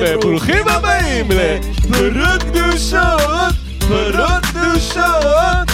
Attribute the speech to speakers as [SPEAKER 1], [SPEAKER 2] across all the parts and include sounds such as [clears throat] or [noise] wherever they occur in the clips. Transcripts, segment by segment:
[SPEAKER 1] וברוכים הבאים לפרות קדושות, פרות קדושות.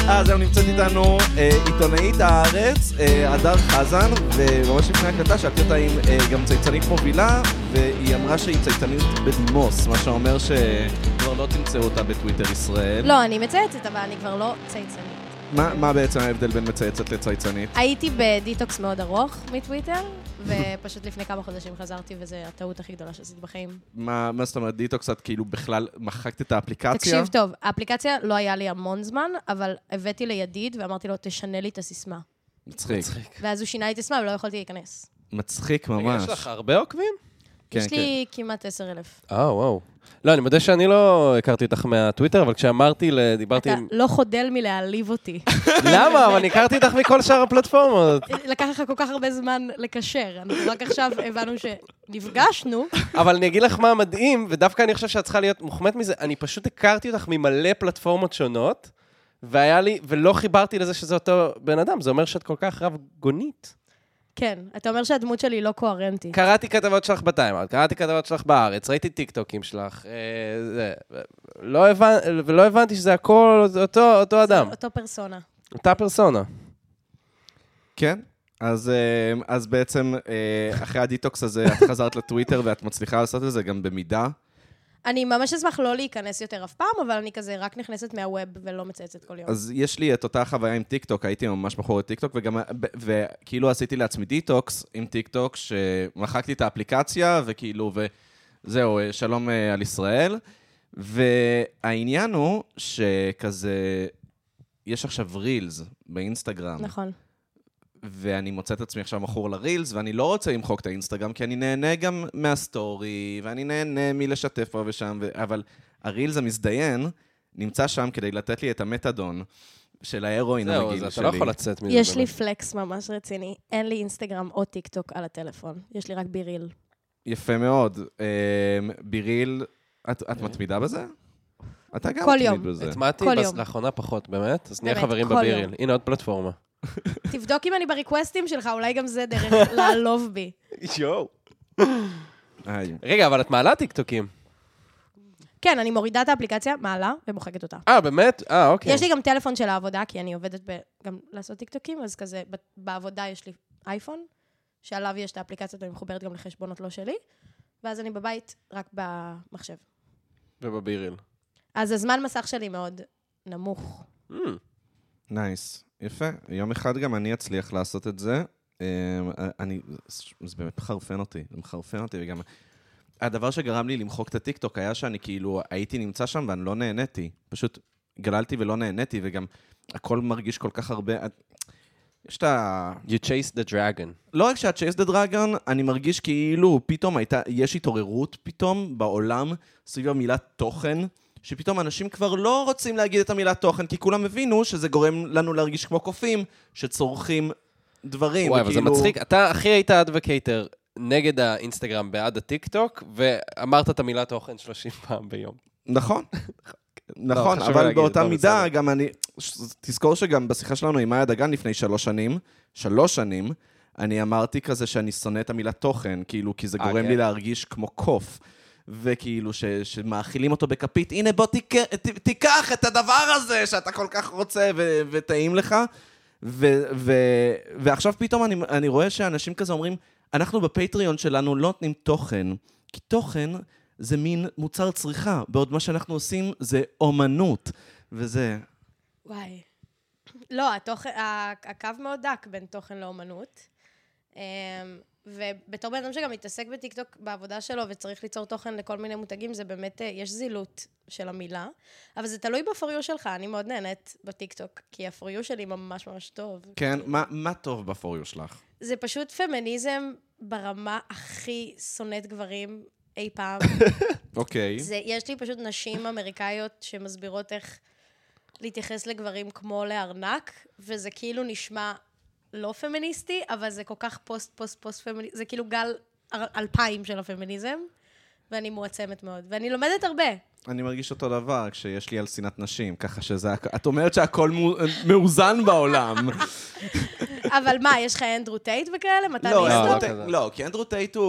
[SPEAKER 2] אז היום אה, נמצאת איתנו אה, עיתונאית הארץ, אה, הדר חזן, וממש לפני הקלטה שאלתי אותה אם אה, גם צייצנית מובילה, והיא אמרה שהיא צייצנית בדימוס, מה שאומר שכבר לא תמצאו אותה בטוויטר ישראל.
[SPEAKER 3] לא, אני מצייצת, אבל אני כבר לא צייצנית.
[SPEAKER 2] מה, מה בעצם ההבדל בין מצייצת לצייצנית?
[SPEAKER 3] הייתי בדיטוקס מאוד ארוך מטוויטר, ופשוט לפני כמה חודשים חזרתי, וזו הטעות הכי גדולה שעשיתי בחיים.
[SPEAKER 2] מה, מה זאת אומרת, דיטוקס את כאילו בכלל מחקת את האפליקציה?
[SPEAKER 3] תקשיב טוב, האפליקציה לא היה לי המון זמן, אבל הבאתי לידיד ואמרתי לו, תשנה לי את הסיסמה.
[SPEAKER 2] מצחיק.
[SPEAKER 3] ואז הוא שינה לי את הסיסמה ולא יכולתי להיכנס.
[SPEAKER 2] מצחיק ממש.
[SPEAKER 1] יש לך הרבה עוקבים?
[SPEAKER 2] כן,
[SPEAKER 3] יש לי כמעט 10,000.
[SPEAKER 1] אה, וואו. לא, אני מודה שאני לא הכרתי אותך מהטוויטר, אבל כשאמרתי, ל- דיברתי [laughs]
[SPEAKER 3] אתה
[SPEAKER 1] עם...
[SPEAKER 3] לא חודל מלהעליב אותי.
[SPEAKER 1] למה? אבל אני הכרתי אותך מכל שאר הפלטפורמות.
[SPEAKER 3] [laughs] לקח לך כל כך הרבה זמן לקשר. אנחנו רק עכשיו הבנו
[SPEAKER 2] [laughs]
[SPEAKER 3] שנפגשנו,
[SPEAKER 1] אבל אני אגיד לך מה מדהים, ודווקא אני חושב שאת צריכה להיות מוחמאת מזה, אני פשוט הכרתי אותך ממלא פלטפורמות שונות, והיה לי, ולא חיברתי לזה שזה אותו בן אדם, זה אומר שאת כל כך רב גונית.
[SPEAKER 3] כן, אתה אומר שהדמות שלי לא קוהרנטית.
[SPEAKER 1] קראתי כתבות שלך בטיימאוט, קראתי כתבות שלך בארץ, ראיתי טיקטוקים שלך, אה, זה, לא הבנ- ולא הבנתי שזה הכל אותו, אותו אדם,
[SPEAKER 3] אותו פרסונה.
[SPEAKER 1] אותה פרסונה.
[SPEAKER 2] כן? אז, אה, אז בעצם, אה, אחרי הדיטוקס הזה, את חזרת לטוויטר ואת מצליחה לעשות את זה גם במידה.
[SPEAKER 3] אני ממש אשמח לא להיכנס יותר אף פעם, אבל אני כזה רק נכנסת מהווב ולא מצייצת כל יום.
[SPEAKER 2] אז יש לי את אותה חוויה עם טיקטוק, הייתי ממש מכור לטיקטוק, וגם, ב- וכאילו עשיתי לעצמי דיטוקס עם טיקטוק, שמחקתי את האפליקציה, וכאילו, וזהו, אה, שלום אה, על ישראל. והעניין הוא שכזה, יש עכשיו רילס באינסטגרם.
[SPEAKER 3] נכון.
[SPEAKER 2] ואני מוצא את עצמי עכשיו מכור לרילס, ואני לא רוצה למחוק את האינסטגרם, כי אני נהנה גם מהסטורי, ואני נהנה מלשתף פה ושם, ו... אבל הרילס המזדיין נמצא שם כדי לתת לי את המתדון של ההרואין
[SPEAKER 1] זהו,
[SPEAKER 2] הרגיל
[SPEAKER 1] אז אתה
[SPEAKER 2] שלי.
[SPEAKER 1] לא יכול לצאת מזה.
[SPEAKER 3] יש לי
[SPEAKER 1] באמת.
[SPEAKER 3] פלקס ממש רציני, אין לי אינסטגרם או טיק טוק על הטלפון, יש לי רק ביריל.
[SPEAKER 2] יפה מאוד. אמ, ביריל, את, את מתמידה בזה? אתה גם
[SPEAKER 3] כל
[SPEAKER 2] מתמיד
[SPEAKER 3] יום.
[SPEAKER 2] בזה.
[SPEAKER 1] הטמעתי
[SPEAKER 3] כל
[SPEAKER 1] בס-
[SPEAKER 3] יום.
[SPEAKER 1] לאחרונה פחות, באמת? אז נהיה
[SPEAKER 3] באמת,
[SPEAKER 1] חברים
[SPEAKER 3] כל
[SPEAKER 1] בביריל.
[SPEAKER 3] יום.
[SPEAKER 1] הנה עוד פלטפורמה.
[SPEAKER 3] תבדוק אם אני בריקווסטים שלך, אולי גם זה דרך [laughs] לעלוב בי.
[SPEAKER 1] יואו.
[SPEAKER 2] איי.
[SPEAKER 1] רגע, אבל את מעלה טיקטוקים.
[SPEAKER 3] כן, אני מורידה את האפליקציה, מעלה ומוחקת אותה.
[SPEAKER 1] אה, באמת? אה, אוקיי.
[SPEAKER 3] יש לי גם טלפון של העבודה, כי אני עובדת ב... גם לעשות טיקטוקים, אז כזה, ב- בעבודה יש לי אייפון, שעליו יש את האפליקציות ואני מחוברת גם לחשבונות לא שלי, ואז אני בבית רק במחשב.
[SPEAKER 1] ובביריל.
[SPEAKER 3] אז הזמן מסך שלי מאוד נמוך.
[SPEAKER 1] Mm.
[SPEAKER 2] נייס, יפה. יום אחד גם אני אצליח לעשות את זה. אמ, אני, זה באמת מחרפן אותי, זה מחרפן אותי, וגם... הדבר שגרם לי למחוק את הטיקטוק היה שאני כאילו הייתי נמצא שם ואני לא נהניתי. פשוט גללתי ולא נהניתי, וגם הכל מרגיש כל כך הרבה... יש את ה...
[SPEAKER 1] You chase the dragon.
[SPEAKER 2] לא רק שאת צ'ייס דה דרגון, אני מרגיש כאילו פתאום הייתה, יש התעוררות פתאום בעולם סביב המילה תוכן, שפתאום אנשים כבר לא רוצים להגיד את המילה תוכן, כי כולם הבינו שזה גורם לנו להרגיש כמו קופים שצורכים דברים.
[SPEAKER 1] וואי, אבל זה
[SPEAKER 2] וכאילו-
[SPEAKER 1] מצחיק. אתה הכי היית אדווקייטר נגד האינסטגרם, בעד הטיקטוק, ואמרת את המילה תוכן 30 פעם ביום.
[SPEAKER 2] נכון.
[SPEAKER 1] [laughs]
[SPEAKER 2] נכון,
[SPEAKER 1] לא, חשוב
[SPEAKER 2] אבל
[SPEAKER 1] להגיד,
[SPEAKER 2] באותה
[SPEAKER 1] לא,
[SPEAKER 2] מידה
[SPEAKER 1] בסדר.
[SPEAKER 2] גם אני... ש- תזכור שגם בשיחה שלנו עם מאיה דגן לפני שלוש שנים, שלוש שנים, אני אמרתי כזה שאני שונא את המילה תוכן, כאילו, כי זה
[SPEAKER 1] אה,
[SPEAKER 2] גורם
[SPEAKER 1] כן.
[SPEAKER 2] לי להרגיש כמו קוף. וכאילו, ש, שמאכילים אותו בכפית, הנה בוא תיק, ת, תיקח את הדבר הזה שאתה כל כך רוצה ו, וטעים לך. ו, ו, ועכשיו פתאום אני, אני רואה שאנשים כזה אומרים, אנחנו בפטריון שלנו לא נותנים תוכן, כי תוכן זה מין מוצר צריכה, בעוד מה שאנחנו עושים זה אומנות. וזה,
[SPEAKER 3] וואי. לא, התוכן, ה- הקו מאוד דק בין תוכן לאומנות. אמ, ובתור בן אדם שגם מתעסק בטיקטוק בעבודה שלו וצריך ליצור תוכן לכל מיני מותגים, זה באמת, אה, יש זילות של המילה. אבל זה תלוי בפוריו שלך, אני מאוד נהנית בטיקטוק, כי הפוריו שלי ממש ממש טוב.
[SPEAKER 2] כן, מה, מה טוב בפוריו שלך?
[SPEAKER 3] זה פשוט פמיניזם ברמה הכי שונאת גברים אי פעם.
[SPEAKER 2] אוקיי.
[SPEAKER 3] זה, יש לי פשוט נשים אמריקאיות שמסבירות איך להתייחס לגברים כמו לארנק, וזה כאילו נשמע לא פמיניסטי, אבל זה כל כך פוסט פוסט פוסט פמיניסטי, זה כאילו גל אר- אלפיים של הפמיניזם, ואני מועצמת מאוד, ואני לומדת הרבה.
[SPEAKER 2] אני מרגיש אותו דבר כשיש לי על שנאת נשים, ככה שזה... הכ- את אומרת שהכל מו- מאוזן בעולם.
[SPEAKER 3] אבל מה, יש לך אנדרו טייט וכאלה? מתן
[SPEAKER 1] אנדרו
[SPEAKER 2] לא,
[SPEAKER 3] איסטון?
[SPEAKER 2] אנדרו טייט-
[SPEAKER 1] כזה.
[SPEAKER 2] לא, כי אנדרו טייט הוא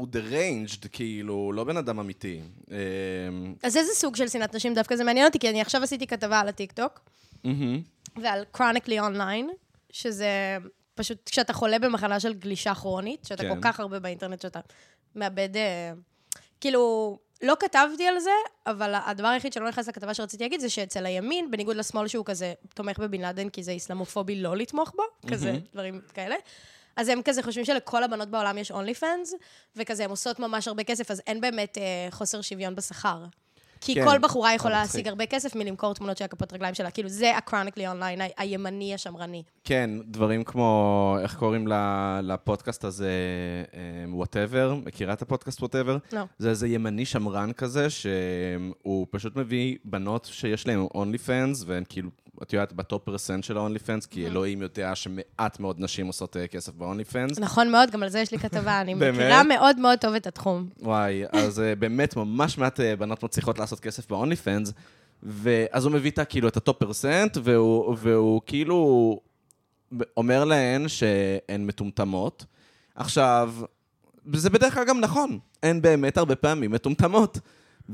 [SPEAKER 2] הוא deranged, כאילו, הוא לא בן אדם אמיתי. אמ,
[SPEAKER 3] אז איזה סוג של שנאת נשים דווקא זה מעניין אותי? כי אני עכשיו עשיתי כתבה על הטיקטוק
[SPEAKER 2] מהמם.
[SPEAKER 3] ועל chronically online, שזה פשוט כשאתה חולה במחלה של גלישה כרונית, שאתה
[SPEAKER 2] כן.
[SPEAKER 3] כל כך הרבה באינטרנט שאתה מאבד... אה, כאילו, לא כתבתי על זה, אבל הדבר היחיד שלא נכנס לכתבה שרציתי להגיד זה שאצל הימין, בניגוד לשמאל שהוא כזה תומך בבן לאדן כי זה איסלאמופובי לא לתמוך בו, כזה דברים כאלה. אז הם כזה חושבים שלכל הבנות בעולם יש אונלי פאנס, וכזה הן עושות ממש הרבה כסף, אז אין באמת אה, חוסר שוויון בשכר. כי
[SPEAKER 2] כן.
[SPEAKER 3] כל בחורה יכולה
[SPEAKER 2] אה, מצחיק.
[SPEAKER 3] להשיג הרבה כסף מלמכור תמונות של הכפות רגליים שלה. כאילו, זה הקרוניקלי אונליין, הימני השמרני.
[SPEAKER 2] כן, דברים כמו, איך קוראים ל- לפודקאסט הזה, וואטאבר, מכירה את הפודקאסט וואטאבר?
[SPEAKER 3] לא.
[SPEAKER 2] זה איזה ימני שמרן כזה, שהוא פשוט מביא בנות שיש להן אונלי פאנס, והן כאילו, את יודעת, בטופ פרסנט של האונלי פאנס, כי אלוהים יודע שמעט מאוד נשים עושות אה, כסף באונלי פאנס.
[SPEAKER 3] נכון מאוד, גם על זה יש לי כתבה,
[SPEAKER 2] [laughs]
[SPEAKER 3] אני
[SPEAKER 2] באמת?
[SPEAKER 3] מכירה מאוד מאוד טוב את התחום.
[SPEAKER 2] וואי, אז אה, באמת ממש מעט אה, בנות מצליחות לעשות כסף ב-only fans, ואז הוא מביא איתה כאילו את הטופ פרסנט, והוא, והוא כאילו אומר להן שהן מטומטמות. עכשיו, זה בדרך כלל גם נכון, הן באמת הרבה פעמים מטומטמות.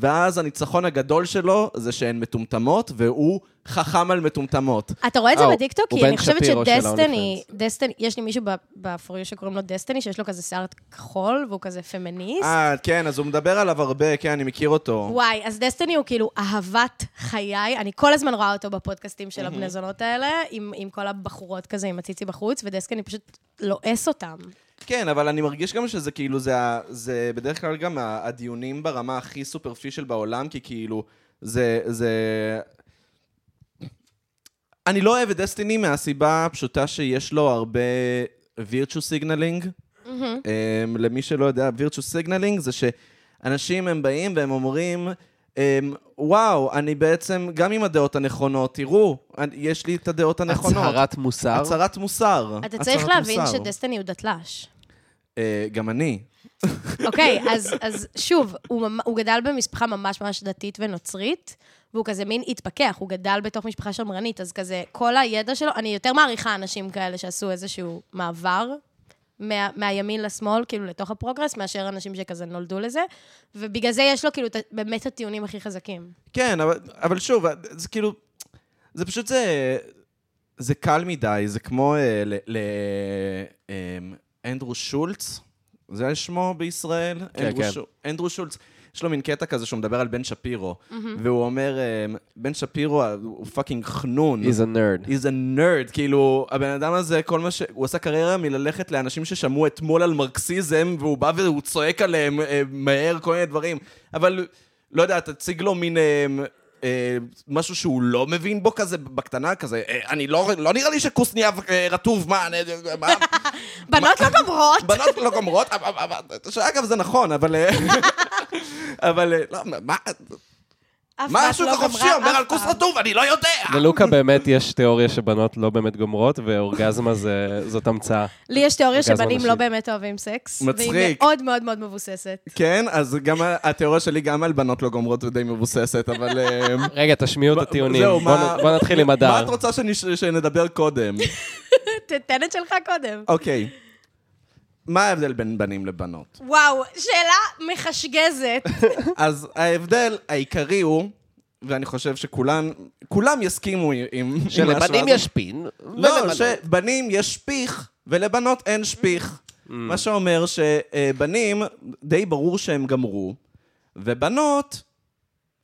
[SPEAKER 2] ואז הניצחון הגדול שלו זה שהן מטומטמות, והוא חכם על מטומטמות.
[SPEAKER 3] אתה רואה את זה
[SPEAKER 1] אה, הוא-
[SPEAKER 3] בטיקטוק?
[SPEAKER 1] הוא
[SPEAKER 3] כי אני
[SPEAKER 1] בן
[SPEAKER 3] חושבת
[SPEAKER 1] שפירו של
[SPEAKER 3] שדסטיני,
[SPEAKER 1] ה-OnlyFans.
[SPEAKER 3] דסטיני, יש לי מישהו בפוריו שקוראים לו דסטיני, שיש לו כזה שיער כחול, והוא כזה פמיניסט.
[SPEAKER 2] אה, כן, אז הוא מדבר עליו הרבה, כן, אני מכיר אותו.
[SPEAKER 3] וואי, אז דסטיני הוא כאילו אהבת חיי, אני כל הזמן רואה אותו בפודקאסטים של הבני זונות האלה, עם עם כל הבחורות כזה, עם הציצי בחוץ, ודסטיני פשוט לועס אותם.
[SPEAKER 2] כן, אבל אני מרגיש גם שזה כאילו, זה, ה- זה בדרך כלל גם ה- הדיונים ברמה הכי סופרפישל בעולם, כי כאילו, זה, זה... אני לא אוהב את דסטיני מהסיבה הפשוטה שיש לו הרבה virtue signaling.
[SPEAKER 3] Mm-hmm.
[SPEAKER 2] אמ, למי שלא יודע, virtue signaling זה שאנשים הם באים והם אומרים, אמ, וואו, אני בעצם, גם עם הדעות הנכונות, תראו, אני- יש לי את הדעות הנכונות.
[SPEAKER 1] הצהרת מוסר.
[SPEAKER 2] נכון הצהרת מוסר.
[SPEAKER 3] אתה צריך
[SPEAKER 2] הצהרת
[SPEAKER 3] להבין
[SPEAKER 2] מוסר.
[SPEAKER 3] שדסטיני הוא דתל"ש.
[SPEAKER 2] אה, גם אני.
[SPEAKER 3] אוקיי, אז, אז שוב, הוא, ממ- הוא גדל במשפחה ממש ממש דתית ונוצרית, והוא כזה מין התפכח, הוא גדל בתוך משפחה שמרנית, אז כזה, כל הידע שלו, אני יותר מעריכה אנשים כאלה שעשו איזשהו מעבר. מה, מהימין לשמאל, כאילו, לתוך הפרוגרס, מאשר אנשים שכזה נולדו לזה, ובגלל זה יש לו כאילו את ה- באמת את הטיעונים הכי חזקים.
[SPEAKER 2] כן, אבל, אבל שוב, זה כאילו, זה פשוט, זה, זה קל מדי, זה כמו אה, ל- ל- אמ, אנדרו שולץ, זה שמו בישראל?
[SPEAKER 1] כן,
[SPEAKER 2] אנדרו,
[SPEAKER 1] כן.
[SPEAKER 2] שו- אנדרו שולץ. יש לו מין קטע כזה שהוא מדבר על בן שפירו, והוא אומר, אמ, בן שפירו אה, הוא פאקינג חנון.
[SPEAKER 1] He's a nerd.
[SPEAKER 2] He's a nerd, כאילו, הבן אדם הזה, כל מה ש... הוא עשה קריירה מללכת לאנשים ששמעו אתמול על מרקסיזם, והוא בא והוא צועק עליהם אה, מהר כל מיני דברים. אבל, לא יודע, תציג לו מין... אה, אה, משהו שהוא לא מבין בו כזה, בקטנה כזה, אה, אני לא, לא נראה לי שקוסניאב אה, רטוב, מה, אני,
[SPEAKER 3] [laughs]
[SPEAKER 2] מה,
[SPEAKER 3] בנות לא גומרות!
[SPEAKER 2] בנות לא גומרות, אבל- אבל- אבל- שאגב זה נכון, אבל,
[SPEAKER 3] [laughs]
[SPEAKER 2] אה, אבל, אה, לא, מה,
[SPEAKER 3] אף בת
[SPEAKER 2] מה השוק
[SPEAKER 3] לא
[SPEAKER 2] החופשי
[SPEAKER 3] גמרה
[SPEAKER 2] אומר
[SPEAKER 3] אף
[SPEAKER 2] על כוס
[SPEAKER 3] פעם.
[SPEAKER 2] רטוב, אני לא יודע.
[SPEAKER 1] ללוקה באמת יש תיאוריה שבנות לא באמת גומרות, ואורגזמה זה- זאת המצאה.
[SPEAKER 3] לי יש תיאוריה
[SPEAKER 1] אוקיי, אז
[SPEAKER 3] שבנים
[SPEAKER 1] בוא
[SPEAKER 3] לא
[SPEAKER 1] נמשיך.
[SPEAKER 3] באמת אוהבים סקס. והיא
[SPEAKER 2] מצחיק.
[SPEAKER 3] מאוד מאוד מאוד מבוססת.
[SPEAKER 2] כן, אז גם ה- התיאוריה שלי גם על בנות לא גומרות ודי מבוססת,
[SPEAKER 1] [laughs]
[SPEAKER 2] אבל... אמ,
[SPEAKER 1] רגע, תשמיעו את הטיעונים.
[SPEAKER 2] זהו,
[SPEAKER 1] בוא
[SPEAKER 2] מה-
[SPEAKER 1] נ- בוא נתחיל עם
[SPEAKER 2] מה את
[SPEAKER 1] הדר.
[SPEAKER 2] רוצה שנש- שנדבר קודם? [laughs]
[SPEAKER 3] תתן את שלך קודם.
[SPEAKER 2] אוקיי. מה ההבדל בין
[SPEAKER 1] [laughs]
[SPEAKER 2] בנים לבנות?
[SPEAKER 3] וואו, שאלה
[SPEAKER 2] [laughs]
[SPEAKER 3] מחשגזת.
[SPEAKER 2] אז ההבדל העיקרי הוא, ואני חושב שכולם, כולם יסכימו עם- עם... עם ההשוואה הזאת.
[SPEAKER 1] פין,
[SPEAKER 2] לא, שבנים יש שפיך, ולבנות אין שפיך. מה שאומר שבנים, די ברור שהם גמרו, ובנות,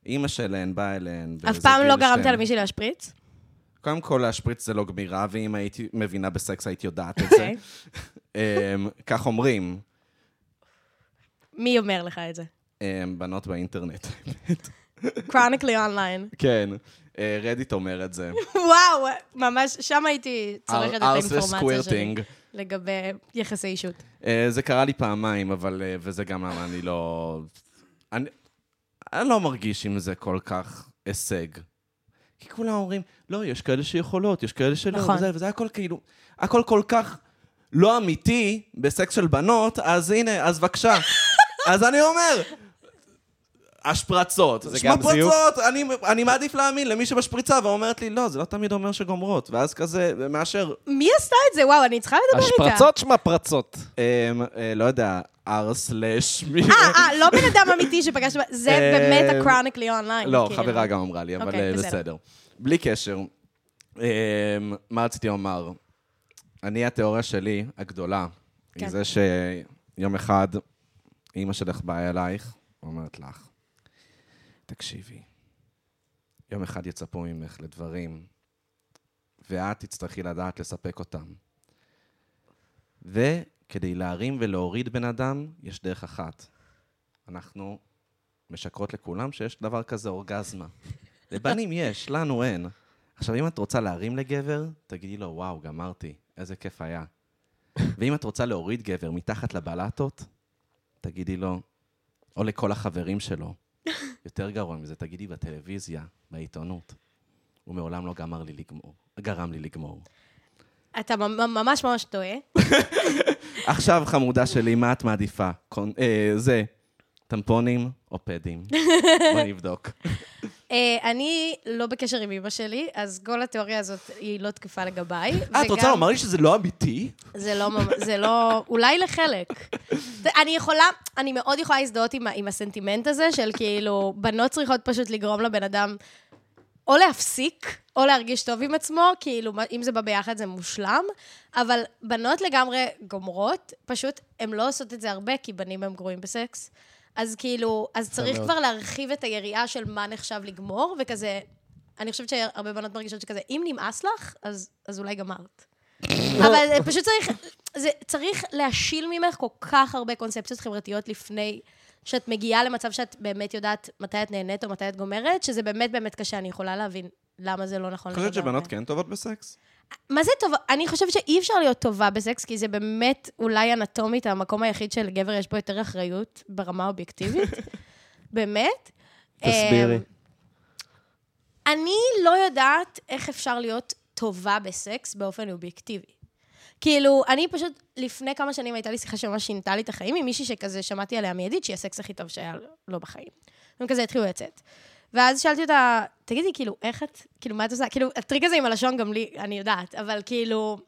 [SPEAKER 2] אימא שלהן באה אליהן.
[SPEAKER 3] אף
[SPEAKER 2] באיזה
[SPEAKER 3] פעם
[SPEAKER 2] גיל
[SPEAKER 3] לא
[SPEAKER 2] שהן-
[SPEAKER 3] גרמת למישהי להשפריץ?
[SPEAKER 2] קודם כל, להשפריץ זה לא גמירה, ואם הייתי מבינה בסקס הייתי יודעת את
[SPEAKER 3] אוקיי.
[SPEAKER 2] זה. [laughs] אמ, כך אומרים
[SPEAKER 3] מי אומר לך את זה?
[SPEAKER 2] אמ, בנות באינטרנט. [laughs]
[SPEAKER 3] קרוניקלי אונליין.
[SPEAKER 2] כן, אה, רדיט אומר את זה.
[SPEAKER 3] [laughs] וואו, ממש, שם הייתי [laughs] צורכת את
[SPEAKER 2] ארס
[SPEAKER 3] האינפורמציה שלי.
[SPEAKER 2] וסקווירטינג.
[SPEAKER 3] לגבי יחסי אישות.
[SPEAKER 2] אה, זה קרה לי פעמיים, אבל... אה, וזה גם למה אני לא... אני אני לא מרגיש עם זה כל כך הישג. כי כולם אומרים, לא, יש כאלה שיכולות, יש כאלה שלא,
[SPEAKER 3] נכון.
[SPEAKER 2] וזה, וזה הכל כאילו... הכל כל כך לא אמיתי
[SPEAKER 3] [laughs]
[SPEAKER 2] בסקס של בנות, אז הנה, אז בבקשה. אז אני אומר... השפרצות.
[SPEAKER 1] זה
[SPEAKER 2] שמע,
[SPEAKER 1] גם זיוף?
[SPEAKER 2] פרצות, אני, אני מעדיף להאמין למי שבשפריצה, ואומרת לי, לא, זה לא תמיד אומר שגומרות. ואז כזה, מאשר,
[SPEAKER 3] מי עשתה את זה? וואו, אני צריכה לדבר איתה.
[SPEAKER 1] השפרצות שמע פרצות.
[SPEAKER 2] אה, אה, לא יודע, R סלאש מי...
[SPEAKER 3] אה, אה, לא בן אדם אמיתי שפגשת, זה
[SPEAKER 2] אה,
[SPEAKER 3] באמת הקרוניקלי אונליין.
[SPEAKER 2] לא,
[SPEAKER 3] כאילו.
[SPEAKER 2] חברה גם אמרה לי, אבל
[SPEAKER 3] אוקיי,
[SPEAKER 2] אה,
[SPEAKER 3] בסדר.
[SPEAKER 2] בסדר. בלי קשר, אה, מה רציתי לומר? אני, התיאוריה שלי, הגדולה, היא
[SPEAKER 3] כן.
[SPEAKER 2] זה שיום אחד אימא שלך באה אלייך, ואומרת לך, תקשיבי, יום אחד יצפו ממך לדברים, ואת תצטרכי לדעת לספק אותם. וכדי להרים ולהוריד בן אדם, יש דרך אחת. אנחנו משקרות לכולם שיש דבר כזה אורגזמה. לבנים יש, לנו אין. עכשיו, אם את רוצה להרים לגבר, תגידי לו, וואו, גמרתי, איזה כיף היה. ואם את רוצה להוריד גבר מתחת לבלטות, תגידי לו, או לכל החברים שלו, יותר גרוע מזה, תגידי בטלוויזיה, בעיתונות. הוא מעולם לא גמר לי לגמור, גרם לי לגמור.
[SPEAKER 3] אתה ממ- ממש ממש טועה.
[SPEAKER 2] עכשיו, חמודה שלי, מה את מעדיפה? קונ... אה, זה, טמפונים או
[SPEAKER 3] [laughs]
[SPEAKER 2] פדים? בוא נבדוק.
[SPEAKER 3] אה, אני לא בקשר עם אמא שלי, אז כל התיאוריה הזאת היא לא תקפה לגביי.
[SPEAKER 2] אה, את רוצה
[SPEAKER 3] וגם-
[SPEAKER 2] לומר לי שזה לא אמיתי?
[SPEAKER 3] זה לא, ממ- זה לא, אולי לחלק. אני יכולה, אני מאוד יכולה להזדהות עם, ה- עם הסנטימנט הזה של כאילו, בנות צריכות פשוט לגרום לבן אדם או להפסיק, או להרגיש טוב עם עצמו, כאילו, מה- אם זה בא ביחד זה מושלם, אבל בנות לגמרי גומרות, פשוט הן לא עושות את זה הרבה, כי בנים הם גרועים בסקס. אז כאילו, אז צריך
[SPEAKER 1] מאוד.
[SPEAKER 3] כבר להרחיב את היריעה של מה נחשב לגמור, וכזה, אני חושבת שהרבה בנות מרגישות שכזה, אם נמאס לך, אז, אז אולי גמרת. אבל זה פשוט צריך, זה צריך להשיל ממך כל כך הרבה קונספציות חברתיות לפני שאת מגיעה למצב שאת באמת יודעת מתי את נהנית או מתי את גומרת, שזה באמת באמת קשה, אני יכולה להבין למה זה לא נכון.
[SPEAKER 2] את חושבת
[SPEAKER 3] לדבר
[SPEAKER 2] שבנות
[SPEAKER 3] הזה.
[SPEAKER 2] כן טובות בסקס?
[SPEAKER 3] מה זה טובה? אני חושבת שאי אפשר להיות טובה בסקס, כי זה באמת אולי אנטומית המקום היחיד שלגבר יש בו יותר אחריות ברמה האובייקטיבית. באמת. אמ,
[SPEAKER 1] תסבירי.
[SPEAKER 3] אני לא יודעת איך אפשר להיות טובה בסקס באופן אובייקטיבי. כאילו, אני פשוט, לפני כמה שנים הייתה לי שיחה שממש שינתה לי את החיים עם מישהי שכזה שמעתי עליה מיידית, שהיא הסקס הכי טוב שהיה לו בחיים. הם כזה התחילו לצאת. ואז שאלתי אותה, תגידי, כאילו, איך את, כאילו, מה את עושה? כאילו, הטריק הזה עם הלשון גם לי, אני יודעת, אבל כאילו...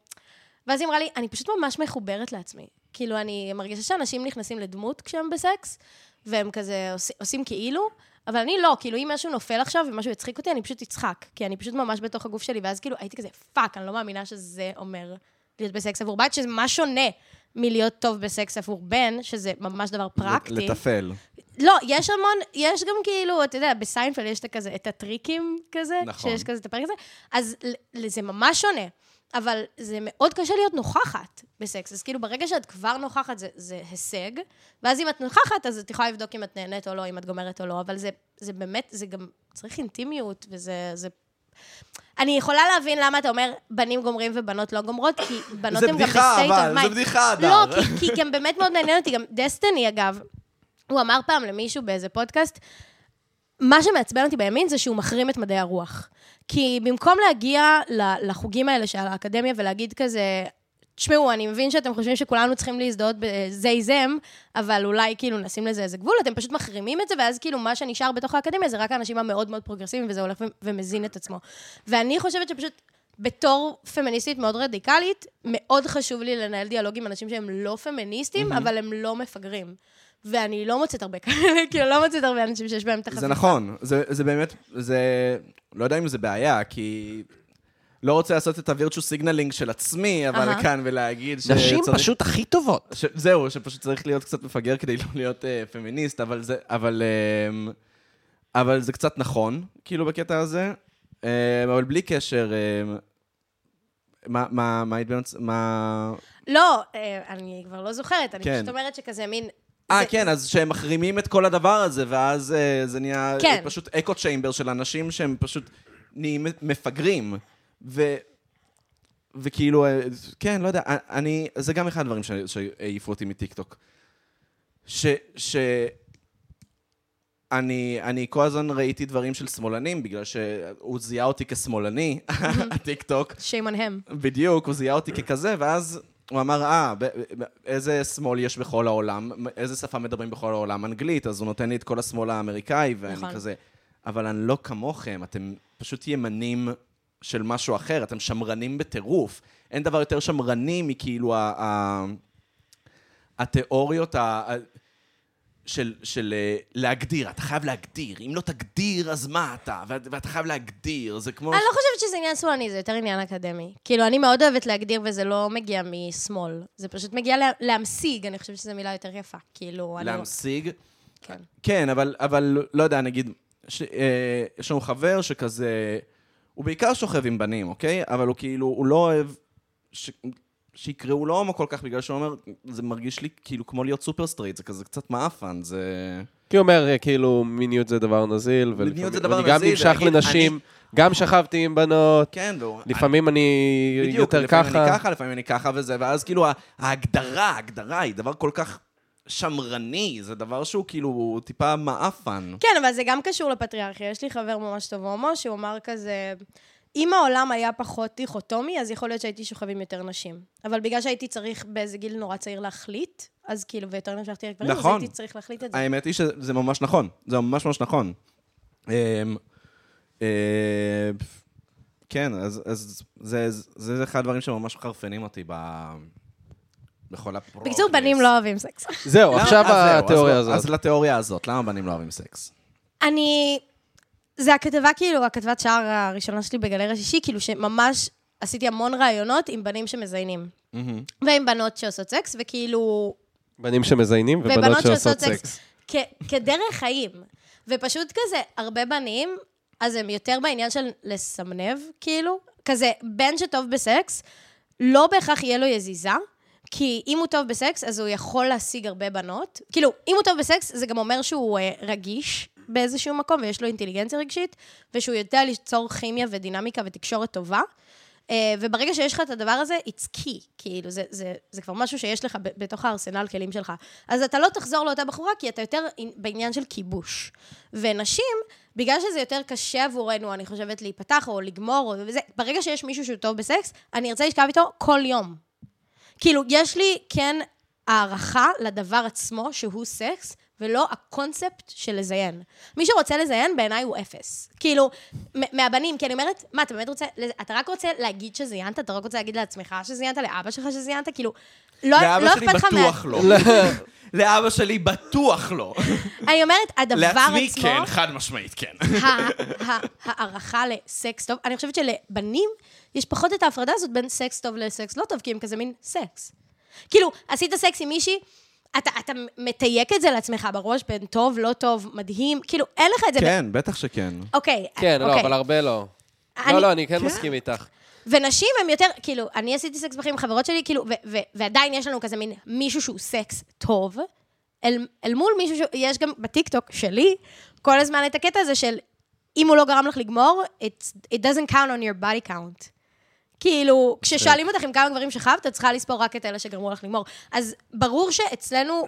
[SPEAKER 3] ואז היא אמרה לי, אני פשוט ממש מחוברת לעצמי. כאילו, אני מרגישה שאנשים נכנסים לדמות כשהם בסקס, והם כזה עוש, עושים כאילו, אבל אני לא, כאילו, אם משהו נופל עכשיו ומשהו יצחיק אותי, אני פשוט אצחק, כי אני פשוט ממש בתוך הגוף שלי, ואז כאילו הייתי כזה, פאק, אני לא מאמינה שזה אומר להיות בסקס עבור בת, שזה ממש שונה מלהיות טוב בסקס עבור בן, שזה ממש דבר פרקטי.
[SPEAKER 2] לטפל.
[SPEAKER 3] לא, יש המון, יש גם כאילו, אתה יודע, בסיינפלד יש את הכזה, את הטריקים כזה,
[SPEAKER 2] נכון.
[SPEAKER 3] שיש כזה את הפרק הזה, אז ל- ל- זה ממש שונה, אבל זה מאוד קשה להיות נוכחת בסקס, אז כאילו ברגע שאת כבר נוכחת זה, זה הישג, ואז אם את נוכחת, אז את יכולה לבדוק אם את נהנית או לא, אם את גומרת או לא, אבל זה, זה באמת, זה גם צריך אינטימיות, וזה... זה... אני יכולה להבין למה אתה אומר בנים גומרים ובנות לא גומרות,
[SPEAKER 2] [laughs]
[SPEAKER 3] כי בנות
[SPEAKER 2] זה
[SPEAKER 3] הן גם בסטייט
[SPEAKER 2] בדיחה,
[SPEAKER 3] אוף מיינד.
[SPEAKER 2] אבל, זה בדיחה, אדר.
[SPEAKER 3] לא, כי, כי גם באמת מאוד מעניין אותי, גם דסטיני, אגב, הוא אמר פעם למישהו באיזה פודקאסט, מה שמעצבן אותי בימין זה שהוא מחרים את מדעי הרוח. כי במקום להגיע ל- לחוגים האלה של האקדמיה ולהגיד כזה, תשמעו, אני מבין שאתם חושבים שכולנו צריכים להזדהות בזייזם, אבל אולי כאילו נשים לזה איזה גבול, אתם פשוט מחרימים את זה, ואז כאילו מה שנשאר בתוך האקדמיה זה רק האנשים המאוד מאוד פרוגרסיביים, וזה הולך ו- ומזין את עצמו. ואני חושבת שפשוט, בתור פמיניסטית מאוד רדיקלית, מאוד חשוב לי לנהל דיאלוג עם אנשים שהם לא פמיניסטים, אבל הם לא מפגרים. ואני לא מוצאת הרבה כאלה, [laughs] כאילו, לא מוצאת הרבה אנשים שיש בהם את החזרה.
[SPEAKER 2] זה נכון, זה, זה באמת, זה... לא יודע אם זה בעיה, כי... לא רוצה לעשות את הווירטואו סיגנלינג של עצמי, אבל
[SPEAKER 3] אהה.
[SPEAKER 2] כאן ולהגיד שצריך...
[SPEAKER 1] נשים פשוט הכי טובות.
[SPEAKER 2] ש... זהו, שפשוט צריך להיות קצת מפגר כדי לא להיות אה, פמיניסט, אבל זה... אבל... אה, אבל זה קצת נכון, כאילו, בקטע הזה. אה, אבל בלי קשר... אה, מה, מה, מה, התבנצ- מה...
[SPEAKER 3] לא, אה, אני כבר לא זוכרת, אני
[SPEAKER 2] כן.
[SPEAKER 3] פשוט אומרת שכזה מין...
[SPEAKER 2] אה,
[SPEAKER 3] זה-
[SPEAKER 2] כן, אז שהם מחרימים את כל הדבר הזה, ואז אה, זה נהיה
[SPEAKER 3] כן.
[SPEAKER 2] כן. פשוט אקו צ'יימבר של אנשים שהם פשוט נהיים מפגרים. ו... וכאילו, אה, כן, לא יודע, אה, אני... זה גם אחד הדברים ש- שהעיפו אותי מטיקטוק. ש... ש... אני, אני כל הזמן ראיתי דברים של שמאלנים, בגלל שהוא זיהה אותי כשמאלני, [laughs] הטיקטוק.
[SPEAKER 3] shame on him.
[SPEAKER 2] בדיוק, הוא זיהה אותי ככזה, ואז הוא אמר, אה, ב- ב- איזה שמאל יש בכל העולם, איזה שפה מדברים בכל העולם? אנגלית, אז הוא נותן לי את כל השמאל האמריקאי, ואני
[SPEAKER 3] נכון.
[SPEAKER 2] כזה... אבל אני לא כמוכם, אתם פשוט ימנים של משהו אחר, אתם שמרנים בטירוף. אין דבר יותר שמרני מכאילו ה- ה- התיאוריות ה... ה- של, של אה, להגדיר, אתה חייב להגדיר. אם לא תגדיר, אז מה אתה? ואת- ואתה חייב להגדיר, זה כמו...
[SPEAKER 3] אני לא חושבת שזה עניין שמאלני, זה יותר עניין אקדמי. כאילו, אני מאוד אוהבת להגדיר, וזה לא מגיע משמאל. זה פשוט מגיע לה, להמשיג, אני חושבת שזו מילה יותר יפה. כאילו, אני...
[SPEAKER 2] להמשיג.
[SPEAKER 3] כן.
[SPEAKER 2] כן, אבל, אבל לא יודע, נגיד, ש, אה, יש לנו חבר שכזה, הוא בעיקר שוכב עם בנים, אוקיי? אבל הוא כאילו, הוא לא אוהב ש, שיקראו לו הומו כל כך, בגלל שהוא אומר, זה מרגיש לי כאילו כמו להיות סופר סטרייט, זה כזה קצת מעפן, זה...
[SPEAKER 1] כי הוא אומר, אה, כאילו, מיניות זה דבר נזיל, ולפעמים-
[SPEAKER 2] מיניות זה דבר
[SPEAKER 1] ואני גם
[SPEAKER 2] נזיל,
[SPEAKER 1] נמשך
[SPEAKER 2] ולהגיד,
[SPEAKER 1] לנשים, גם שכבתי עם בנות,
[SPEAKER 2] כן, והוא...
[SPEAKER 1] לפעמים אני
[SPEAKER 2] בדיוק,
[SPEAKER 1] יותר
[SPEAKER 2] לפעמים אני
[SPEAKER 1] ככה.
[SPEAKER 2] ככה, לפעמים אני ככה וזה, ואז כאילו ה- ההגדרה, ההגדרה היא דבר כל כך שמרני, זה דבר שהוא כאילו טיפה מעפן.
[SPEAKER 3] כן, אבל זה גם קשור לפטריארכיה. יש לי חבר ממש טוב הומו, שהוא אמר כזה, אם העולם היה פחות דיכוטומי, אז יכול להיות שהייתי שוכב עם יותר נשים. אבל בגלל שהייתי צריך באיזה גיל נורא צעיר להחליט, אז כאילו, ויותר נמשכתי לגברים,
[SPEAKER 2] נכון.
[SPEAKER 3] אז הייתי צריך להחליט את זה.
[SPEAKER 2] האמת היא שזה ממש נכון. זה ממש ממש נכון. אמ, אה, כן, אז אז זה- זה זה אחד הדברים שממש מחרפנים אותי ב... בכל הפרוגרס.
[SPEAKER 3] בקיצור, בנים לא אוהבים סקס.
[SPEAKER 1] זהו,
[SPEAKER 2] למה-
[SPEAKER 1] עכשיו
[SPEAKER 2] אז זהו, אז
[SPEAKER 1] התיאוריה
[SPEAKER 2] לא-
[SPEAKER 1] הזאת.
[SPEAKER 2] אז לתיאוריה הזאת, למה בנים לא אוהבים סקס?
[SPEAKER 3] אני... זה הכתבה, כאילו, הכתבת שער הראשונה שלי בגלריה שישי, כאילו שממש עשיתי המון ראיונות עם בנים שמזיינים. ועם בנות שעושות סקס, וכאילו...
[SPEAKER 1] בנים שמזיינים ובנות שעושות סקס.
[SPEAKER 3] כ- כדרך חיים. ופשוט כזה, הרבה בנים, אז הם יותר בעניין של לסמנב, כאילו. כזה, בן שטוב בסקס, לא בהכרח יהיה לו יזיזה, כי אם הוא טוב בסקס, אז הוא יכול להשיג הרבה בנות. כאילו, אם הוא טוב בסקס, זה גם אומר שהוא אה, רגיש באיזשהו מקום, ויש לו אינטליגנציה רגשית, ושהוא יודע ליצור כימיה ודינמיקה ותקשורת טובה. אה, וברגע שיש לך את הדבר הזה, it's key, כאילו, זה, זה, זה כבר משהו שיש לך ב- בתוך הארסנל כלים שלך. אז אתה לא תחזור לאותה בחורה, כי אתה יותר עני- בעניין של כיבוש. ונשים, בגלל שזה יותר קשה עבורנו, אני חושבת, להיפתח או לגמור, או- וזה, ברגע שיש מישהו שהוא טוב בסקס, אני ארצה לשכב איתו כל יום. כאילו, יש לי כן הערכה לדבר עצמו, שהוא סקס, ולא הקונספט של לזיין. מי שרוצה לזיין, בעיניי הוא אפס. כאילו, מ- מהבנים, כי אני אומרת, מה, אתה באמת רוצה, לז- אתה רק רוצה להגיד שזיינת? אתה רק רוצה להגיד לעצמך שזיינת? לאבא שלך שזיינת? כאילו, לא לא
[SPEAKER 2] לאבא שלי
[SPEAKER 3] אכפת לך מה...
[SPEAKER 2] בטוח לא. [laughs] לאבא שלי בטוח לא.
[SPEAKER 3] [laughs] אני אומרת, הדבר עצמו...
[SPEAKER 2] לעצמי כן, חד משמעית כן.
[SPEAKER 3] ה- ה- הערכה לסקס טוב, אני חושבת שלבנים יש פחות את ההפרדה הזאת בין סקס טוב לסקס לא טוב, כי הם כזה מין סקס. כאילו, עשית סקס עם מישהי, אתה, אתה מתייק את זה לעצמך בראש בין טוב, לא טוב, מדהים, כאילו, אין לך את זה.
[SPEAKER 2] כן, בטח שכן.
[SPEAKER 3] אוקיי,
[SPEAKER 1] כן, לא,
[SPEAKER 3] אוקיי.
[SPEAKER 1] אבל הרבה לא.
[SPEAKER 3] אני-
[SPEAKER 1] לא, לא, אני כן מסכים איתך.
[SPEAKER 3] ונשים הן יותר, כאילו, אני עשיתי סקס בחיים עם חברות שלי, כאילו, ו- ו- ועדיין יש לנו כזה מין מישהו שהוא סקס טוב, אל, אל מול מישהו ש... יש גם בטיקטוק שלי, כל הזמן את הקטע הזה של, אם הוא לא גרם לך לגמור, it's, it doesn't count on your body count. כאילו, כששואלים אותך עם כמה גברים שכבת, את צריכה לספור רק את אלה שגרמו לך לגמור. אז ברור שאצלנו,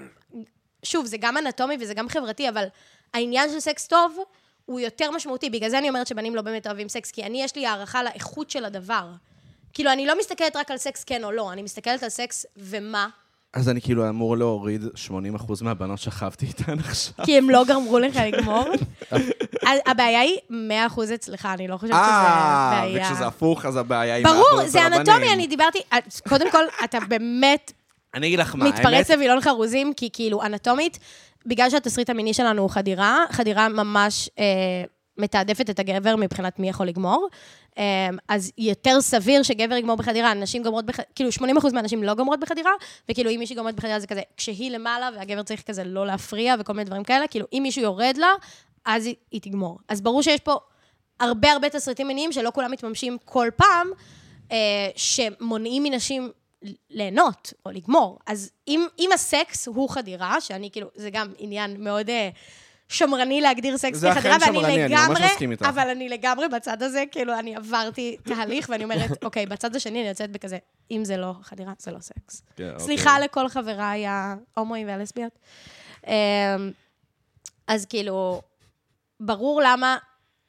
[SPEAKER 3] שוב, זה גם אנטומי וזה גם חברתי, אבל העניין של סקס טוב הוא יותר משמעותי. בגלל זה אני אומרת שבנים לא באמת אוהבים סקס, כי אני, יש לי הערכה לאיכות של הדבר. כאילו, אני לא מסתכלת רק על סקס כן או לא, אני מסתכלת על סקס ומה,
[SPEAKER 2] אז אני כאילו אמור להוריד 80% מהבנות שכבתי איתן עכשיו.
[SPEAKER 3] כי הם לא גרמו לך לגמור.
[SPEAKER 2] [laughs]
[SPEAKER 3] ה- הבעיה היא 100% אצלך, אני לא חושבת שזה
[SPEAKER 2] אה,
[SPEAKER 3] בעיה.
[SPEAKER 2] וכשזה הפוך, אז הבעיה היא...
[SPEAKER 3] ברור,
[SPEAKER 2] מהאחוז
[SPEAKER 3] זה
[SPEAKER 2] של
[SPEAKER 3] אנטומי,
[SPEAKER 2] הבנים.
[SPEAKER 3] אני דיברתי... קודם כל, אתה באמת
[SPEAKER 2] אני אגיד לך מה,
[SPEAKER 3] מתפרץ לווילון חרוזים, כי כאילו, אנטומית, בגלל שהתסריט המיני שלנו הוא חדירה, חדירה ממש אה, מתעדפת את הגבר מבחינת מי יכול לגמור. אה, אז יותר סביר שגבר יגמור בחדירה, נשים גומרות בחדירה, כאילו 80% מהנשים לא גומרות בחדירה, וכאילו אם מישהי גומרת בחדירה זה כזה, כשהיא למעלה והגבר צריך כזה לא להפריע וכל מיני דברים כאלה, כאילו אם מישהו יורד לה, אז היא, היא תגמור. אז ברור שיש פה הרבה הרבה תסריטים מיניים שלא כולם מתממשים כל פעם, אה, שמונעים מנשים ליהנות או לגמור. אז אם, אם הסקס הוא חדירה, שאני כאילו, זה גם עניין מאוד אה, שמרני להגדיר סקס
[SPEAKER 2] זה אכן
[SPEAKER 3] כחדירה, ואני
[SPEAKER 2] שמרני, אני ממש
[SPEAKER 3] לגמרי,
[SPEAKER 2] מסכים איתך.
[SPEAKER 3] אבל אני לגמרי בצד הזה, כאילו, אני עברתי תהליך ואני אומרת, [laughs] אוקיי, בצד השני אני יוצאת בכזה, אם זה לא חדירה, זה לא סקס.
[SPEAKER 2] כן,
[SPEAKER 3] סליחה לכל חבריי ההומואים והלסביות. אמ, אז כאילו, ברור למה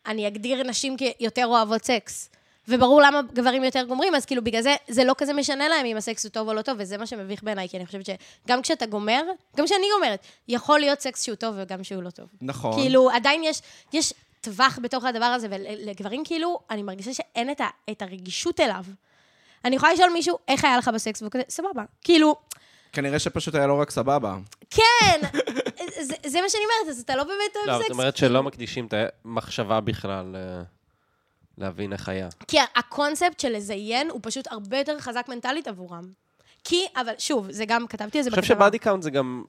[SPEAKER 3] אני אגדיר נשים כיותר אוהבות סקס. וברור למה גברים יותר גומרים, אז כאילו בגלל זה, זה לא כזה משנה להם אם הסקס הוא טוב או לא טוב, וזה מה שמביך בעיניי, כי אני חושבת שגם כשאתה גומר, גם כשאני גומרת, יכול להיות סקס שהוא טוב וגם שהוא לא טוב.
[SPEAKER 2] נכון.
[SPEAKER 3] כאילו, עדיין יש, יש טווח בתוך הדבר הזה, ולגברים כאילו, אני מרגישה שאין את, ה, את הרגישות אליו. אני יכולה לשאול מישהו, איך היה לך בסקס? והוא כזה, סבבה. כאילו,
[SPEAKER 2] כנראה שפשוט היה לא רק סבבה.
[SPEAKER 3] כן! זה, זה מה שאני אומרת, אז אתה לא באמת אוהב
[SPEAKER 1] לא,
[SPEAKER 3] סקס.
[SPEAKER 1] זאת אומרת שלא מקדישים את המחשבה בכלל אה, להבין איך היה.
[SPEAKER 3] כי ה- הקונספט של לזיין הוא פשוט הרבה יותר חזק מנטלית עבורם. כי, אבל שוב, זה גם, כתבתי את זה
[SPEAKER 1] אני חושב שבאדי קאונט זה גם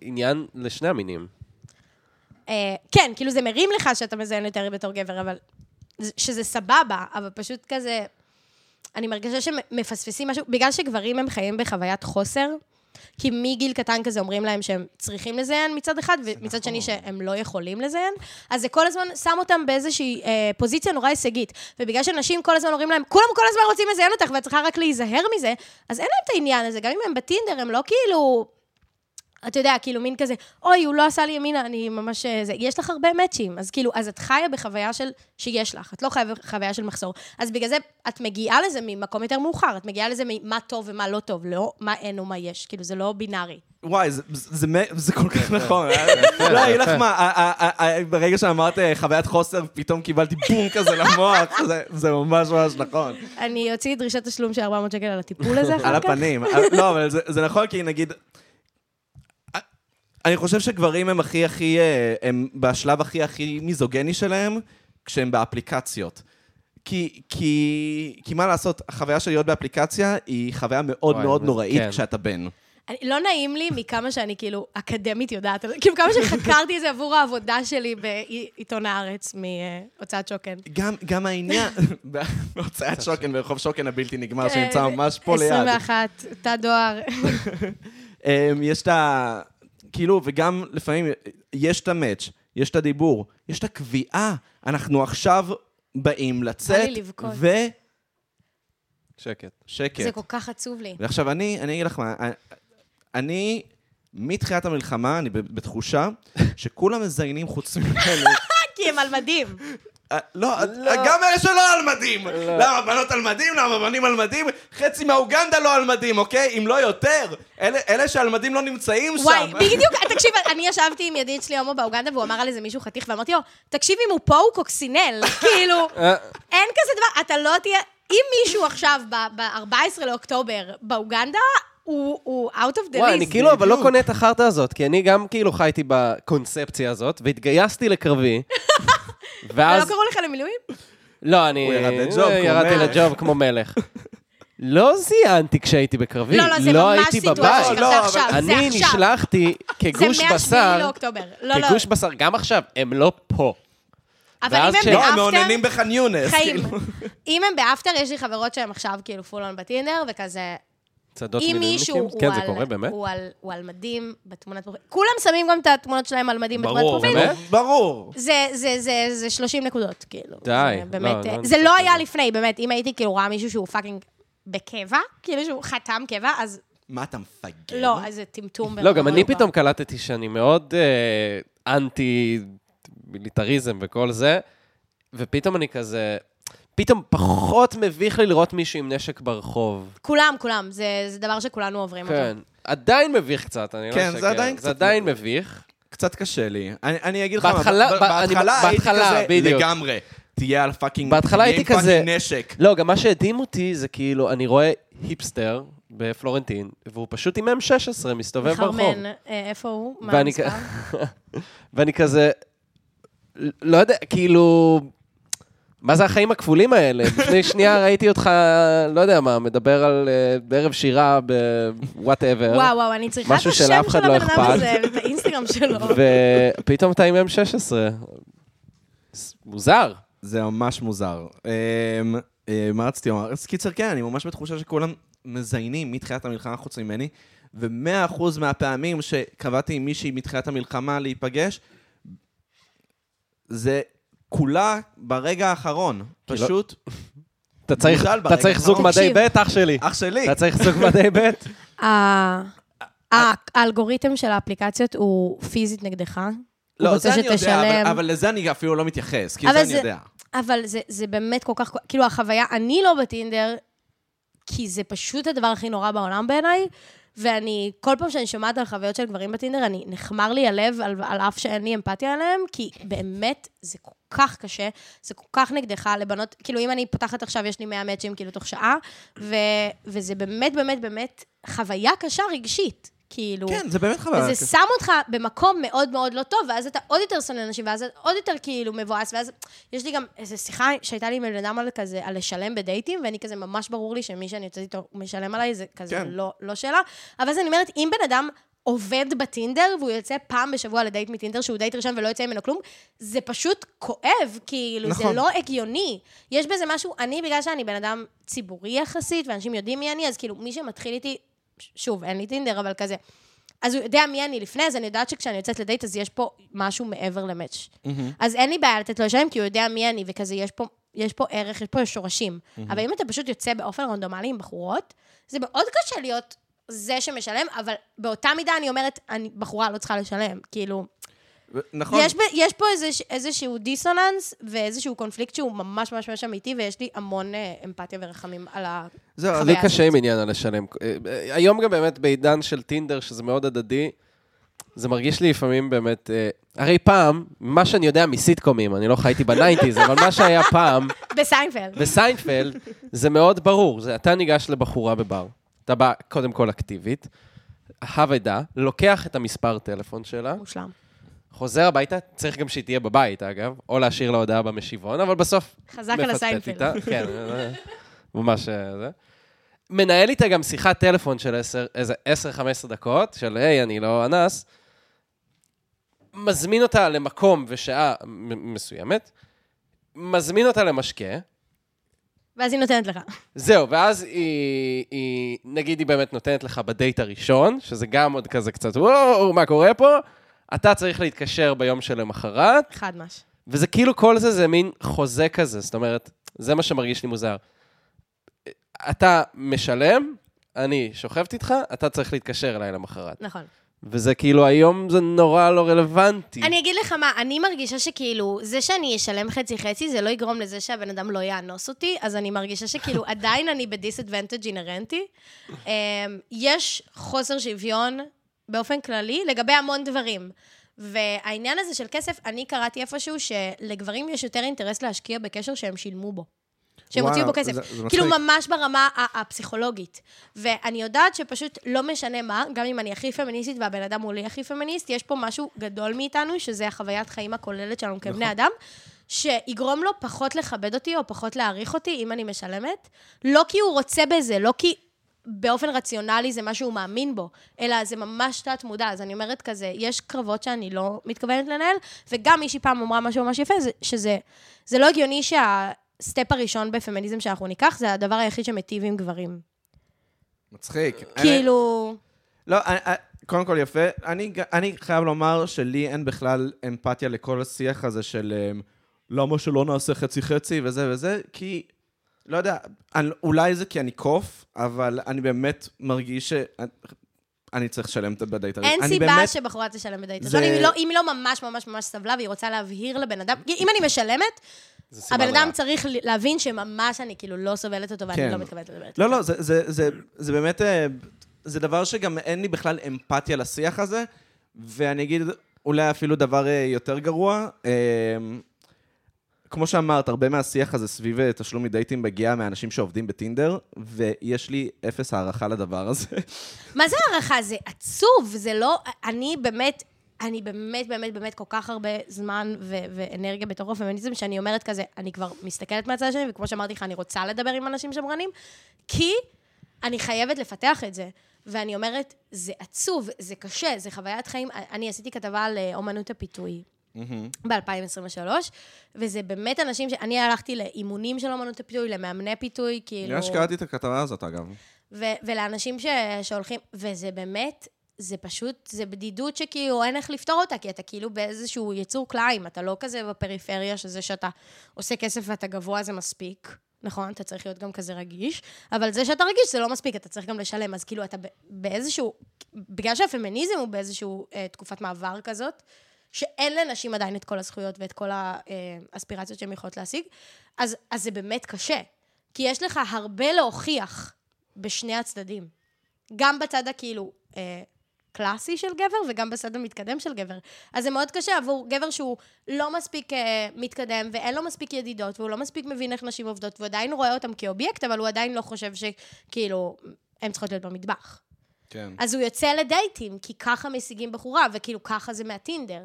[SPEAKER 1] עניין לשני המינים.
[SPEAKER 3] אה, כן, כאילו זה מרים לך שאתה מזיין יותר בתור גבר, אבל... שזה סבבה, אבל פשוט כזה... אני מרגישה שמפספסים משהו, בגלל שגברים הם חיים בחוויית חוסר, כי מגיל קטן כזה אומרים להם שהם צריכים לזיין מצד אחד, ומצד שני שהם לא יכולים לזיין, אז זה כל הזמן שם אותם באיזושהי אה, פוזיציה נורא הישגית. ובגלל שנשים כל הזמן אומרים להם, כולם כל הזמן רוצים לזיין אותך, ואת צריכה רק להיזהר מזה, אז אין להם את העניין הזה, גם אם הם בטינדר, הם לא כאילו... אתה יודע, כאילו מין כזה, אוי, הוא לא עשה לי ימינה, אני ממש... אה, זה. יש לך הרבה מאצ'ים, אז כאילו, אז את חיה בחוויה של... שיש לך, את לא חיה בחוויה של מחסור. אז בגלל זה, את מגיעה לזה ממקום יותר מאוחר, את מגיעה לזה ממה טוב ומה לא טוב, לא מה אין או מה יש, כאילו, זה לא בינארי.
[SPEAKER 2] וואי, זה- זה זה מ- זה כל כך נכון. לא, אני אגיד לך מה, ה- ה- ה- ה- ברגע שאמרת אה, חוויית חוסר, פתאום קיבלתי בום כזה למוח, זה- זה ממש ממש נכון.
[SPEAKER 3] אני אוציא דרישת תשלום של 400 שקל על הטיפול הזה אחר כך.
[SPEAKER 2] על
[SPEAKER 1] [laughs]
[SPEAKER 2] הפנים. לא, אבל זה- זה נכון, כי נגיד... אני חושב שגברים הם הכי הכי... אה, הם בשלב הכי הכי מיזוגני שלהם, כשהם באפליקציות. כי, כי, כי מה לעשות, החוויה של להיות באפליקציה היא חוויה מאוד
[SPEAKER 1] וואי,
[SPEAKER 2] מאוד
[SPEAKER 1] זה-
[SPEAKER 2] נוראית
[SPEAKER 1] כן.
[SPEAKER 2] כשאתה בן.
[SPEAKER 3] אני- לא נעים לי מכמה שאני כאילו אקדמית יודעת, על זה, כאילו כמה שחקרתי את זה עבור העבודה שלי בעיתון הארץ מהוצאת שוקן.
[SPEAKER 2] גם,
[SPEAKER 1] [laughs]
[SPEAKER 2] גם העניין, [laughs] בהוצאת שוקן ברחוב שוקן הבלתי נגמר, שנמצא
[SPEAKER 3] אה,
[SPEAKER 2] ממש פה ליד.
[SPEAKER 3] 21, תא דואר.
[SPEAKER 2] אמ, יש את ה... כאילו, וגם לפעמים יש את המאץ', יש את הדיבור, יש את הקביעה. אנחנו עכשיו באים לצאת,
[SPEAKER 3] לבכות.
[SPEAKER 1] שקט.
[SPEAKER 2] ושקט.
[SPEAKER 3] זה כל כך עצוב לי.
[SPEAKER 2] ועכשיו אני, אני אגיד לך מה, אה, אני, מתחילת המלחמה, אני ב- בתחושה [laughs] שכולם מזיינים חוץ ממני.
[SPEAKER 3] כי הם על מדים.
[SPEAKER 2] אה, לא, גם אלה שלא על מדים. למה בנות על מדים? למה בנים על מדים? חצי מהאוגנדה לא על מדים, אוקיי? אם לא יותר. אלה אלה שעל מדים לא נמצאים שם.
[SPEAKER 3] וואי, בדיוק, תקשיב, אני ישבתי עם ידיד שלי הומו באוגנדה, והוא אמר על איזה מישהו חתיך, ואמרתי לו, תקשיב, אם הוא פה הוא קוקסינל.
[SPEAKER 1] [laughs]
[SPEAKER 3] כאילו,
[SPEAKER 1] אה.
[SPEAKER 3] אין כזה דבר, אתה לא תהיה... אם מישהו עכשיו, ב-14 לאוקטובר, באוגנדה, הוא הוא out of the
[SPEAKER 1] וואי, אני
[SPEAKER 3] list.
[SPEAKER 1] כאילו, אבל לא
[SPEAKER 2] בדיוק.
[SPEAKER 1] קונה את החרטא הזאת, כי אני גם כאילו חייתי בקונספציה הזאת, והתגייסתי
[SPEAKER 3] [laughs]
[SPEAKER 1] לקרבי,
[SPEAKER 3] ולא
[SPEAKER 1] ואז...
[SPEAKER 3] לא קראו לך למילואים?
[SPEAKER 1] לא, אני...
[SPEAKER 2] הוא ירד לג'וב כמו
[SPEAKER 1] ירדתי
[SPEAKER 2] מלך.
[SPEAKER 1] לג'וב כמו מלך. לא זיינתי כשהייתי בקרבי,
[SPEAKER 3] לא, לא, זה
[SPEAKER 1] לא
[SPEAKER 3] ממש
[SPEAKER 1] הייתי
[SPEAKER 3] סיטואציה
[SPEAKER 1] בבית.
[SPEAKER 2] לא,
[SPEAKER 3] שקרתה
[SPEAKER 2] אבל-
[SPEAKER 3] עכשיו, זה
[SPEAKER 1] אני
[SPEAKER 3] עכשיו.
[SPEAKER 1] נשלחתי
[SPEAKER 3] זה
[SPEAKER 1] כגוש
[SPEAKER 3] מה-7
[SPEAKER 1] בשר,
[SPEAKER 3] לאוקטובר. לא, לא.
[SPEAKER 1] כגוש בשר, גם עכשיו, הם לא פה.
[SPEAKER 3] אבל
[SPEAKER 1] ואז
[SPEAKER 3] אם
[SPEAKER 1] כש-
[SPEAKER 3] הם
[SPEAKER 2] לא, הם
[SPEAKER 3] באפטר-
[SPEAKER 2] מעוננים בח'אן יונס.
[SPEAKER 3] חיים.
[SPEAKER 2] כאילו.
[SPEAKER 3] אם הם באפטר, יש לי חברות שהן עכשיו כאילו פול און בטינדר, וכזה,
[SPEAKER 1] צדות
[SPEAKER 3] אם מישהו
[SPEAKER 1] מילואימניקים?
[SPEAKER 3] הוא,
[SPEAKER 1] כן,
[SPEAKER 3] על,
[SPEAKER 1] זה קורה באמת.
[SPEAKER 3] הוא, על, הוא על מדים בתמונת פרופיל, כולם שמים גם את התמונות שלהם על מדים
[SPEAKER 1] ברור,
[SPEAKER 3] בתמונת פרופיל.
[SPEAKER 1] באמת?
[SPEAKER 2] ברור.
[SPEAKER 3] זה, זה, זה, זה 30 נקודות, כאילו.
[SPEAKER 1] די,
[SPEAKER 3] זה
[SPEAKER 1] לא,
[SPEAKER 3] באמת,
[SPEAKER 1] לא
[SPEAKER 3] אה,
[SPEAKER 1] אני
[SPEAKER 3] זה
[SPEAKER 1] חושב
[SPEAKER 3] לא
[SPEAKER 1] שזה.
[SPEAKER 3] היה לפני, באמת, אם הייתי כאילו רואה מישהו שהוא פאקינג בקבע, כאילו שהוא חתם קבע, אז
[SPEAKER 2] מה אתה מפגר?
[SPEAKER 3] לא, אז זה טמטום.
[SPEAKER 1] כן. לא, גם
[SPEAKER 3] ברמה
[SPEAKER 1] אני
[SPEAKER 3] גבוהה.
[SPEAKER 1] פתאום קלטתי שאני מאוד אה, אנטי מיליטריזם וכל זה, ופתאום אני כזה... פתאום פחות מביך לי לראות מישהו עם נשק ברחוב.
[SPEAKER 3] כולם, כולם, זה, זה דבר שכולנו עוברים
[SPEAKER 1] כן.
[SPEAKER 3] אותו.
[SPEAKER 1] עדיין מביך קצת, אני לא
[SPEAKER 2] כן,
[SPEAKER 1] אשקר.
[SPEAKER 2] זה עדיין
[SPEAKER 1] זה
[SPEAKER 2] קצת
[SPEAKER 1] עדיין מביך.
[SPEAKER 2] קצת קשה לי. אני- אני אגיד לך מה,
[SPEAKER 1] בהתחלה-
[SPEAKER 2] ב-
[SPEAKER 1] ב- אני-
[SPEAKER 2] בהתחלה הייתי
[SPEAKER 1] בהתחלה,
[SPEAKER 2] כזה
[SPEAKER 1] בדיוק.
[SPEAKER 2] לגמרי. תהיה על פאקינג...
[SPEAKER 1] בהתחלה
[SPEAKER 2] תהיה עם
[SPEAKER 1] הייתי כזה-
[SPEAKER 2] פאקינג נשק.
[SPEAKER 1] לא, גם מה שהדהים אותי זה כאילו, אני רואה היפסטר בפלורנטין, והוא פשוט עם M16 מסתובב ברחוב.
[SPEAKER 3] מחרמן, אה, איפה הוא? מה
[SPEAKER 1] ואני [laughs]
[SPEAKER 3] המספר?
[SPEAKER 1] כ- ואני כזה, לא יודע, כאילו, מה זה החיים הכפולים האלה?
[SPEAKER 3] [laughs]
[SPEAKER 1] לפני שנייה ראיתי אותך, לא יודע מה, מדבר על אה, בערב שירה בוואטאבר.
[SPEAKER 3] וואו, וואו, אני צריכה את
[SPEAKER 1] משהו
[SPEAKER 3] השם של
[SPEAKER 1] שלאף אחד
[SPEAKER 3] הבן
[SPEAKER 1] לא
[SPEAKER 3] אדם
[SPEAKER 1] אכפת.
[SPEAKER 3] הזה, ואת האינסטגרם שלו.
[SPEAKER 1] ופתאום אתה עם M16. ס- מוזר.
[SPEAKER 2] זה ממש מוזר. אמ, אה, מה רציתי לומר? אז קיצר, כן, אני ממש בתחושה שכולם מזיינים מתחילת המלחמה חוץ ממני, ומאה אחוז מהפעמים שקבעתי עם מישהי מתחילת המלחמה להיפגש, זה כולה ברגע האחרון.
[SPEAKER 1] לא-
[SPEAKER 2] פשוט
[SPEAKER 1] אתה צריך,
[SPEAKER 2] מוזל
[SPEAKER 1] אתה
[SPEAKER 2] ברגע
[SPEAKER 1] צריך זוג
[SPEAKER 2] האחרון.
[SPEAKER 1] מדי
[SPEAKER 3] תקשיב.
[SPEAKER 1] ב', אח שלי.
[SPEAKER 2] אח שלי.
[SPEAKER 1] אתה צריך זוג מדי ב'.
[SPEAKER 2] אה,
[SPEAKER 3] ה- ה- האלגוריתם של האפליקציות הוא פיזית נגדך? הוא
[SPEAKER 2] לא,
[SPEAKER 3] רוצה
[SPEAKER 2] זה אני יודע, אבל-
[SPEAKER 3] שתשלם.
[SPEAKER 2] אבל לזה אני אפילו לא מתייחס, כי
[SPEAKER 3] אבל
[SPEAKER 2] זה אני
[SPEAKER 3] זה-
[SPEAKER 2] יודע.
[SPEAKER 3] אבל זה, זה באמת כל כך... כאילו, החוויה, אני לא בטינדר, כי זה פשוט הדבר הכי נורא בעולם בעיניי, ואני, כל פעם שאני שומעת על חוויות של גברים בטינדר, אני, נחמר לי הלב על, על אף שאין לי אמפתיה אליהם, כי באמת, זה כל כך קשה, זה כל כך נגדך לבנות, כאילו, אם אני פותחת עכשיו, יש לי 100 מאצ'ים, כאילו, תוך שעה, ו, וזה באמת, באמת, באמת חוויה קשה רגשית, כאילו.
[SPEAKER 2] כן, זה באמת חבל.
[SPEAKER 3] וזה שם אותך במקום מאוד מאוד לא טוב, ואז אתה עוד יותר שונא אנשים, ואז אתה עוד יותר כאילו מבואס, ואז יש לי גם איזו שיחה שהייתה לי עם בן אדם על כזה, על לשלם בדייטים, ואני כזה, ממש ברור לי שמי שאני יוצאת איתו הוא משלם עליי, זה כזה
[SPEAKER 2] כן.
[SPEAKER 3] לא, לא שאלה. אבל אז אני אומרת, אם בן אדם עובד בטינדר, והוא יוצא פעם בשבוע לדייט מטינדר, שהוא דייט ראשון ולא יוצא ממנו כלום, זה פשוט כואב, כאילו,
[SPEAKER 2] נכון.
[SPEAKER 3] זה לא הגיוני. יש בזה משהו, אני, בגלל שאני בן אדם ציבורי יחסית, ואנשים יודעים מי אני, אז כאילו, מי שמתחיל איתי, ש- שוב, אין לי טינדר, אבל כזה, אז הוא יודע מי אני לפני, אז אני יודעת שכשאני יוצאת לדייט, אז יש פה משהו מעבר למאץ'. אז אין לי בעיה לתת לו לשלם, כי הוא יודע מי אני, וכזה, יש פה, יש פה ערך, יש פה שורשים. אבל אם אתה פשוט יוצא באופן רנדומלי עם בחורות, זה מאוד קשה להיות זה שמשלם, אבל באותה מידה אני אומרת, אני בחורה לא צריכה לשלם. כאילו,
[SPEAKER 2] ו- נכון.
[SPEAKER 3] יש, ב, יש פה איזה, איזשהו דיסוננס ואיזשהו קונפליקט שהוא ממש ממש ממש אמיתי, ויש לי המון אה, אמפתיה ורחמים על ה...
[SPEAKER 2] זהו, אז
[SPEAKER 1] לי
[SPEAKER 3] חוויה
[SPEAKER 1] קשה עם עניין הלשלם. אה, אה, היום גם באמת בעידן של טינדר, שזה מאוד הדדי, זה מרגיש לי לפעמים באמת... אה, הרי פעם, מה שאני יודע מסיטקומים, אני לא חייתי בניינטיז, אבל מה שהיה פעם,
[SPEAKER 3] בסיינפלד.
[SPEAKER 1] בסיינפלד, זה מאוד ברור. זה אתה ניגש לבחורה בבר, אתה בא קודם כל אקטיבית, אבדה, לוקח את המספר טלפון שלה,
[SPEAKER 3] מושלם.
[SPEAKER 1] חוזר הביתה, צריך גם שהיא תהיה בבית, אגב, או להשאיר לה הודעה במשיבון, אבל בסוף...
[SPEAKER 3] חזק על
[SPEAKER 1] מפטפט
[SPEAKER 3] הסיינפלד.
[SPEAKER 1] איתה, כן, אה, ממש אה, זה. מנהל איתה גם שיחת טלפון של עשר- איזה 10-15 דקות, של היי, אני לא אנס. מזמין אותה למקום ושעה מ- מסוימת, מזמין אותה למשקה,
[SPEAKER 3] ואז היא נותנת לך.
[SPEAKER 1] זהו, ואז היא, היא, נגיד היא באמת נותנת לך בדייט הראשון, שזה גם עוד כזה קצת, וואו, מה קורה פה? אתה צריך להתקשר ביום שלמחרת,
[SPEAKER 3] חד מש.
[SPEAKER 1] וזה כאילו כל זה, זה מין חוזה כזה, זאת אומרת, זה מה שמרגיש לי מוזר. אתה משלם, אני שוכבת איתך, אתה צריך להתקשר אליי למחרת.
[SPEAKER 3] נכון.
[SPEAKER 1] וזה כאילו, היום זה נורא לא רלוונטי.
[SPEAKER 3] אני אגיד לך מה, אני מרגישה שכאילו, זה שאני אשלם חצי-חצי, זה לא יגרום לזה שהבן אדם לא יאנוס אותי, אז אני מרגישה שכאילו, עדיין אני בדיסאדוונטג' אינהרנטי. אמ, יש חוסר שוויון באופן כללי לגבי המון דברים. והעניין הזה של כסף, אני קראתי איפשהו שלגברים יש יותר אינטרס להשקיע בקשר שהם שילמו בו. שהם
[SPEAKER 2] וואלה,
[SPEAKER 3] הוציאו בו כסף.
[SPEAKER 2] זה- זה
[SPEAKER 3] כאילו,
[SPEAKER 2] מצחיק.
[SPEAKER 3] ממש ברמה ה- הפסיכולוגית. ואני יודעת שפשוט לא משנה מה, גם אם אני הכי פמיניסטית והבן אדם מולי הכי פמיניסט, יש פה משהו גדול מאיתנו, שזה החוויית חיים הכוללת שלנו
[SPEAKER 2] נכון.
[SPEAKER 3] כבני אדם, שיגרום לו פחות לכבד אותי או פחות להעריך אותי אם אני משלמת. לא כי הוא רוצה בזה, לא כי באופן רציונלי זה מה שהוא מאמין בו, אלא זה ממש תת-מודע. אז אני אומרת כזה, יש קרבות שאני לא מתכוונת לנהל, וגם מישהי פעם אמרה משהו ממש יפה, זה, שזה זה לא הגיוני שהסטפ הראשון בפמיניזם שאנחנו ניקח, זה הדבר היחיד שמיטיב עם גברים.
[SPEAKER 2] מצחיק.
[SPEAKER 3] כאילו...
[SPEAKER 2] לא, אני- אני- קודם כל יפה. אני ג- אני חייב לומר שלי אין בכלל אמפתיה לכל השיח הזה של אמ, למה שלא נעשה חצי-חצי וזה וזה, כי, לא יודע, אני- אולי זה כי אני קוף, אבל אני באמת מרגיש ש... אני צריך לשלם את- בדייט הראשון.
[SPEAKER 3] אין
[SPEAKER 2] אני
[SPEAKER 3] סיבה
[SPEAKER 2] באמת-
[SPEAKER 3] שבחורה תשלם בדייט
[SPEAKER 2] זה-
[SPEAKER 3] ראשון, אם היא לא- אם היא לא ממש ממש ממש סבלה והיא רוצה להבהיר לבן אדם, אם אני משלמת,
[SPEAKER 1] זה סימן
[SPEAKER 3] הבן אדם
[SPEAKER 1] רע.
[SPEAKER 3] צריך להבין שממש אני כאילו לא סובלת אותו
[SPEAKER 2] כן.
[SPEAKER 3] ואני לא מתכוונת לדבר איתו.
[SPEAKER 2] לא, לא, זה, זה, זה, זה באמת... אה, זה דבר שגם אין לי בכלל אמפתיה לשיח הזה, ואני אגיד אולי אפילו דבר אה, יותר גרוע. אה, כמו שאמרת, הרבה מהשיח הזה סביב אה, תשלום מדייטים מגיע מאנשים שעובדים בטינדר, ויש לי אפס הערכה לדבר הזה.
[SPEAKER 3] מה זה הערכה? זה עצוב, זה לא... אני באמת, אני באמת, באמת, באמת כל כך הרבה זמן ו- ואנרגיה בתוך הפמיניזם, שאני אומרת כזה, אני כבר מסתכלת מהצד השני, וכמו שאמרתי לך, אני רוצה לדבר עם אנשים שמרנים, כי אני חייבת לפתח את זה. ואני אומרת, זה עצוב, זה קשה, זה חוויית חיים. אני עשיתי כתבה על אה, אומנות הפיתוי. ב-2023, וזה באמת אנשים ש... אני הלכתי לאימונים של אומנות הפיתוי, למאמני פיתוי, כאילו...
[SPEAKER 2] נראה שקראתי את הכתבה הזאת, אגב.
[SPEAKER 3] ו- ולאנשים ש- שהולכים, וזה באמת, זה פשוט, זה בדידות שכאילו אין איך לפתור אותה, כי אתה כאילו באיזשהו יצור כלאיים, אתה לא כזה בפריפריה, שזה שאתה עושה כסף ואתה גבוה זה מספיק. נכון, אתה צריך להיות גם כזה רגיש, אבל זה שאתה רגיש זה לא מספיק, אתה צריך גם לשלם. אז כאילו, אתה ב- באיזשהו... בגלל שהפמיניזם הוא באיזשהו אה, תקופת מעבר כזאת, שאין לנשים עדיין את כל הזכויות ואת כל אה, האספירציות שהן יכולות להשיג, אז, אז זה באמת קשה. כי יש לך הרבה להוכיח בשני הצדדים. גם בצד הכאילו אה, קלאסי של גבר וגם בצד המתקדם של גבר. אז זה מאוד קשה עבור גבר שהוא לא מספיק אה, מתקדם ואין לו מספיק ידידות והוא לא מספיק מבין איך נשים עובדות והוא עדיין רואה אותם כאובייקט, אבל הוא עדיין לא חושב שכאילו הן צריכות להיות במטבח.
[SPEAKER 2] כן.
[SPEAKER 3] אז הוא יוצא לדייטים, כי ככה משיגים בחורה, וכאילו ככה זה מהטינדר.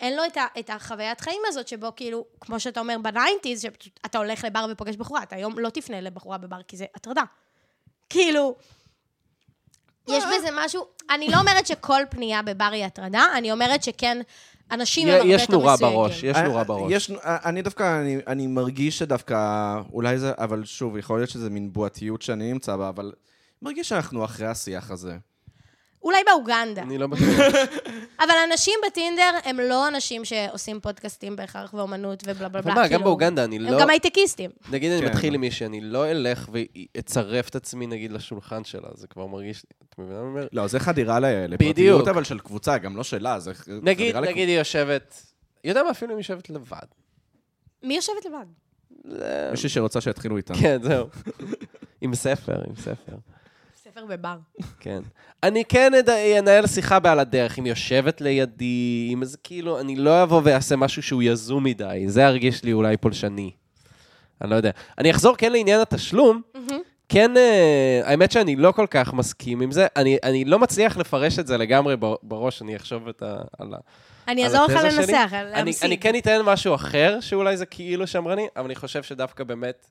[SPEAKER 3] אין לו את, ה, את החוויית חיים הזאת שבו כאילו, כמו שאתה אומר בניינטיז, שאתה הולך לבר ופוגש בחורה, אתה היום לא תפנה לבחורה בבר כי זה הטרדה. כאילו, יש בזה משהו, אני לא אומרת שכל פנייה בבר היא הטרדה, אני אומרת שכן, אנשים הם הרבה יותר
[SPEAKER 1] יש
[SPEAKER 3] מסויגים.
[SPEAKER 1] נורה
[SPEAKER 3] כן.
[SPEAKER 1] בראש, יש נורה
[SPEAKER 2] אה,
[SPEAKER 1] בראש.
[SPEAKER 2] יש, אה, אני דווקא, אני, אני מרגיש שדווקא, אולי זה, אבל שוב, יכול להיות שזה מין בועתיות שאני נמצא בה, אבל מרגיש שאנחנו אחרי השיח הזה.
[SPEAKER 3] אולי באוגנדה.
[SPEAKER 1] אני לא בטוח.
[SPEAKER 3] [laughs] אבל אנשים בטינדר הם לא אנשים שעושים פודקאסטים בהכרח ואומנות ובלה בלה בלה.
[SPEAKER 1] אבל מה, גם
[SPEAKER 3] כאילו,
[SPEAKER 1] באוגנדה אני
[SPEAKER 3] הם
[SPEAKER 1] לא...
[SPEAKER 3] גם הייטקיסטים.
[SPEAKER 1] נגיד אני
[SPEAKER 2] כן.
[SPEAKER 1] מתחיל עם מישהי, אני לא אלך ואצרף את עצמי נגיד לשולחן שלה, זה כבר מרגיש לי, את מבינה מה אני אומר?
[SPEAKER 2] לא, זה חדירה ל-
[SPEAKER 1] בדיוק.
[SPEAKER 2] לפרטיות, אבל של קבוצה, גם לא שלה, זה ח-
[SPEAKER 1] נגיד,
[SPEAKER 2] חדירה
[SPEAKER 1] נגיד היא יושבת, יודע מה, אפילו אם היא יושבת לבד.
[SPEAKER 3] מי יושבת לבד?
[SPEAKER 1] זה-
[SPEAKER 2] מישהי שרוצה שיתחילו איתה.
[SPEAKER 1] כן, זהו. עם ספר, עם ספר,
[SPEAKER 3] ספר בבר.
[SPEAKER 1] כן. אני כן אד- אנהל שיחה בעל הדרך, אם יושבת לידי, אם זה כאילו, אני לא אבוא ואעשה משהו שהוא יזום מדי, זה ירגיש לי אולי פולשני. אני לא יודע. אני אחזור כן לעניין התשלום, כן, אה, האמת שאני לא כל כך מסכים עם זה. אני, אני לא מצליח לפרש את זה לגמרי ב- בראש, אני אחשוב את ה, על, ה,
[SPEAKER 3] אני
[SPEAKER 1] על
[SPEAKER 3] אעזור לך
[SPEAKER 1] התזה שלי.
[SPEAKER 3] לנסח,
[SPEAKER 1] אני,
[SPEAKER 3] להמשיג.
[SPEAKER 1] אני כן אתן משהו אחר, שאולי זה כאילו שמרני, אבל אני חושב שדווקא באמת,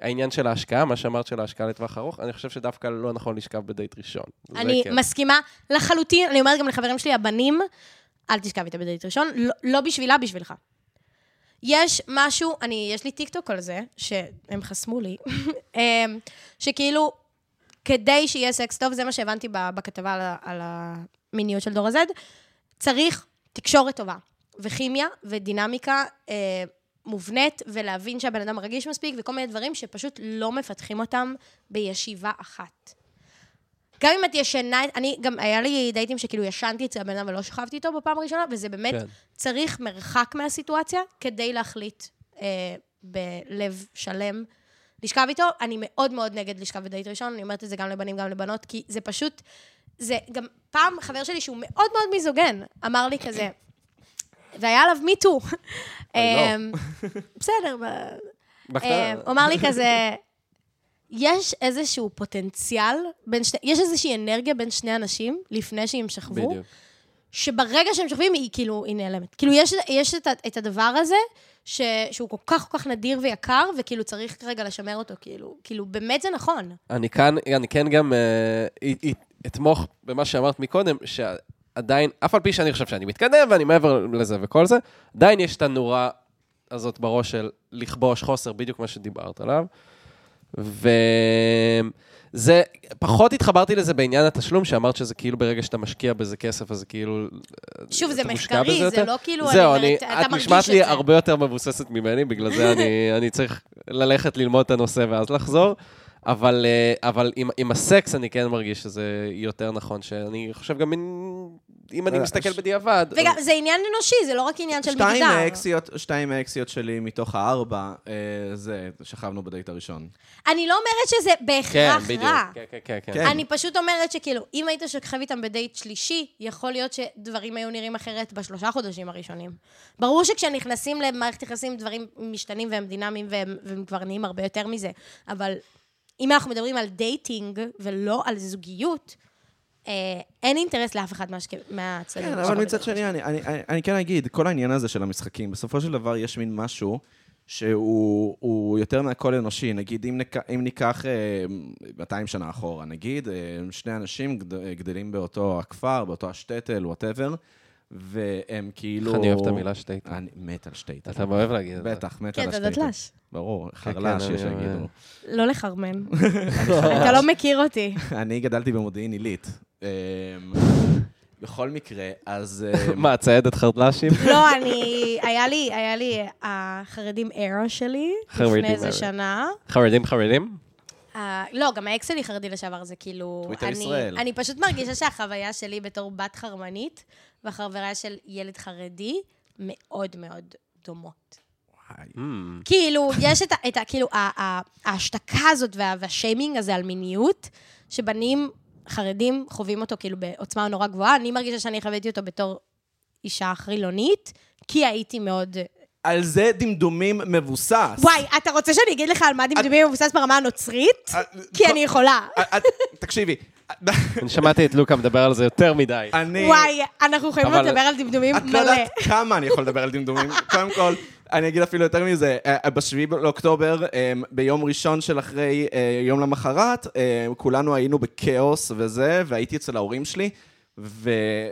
[SPEAKER 1] העניין של ההשקעה, מה שאמרת של ההשקעה לטווח ארוך, אני חושב שדווקא לא נכון לשכב בדייט ראשון. זה
[SPEAKER 3] אני
[SPEAKER 1] כן.
[SPEAKER 3] מסכימה לחלוטין, אני אומרת גם לחברים שלי, הבנים, אל תשכב איתה בדייט ראשון, לא- לא בשבילה, בשבילך. יש משהו, אני, יש לי טיקטוק על זה, שהם חסמו לי, [laughs] אמ, שכאילו, כדי שיהיה סקס טוב, זה מה שהבנתי ב- בכתבה על, ה- על המיניות של דור ה-Z, צריך תקשורת טובה, וכימיה, ודינמיקה אה, מובנית, ולהבין שהבן אדם רגיש מספיק, וכל מיני דברים שפשוט לא מפתחים אותם בישיבה אחת. גם אם את ישנה, אני גם, היה לי דייטים שכאילו ישנתי אצל הבן אדם ולא שכבתי איתו בפעם הראשונה, וזה באמת
[SPEAKER 1] כן.
[SPEAKER 3] כן. צריך מרחק מהסיטואציה כדי להחליט אה, בלב שלם לשכב איתו. אני מאוד מאוד נגד לשכב בדייט ראשון, אני אומרת את זה גם לבנים, גם לבנות, כי זה פשוט, זה גם פעם חבר שלי שהוא מאוד מאוד מיזוגן, אמר לי כזה, והיה עליו מיטו. בסדר, ב-
[SPEAKER 1] בקטנה.
[SPEAKER 3] אה, הוא אמר לי כזה, יש איזשהו פוטנציאל בין שני, יש איזושהי אנרגיה בין שני אנשים לפני שהם שכבו,
[SPEAKER 1] בדיוק.
[SPEAKER 3] שברגע שהם שוכבים היא כאילו, היא נעלמת. כאילו, יש, יש את, ה- את הדבר הזה, ש, שהוא כל כך כל כך נדיר ויקר, וכאילו צריך כרגע לשמר אותו, כאילו, כאילו, באמת זה נכון.
[SPEAKER 1] אני כאן, אני כן גם אה, אית- אית- אתמוך במה שאמרת מקודם, שעדיין, אף על פי שאני חושב שאני מתקדם ואני מעבר לזה וכל זה, עדיין יש את הנורה הזאת בראש של לכבוש חוסר, בדיוק מה שדיברת עליו. וזה, פחות התחברתי לזה בעניין התשלום, שאמרת שזה כאילו ברגע שאתה משקיע בזה כסף, אז זה כאילו... אה,
[SPEAKER 3] שוב, זה
[SPEAKER 1] אתה מושקע
[SPEAKER 3] מחקרי,
[SPEAKER 1] בזה
[SPEAKER 3] זה
[SPEAKER 1] יותר.
[SPEAKER 3] לא כאילו, אני
[SPEAKER 1] זהו,
[SPEAKER 3] אומרת,
[SPEAKER 1] אני,
[SPEAKER 3] אתה
[SPEAKER 1] את
[SPEAKER 3] מרגיש
[SPEAKER 1] נשמעת לי
[SPEAKER 3] את זה.
[SPEAKER 1] הרבה יותר מבוססת ממני, בגלל זה
[SPEAKER 3] [laughs]
[SPEAKER 1] אני, אני צריך ללכת ללמוד את הנושא ואז לחזור. אבל, אה, אבל עם, עם הסקס אני כן מרגיש שזה יותר נכון, שאני חושב גם אם, אם אני
[SPEAKER 2] אה,
[SPEAKER 1] מסתכל
[SPEAKER 2] ש-
[SPEAKER 1] בדיעבד...
[SPEAKER 3] וגם,
[SPEAKER 1] אז-
[SPEAKER 3] זה עניין אנושי, זה לא רק עניין של מגדר.
[SPEAKER 2] שתיים מהאקסיות, שתיים מהאקסיות שלי מתוך הארבע, אה, זה, שכבנו בדייט הראשון.
[SPEAKER 3] אני לא אומרת שזה
[SPEAKER 1] כן,
[SPEAKER 3] בהכרח
[SPEAKER 1] בדיוק.
[SPEAKER 3] רע.
[SPEAKER 1] כן, כן, כן. כן.
[SPEAKER 2] כן.
[SPEAKER 3] אני פשוט אומרת שכאילו, אם היית שוכב איתם בדייט שלישי, יכול להיות שדברים היו נראים אחרת בשלושה חודשים הראשונים. ברור שכשנכנסים למערכת יחסים, דברים משתנים והם דינמיים והם, והם כבר נהיים הרבה יותר מזה, אבל אם אנחנו מדברים על דייטינג ולא על זוגיות, אה, אין אינטרס לאף אחד מהשכ- מהצדדים.
[SPEAKER 2] כן,
[SPEAKER 3] שיכול
[SPEAKER 2] אבל מצד
[SPEAKER 3] להיות.
[SPEAKER 2] שני, אני, אני, אני, אני כן אגיד, כל העניין הזה של המשחקים, בסופו של דבר יש מין משהו שהוא הוא יותר מהכל אנושי. נגיד, אם, נק, אם ניקח אה, 200 שנה אחורה, נגיד, אה, שני אנשים גד, אה, גדלים באותו הכפר, באותו השטטל, וואטאבר, והם כאילו...
[SPEAKER 1] איך אני אוהב את המילה שטייטל.
[SPEAKER 2] אני מת על שטייטל.
[SPEAKER 1] אתה אוהב להגיד את זה.
[SPEAKER 2] בטח, מת
[SPEAKER 3] כן,
[SPEAKER 2] על
[SPEAKER 3] אתה
[SPEAKER 2] השטייטל.
[SPEAKER 3] דתל"ש.
[SPEAKER 2] ברור,
[SPEAKER 1] כן,
[SPEAKER 2] חרל"ש,
[SPEAKER 1] אני
[SPEAKER 2] יש
[SPEAKER 1] אוהב.
[SPEAKER 2] שיגידו.
[SPEAKER 3] לא לחרמן. אתה לא מכיר אותי.
[SPEAKER 1] אה.
[SPEAKER 2] אני גדלתי במודיעין עילית.
[SPEAKER 1] [laughs]
[SPEAKER 2] אה, בכל מקרה, אז... אה,
[SPEAKER 1] [laughs] מה, ציידת חרדל"שים?
[SPEAKER 3] לא, אני... היה לי, היה לי החרדים ארה שלי,
[SPEAKER 1] חרדים
[SPEAKER 3] לפני איזה
[SPEAKER 1] era.
[SPEAKER 3] שנה.
[SPEAKER 1] חרדים חרדים?
[SPEAKER 3] אה, לא, גם האקס שלי חרדי לשעבר, זה כאילו...
[SPEAKER 2] טוויטר
[SPEAKER 3] אני-
[SPEAKER 2] ישראל.
[SPEAKER 3] אני פשוט מרגישה שהחוויה שלי בתור בת חרמנית והחברה של ילד חרדי מאוד מאוד דומות.
[SPEAKER 2] וואי. Hmm.
[SPEAKER 3] כאילו, יש את, ה- את ה, כאילו, ה- ה- ההשתקה הזאת וה- והשיימינג הזה על מיניות, שבנים חרדים חווים אותו כאילו בעוצמה נורא גבוהה. אני מרגישה שאני חוויתי אותו בתור אישה חילונית, כי הייתי מאוד...
[SPEAKER 2] על זה דמדומים מבוסס.
[SPEAKER 3] וואי, אתה רוצה שאני אגיד לך על מה דמדומים מבוסס ברמה
[SPEAKER 2] אה,
[SPEAKER 3] הנוצרית? כי אני יכולה.
[SPEAKER 2] את- אה,
[SPEAKER 3] [laughs]
[SPEAKER 2] תקשיבי,
[SPEAKER 1] אני שמעתי את לוקה מדבר על זה יותר מדי.
[SPEAKER 2] אני...
[SPEAKER 3] וואי, אנחנו חייבים
[SPEAKER 1] אבל-
[SPEAKER 3] לדבר על דמדומים
[SPEAKER 2] את לא
[SPEAKER 3] מלא.
[SPEAKER 2] יודעת כמה אני יכול לדבר על דמדומים. קודם כל, אני אגיד אפילו יותר מזה, אה, בשביעי באוקטובר, אה, ביום ראשון של אחרי אה, יום למחרת, אה, כולנו היינו בכאוס וזה, והייתי אצל ההורים שלי. ו-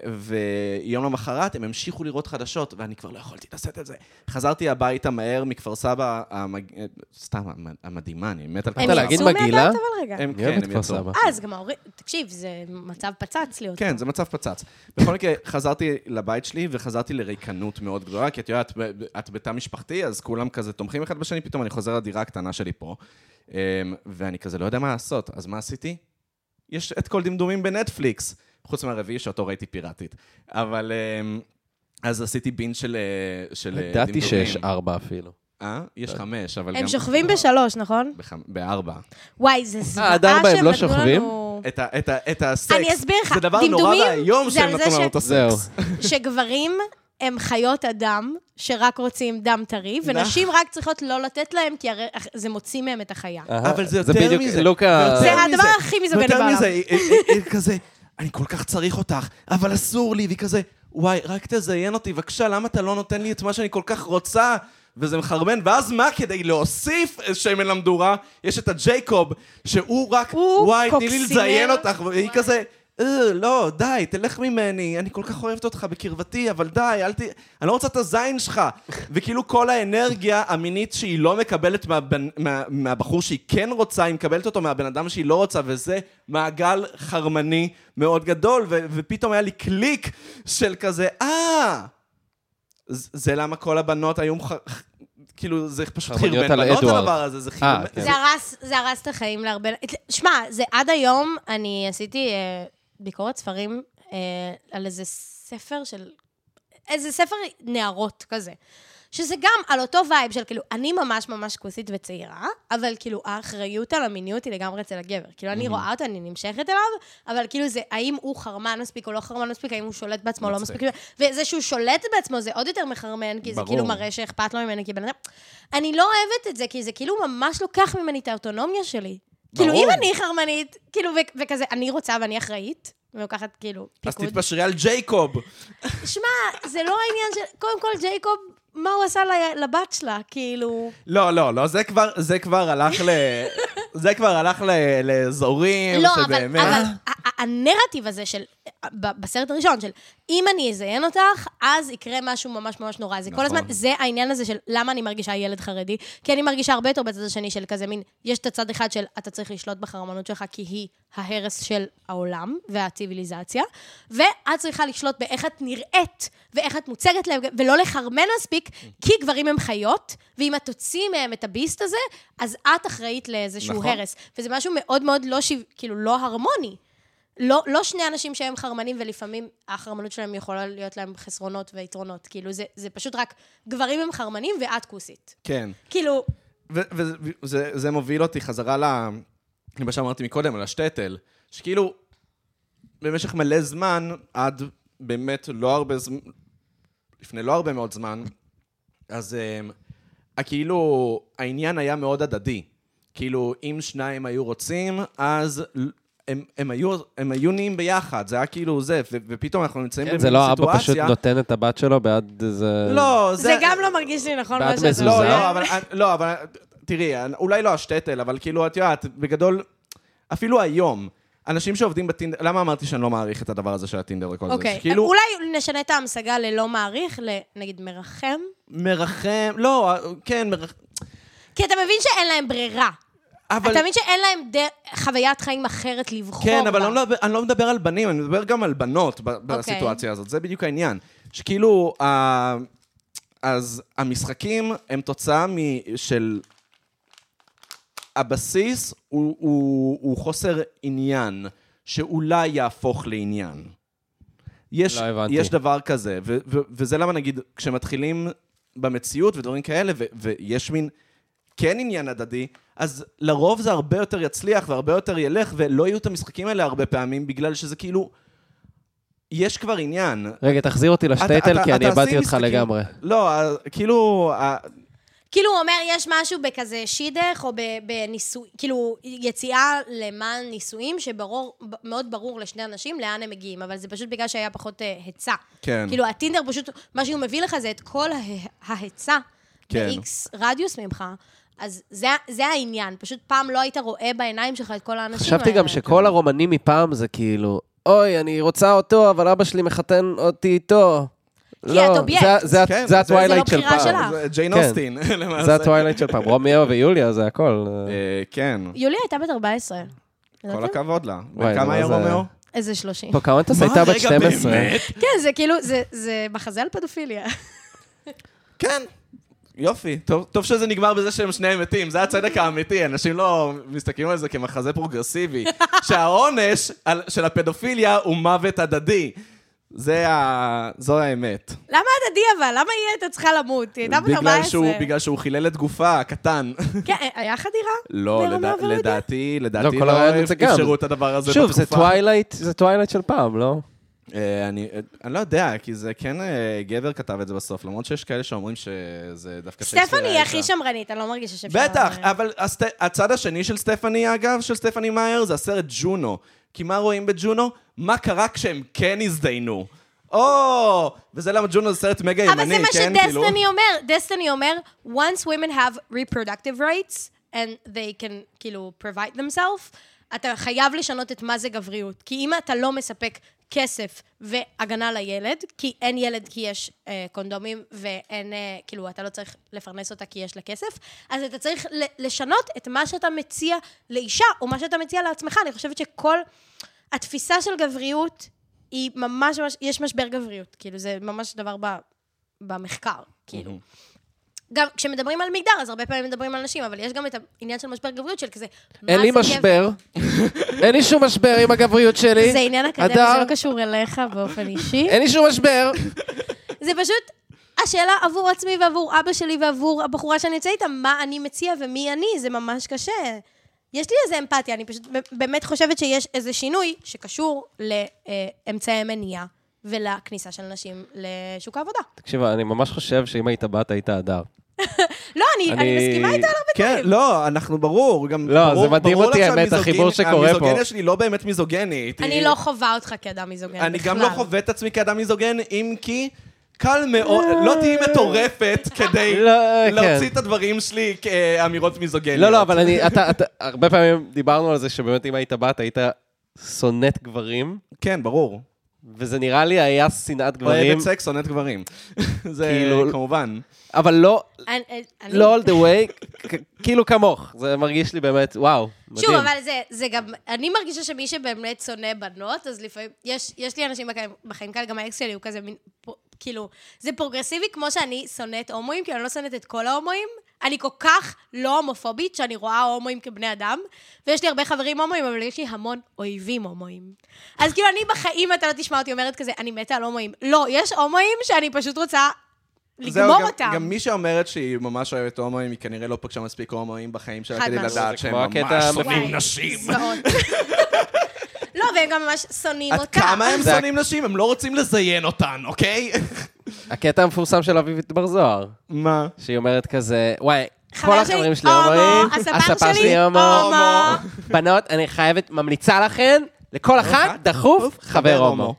[SPEAKER 2] ויום למחרת הם המשיכו לראות חדשות, ואני כבר לא יכולתי לשאת את זה. חזרתי הביתה מהר מכפר סבא, המג... אה, סתם, המ- המדהימה, אני מת על כפר
[SPEAKER 3] הם
[SPEAKER 1] אתה
[SPEAKER 2] סבא.
[SPEAKER 1] להגיד
[SPEAKER 3] יצאו מהדעת
[SPEAKER 1] מגעילה?
[SPEAKER 3] אבל רגע.
[SPEAKER 2] הם
[SPEAKER 1] אני אוהב
[SPEAKER 2] כן,
[SPEAKER 1] את
[SPEAKER 2] הם
[SPEAKER 1] כפר
[SPEAKER 2] יצאו.
[SPEAKER 1] סבא.
[SPEAKER 3] אז גם ההורים... תקשיב, זה מצב פצץ להיות.
[SPEAKER 2] כן, זה מצב פצץ. בכל מקרה, חזרתי לבית שלי וחזרתי לריקנות מאוד גדולה, כי את יודעת, את בתא משפחתי, אז כולם כזה תומכים אחד בשני, פתאום אני חוזר לדירה הקטנה שלי פה, אמ, ואני כזה לא יודע מה לעשות, אז מה עשיתי? יש את כל דמדומים בנטפליקס, חוץ מהרביעי שאותו ראיתי פיראטית. אבל... אמ, אז עשיתי בין של אה, של, אה, דמדומים.
[SPEAKER 1] ידעתי שיש ארבע אפילו.
[SPEAKER 2] אה? יש חמש, אבל גם...
[SPEAKER 3] הם שוכבים בשלוש, נכון?
[SPEAKER 2] בחמ- בארבע.
[SPEAKER 3] וואי, זה זוועה
[SPEAKER 1] עד ארבע הם לא
[SPEAKER 3] שנתנו
[SPEAKER 1] שוכבים?
[SPEAKER 3] לנו.
[SPEAKER 2] את ה- את ה- את הסקס.
[SPEAKER 3] אני אסביר לך,
[SPEAKER 2] זה דבר נורא
[SPEAKER 3] דמדומים
[SPEAKER 2] ואיום
[SPEAKER 3] זה
[SPEAKER 2] שהם
[SPEAKER 3] על זה
[SPEAKER 2] נתנו לנו
[SPEAKER 3] ש-
[SPEAKER 2] את הסקס.
[SPEAKER 1] זהו.
[SPEAKER 3] שגברים הם חיות אדם שרק רוצים דם טרי, ונשים רק צריכות לא לתת להם, כי הרי אח- זה מוציא מהם את החיה.
[SPEAKER 1] אהה,
[SPEAKER 2] אבל זה יותר
[SPEAKER 1] בדיוק-
[SPEAKER 2] מזה.
[SPEAKER 1] לוקה...
[SPEAKER 2] יותר
[SPEAKER 3] זה הדבר
[SPEAKER 2] מזה.
[SPEAKER 3] הכי מיזוגני בעולם.
[SPEAKER 2] ויותר מזה, היא- היא- היא כזה, אני כל כך צריך אותך, אבל אסור לי, והיא כזה, וואי, רק תזיין אותי, בבקשה, למה אתה לא נותן לי את מה שאני כל כך רוצה? וזה מחרמן, ואז מה, כדי להוסיף שמן למדורה, יש את הג'ייקוב, שהוא רק,
[SPEAKER 3] הוא
[SPEAKER 2] וואי, תני לי
[SPEAKER 3] קוקסינל.
[SPEAKER 2] לזיין אותך, והיא כזה... "אה, לא, די, תלך ממני, אני כל כך אוהבת אותך בקרבתי, אבל די, אל ת... אני לא רוצה את הזין שלך. וכאילו כל האנרגיה המינית שהיא לא מקבלת מהבן... מה... מהבחור שהיא כן רוצה, היא מקבלת אותו מהבן אדם שהיא לא רוצה, וזה מעגל חרמני מאוד גדול, ו... ופתאום היה לי קליק של כזה, אה... ז- זה למה כל הבנות היו... מח... כאילו, זה פשוט
[SPEAKER 1] חרמניות
[SPEAKER 2] חרבן
[SPEAKER 1] על
[SPEAKER 2] בנות
[SPEAKER 1] אדוארד.
[SPEAKER 2] הדבר הזה, זה
[SPEAKER 1] אה,
[SPEAKER 2] חרבן...
[SPEAKER 1] כן.
[SPEAKER 3] זה הרס, זה הרס את החיים להרבה... שמע, זה עד היום, אני עשיתי אה, ביקורת ספרים אה, על איזה ספר של... איזה ספר נערות כזה. שזה גם על אותו וייב של כאילו, אני ממש ממש כוסית וצעירה, אבל כאילו האחריות על המיניות היא לגמרי אצל הגבר. כאילו,
[SPEAKER 2] Mm-hmm.
[SPEAKER 3] אני רואה אותו, אני נמשכת אליו, אבל כאילו זה, האם הוא חרמן מספיק או לא חרמן מספיק, האם הוא שולט בעצמו או לא
[SPEAKER 2] מצחיק.
[SPEAKER 3] מספיק. וזה שהוא שולט בעצמו זה עוד יותר מחרמן, כי זה
[SPEAKER 2] ברור.
[SPEAKER 3] כאילו מראה שאכפת לו ממני כבן אדם. אני לא אוהבת את זה, כי זה כאילו ממש לוקח ממני את האוטונומיה שלי. כאילו,
[SPEAKER 2] ברור.
[SPEAKER 3] אם אני חרמנית, כאילו, ו- וכזה, אני רוצה ואני אחראית, ולוקחת כאילו
[SPEAKER 2] אז
[SPEAKER 3] פיקוד.
[SPEAKER 2] תתפשרי על ג'ייקוב.
[SPEAKER 3] שמע, זה לא העניין של... קודם כל, ג'ייקוב, מה הוא עשה ל- לבת שלה? כאילו...
[SPEAKER 2] לא, לא, לא, זה כבר, זה כבר הלך ל... זה כבר הלך ל- לאזורים,
[SPEAKER 3] לא, אבל,
[SPEAKER 2] שבאמת...
[SPEAKER 3] אבל ה- ה- הנרטיב הזה של, ב- בסרט הראשון, של אם אני אזיין אותך, אז יקרה משהו ממש ממש נורא. זה כל הזמן,
[SPEAKER 2] נכון.
[SPEAKER 3] זה העניין הזה של למה אני מרגישה ילד חרדי, כי אני מרגישה הרבה יותר בצד השני של כזה מין, יש את הצד אחד של אתה צריך לשלוט בחרמנות שלך, כי היא ההרס של העולם והציוויליזציה, ואת צריכה לשלוט באיך את נראית, ואיך את מוצגת להם, ולא לחרמן מספיק, כי גברים הם חיות, ואם את תוציאי מהם את הביסט הזה, אז את אחראית לאיזשהו
[SPEAKER 2] נכון.
[SPEAKER 3] נכון. הרס. וזה משהו מאוד מאוד לא, שיו, כאילו, לא הרמוני. לא, לא שני אנשים שהם חרמנים, ולפעמים החרמנות שלהם יכולה להיות להם חסרונות ויתרונות. כאילו, זה, זה פשוט רק גברים הם חרמנים ואת כוסית.
[SPEAKER 2] כן.
[SPEAKER 3] כאילו,
[SPEAKER 2] וזה מוביל אותי חזרה ל... למה שאמרתי מקודם, על השטטל. שכאילו, במשך מלא זמן, עד באמת לא הרבה זמן, לפני לא הרבה מאוד זמן, אז um, כאילו, העניין היה מאוד הדדי. כאילו, אם שניים היו רוצים, אז ל- הם, הם, היו, הם היו נהיים ביחד, זה היה כאילו זה, ו- ופתאום אנחנו נמצאים
[SPEAKER 1] כן,
[SPEAKER 2] במין
[SPEAKER 1] זה לא אבא פשוט
[SPEAKER 2] סיטואציה-
[SPEAKER 1] נותן את הבת שלו בעד איזה...
[SPEAKER 2] לא,
[SPEAKER 3] זה, זה גם לא מרגיש לי נכון
[SPEAKER 1] בעד
[SPEAKER 3] מה שאתה
[SPEAKER 1] מזוזה?
[SPEAKER 2] לא,
[SPEAKER 3] אומר.
[SPEAKER 2] לא, אבל, לא, אבל תראי, אולי לא השטטל, אבל כאילו, את יודעת, בגדול, אפילו היום, אנשים שעובדים בטינדר, למה אמרתי שאני לא מעריך את הדבר הזה של הטינדר וכל זה?
[SPEAKER 3] אוקיי,
[SPEAKER 2] שכאילו,
[SPEAKER 3] אולי נשנה את ההמשגה ללא מעריך, לנגיד מרחם?
[SPEAKER 2] מרחם, לא, כן, מרחם,
[SPEAKER 3] כי אתה מבין שאין להם ברירה.
[SPEAKER 2] אבל...
[SPEAKER 3] אתה מבין שאין להם ד... חוויית חיים אחרת לבחור
[SPEAKER 2] כן,
[SPEAKER 3] בה. אוקיי.
[SPEAKER 2] אבל אני לא, מדבר- אני לא מדבר על בנים, אני מדבר גם על בנות ב- בסיטואציה הזאת, זה בדיוק העניין. שכאילו, ה- אז המשחקים הם תוצאה מ- של... הבסיס הוא, הוא, הוא חוסר עניין, שאולי יהפוך לעניין. יש,
[SPEAKER 1] לא הבנתי.
[SPEAKER 2] יש דבר כזה, ו- ו- וזה למה נגיד, כשמתחילים במציאות ודברים כאלה, ו- ויש מין כן עניין הדדי, אז לרוב זה הרבה יותר יצליח והרבה יותר ילך, ולא יהיו את המשחקים האלה הרבה פעמים, בגלל שזה כאילו... יש כבר עניין.
[SPEAKER 1] רגע, תחזיר אותי לשטייטל,
[SPEAKER 2] אתה-
[SPEAKER 1] כי אני
[SPEAKER 2] אתה עושה
[SPEAKER 1] איבדתי אותך
[SPEAKER 2] משחקים-
[SPEAKER 1] לגמרי.
[SPEAKER 2] לא, ה- כאילו, ה-
[SPEAKER 3] כאילו, הוא אומר, יש משהו בכזה שידך, או ב- בניסוי, כאילו, יציאה למען נישואים, שברור, ב- מאוד ברור לשני אנשים לאן הם מגיעים, אבל זה פשוט בגלל שהיה פחות אה, היצע.
[SPEAKER 2] כן.
[SPEAKER 3] כאילו, הטינדר פשוט, מה שהוא מביא לך זה את כל הה- ההיצע,
[SPEAKER 2] כן.
[SPEAKER 3] ב-X רדיוס ממך. אז זה, זה העניין, פשוט פעם לא היית רואה בעיניים שלך את כל האנשים
[SPEAKER 1] חשבתי גם שכל הרומנים מפעם זה כאילו, אוי, אני רוצה אותו, אבל אבא שלי מחתן אותי איתו.
[SPEAKER 3] כי
[SPEAKER 1] לא,
[SPEAKER 3] את אובייקט.
[SPEAKER 1] זה- זה-
[SPEAKER 2] כן,
[SPEAKER 1] זה
[SPEAKER 2] זה-
[SPEAKER 1] הטווילייט
[SPEAKER 3] זה לא
[SPEAKER 1] של
[SPEAKER 3] בחירה
[SPEAKER 1] פעם.
[SPEAKER 3] שלך.
[SPEAKER 2] זה ג'יין
[SPEAKER 1] כן.
[SPEAKER 2] אוסטין, [laughs] למעשה.
[SPEAKER 1] זה הטווילייט של פעם. רומיאו ויוליה, זה הכל.
[SPEAKER 3] אוקיי.
[SPEAKER 2] אה, כן,
[SPEAKER 3] יולי הייתה בת 14.
[SPEAKER 2] כל הכבוד לה.
[SPEAKER 1] וואי, אה,
[SPEAKER 2] וכמה
[SPEAKER 1] מה
[SPEAKER 2] היה
[SPEAKER 1] זה-
[SPEAKER 2] רומאו?
[SPEAKER 3] איזה 30.
[SPEAKER 1] פוקאונטס
[SPEAKER 2] מה,
[SPEAKER 1] הייתה בת
[SPEAKER 2] רגע,
[SPEAKER 1] 12.
[SPEAKER 2] באמת?
[SPEAKER 3] כן, זה כאילו, זה- זה מחזה על פדופיליה. [laughs]
[SPEAKER 2] כן. יופי, טוב, טוב שזה נגמר בזה שהם שניהם מתים, זה הצדק האמיתי, אנשים לא מסתכלים על זה כמחזה [laughs] פרוגרסיבי, שהעונש על, של הפדופיליה הוא מוות הדדי. זה ה... זו האמת.
[SPEAKER 3] למה הדדי אבל? למה היא הייתה צריכה למות? היא הייתה בת
[SPEAKER 2] בגלל
[SPEAKER 3] 14.
[SPEAKER 2] שהוא, בגלל שהוא חילל את גופה, הקטן.
[SPEAKER 3] כן, היה חדירה?
[SPEAKER 2] לא,
[SPEAKER 3] ברמה
[SPEAKER 2] לדע,
[SPEAKER 3] וירודיה?
[SPEAKER 2] לדעתי,
[SPEAKER 1] לא,
[SPEAKER 2] לדעתי
[SPEAKER 1] כל
[SPEAKER 2] לא
[SPEAKER 1] הרעיון זה גם.
[SPEAKER 2] אפשרו את הדבר הזה
[SPEAKER 1] שוב,
[SPEAKER 2] בתקופה.
[SPEAKER 1] זה טווילייט, זה טווילייט של פעם, לא?
[SPEAKER 2] אה, אני, אה, אני לא יודע, כי זה כן אה, גבר כתב את זה בסוף, למרות שיש כאלה שאומרים שזה דווקא שייקספיר
[SPEAKER 3] סטפני היא
[SPEAKER 2] היה
[SPEAKER 3] הכי
[SPEAKER 2] אישה.
[SPEAKER 3] שמרנית, אני לא מרגישה שאפשר...
[SPEAKER 2] בטח, אבל הסט... הצד השני של סטפני, אגב, של סטפני מאייר, זה הסרט ג'ונו. כי מה רואים בג'ונו? מה קרה כשהם כן הזדיינו. או! וזה למה ג'ונו זה סרט מגה ימני,
[SPEAKER 3] אבל זה מה
[SPEAKER 2] כן? כאילו-
[SPEAKER 3] שדסטיני אומר. דסטיני אומר, once women have reproductive rights, and they can, כאילו, provide themselves, אתה חייב לשנות את מה זה גבריות. כי אם אתה לא מספק כסף והגנה לילד, כי אין ילד כי יש אה, קונדומים, ואין, אה, כאילו, אתה לא צריך לפרנס אותה כי יש לה כסף, אז אתה צריך ל- לשנות את מה שאתה מציע לאישה, או מה שאתה מציע לעצמך. אני חושבת שכל... התפיסה של גבריות היא ממש ממש, יש משבר גבריות, כאילו, זה ממש דבר ב, במחקר, כאילו. גם כשמדברים על מגדר, אז הרבה פעמים מדברים על נשים, אבל יש גם את העניין של משבר גבריות, של כזה, מה
[SPEAKER 1] אין לי
[SPEAKER 3] זה גבר?
[SPEAKER 1] משבר. אין לי שום משבר עם הגבריות שלי.
[SPEAKER 3] זה עניין אקדמי, זה
[SPEAKER 1] הדר,
[SPEAKER 3] לא קשור אליך באופן אישי.
[SPEAKER 1] אין לי שום משבר.
[SPEAKER 3] זה פשוט השאלה עבור עצמי ועבור אבא שלי ועבור הבחורה שאני יוצאת איתה, מה אני מציע ומי אני, זה ממש קשה. יש לי איזה אמפתיה, אני פשוט ב- באמת חושבת שיש איזה שינוי שקשור לאמצעי מניעה ולכניסה של נשים לשוק העבודה.
[SPEAKER 1] תקשיב, אני ממש חושב שאם היית בת, היית הדר.
[SPEAKER 3] לא, אני, אני...
[SPEAKER 1] אני-
[SPEAKER 3] אני מסכימה איתה על הרבה
[SPEAKER 2] כן, לא, אנחנו ברור, גם
[SPEAKER 1] לא,
[SPEAKER 2] ברור,
[SPEAKER 1] זה מדהים
[SPEAKER 2] ברור
[SPEAKER 1] אותי,
[SPEAKER 2] לך
[SPEAKER 1] האמת,
[SPEAKER 2] שהמיזוגינ-
[SPEAKER 1] החיבור שקורה פה.
[SPEAKER 2] המיזוגניה שלי לא באמת מיזוגנית.
[SPEAKER 3] אני
[SPEAKER 2] היא-
[SPEAKER 3] לא חווה אותך כאדם מיזוגן
[SPEAKER 2] אני
[SPEAKER 3] כן, בכלל.
[SPEAKER 2] גם לא חווה את עצמי כאדם מיזוגן, אם כי קל מאוד, לא תהיי
[SPEAKER 3] [laughs]
[SPEAKER 2] מטורפת כדי
[SPEAKER 1] לא, כן.
[SPEAKER 2] להוציא את הדברים שלי כאמירות מיזוגניות.
[SPEAKER 1] לא, לא, אבל אני, אתה, אתה, הרבה פעמים דיברנו על זה שבאמת אם היית בת, היית שונאת גברים,
[SPEAKER 2] כן, ברור.
[SPEAKER 1] וזה נראה לי היה שנאת גברים,
[SPEAKER 2] אוהבת סקס, שונאת גברים. [laughs] זה
[SPEAKER 1] כאילו-
[SPEAKER 2] כמובן.
[SPEAKER 1] אבל לא,
[SPEAKER 3] אני, אני...
[SPEAKER 1] לא all the way, כ- כאילו כמוך. זה מרגיש לי באמת, וואו, מדהים.
[SPEAKER 3] שוב, אבל זה, זה גם, אני מרגישה שמי שבאמת שונא בנות, אז לפעמים, יש, יש לי אנשים בחיים, בחיים כאלה, גם האקס שלי הוא כזה מין, פר- כאילו, זה פרוגרסיבי כמו שאני שונאת הומואים, כי אני לא שונאת את כל ההומואים. אני כל כך לא הומופובית, שאני רואה הומואים כבני אדם, ויש לי הרבה חברים הומואים, אבל יש לי המון אויבים הומואים. אז כאילו, אני בחיים, אתה לא תשמע אותי אומרת כזה, אני מתה על הומואים. לא, יש הומואים שאני פשוט רוצה
[SPEAKER 2] זהו,
[SPEAKER 3] לגמור
[SPEAKER 2] גם-
[SPEAKER 3] אותם.
[SPEAKER 2] גם מי שאומרת שהיא ממש אוהבת הומואים, היא כנראה לא פגשה מספיק הומואים בחיים שלה
[SPEAKER 3] חד
[SPEAKER 2] כדי
[SPEAKER 3] משמעית.
[SPEAKER 2] לדעת
[SPEAKER 1] זה
[SPEAKER 2] שהם
[SPEAKER 1] כמו
[SPEAKER 2] ממש
[SPEAKER 1] הקטע המפ-
[SPEAKER 2] שונאים
[SPEAKER 3] וואי,
[SPEAKER 2] נשים.
[SPEAKER 3] זוועות. לא, והם גם ממש שונאים
[SPEAKER 2] עד
[SPEAKER 3] אותה.
[SPEAKER 2] כמה הם
[SPEAKER 1] זה-
[SPEAKER 2] שונאים נשים? הם לא רוצים לזיין אותן,
[SPEAKER 1] [laughs]
[SPEAKER 2] אוקיי?
[SPEAKER 1] הקטע המפורסם של אביבית בר זוהר,
[SPEAKER 2] מה?
[SPEAKER 1] שהיא אומרת כזה, וואי,
[SPEAKER 3] חבר
[SPEAKER 1] כל
[SPEAKER 3] שלי
[SPEAKER 1] החברים שלי
[SPEAKER 3] הומו,
[SPEAKER 1] אומרים,
[SPEAKER 3] הספר שלי הומו."
[SPEAKER 1] בנות, אני חייבת, ממליצה לכן, לכל אחת,
[SPEAKER 2] אחת,
[SPEAKER 1] דחוף, חבר הומו.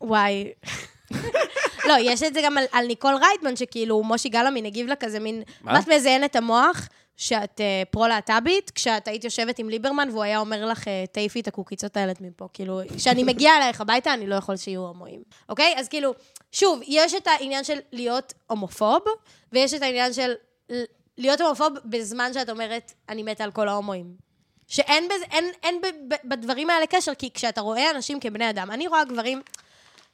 [SPEAKER 3] וואי. לא, יש את זה גם על, על ניקול רייטמן, שכאילו, מושי גלאמין הגיב לה כזה מין...
[SPEAKER 1] מה?
[SPEAKER 3] מה? את מזיינת המוח שאת אה, פרו-להט"בית, כשאת היית יושבת עם ליברמן והוא היה אומר לך, אה, תעיפי את הקוקיצות האלה מפה. כאילו, כשאני מגיעה אלייך הביתה, אני לא יכול שיהיו הומואים. אוקיי? אז כאילו, שוב, יש את העניין של להיות הומופוב, ויש את העניין של ל- להיות הומופוב בזמן שאת אומרת, אני מתה על כל ההומואים. שאין בזה, אין, אין ב, ב, בדברים האלה קשר, כי כשאתה רואה אנשים כבני אדם, אני רואה גברים,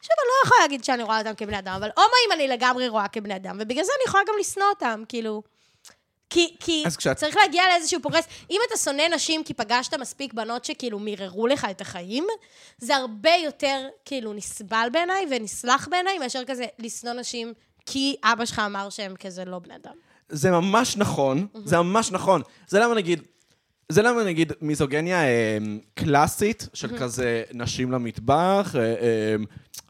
[SPEAKER 3] עכשיו אני לא יכולה להגיד שאני רואה אותם כבני אדם, אבל הומואים אני לגמרי רואה כבני אדם, ובגלל זה אני יכולה גם לשנוא אותם, כאילו... כי, כי
[SPEAKER 2] אז כשאת-
[SPEAKER 3] צריך להגיע לאיזשהו פרוגרס. אם אתה שונא נשים כי פגשת מספיק בנות שכאילו מיררו לך את החיים, זה הרבה יותר כאילו נסבל בעיניי ונסלח בעיניי, מאשר כזה לשנוא נשים כי אבא שלך אמר שהם כזה לא בני אדם.
[SPEAKER 2] זה ממש נכון, זה ממש נכון. זה למה נגיד, זה למה נגיד מיזוגניה אה, קלאסית,
[SPEAKER 3] Mm-hmm.
[SPEAKER 2] של כזה נשים למטבח, אה, אה,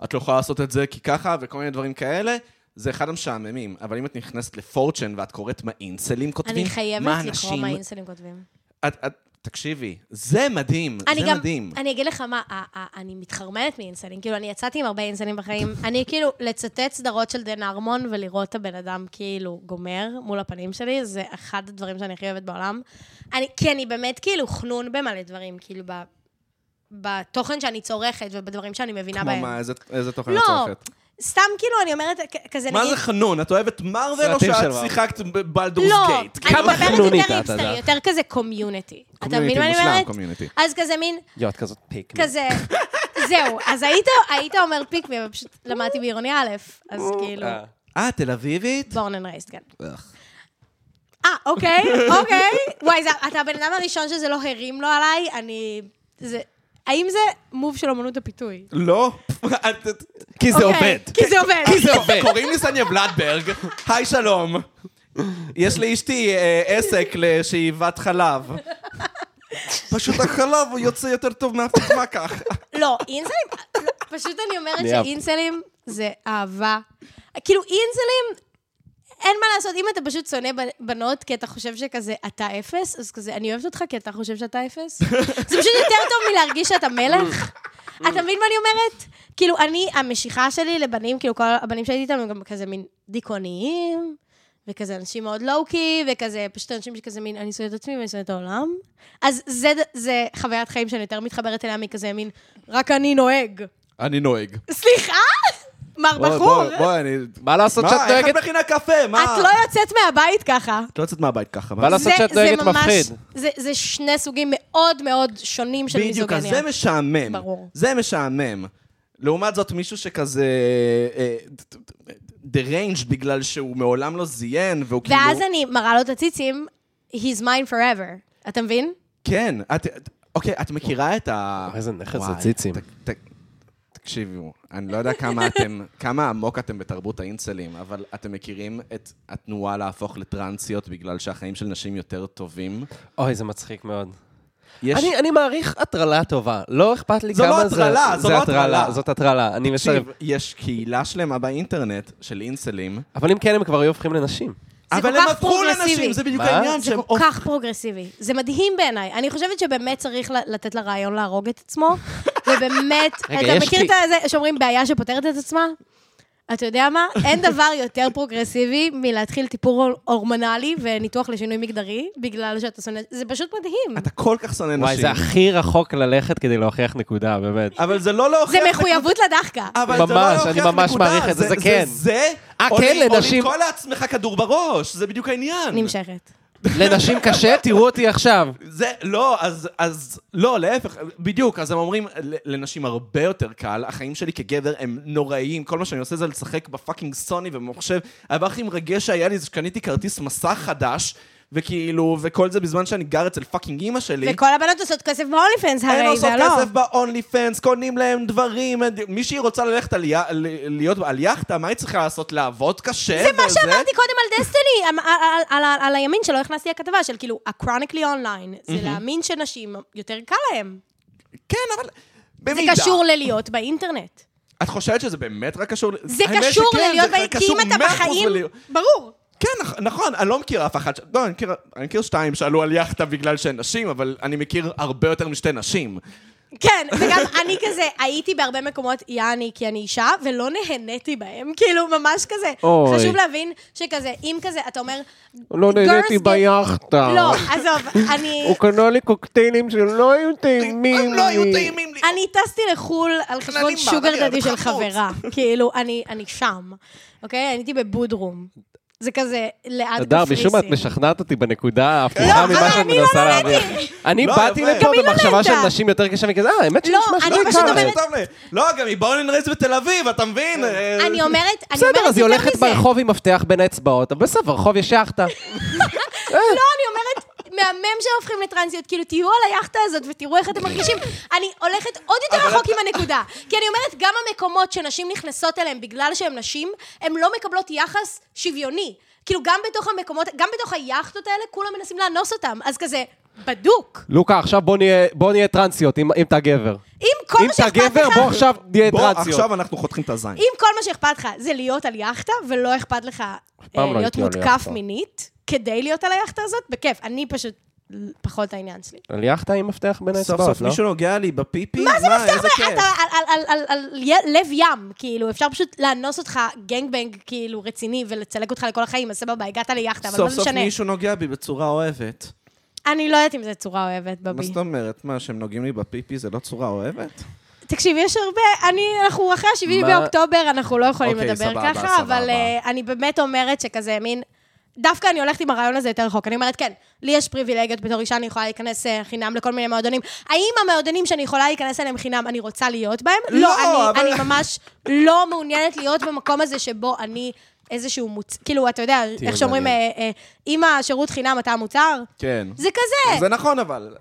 [SPEAKER 2] את לא יכולה לעשות את זה כי ככה, וכל מיני דברים כאלה. זה אחד המשעממים, אבל אם את נכנסת לפורצ'ן ואת קוראת מה אינסלים כותבים,
[SPEAKER 3] אני חייבת
[SPEAKER 2] מה
[SPEAKER 3] לקרוא
[SPEAKER 2] אנשים-
[SPEAKER 3] מה אינסלים כותבים.
[SPEAKER 2] את, את, תקשיבי, זה מדהים,
[SPEAKER 3] אני
[SPEAKER 2] זה
[SPEAKER 3] גם,
[SPEAKER 2] מדהים.
[SPEAKER 3] אני אגיד לך מה, ה- ה- אני מתחרמנת מאינסלים. כאילו, אני יצאתי עם הרבה אינסלים בחיים.
[SPEAKER 2] [laughs]
[SPEAKER 3] אני כאילו, לצטט סדרות של דן ארמון ולראות את הבן אדם כאילו גומר מול הפנים שלי, זה אחד הדברים שאני הכי אוהבת בעולם. אני, כי אני באמת כאילו חנון במלא דברים, כאילו, ב, בתוכן שאני צורכת ובדברים שאני מבינה
[SPEAKER 2] כמו
[SPEAKER 3] בהם.
[SPEAKER 2] מה, איזה, איזה תוכן את
[SPEAKER 3] לא,
[SPEAKER 2] צורכת?
[SPEAKER 3] סתם כאילו, אני אומרת, כ- כזה
[SPEAKER 2] מה
[SPEAKER 3] נגיד...
[SPEAKER 2] זה חנון? את אוהבת מרוויל או
[SPEAKER 1] סרטים של
[SPEAKER 2] שאת
[SPEAKER 1] מרוויל.
[SPEAKER 2] שיחקת בבלדורס
[SPEAKER 3] לא,
[SPEAKER 2] גייט?
[SPEAKER 3] אני
[SPEAKER 1] כמה
[SPEAKER 3] מדברת
[SPEAKER 1] חנונית
[SPEAKER 3] יותר
[SPEAKER 1] את,
[SPEAKER 3] היפסטרי,
[SPEAKER 1] אדם.
[SPEAKER 3] יותר כזה קומיוניטי. אתה
[SPEAKER 2] Community
[SPEAKER 3] מבין מה אני
[SPEAKER 2] מושלם,
[SPEAKER 3] אומרת?
[SPEAKER 2] community.
[SPEAKER 3] אז כזה מין,
[SPEAKER 1] יו, את כזאת פיק.
[SPEAKER 3] כזה, זהו. אז היית, היית אומר פיק מי, אבל פשוט למדתי בעירוני א', אז כאילו,
[SPEAKER 1] אה.
[SPEAKER 2] אה, תל אביבית?
[SPEAKER 3] בורן אנד רייסט, כן.
[SPEAKER 2] אך.
[SPEAKER 3] אה, אוקיי, אוקיי. וואי, זה- אתה הבן אדם הראשון שזה לא הרים לו עליי, אני... זה... האם זה מוב של אמנות הפיתוי?
[SPEAKER 2] לא. את- את-
[SPEAKER 1] כי זה
[SPEAKER 3] אוקיי,
[SPEAKER 1] עובד.
[SPEAKER 3] כי זה עובד.
[SPEAKER 1] כי זה עובד.
[SPEAKER 2] קוראים לי סניה ולדברג, היי שלום. יש לאשתי אה, עסק לשאיבת חלב. פשוט החלב הוא יוצא יותר טוב מהפקמה כך.
[SPEAKER 3] לא, אינסלים, לא, פשוט אני אומרת
[SPEAKER 1] נהיה-
[SPEAKER 3] שאינסלים זה אהבה. כאילו, אינסלים, אין מה לעשות, אם אתה פשוט שונא בנ- בנות כי אתה חושב שכזה אתה אפס, אז כזה, אני אוהבת אותך כי אתה חושב שאתה אפס. זה פשוט יותר טוב מלהרגיש שאתה מלך. אתה מבין מה אני אומרת? כאילו, אני, המשיכה שלי לבנים, כאילו, כל הבנים שהייתי איתם הם גם כזה מין דיכאוניים, וכזה אנשים מאוד לואו-קי, וכזה, פשוט אנשים שכזה מין, אני שונא את עצמי ואני שונא את העולם. אז זה, זה חוויית חיים שאני יותר מתחברת אליה מכזה מין, רק אני נוהג.
[SPEAKER 2] אני נוהג.
[SPEAKER 3] סליחה? מר
[SPEAKER 2] בואי,
[SPEAKER 3] בחור,
[SPEAKER 2] בואי, בואי, אני...
[SPEAKER 1] מה לעשות שאת
[SPEAKER 2] מה, איך את
[SPEAKER 1] דואגת?
[SPEAKER 2] מכינה קפה? מה?
[SPEAKER 3] את לא יוצאת מהבית ככה.
[SPEAKER 2] את לא יוצאת מהבית ככה. מה?
[SPEAKER 1] מה לעשות
[SPEAKER 3] זה-
[SPEAKER 1] שאת
[SPEAKER 3] זה
[SPEAKER 1] דואגת
[SPEAKER 3] ממש-
[SPEAKER 1] מפחיד?
[SPEAKER 3] זה- זה שני סוגים מאוד מאוד שונים של
[SPEAKER 2] בדיוק, אז
[SPEAKER 3] מיזוגניה.
[SPEAKER 2] זה משעמם.
[SPEAKER 3] ברור.
[SPEAKER 2] זה משעמם. לעומת זאת, מישהו שכזה... אה, deranged בגלל שהוא מעולם לא זיין, והוא כאילו...
[SPEAKER 3] ואז אני מראה לו את הציצים, he's mine forever. אתה מבין?
[SPEAKER 2] כן, את... את- אוקיי, את מכירה את ה...
[SPEAKER 1] איזה נכס
[SPEAKER 2] וואי,
[SPEAKER 1] זה ציצים.
[SPEAKER 2] ת- ת- תקשיבו, אני לא יודע כמה אתם, כמה עמוק אתם בתרבות האינסלים, אבל אתם מכירים את התנועה להפוך לטרנסיות בגלל שהחיים של נשים יותר טובים?
[SPEAKER 1] אוי, זה מצחיק מאוד.
[SPEAKER 2] יש...
[SPEAKER 1] אני, אני מעריך הטרלה טובה, לא אכפת לי
[SPEAKER 2] זו
[SPEAKER 1] כמה
[SPEAKER 2] לא
[SPEAKER 1] זה...
[SPEAKER 2] הטרלה, זו
[SPEAKER 1] זה
[SPEAKER 2] לא הטרלה.
[SPEAKER 1] זאת הטרלה, אני
[SPEAKER 2] תקשיב,
[SPEAKER 1] מסרב.
[SPEAKER 2] יש קהילה שלמה באינטרנט של אינסלים,
[SPEAKER 1] אבל אם כן, הם כבר היו הופכים לנשים.
[SPEAKER 3] זה
[SPEAKER 2] אבל
[SPEAKER 3] כל
[SPEAKER 2] הם
[SPEAKER 3] כך
[SPEAKER 2] הפכו
[SPEAKER 3] פרוגרסיבי.
[SPEAKER 2] לנשים, זה בדיוק
[SPEAKER 1] מה?
[SPEAKER 2] העניין,
[SPEAKER 3] זה
[SPEAKER 2] נכון, שהם
[SPEAKER 3] כל כך פרוגרסיבי. זה מדהים בעיניי. אני חושבת שבאמת צריך ל- לתת לרעיון להרוג את
[SPEAKER 2] [laughs]
[SPEAKER 3] עצמו, ובאמת,
[SPEAKER 1] רגע,
[SPEAKER 3] אתה
[SPEAKER 1] יש
[SPEAKER 3] מכיר
[SPEAKER 1] לי-
[SPEAKER 3] את זה שאומרים בעיה שפותרת את עצמה? אתה יודע
[SPEAKER 2] [laughs]
[SPEAKER 3] מה? אין דבר יותר פרוגרסיבי מלהתחיל טיפור הורמונלי וניתוח לשינוי מגדרי, בגלל שאתה שונא... זה פשוט מדהים.
[SPEAKER 2] אתה כל כך שונא
[SPEAKER 1] וואי,
[SPEAKER 2] נשים.
[SPEAKER 1] זה הכי רחוק ללכת כדי להוכיח נקודה,
[SPEAKER 3] [laughs]
[SPEAKER 1] באמת.
[SPEAKER 2] אבל זה לא להוכיח...
[SPEAKER 3] זה
[SPEAKER 2] נקוד-
[SPEAKER 3] מחויבות לדחקה.
[SPEAKER 2] אבל זה לא
[SPEAKER 1] ממש,
[SPEAKER 2] להוכיח
[SPEAKER 1] אני ממש
[SPEAKER 2] נקודה,
[SPEAKER 1] מעריך את זה, זה כן.
[SPEAKER 2] זה זה?
[SPEAKER 1] אה,
[SPEAKER 2] או
[SPEAKER 1] כן,
[SPEAKER 2] ל-
[SPEAKER 1] לנשים-
[SPEAKER 2] או לתקוע לעצמך כדור בראש, זה בדיוק העניין.
[SPEAKER 3] נמשכת.
[SPEAKER 1] לנשים קשה? תראו אותי עכשיו.
[SPEAKER 2] זה, לא, אז, אז, לא, להפך, בדיוק, אז הם אומרים, "ל- לנשים הרבה יותר קל, החיים שלי כגבר הם נוראים, כל מה שאני עושה זה לשחק בפאקינג סוני ובמחשב. הדבר הכי מרגש שהיה לי זה שקניתי כרטיס מסע חדש, וכאילו, וכל זה בזמן שאני גר אצל פאקינג אימא שלי.
[SPEAKER 3] וכל הבנות עושות כסף בהוליפנס,
[SPEAKER 2] הן
[SPEAKER 3] הרי
[SPEAKER 2] עושות
[SPEAKER 3] זה לא.
[SPEAKER 2] כסף ב-only fans, קונים להם דברים, מישהי רוצה ללכת על, יא- ל- להיות על יאכטה, מה היא צריכה לעשות? לעבוד קשה?
[SPEAKER 3] זה מה שאמרתי קודם על דסטיני, [laughs] אמ, על- על- על- על- על הימין שלא הכנסתי לכתבה, של כאילו, ה-chronically online, זה להאמין שנשים יותר קל להם.
[SPEAKER 2] כן, אבל...
[SPEAKER 3] זה
[SPEAKER 2] במידה.
[SPEAKER 3] קשור ללהיות באינטרנט.
[SPEAKER 2] את חושבת שזה באמת רק קשור? ל-
[SPEAKER 3] זה
[SPEAKER 2] האמת
[SPEAKER 3] קשור
[SPEAKER 2] שכן,
[SPEAKER 3] ללהיות
[SPEAKER 2] זה
[SPEAKER 3] באינטרנט, כי
[SPEAKER 2] קשור
[SPEAKER 3] אם אתה
[SPEAKER 2] 100%
[SPEAKER 3] בחיים...
[SPEAKER 2] בלהיות-
[SPEAKER 3] ברור.
[SPEAKER 2] כן, נכ- נכון, אני לא מכיר אף אחת, ש- לא, אני מכיר- אני מכיר שתיים שעלו על יאכטה בגלל שהן נשים, אבל אני מכיר הרבה יותר משתי נשים.
[SPEAKER 3] כן, וגם [laughs] אני כזה, הייתי בהרבה מקומות יעני כי אני אישה, ולא נהניתי בהם. כאילו, ממש כזה.
[SPEAKER 1] אוי.
[SPEAKER 3] חשוב להבין שכזה, אם כזה, אתה אומר...
[SPEAKER 1] לא
[SPEAKER 3] "Girls
[SPEAKER 1] נהניתי
[SPEAKER 3] get-"
[SPEAKER 1] ביאכטה.
[SPEAKER 3] לא, עזוב, אני...
[SPEAKER 1] הוא קנה לי קוקטיילים שלא היו טעימים לי.
[SPEAKER 2] הם לא היו טעימים לי.
[SPEAKER 3] אני טסתי לחו"ל על חשבון
[SPEAKER 2] נעליים בעננים,
[SPEAKER 3] שוגר דדי
[SPEAKER 2] אני
[SPEAKER 3] של
[SPEAKER 2] בחוץ.
[SPEAKER 3] חברה. כאילו, אני אני שם, אוקיי? אני הייתי בבודרום. זה כזה ליד
[SPEAKER 1] אדר, משום מה את
[SPEAKER 3] קפריסין.
[SPEAKER 1] משכנעת אותי בנקודה ההפוכה
[SPEAKER 3] אבל
[SPEAKER 1] ממה שאת
[SPEAKER 3] אני לא
[SPEAKER 1] מנסה
[SPEAKER 3] נהניתי.
[SPEAKER 1] להעביר. אני
[SPEAKER 2] לא,
[SPEAKER 1] באתי
[SPEAKER 2] יפה.
[SPEAKER 1] לפה
[SPEAKER 3] גם היא לא
[SPEAKER 1] במחשבה של
[SPEAKER 3] נהנתה.
[SPEAKER 1] נשים יותר קשה מכזה, אה, האמת
[SPEAKER 3] לא,
[SPEAKER 1] שנשמע
[SPEAKER 3] אני
[SPEAKER 1] שלא
[SPEAKER 3] פשוט
[SPEAKER 1] יקר.
[SPEAKER 3] אומרת-
[SPEAKER 2] טוב, לא, גם היא בורן רייז בתל אביב, אתה מבין? אה,
[SPEAKER 3] אני אומרת, אני אומרת
[SPEAKER 1] בסדר, אז היא
[SPEAKER 3] יותר
[SPEAKER 1] הולכת
[SPEAKER 3] מזה.
[SPEAKER 2] [laughs]
[SPEAKER 1] ברחוב עם מפתח בין האצבעות, אבל בסוף, ברחוב יש יאכטה.
[SPEAKER 3] לא, אני אומרת, מהמם שהופכים לטרנסיות, כאילו, תהיו על היאכטה הזאת ותראו איך אתם מרגישים. אני הולכת עוד יותר רחוק עם הנקודה. כי אני אומרת, גם המקומות שנשים נכנסות אליהם בגלל שהן נשים, הן לא מקבלות יחס שוויוני. כאילו, גם בתוך המקומות, גם בתוך היאכטות האלה, כולם מנסים לאנוס אותם. אז כזה, בדוק.
[SPEAKER 1] לוקה, עכשיו בוא נהיה- בוא נהיה טרנסיות, אם אם אתה גבר.
[SPEAKER 3] אם כל
[SPEAKER 1] אם
[SPEAKER 3] מה
[SPEAKER 1] אתה
[SPEAKER 3] שאכפת
[SPEAKER 1] גבר,
[SPEAKER 3] לך...
[SPEAKER 1] בוא עכשיו נהיה
[SPEAKER 2] בוא,
[SPEAKER 1] טרנסיות.
[SPEAKER 2] עכשיו אנחנו חותכים את הזין.
[SPEAKER 3] אם כל מה שאכפת לך זה להיות על יאכטה, ולא אכפת לך אה,
[SPEAKER 1] לא
[SPEAKER 3] להיות
[SPEAKER 1] הייתי על
[SPEAKER 3] מותקף
[SPEAKER 1] יאכטה.
[SPEAKER 3] מינית, כדי להיות על היאכטה הזאת, בכיף. אני פשוט, פחות העניין שלי.
[SPEAKER 1] על יאכטה עם מפתח בין
[SPEAKER 2] סוף
[SPEAKER 1] האצבעות,
[SPEAKER 2] סוף
[SPEAKER 1] לא?
[SPEAKER 2] מישהו נוגע לי בפיפי?
[SPEAKER 3] מה זה מפתח
[SPEAKER 2] איזה
[SPEAKER 3] ב-
[SPEAKER 2] כיף.
[SPEAKER 3] אתה על- על- על- על- על י- לב ים, כאילו, אפשר פשוט לאנוס אותך גנג בנג, כאילו, רציני, ולצלק אותך לכל החיים, אז סבבה, הגעת ליאכטה, אבל לא
[SPEAKER 2] סוף סוף
[SPEAKER 3] משנה.
[SPEAKER 2] מישהו נוגע בי בצורה אוהבת.
[SPEAKER 3] אני לא יודעת אם זו צורה אוהבת,
[SPEAKER 2] מה
[SPEAKER 3] בבי.
[SPEAKER 2] זאת אומרת? מה, שהם נוגעים לי בפיפי זה לא צורה אוהבת?
[SPEAKER 3] תקשיב, יש הרבה, אני, אנחנו אחרי ה-7
[SPEAKER 1] מה?
[SPEAKER 3] באוקטובר, אנחנו לא יכולים
[SPEAKER 2] אוקיי,
[SPEAKER 3] לדבר
[SPEAKER 2] סבבה,
[SPEAKER 3] ככה,
[SPEAKER 2] סבבה.
[SPEAKER 3] אבל אה, אני באמת אומרת שכזה מין... דווקא אני הולכת עם הרעיון הזה יותר רחוק. אני אומרת, כן, לי יש פריבילגיות בתור אישה, אני יכולה להיכנס אה, חינם לכל מיני מועדונים. האם המועדונים שאני יכולה להיכנס אליהם חינם, אני רוצה להיות בהם? לא,
[SPEAKER 2] לא,
[SPEAKER 3] אני,
[SPEAKER 2] אבל-
[SPEAKER 3] אני ממש לא מעוניינת להיות במקום הזה שבו אני איזשהו מוצ... כאילו, אתה יודע, איך שאומרים, אה, אה, אם השירות חינם אתה המוצר?
[SPEAKER 2] כן.
[SPEAKER 3] זה כזה.
[SPEAKER 2] זה נכון, אבל...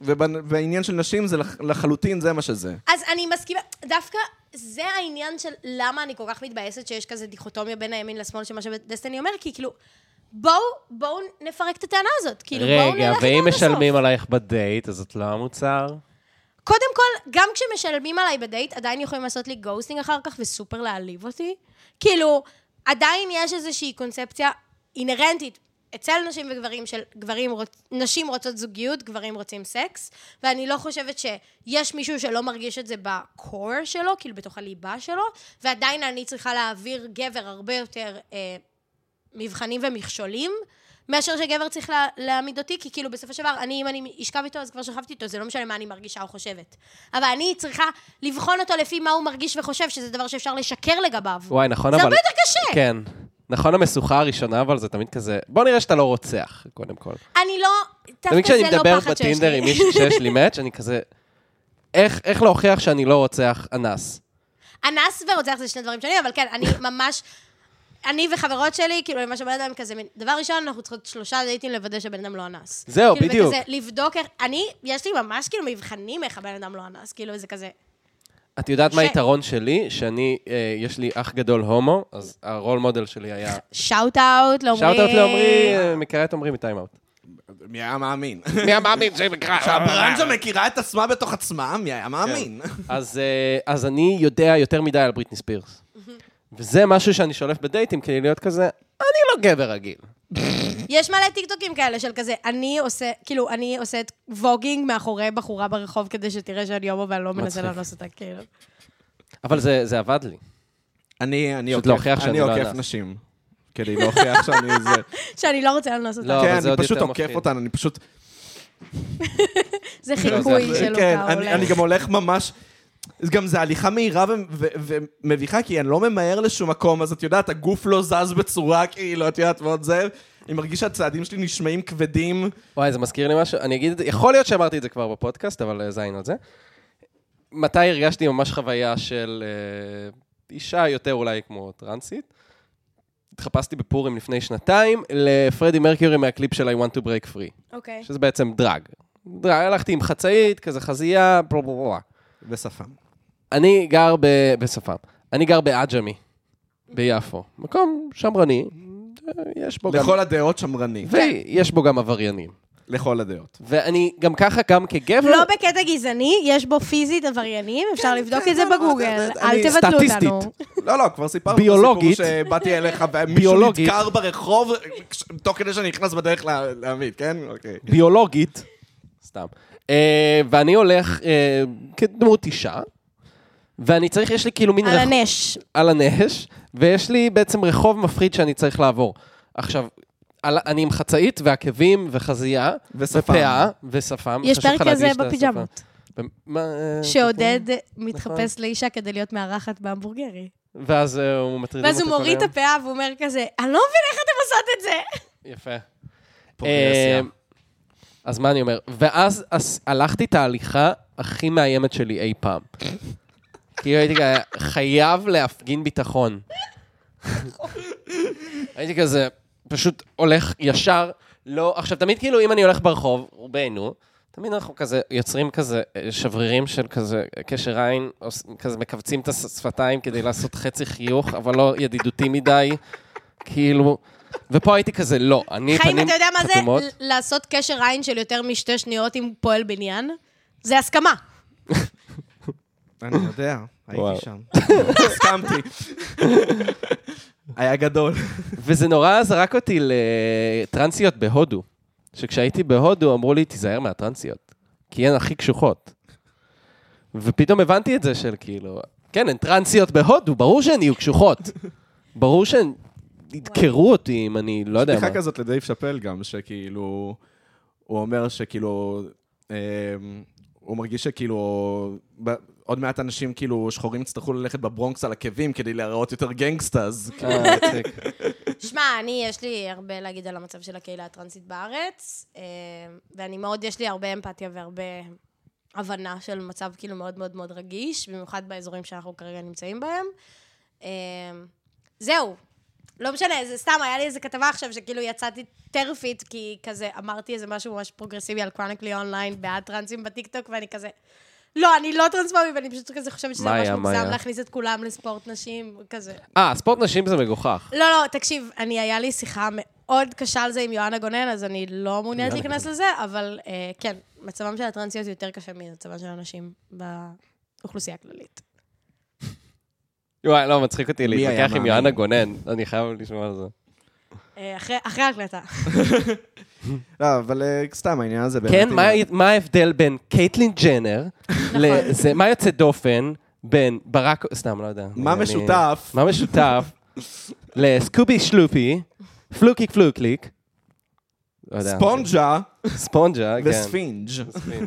[SPEAKER 2] ובעניין של נשים זה לח- לחלוטין זה מה שזה.
[SPEAKER 3] אז אני מסכימה, דווקא זה העניין של למה אני כל כך מתבאסת שיש כזה דיכוטומיה בין הימין לשמאל, שמה שדסטיני אומר, כי כאילו, בואו, בואו נפרק את הטענה הזאת. כאילו, בואו נלך
[SPEAKER 1] רגע,
[SPEAKER 3] איתה
[SPEAKER 1] ואם
[SPEAKER 3] עד הסוף.
[SPEAKER 1] משלמים עלייך בדייט, אז את לא המוצר?
[SPEAKER 3] קודם כל, גם כשמשלמים עליי בדייט, עדיין יכולים לעשות לי גוסטינג אחר כך וסופר להעליב אותי. כאילו, עדיין יש איזושהי קונספציה אינהרנטית אצל נשים וגברים של גברים, רוצ- נשים רוצות זוגיות, גברים רוצים סקס, ואני לא חושבת שיש מישהו שלא מרגיש את זה בקור שלו, כאילו בתוך הליבה שלו, ועדיין אני צריכה להעביר גבר הרבה יותר... אה, מבחנים ומכשולים, מאשר שגבר צריך לה, להעמיד אותי, כי כאילו בסופו של דבר, אני, אם אני אשכב איתו, אז כבר שכבתי איתו, זה לא משנה מה אני מרגישה או חושבת. אבל אני צריכה לבחון אותו לפי מה הוא מרגיש וחושב, שזה דבר שאפשר לשקר לגביו.
[SPEAKER 1] וואי, נכון,
[SPEAKER 3] זה
[SPEAKER 1] אבל...
[SPEAKER 3] הרבה יותר קשה.
[SPEAKER 1] כן. נכון, המשוכה הראשונה, אבל זה תמיד כזה... בוא נראה שאתה לא רוצח, קודם כל.
[SPEAKER 3] אני לא...
[SPEAKER 1] תמיד
[SPEAKER 3] דווקא
[SPEAKER 1] כשאני
[SPEAKER 3] זה
[SPEAKER 1] מדבר
[SPEAKER 3] לא פחד שיש
[SPEAKER 1] בטינדר עם
[SPEAKER 3] לי.
[SPEAKER 1] מישהו שיש לי מאץ', אני כזה... איך איך להוכיח שאני לא רוצח אנס?
[SPEAKER 3] [laughs] אנס ורוצח זה שני דברים שונים, אבל כן, אני ממש... אני וחברות שלי, כאילו, אני ממש אומרת להם כזה, מין, דבר ראשון, אנחנו צריכות שלושה דייטים לוודא שהבן אדם לא אנס.
[SPEAKER 1] זהו,
[SPEAKER 3] כאילו,
[SPEAKER 1] בדיוק.
[SPEAKER 3] וכזה, לבדוק איך... אני, יש לי ממש כאילו מבחנים איך הבן אדם לא אנס, כאילו, זה כזה...
[SPEAKER 1] את יודעת מה
[SPEAKER 3] ש-
[SPEAKER 1] היתרון שלי? שאני, אה, יש לי אח גדול הומו, אז הרול מודל שלי היה...
[SPEAKER 3] שאוט אאוט לעומרי.
[SPEAKER 1] שאוט אאוט לעמרי, אה, מכירה את עמרי מטיים אאוט.
[SPEAKER 2] מי היה מאמין?
[SPEAKER 1] מי המאמין שמכירה?
[SPEAKER 2] שהברנז'ה מכירה את עצמה בתוך עצמה, מי היה מאמין?
[SPEAKER 1] אז, אה, אז אני יודע יותר מדי על בריטני ספירס. וזה משהו שאני שולף בדייטים כדי להיות כזה, אני לא גבר רגיל.
[SPEAKER 3] יש מלא טיקטוקים כאלה של כזה, אני עושה, כאילו, אני עושה את ווגינג מאחורי בחורה ברחוב כדי שתראה שאני הומו ואני לא מנסה
[SPEAKER 1] מצחיק.
[SPEAKER 3] לאנוס אותה, כאילו.
[SPEAKER 1] אבל זה, זה עבד לי.
[SPEAKER 2] אני אני
[SPEAKER 1] פשוט
[SPEAKER 2] עוקף-
[SPEAKER 1] להוכיח שאני
[SPEAKER 2] אני
[SPEAKER 1] לא
[SPEAKER 2] עוקף
[SPEAKER 1] אנס.
[SPEAKER 2] נשים. כדי להוכיח
[SPEAKER 1] [laughs]
[SPEAKER 2] שאני זה.
[SPEAKER 3] שאני לא רוצה לאנוס אותה.
[SPEAKER 1] לא, אבל
[SPEAKER 2] כן,
[SPEAKER 1] זה
[SPEAKER 2] אני
[SPEAKER 1] עוד
[SPEAKER 2] פשוט
[SPEAKER 1] יותר
[SPEAKER 2] עוקף
[SPEAKER 1] מפחיד.
[SPEAKER 2] אותן, אני פשוט...
[SPEAKER 3] זה
[SPEAKER 1] זה-
[SPEAKER 3] חיקוי
[SPEAKER 1] זה-
[SPEAKER 3] של
[SPEAKER 2] כן,
[SPEAKER 3] אותה
[SPEAKER 2] אני
[SPEAKER 3] אולי.
[SPEAKER 2] אני גם הולך ממש... גם זה הליכה מהירה ו- ו- ומביכה, כי אני לא ממהר לשום מקום, אז את יודעת, הגוף לא זז בצורה כאילו, את יודעת, ועוד זה. אני מרגיש שהצעדים שלי נשמעים כבדים.
[SPEAKER 1] וואי, זה מזכיר לי משהו, אני אגיד, את זה- יכול להיות שאמרתי את זה כבר בפודקאסט, אבל אה, זין על זה. מתי הרגשתי ממש חוויה של אה, אישה יותר אולי כמו טרנסית? התחפשתי בפורים לפני שנתיים לפרדי מרקיורי מהקליפ של I want to break free,
[SPEAKER 3] אוקיי.
[SPEAKER 1] שזה בעצם דרג. דרג, הלכתי עם חצאית, כזה חזייה, בלה בלה בלה.
[SPEAKER 2] בשפם.
[SPEAKER 1] אני גר ב... בשפם. אני גר בעג'מי, ביפו. מקום שמרני, אה, יש בו גם...
[SPEAKER 2] לכל הדעות שמרני.
[SPEAKER 1] ויש בו גם עבריינים.
[SPEAKER 2] לכל הדעות.
[SPEAKER 1] ואני גם ככה, גם כגבר...
[SPEAKER 3] לא בקטע גזעני, יש פה פיזית עבריינים, אפשר לבדוק את זה בגוגל,
[SPEAKER 2] אני-
[SPEAKER 3] אל תבטלו
[SPEAKER 1] סטטיסטית.
[SPEAKER 3] אותנו.
[SPEAKER 2] לא, לא, כבר סיפרנו
[SPEAKER 1] ביולוגית.
[SPEAKER 2] את הסיפור שבאתי
[SPEAKER 1] [laughs]
[SPEAKER 2] אליך ומישהו
[SPEAKER 1] ביולוגית.
[SPEAKER 2] נדקר ברחוב כש- תוך כדי שאני נכנס בדרך לה- להעמיד, כן? אוקיי.
[SPEAKER 1] ביולוגית. סתם. אה, ואני הולך אה, כדמות אישה, ואני צריך, יש לי כאילו מין...
[SPEAKER 3] על
[SPEAKER 1] רחוב-
[SPEAKER 3] הנש.
[SPEAKER 1] על הנש, ויש לי בעצם רחוב מפחיד שאני צריך לעבור. עכשיו, על, אני עם חצאית ועקבים וחזייה.
[SPEAKER 2] ושפם.
[SPEAKER 1] ופאה ושפם.
[SPEAKER 3] יש
[SPEAKER 1] חשוב לך
[SPEAKER 3] פרק כזה
[SPEAKER 1] להדגיש את השפם.
[SPEAKER 3] בפיג'מות,
[SPEAKER 1] ומה, אה,
[SPEAKER 3] שעודד
[SPEAKER 1] נכון.
[SPEAKER 3] מתחפש לאישה כדי להיות מארחת בהמבורגרי.
[SPEAKER 1] ואז אה, הוא מטריד
[SPEAKER 3] ואז הוא מוריד את הפאה והוא אומר כזה, אני לא מבין איך אתם עושות את זה.
[SPEAKER 1] יפה.
[SPEAKER 2] פרוגרסיה.
[SPEAKER 1] אה, אז מה אני אומר? ואז אז הלכתי את ההליכה הכי מאיימת שלי אי פעם. כאילו הייתי כזה, חייב להפגין ביטחון. הייתי כזה, פשוט הולך ישר, לא, עכשיו, תמיד כאילו, אם אני הולך ברחוב, רובנו, תמיד אנחנו כזה יוצרים כזה אה, שברירים של כזה אה, קשר עין, עוש- כזה מכווצים את השפתיים כדי לעשות חצי חיוך, אבל לא ידידותי מדי, כאילו... ופה הייתי כזה, לא, אני
[SPEAKER 3] חיים,
[SPEAKER 1] פנים
[SPEAKER 3] אתה יודע מה זה?
[SPEAKER 1] חתומות.
[SPEAKER 3] ל- לעשות קשר עין של יותר משתי שניות עם פועל בניין? זה הסכמה.
[SPEAKER 2] אני יודע,
[SPEAKER 1] וואו.
[SPEAKER 2] הייתי שם.
[SPEAKER 1] [laughs]
[SPEAKER 2] הסכמתי. היה גדול.
[SPEAKER 1] לא וזה נורא זרק אותי לטרנסיות בהודו. שכשהייתי בהודו אמרו לי, תיזהר מהטרנסיות, כי הן הכי קשוחות. ופתאום הבנתי את זה של כאילו, כן, הן טרנסיות בהודו, ברור שהן יהיו קשוחות. ברור שהן ידקרו אותי אם אני לא יודע מה.
[SPEAKER 2] בדיחה כזאת לדייב שאפל גם, שכאילו, הוא אומר שכאילו, אמ, הוא מרגיש שכאילו, ב- עוד מעט אנשים כאילו שחורים יצטרכו ללכת בברונקס על עקבים כדי להיראות יותר גנגסטאז.
[SPEAKER 1] אה, מצחיק.
[SPEAKER 3] שמע, אני, יש לי הרבה להגיד על המצב של הקהילה הטרנסית בארץ, אה, ואני מאוד, יש לי הרבה אמפתיה והרבה הבנה של מצב כאילו מאוד מאוד מאוד רגיש, במיוחד באזורים שאנחנו כרגע נמצאים בהם. אה, זהו. לא משנה, זה סתם, היה לי איזה כתבה עכשיו שכאילו יצאתי טרפית, כי כזה אמרתי איזה משהו ממש פרוגרסיבי על קרוניקלי אונליין בעד טרנסים בטיקטוק, ואני כזה... לא, אני לא טרנספובית, ואני פשוט כזה חושבת שזה
[SPEAKER 1] מה
[SPEAKER 3] ממש
[SPEAKER 1] היה, מה
[SPEAKER 3] מוגזם
[SPEAKER 1] היה?"
[SPEAKER 3] להכניס את כולם לספורט נשים, כזה.
[SPEAKER 1] אה, ספורט נשים זה מגוחך.
[SPEAKER 3] לא, לא, תקשיב, אני, היה לי שיחה מאוד קשה על זה עם יואנה גונן, אז אני לא מעוניינת
[SPEAKER 1] יואנה
[SPEAKER 3] להיכנס לזה, אבל אה, כן, מצבם של הטרנסיות יותר קשה ממצבם של הנשים באוכלוסייה הכללית.
[SPEAKER 1] וואי, לא, מצחיק אותי
[SPEAKER 2] מי היה
[SPEAKER 1] להתווכח עם
[SPEAKER 2] מאמין?
[SPEAKER 1] יואנה גונן, אני חייב לשמוע על זה.
[SPEAKER 3] אה, אחרי אחרי ההקלטה.
[SPEAKER 2] לא, אבל אה, סתם, העניין הזה באמת...
[SPEAKER 1] כן,
[SPEAKER 2] עם-
[SPEAKER 1] מה- מה ההבדל בין קייטלין ג'נר,
[SPEAKER 3] נכון.
[SPEAKER 1] לזה- מה יוצא דופן בין ברק, סתם, לא יודע.
[SPEAKER 2] מה
[SPEAKER 1] אני-
[SPEAKER 2] משותף?
[SPEAKER 1] מה משותף [laughs] לסקובי שלופי, פלוקיק פלוקליק, לא יודע,
[SPEAKER 2] ספונג'ה
[SPEAKER 1] ספונג'ה, כן.
[SPEAKER 2] וספינג'.
[SPEAKER 1] וספינג'.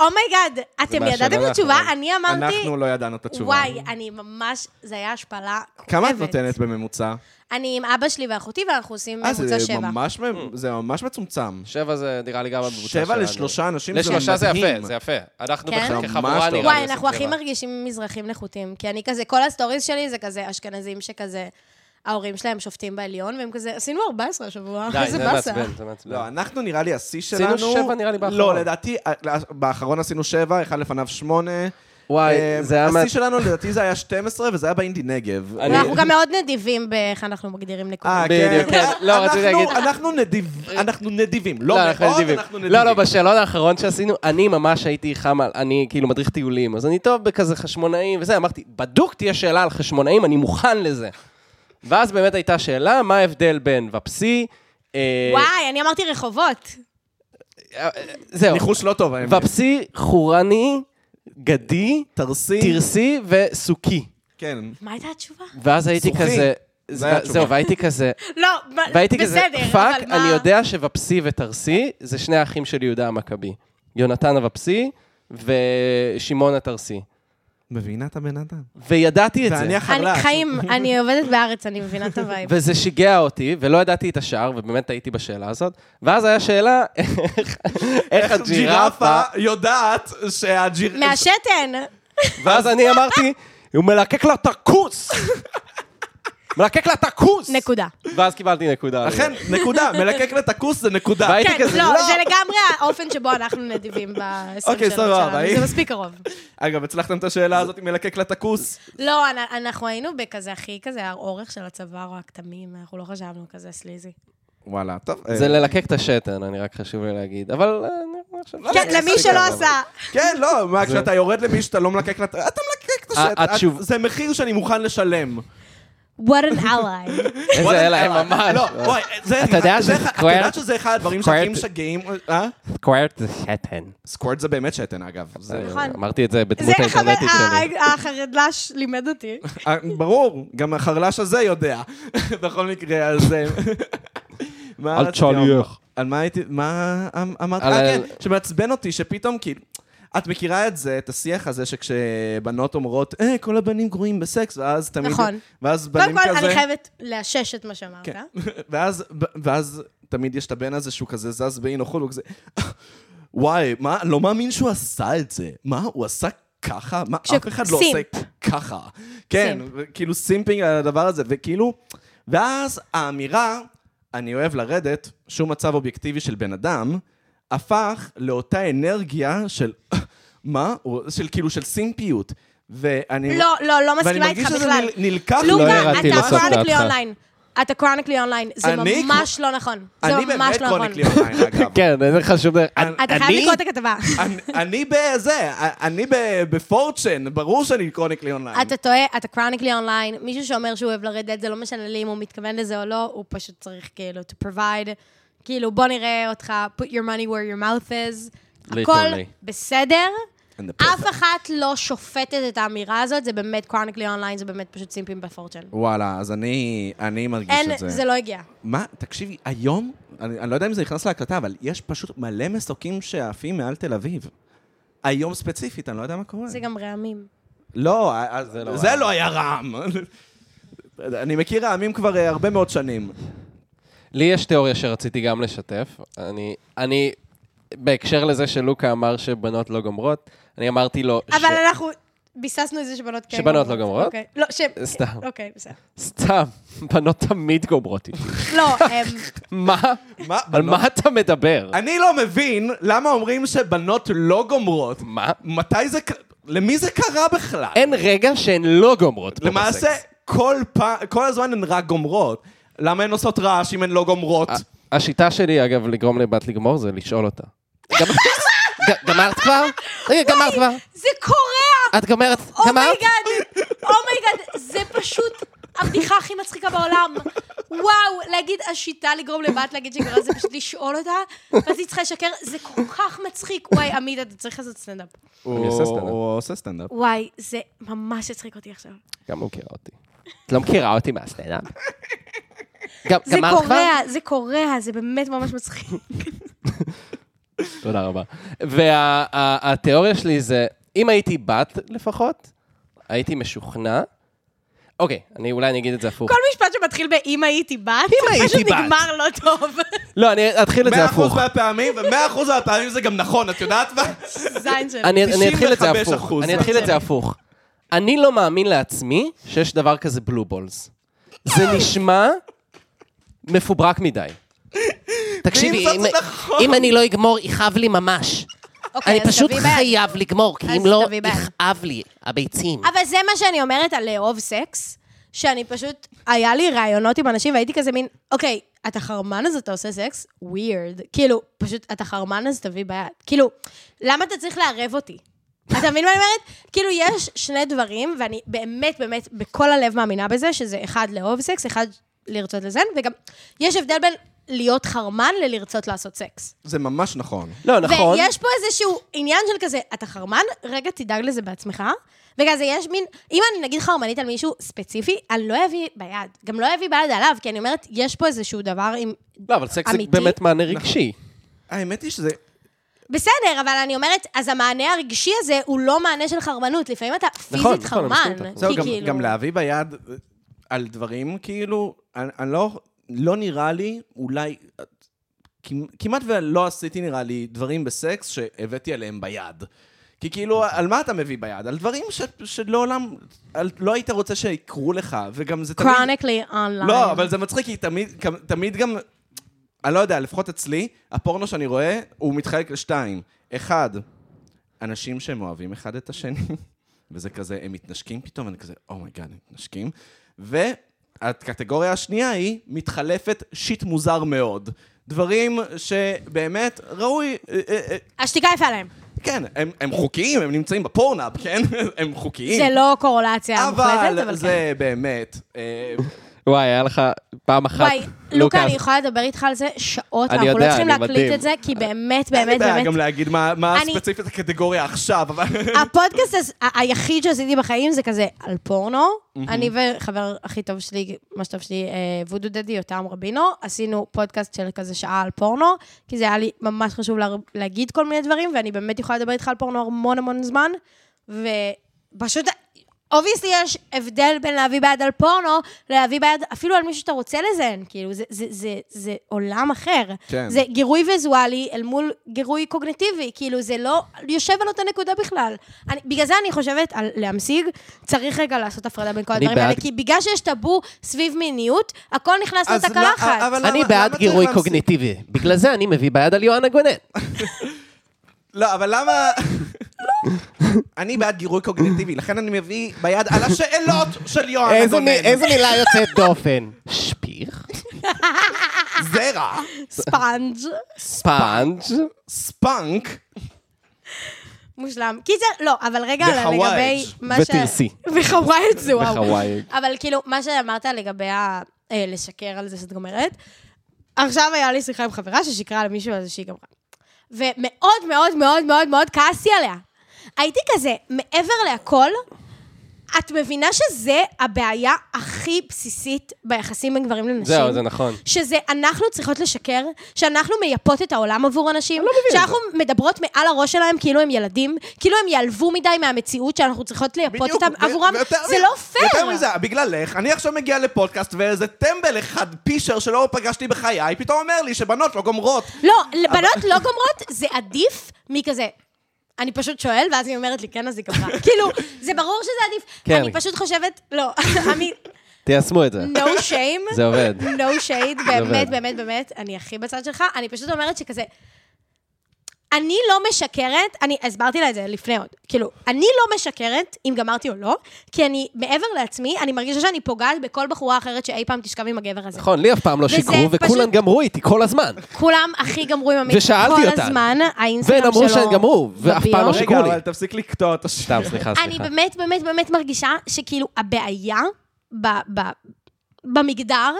[SPEAKER 3] אומייגאד, אתם
[SPEAKER 1] מהשאלה
[SPEAKER 3] ידעתם את התשובה?
[SPEAKER 1] האחרונה.
[SPEAKER 3] אני אמרתי,
[SPEAKER 2] אנחנו לא ידענו את התשובה.
[SPEAKER 3] וואי, אני ממש, זה היה השפלה כואבת.
[SPEAKER 2] כמה את נותנת בממוצע?
[SPEAKER 3] אני עם אבא שלי ואחותי, ואנחנו עושים
[SPEAKER 2] אה, זה
[SPEAKER 3] ממוצע שבע.
[SPEAKER 2] ממש מ-
[SPEAKER 1] Mm.
[SPEAKER 2] זה ממש מצומצם.
[SPEAKER 1] שבע זה נראה לי גם בקבוצה שלנו.
[SPEAKER 2] שבע לשלושה אנשים זה מדהים.
[SPEAKER 1] לשלושה זה יפה, זה יפה. אנחנו
[SPEAKER 3] כן?
[SPEAKER 1] בכ-
[SPEAKER 2] ממש
[SPEAKER 1] כחבורה
[SPEAKER 2] טוב.
[SPEAKER 1] נראה לי
[SPEAKER 3] וואי,
[SPEAKER 1] עושים
[SPEAKER 3] אנחנו הכי
[SPEAKER 1] שבע.
[SPEAKER 3] מרגישים מזרחים נחותים, כי אני כזה, כל הסטוריז שלי זה כזה אשכנזים שכזה, ההורים שלהם שופטים בעליון, והם כזה, עשינו 14 השבוע,
[SPEAKER 1] די,
[SPEAKER 3] איזה
[SPEAKER 1] זה
[SPEAKER 3] באסה.
[SPEAKER 1] מעצבן, זה מעצבן.
[SPEAKER 2] לא, אנחנו נראה לי השיא שלנו...
[SPEAKER 1] עשינו שבע, נראה לי, באחרון.
[SPEAKER 2] לא, לדעתי, אה, באחרון עשינו שבע, אחד לפניו שמונה.
[SPEAKER 1] וואי,
[SPEAKER 2] אה,
[SPEAKER 1] זה היה מעט-
[SPEAKER 2] השיא שלנו לדעתי זה היה 12, וזה היה באינדי נגב.
[SPEAKER 1] אני-
[SPEAKER 3] ואנחנו גם מאוד נדיבים באיך אנחנו מגדירים
[SPEAKER 2] אה,
[SPEAKER 3] נקודות.
[SPEAKER 1] בדיוק,
[SPEAKER 2] כן.
[SPEAKER 1] כן. לא, רציתי
[SPEAKER 2] אנחנו-
[SPEAKER 1] להגיד-
[SPEAKER 2] אנחנו נדיב- אנחנו נדיבים. לא
[SPEAKER 1] לא, אנחנו
[SPEAKER 2] מאוד,
[SPEAKER 1] נדיבים.
[SPEAKER 2] אנחנו נדיבים.
[SPEAKER 1] לא, לא, בשאלון האחרון שעשינו, אני ממש הייתי חם על, אני כאילו מדריך טיולים, אז אני טוב בכזה חשמונאים וזה, אמרתי, בדוק תהיה שאלה על חשמונאים, אני מוכן לזה. ואז באמת הייתה שאלה, מה ההבדל בין ופסי, אה,
[SPEAKER 3] וואי, אני אמרתי רחובות.
[SPEAKER 1] אה, אה, זהו,
[SPEAKER 2] ניחוש לא טוב, האמת.
[SPEAKER 1] ופסי, חורני, גדי,
[SPEAKER 2] תרסי.
[SPEAKER 1] תרסי וסוכי.
[SPEAKER 2] כן.
[SPEAKER 3] מה הייתה התשובה?
[SPEAKER 1] ואז הייתי
[SPEAKER 2] סוכי.
[SPEAKER 1] כזה,
[SPEAKER 2] זה היה
[SPEAKER 1] זהו,
[SPEAKER 2] התשובה.
[SPEAKER 1] והייתי כזה,
[SPEAKER 3] לא, ב-
[SPEAKER 1] והייתי כזה,
[SPEAKER 3] בסדר,
[SPEAKER 1] פאק,
[SPEAKER 3] אבל מה...
[SPEAKER 1] אני יודע שוופסי ותרסי זה שני האחים של יהודה המכבי. יונתן הוופסי ושמעון התרסי.
[SPEAKER 2] מבינה את הבן אדם.
[SPEAKER 1] וידעתי את זה.
[SPEAKER 2] ואני
[SPEAKER 3] אני-
[SPEAKER 2] החלש.
[SPEAKER 1] [laughs]
[SPEAKER 3] חיים, אני עובדת בארץ, אני מבינה את הווייב.
[SPEAKER 1] וזה שיגע אותי, ולא ידעתי את השאר, ובאמת הייתי בשאלה הזאת. ואז היה שאלה, איך- איך הג'ירפה...
[SPEAKER 2] ג'ירפה יודעת שהג'יר...
[SPEAKER 3] מהשתן!
[SPEAKER 1] ואז אני אמרתי, הוא מלקק לה את [laughs] הכוס! מלקק לה את הכוס!
[SPEAKER 3] נקודה.
[SPEAKER 1] ואז קיבלתי נקודה. על זה.
[SPEAKER 2] אכן, נקודה, מלקק לה את הכוס זה נקודה.
[SPEAKER 1] והייתי
[SPEAKER 3] כן,
[SPEAKER 1] כזה,
[SPEAKER 3] לא,
[SPEAKER 1] לא.
[SPEAKER 3] זה לגמרי האופן שבו אנחנו
[SPEAKER 1] [laughs]
[SPEAKER 3] נדיבים ב-20
[SPEAKER 2] אוקיי,
[SPEAKER 3] שנות
[SPEAKER 2] סבבה,
[SPEAKER 3] שלנו.
[SPEAKER 2] היי.
[SPEAKER 3] זה מספיק קרוב.
[SPEAKER 2] אגב, הצלחתם את השאלה הזאת מלקק לה את הכוס?
[SPEAKER 3] לא, אנ- אנחנו היינו בכזה הכי כזה, האורך של הצוואר או הכתמים, אנחנו לא חשבנו כזה סליזי.
[SPEAKER 2] וואלה, טוב.
[SPEAKER 1] זה לא-
[SPEAKER 2] אה,
[SPEAKER 1] ללקק את השתן, אני רק חשוב לי להגיד. אבל... אה, אני חושב
[SPEAKER 2] לא,
[SPEAKER 1] שזה
[SPEAKER 3] כן, למי
[SPEAKER 1] מספיק,
[SPEAKER 3] שלא
[SPEAKER 1] אבל-
[SPEAKER 3] עשה.
[SPEAKER 2] כן, לא, מה,
[SPEAKER 1] זה-
[SPEAKER 2] כשאתה יורד למישהו, אתה לא מלקק לה... אתה מלקק את
[SPEAKER 1] ה-
[SPEAKER 2] השטח.
[SPEAKER 1] התשוב- אה.
[SPEAKER 2] זה מחיר שאני מוכן לשלם.
[SPEAKER 3] What an ally.
[SPEAKER 1] איזה
[SPEAKER 2] וואלה,
[SPEAKER 1] אלה, הם ממש.
[SPEAKER 2] לא, וואי, זה...
[SPEAKER 1] אתה יודע
[SPEAKER 2] זה-
[SPEAKER 1] שזה
[SPEAKER 2] את
[SPEAKER 1] סקוורט?
[SPEAKER 2] יודעת שזה אחד הדברים שהכי
[SPEAKER 1] סקוורט.
[SPEAKER 2] משגעים... אה?
[SPEAKER 1] סקוורט זה שתן.
[SPEAKER 2] סקוורט זה באמת שתן, אגב. זה-
[SPEAKER 1] אה,
[SPEAKER 3] נכון.
[SPEAKER 1] אמרתי את זה
[SPEAKER 3] [laughs] זה
[SPEAKER 1] בדמות
[SPEAKER 3] החבר-
[SPEAKER 1] האינטרנטית שלי.
[SPEAKER 3] ה- ה- החרדלש לימד אותי.
[SPEAKER 2] אה, ברור, גם החרלש הזה יודע. [laughs] בכל מקרה, אז... אה,
[SPEAKER 3] אה,
[SPEAKER 2] מה
[SPEAKER 1] אל
[SPEAKER 2] רציתי
[SPEAKER 1] תשאל
[SPEAKER 2] לומר?
[SPEAKER 1] איך.
[SPEAKER 2] על מה הייתי... מה אמ- אמרת?
[SPEAKER 1] על
[SPEAKER 2] אה,
[SPEAKER 1] ה-
[SPEAKER 2] כן, שמעצבן אותי, שפתאום כאילו... את מכירה את זה, את השיח הזה שכשבנות אומרות, אה, כל הבנים גרועים בסקס, ואז תמיד...
[SPEAKER 3] נכון.
[SPEAKER 2] ואז בנים
[SPEAKER 3] קודם
[SPEAKER 2] כזה...
[SPEAKER 3] כל, אני חייבת לאשש את מה שאמרת.
[SPEAKER 2] כן. [laughs] ואז, ואז תמיד יש את הבן הזה שהוא כזה זז באי נוחות, הוא כזה... וואי, מה, לא מאמין שהוא עשה את זה. מה, הוא עשה ככה? מה,
[SPEAKER 3] כש-
[SPEAKER 2] אף אחד לא עושה
[SPEAKER 3] סימפ.
[SPEAKER 2] ככה. כן,
[SPEAKER 3] סימפ.
[SPEAKER 2] כאילו סימפינג על הדבר הזה, וכאילו... ואז האמירה, אני אוהב לרדת, שום מצב אובייקטיבי של בן אדם, הפך לאותה אנרגיה של... [laughs] מה? הוא- של כאילו של סימפיות. ואני...
[SPEAKER 3] לא, לא, לא
[SPEAKER 2] ואני
[SPEAKER 3] מסכימה
[SPEAKER 2] מרגיש
[SPEAKER 3] איתך
[SPEAKER 2] שזה
[SPEAKER 3] בכלל.
[SPEAKER 2] נל- נלקח לי.
[SPEAKER 1] לא
[SPEAKER 3] לוקה,
[SPEAKER 1] ירדתי
[SPEAKER 3] אתה
[SPEAKER 1] לסוף
[SPEAKER 3] קרוניקלי
[SPEAKER 1] דעתך.
[SPEAKER 3] אונליין. אתה קרוניקלי אונליין. זה
[SPEAKER 2] אני
[SPEAKER 3] ממש לא נכון. זה
[SPEAKER 2] אני
[SPEAKER 3] ממש
[SPEAKER 2] באמת
[SPEAKER 3] לא נכון.
[SPEAKER 2] קרוניק לי
[SPEAKER 3] [laughs]
[SPEAKER 2] אונליין, אגב.
[SPEAKER 1] כן, אין לך שום דבר.
[SPEAKER 3] אתה חייב לקרוא את הכתבה.
[SPEAKER 2] אני- אני בזה, אני ב- בפורצ'ן, ברור שאני קרוניקלי אונליין.
[SPEAKER 3] אתה טועה, אתה קרוניקלי אונליין, מישהו שאומר שהוא אוהב לרדת, זה לא משנה לי אם הוא מתכוון לזה או לא, הוא פשוט צריך כאילו to provide, כאילו בוא נראה אותך, put your money where your mouth is, הכל
[SPEAKER 1] Literally.
[SPEAKER 3] בסדר.
[SPEAKER 2] And the perfect.
[SPEAKER 3] אף אחת לא שופטת את האמירה הזאת, זה באמת קרוניקלי אונליין, זה באמת פשוט סימפים בפורצ'ן.
[SPEAKER 2] וואלה, אז אני, אני מרגיש
[SPEAKER 3] אין,
[SPEAKER 2] את זה.
[SPEAKER 3] זה לא הגיע.
[SPEAKER 2] מה, תקשיבי, היום, אני, אני לא יודע אם זה נכנס להקלטה, אבל יש פשוט מלא מסוקים שעפים מעל תל אביב. היום ספציפית, אני לא יודע מה קורה.
[SPEAKER 3] זה גם רעמים.
[SPEAKER 2] לא, אז, זה,
[SPEAKER 1] לא
[SPEAKER 2] לא, זה
[SPEAKER 1] רעם.
[SPEAKER 2] לא היה רעם. [laughs] אני מכיר רעמים כבר אה, הרבה מאוד שנים.
[SPEAKER 1] לי יש תיאוריה שרציתי גם לשתף. אני, אני, בהקשר לזה שלוקה אמר שבנות לא גומרות, אני אמרתי לו ש...
[SPEAKER 3] אבל לא- אנחנו ביססנו את זה שבנות כן
[SPEAKER 1] שבנות לא גומרות?
[SPEAKER 3] אוקיי. לא, ש...
[SPEAKER 1] סתם.
[SPEAKER 3] אוקיי, בסדר.
[SPEAKER 1] סתם, בנות תמיד גומרות איתי. [laughs]
[SPEAKER 3] לא, אמ,
[SPEAKER 1] מה?
[SPEAKER 2] מה,
[SPEAKER 1] על
[SPEAKER 2] בנות-
[SPEAKER 1] מה אתה מדבר?
[SPEAKER 2] אני לא מבין למה אומרים שבנות לא גומרות.
[SPEAKER 1] מה?
[SPEAKER 2] מתי זה... ק- למי זה קרה בכלל?
[SPEAKER 1] אין רגע שהן לא גומרות פה
[SPEAKER 2] למעשה,
[SPEAKER 1] בסקס.
[SPEAKER 2] כל פעם, כל הזמן הן רק גומרות. למה הן עושות רעש אם הן לא גומרות?
[SPEAKER 1] ה- השיטה שלי, אגב, לגרום לבת לגמור זה לשאול אותה. גמ- [laughs] ג- גמרת כבר? רגע, גמרת כבר?
[SPEAKER 3] זה קורע!
[SPEAKER 1] את גומרת? גמרת?
[SPEAKER 3] Oh אומייגאד, אומייגאד, Oh זה פשוט הבדיחה הכי מצחיקה בעולם. וואו, להגיד השיטה לגרום לבת להגיד שגרה זה פשוט לשאול אותה, ואז היא צריכה לשקר, זה כל כך מצחיק. וואי, עמית, אתה צריך לעשות סטנדאפ.
[SPEAKER 1] אני עושה סטנדאפ.
[SPEAKER 2] הוא עושה סטנדאפ.
[SPEAKER 3] וואי, זה ממש הצחיק אותי עכשיו.
[SPEAKER 1] גם הוא מכירה אותי. את לא מכירה אותי מהסטנדאפ? גם-
[SPEAKER 3] זה
[SPEAKER 1] גמרת כבר?
[SPEAKER 3] קורע, זה קורע, זה באמת ממש מצחיק.
[SPEAKER 1] תודה רבה. והתיאוריה שלי זה, אם הייתי בת לפחות, הייתי משוכנע. אוקיי, אני אולי אני אגיד את זה הפוך.
[SPEAKER 3] כל משפט שמתחיל ב"אם הייתי בת",
[SPEAKER 1] הייתי
[SPEAKER 3] פשוט
[SPEAKER 1] בת.
[SPEAKER 3] נגמר לא טוב. [laughs]
[SPEAKER 1] לא, אני אתחיל את זה
[SPEAKER 2] 100%
[SPEAKER 1] הפוך.
[SPEAKER 2] מהפעמים, ו-100% מהפעמים זה גם נכון, את יודעת מה?
[SPEAKER 3] זין שלו.
[SPEAKER 1] אני אני אתחיל את זה
[SPEAKER 2] 95%
[SPEAKER 1] הפוך.
[SPEAKER 2] מהפעמים.
[SPEAKER 1] אני אתחיל את זה הפוך. אני לא מאמין לעצמי שיש דבר כזה בלו בולס. זה נשמע מפוברק מדי. תקשיבי,
[SPEAKER 2] ואם זאת
[SPEAKER 1] אם-
[SPEAKER 2] נכון.
[SPEAKER 1] אם אני לא אגמור, יכאב לי ממש.
[SPEAKER 3] אוקיי,
[SPEAKER 4] אני
[SPEAKER 3] אז
[SPEAKER 4] פשוט
[SPEAKER 3] תביא בעד.
[SPEAKER 4] חייב לגמור, כי
[SPEAKER 3] אז
[SPEAKER 4] אם לא,
[SPEAKER 3] תביא בעד.
[SPEAKER 4] יכאב לי הביצים.
[SPEAKER 3] אבל זה מה שאני אומרת על לאהוב סקס, שאני פשוט, היה לי ראיונות עם אנשים והייתי כזה מין, אוקיי, אתה חרמן אז אתה עושה סקס? ווירד. כאילו, פשוט, אתה חרמן אז תביא ביד. כאילו, למה אתה צריך לערב אותי? אתה מבין מה אני אומרת? כאילו, יש שני דברים, ואני באמת, באמת, בכל הלב מאמינה בזה, שזה אחד, לאהוב סקס, אחד, לרצות לזן, וגם, יש הבדל בין להיות חרמן ללרצות לעשות סקס.
[SPEAKER 2] זה ממש נכון.
[SPEAKER 1] לא, נכון.
[SPEAKER 3] ויש פה איזשהו עניין של כזה, אתה חרמן? רגע, תדאג לזה בעצמך. וכזה יש מין, אם אני נגיד חרמנית על מישהו ספציפי, אני לא אביא ביד. גם לא אביא ביד עליו, כי אני אומרת, יש פה איזשהו דבר עם...
[SPEAKER 1] לא, אבל סקס זה
[SPEAKER 3] אמיתי? נכון.
[SPEAKER 1] באמת מענה רגשי.
[SPEAKER 2] האמת היא שזה...
[SPEAKER 3] בסדר, אבל אני אומרת, אז המענה הרגשי הזה הוא לא מענה של חרמנות. לפעמים אתה פיזית
[SPEAKER 1] נכון, נכון, אני
[SPEAKER 3] חרמן.
[SPEAKER 1] מסכים איתך.
[SPEAKER 2] זהו,
[SPEAKER 3] כי
[SPEAKER 2] גם,
[SPEAKER 3] כאילו...
[SPEAKER 2] גם להביא ביד אה, על דברים, כאילו, אני, אני לא... לא נראה לי, אולי... אה, כמ- כמעט ולא עשיתי, נראה לי, דברים בסקס שהבאתי עליהם ביד. כי כאילו, על מה אתה מביא ביד? על דברים ש, שלעולם... על, לא היית רוצה שיקרו לך, וגם זה תמיד...
[SPEAKER 3] קרוניקלי אונליין.
[SPEAKER 2] לא, אבל זה מצחיק, כי תמיד, כמ- תמיד גם, אני לא יודע, לפחות אצלי, הפורנו שאני רואה, הוא מתחלק לשתיים. אחד, אנשים שהם אוהבים אחד את השני, [laughs] וזה כזה, הם מתנשקים פתאום, ואני כזה, אומייגאד, הם מתנשקים. והקטגוריה השנייה היא, מתחלפת שיט מוזר מאוד. דברים שבאמת ראוי, אה, אה, אה,
[SPEAKER 3] השתיקה יפה להם.
[SPEAKER 2] כן, הם, הם חוקיים, הם נמצאים בפורנאפ, כן? [laughs] הם חוקיים.
[SPEAKER 3] זה לא קורולציה מוחלטת,
[SPEAKER 2] אבל
[SPEAKER 3] אבל כן.
[SPEAKER 2] זה באמת, אה,
[SPEAKER 1] וואי, היה לך פעם אחת...
[SPEAKER 3] כן.
[SPEAKER 1] לא
[SPEAKER 3] וואי, לוקה, אני יכולה לדבר איתך על זה שעות,
[SPEAKER 1] אני
[SPEAKER 3] אנחנו לא
[SPEAKER 1] יודע,
[SPEAKER 3] צריכים
[SPEAKER 1] אני
[SPEAKER 3] להקליט
[SPEAKER 1] מדהים.
[SPEAKER 3] את זה, כי באמת,
[SPEAKER 2] אה, אין לי
[SPEAKER 3] באמת,
[SPEAKER 2] בעיה
[SPEAKER 3] באמת,
[SPEAKER 2] גם להגיד מה, מה
[SPEAKER 3] אני-
[SPEAKER 2] ספציפית הקטגוריה עכשיו, אבל... [laughs]
[SPEAKER 3] [laughs] הפודקאסט הז- ה- היחיד שעשיתי בחיים זה כזה על פורנו. אני וחבר הכי טוב שלי, מה שטוב שלי, אה, וודו דדי, יותם רבינו, עשינו פודקאסט של כזה שעה על פורנו, כי זה היה לי ממש חשוב לה- להגיד כל מיני דברים, ואני באמת יכולה לדבר איתך על פורנו המון המון זמן, ופשוט... אובייסלי יש הבדל בין להביא ביד על פורנו, להביא ביד אפילו על מישהו שאתה רוצה לזיין, כאילו, זה, זה, זה, זה עולם אחר.
[SPEAKER 2] כן.
[SPEAKER 3] זה גירוי ויזואלי אל מול גירוי קוגניטיבי, כאילו, זה לא יושב על אותה נקודה בכלל. אני, בגלל זה אני חושבת על להמשיג, צריך רגע לעשות הפרדה בין כל
[SPEAKER 1] אני
[SPEAKER 3] הדברים האלה,
[SPEAKER 1] בעד-
[SPEAKER 3] כי בגלל שיש טאבו סביב מיניות, הכל נכנס
[SPEAKER 2] אז
[SPEAKER 3] לתקלחת.
[SPEAKER 2] לא, אבל למה-
[SPEAKER 1] אני
[SPEAKER 2] למה
[SPEAKER 1] בעד
[SPEAKER 2] צריך
[SPEAKER 1] גירוי
[SPEAKER 2] להפסיק?
[SPEAKER 1] קוגניטיבי. בגלל זה אני מביא ביד על יואנה גונן.
[SPEAKER 2] לא, אבל
[SPEAKER 3] [laughs]
[SPEAKER 2] למה... אני בעד גירוי קוגניטיבי, לכן אני מביא ביד על השאלות של יוהנה
[SPEAKER 1] איזה מי-
[SPEAKER 2] גונן.
[SPEAKER 1] איזה מילה יוצאת
[SPEAKER 3] [laughs]
[SPEAKER 1] דופן? שפיך?
[SPEAKER 3] אה,
[SPEAKER 2] זרע,
[SPEAKER 3] ספנג'.
[SPEAKER 1] ספאנג'?
[SPEAKER 2] ספאנק,
[SPEAKER 3] מושלם. קיצר, לא, אבל רגע, על-
[SPEAKER 2] וחוואיג'.
[SPEAKER 3] לגבי... מה ש-
[SPEAKER 1] ותרסי.
[SPEAKER 3] וחוואיג' זה וואו.
[SPEAKER 1] וחוואיג'.
[SPEAKER 3] אבל כאילו, מה שאמרת לגבי ה... אה, לשקר על זה שאת גומרת, עכשיו היה לי שיחה עם חברה ששיקרה על מישהו על זה שהיא גמרה. ומאוד מאוד מאוד מאוד מאוד כעסתי עליה. הייתי כזה, מעבר להכל, את מבינה שזה הבעיה הכי בסיסית ביחסים בין גברים לנשים?
[SPEAKER 1] זהו, זה נכון.
[SPEAKER 3] שזה אנחנו צריכות לשקר, שאנחנו מייפות את העולם עבור אנשים, שאנחנו מדברות מעל הראש שלהם כאילו הם ילדים, כאילו הם ייעלבו מדי מהמציאות שאנחנו צריכות לייפות אותם
[SPEAKER 2] ו-
[SPEAKER 3] עבורם,
[SPEAKER 2] ויותר
[SPEAKER 3] זה
[SPEAKER 2] מ-
[SPEAKER 3] לא פייר.
[SPEAKER 2] יותר מזה, בגללך, אני עכשיו מגיע לפודקאסט ואיזה טמבל אחד פישר שלא פגשתי בחיי, פתאום אומר לי שבנות לא גומרות.
[SPEAKER 3] לא, בנות לא גומרות, זה עדיף מכזה. אני פשוט שואל, ואז היא אומרת לי, כן, אז היא גמרה. כאילו, זה ברור שזה עדיף.
[SPEAKER 1] כן.
[SPEAKER 3] אני פשוט חושבת, לא, [laughs] אני,
[SPEAKER 1] תיישמו את זה.
[SPEAKER 3] no shame.
[SPEAKER 1] זה עובד.
[SPEAKER 3] no shade, באמת,
[SPEAKER 1] עובד.
[SPEAKER 3] באמת, באמת, אני הכי בצד שלך. אני פשוט אומרת שכזה... אני לא משקרת, אני הסברתי לה את זה לפני עוד, כאילו, אני לא משקרת אם גמרתי או לא, כי אני, מעבר לעצמי, אני מרגישה שאני פוגעת בכל בחורה אחרת שאי פעם תשכב עם הגבר הזה.
[SPEAKER 1] נכון, לי אף פעם לא
[SPEAKER 3] וזה
[SPEAKER 1] שיקרו, וכולם
[SPEAKER 3] פשוט-
[SPEAKER 1] גמרו איתי כל הזמן.
[SPEAKER 3] כולם הכי גמרו עם עמית
[SPEAKER 1] ושאלתי
[SPEAKER 3] כל
[SPEAKER 1] אותן.
[SPEAKER 3] הזמן, האינסטגרם
[SPEAKER 1] והן
[SPEAKER 3] שלו.
[SPEAKER 1] אמרו שהן גמרו, ואף
[SPEAKER 3] בביו.
[SPEAKER 1] פעם לא
[SPEAKER 2] רגע,
[SPEAKER 1] שיקרו לי.
[SPEAKER 2] אבל תפסיק לקטוע את השיר.
[SPEAKER 1] סתם, סליחה,
[SPEAKER 3] אני
[SPEAKER 1] סליחה.
[SPEAKER 3] באמת, באמת, באמת מרגישה שכאילו הבעיה ב, ב, במגדר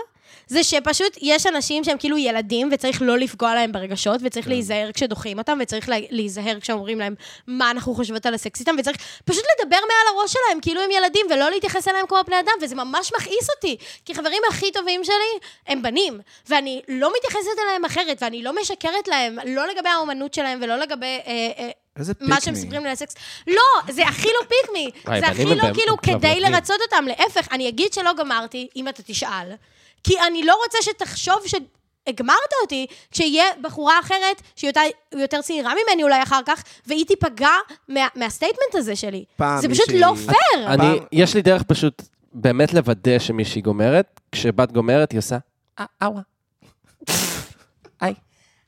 [SPEAKER 3] זה שפשוט יש אנשים שהם כאילו ילדים וצריך לא לפגוע להם ברגשות
[SPEAKER 1] כן.
[SPEAKER 3] וצריך להיזהר כשדוחים אותם וצריך לה- להיזהר כשאומרים להם מה אנחנו חושבות על הסקס איתם וצריך פשוט לדבר מעל הראש שלהם כאילו הם ילדים ולא להתייחס אליהם כמו בני אדם וזה ממש מכעיס אותי כי חברים הכי טובים שלי הם בנים ואני לא מתייחסת אליהם אחרת ואני לא משקרת להם לא לגבי האומנות שלהם ולא לגבי אה, אה,
[SPEAKER 2] איזה
[SPEAKER 3] מה שהם
[SPEAKER 2] פיקניק.
[SPEAKER 3] מספרים לי על סקס. לא, זה הכי לא פיקמי.
[SPEAKER 1] וואי,
[SPEAKER 3] זה הכי
[SPEAKER 1] בנים הם
[SPEAKER 3] לא
[SPEAKER 1] באמת
[SPEAKER 3] כאילו כדי
[SPEAKER 1] מתלבלבים.
[SPEAKER 3] לרצות אותם. להפך, אני אגיד שלא גמרתי, אם אתה תשאל. כי אני לא רוצה שתחשוב שהגמרת אותי, כשיהיה בחורה אחרת שהיא יותר, יותר צעירה ממני אולי אחר כך, והיא תיפגע מה, מהסטייטמנט הזה שלי.
[SPEAKER 2] פעם
[SPEAKER 3] זה פשוט
[SPEAKER 2] מישהי-
[SPEAKER 3] לא פייר.
[SPEAKER 1] אני, יש לי דרך פשוט באמת לוודא שמישהי גומרת, כשבת גומרת היא עושה,
[SPEAKER 4] אה,
[SPEAKER 3] [laughs]
[SPEAKER 4] אאווה. היי.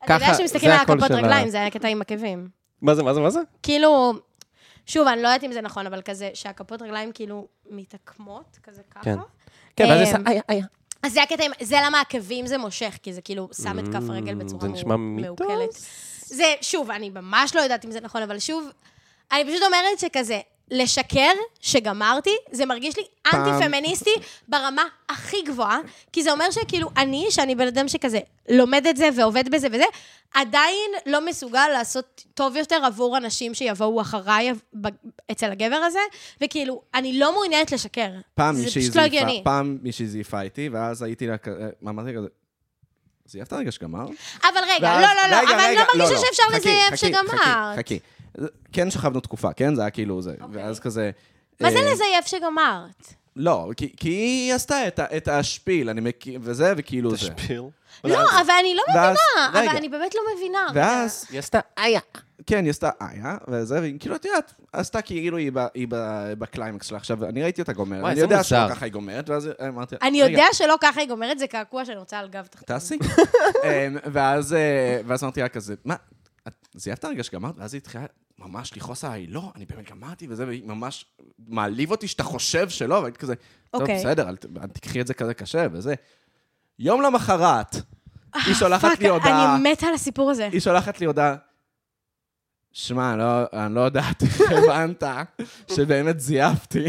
[SPEAKER 3] אתה יודע
[SPEAKER 1] ככה,
[SPEAKER 3] שמסתכלים
[SPEAKER 1] זה
[SPEAKER 3] על
[SPEAKER 1] הקול
[SPEAKER 3] הכפות
[SPEAKER 1] של ה-
[SPEAKER 3] רגליים, זה היה קטע עם עקבים.
[SPEAKER 1] מה זה, מה זה, מה זה?
[SPEAKER 3] כאילו, שוב, אני לא יודעת אם זה נכון, אבל כזה, שהכפות רגליים כאילו מתעקמות, כזה ככה.
[SPEAKER 1] כן. כן, ואז היא
[SPEAKER 3] אה,
[SPEAKER 1] עושה, איי, איי.
[SPEAKER 3] אז זה הקטע, עם- זה למה עקבים זה מושך, כי זה כאילו שם את כף הרגל בצורה
[SPEAKER 1] זה
[SPEAKER 3] מעו-
[SPEAKER 1] נשמע מיתוס.
[SPEAKER 3] מעוקלת. זה, שוב, אני ממש לא יודעת אם זה נכון, אבל שוב, אני פשוט אומרת שכזה, לשקר שגמרתי, זה מרגיש לי אנטי-פמיניסטי ברמה הכי גבוהה, כי זה אומר שכאילו אני, שאני בן אדם שכזה לומד את זה ועובד בזה וזה, עדיין לא מסוגל לעשות טוב יותר עבור אנשים שיבואו אחריי ב- אצל הגבר הזה, וכאילו, אני לא מעוניינת לשקר.
[SPEAKER 2] פעם
[SPEAKER 3] זה
[SPEAKER 2] מישהי
[SPEAKER 3] פשוט לא
[SPEAKER 2] זייפה,
[SPEAKER 3] הגיוני.
[SPEAKER 2] פעם מישהי זייפה איתי, ואז הייתי לה כזה, מה אמרתי כזה? זייפת רגע שגמר?
[SPEAKER 3] אבל רגע,
[SPEAKER 2] ואז-
[SPEAKER 3] לא, לא, לא,
[SPEAKER 2] רגע,
[SPEAKER 3] אבל אני
[SPEAKER 2] רגע,
[SPEAKER 3] לא מרגישה
[SPEAKER 2] לא.
[SPEAKER 3] שאפשר
[SPEAKER 2] חכי,
[SPEAKER 3] לזייף
[SPEAKER 2] חכי,
[SPEAKER 3] שגמרת.
[SPEAKER 2] חכי, חכי. כן שכבנו תקופה, כן? זה היה כאילו זה. ואז כזה...
[SPEAKER 3] אוקיי. מה זה
[SPEAKER 2] אה,
[SPEAKER 3] לזייף שגמרת?
[SPEAKER 2] לא, כי- כי היא עשתה את ה- את השפיל, אני מכיר, וזה, וכאילו זה.
[SPEAKER 3] לא, אבל אני לא
[SPEAKER 2] ואז-
[SPEAKER 3] מבינה,
[SPEAKER 2] רגע.
[SPEAKER 3] אבל אני באמת לא מבינה. רגע.
[SPEAKER 2] ואז,
[SPEAKER 1] היא עשתה,
[SPEAKER 4] איה.
[SPEAKER 2] כן, היא עשתה איה, וזה, והיא כאילו, את יודעת, עשתה כאילו היא ב- היא ב- בקליימקס שלה. עכשיו, אני ראיתי אותה גומרת,
[SPEAKER 1] וואי,
[SPEAKER 2] אני
[SPEAKER 1] זה
[SPEAKER 2] יודע
[SPEAKER 1] מוזר.
[SPEAKER 2] שלא ככה היא גומרת, ואז אמרתי... לה,
[SPEAKER 3] אני
[SPEAKER 2] "רגע,
[SPEAKER 3] יודע שלא ככה היא גומרת, זה קעקוע שאני רוצה על גב תחתון. [laughs]
[SPEAKER 2] תעשי. אמ, ואז אה, ואז אמרתי לה כזה, מה, את זייבת הרגע שגמרת? ואז היא התחילה ממש לכעוס עליי, לא, אני באמת גמרתי וזה, והיא ממש מעליב אותי שאתה חושב שלא, והייתי כזה, טוב,
[SPEAKER 3] אוקיי.
[SPEAKER 2] בסדר, אל ת- אל תקחי את זה כזה קשה וזה. יום למחרת, היא שולחת לי הודעה,
[SPEAKER 3] אה, אני מתה על הסיפור הזה.
[SPEAKER 2] היא שולחת לי הודעה, שמע, אני לא- אני לא יודעת איך
[SPEAKER 3] [laughs]
[SPEAKER 2] הבנת שבאמת זייפתי.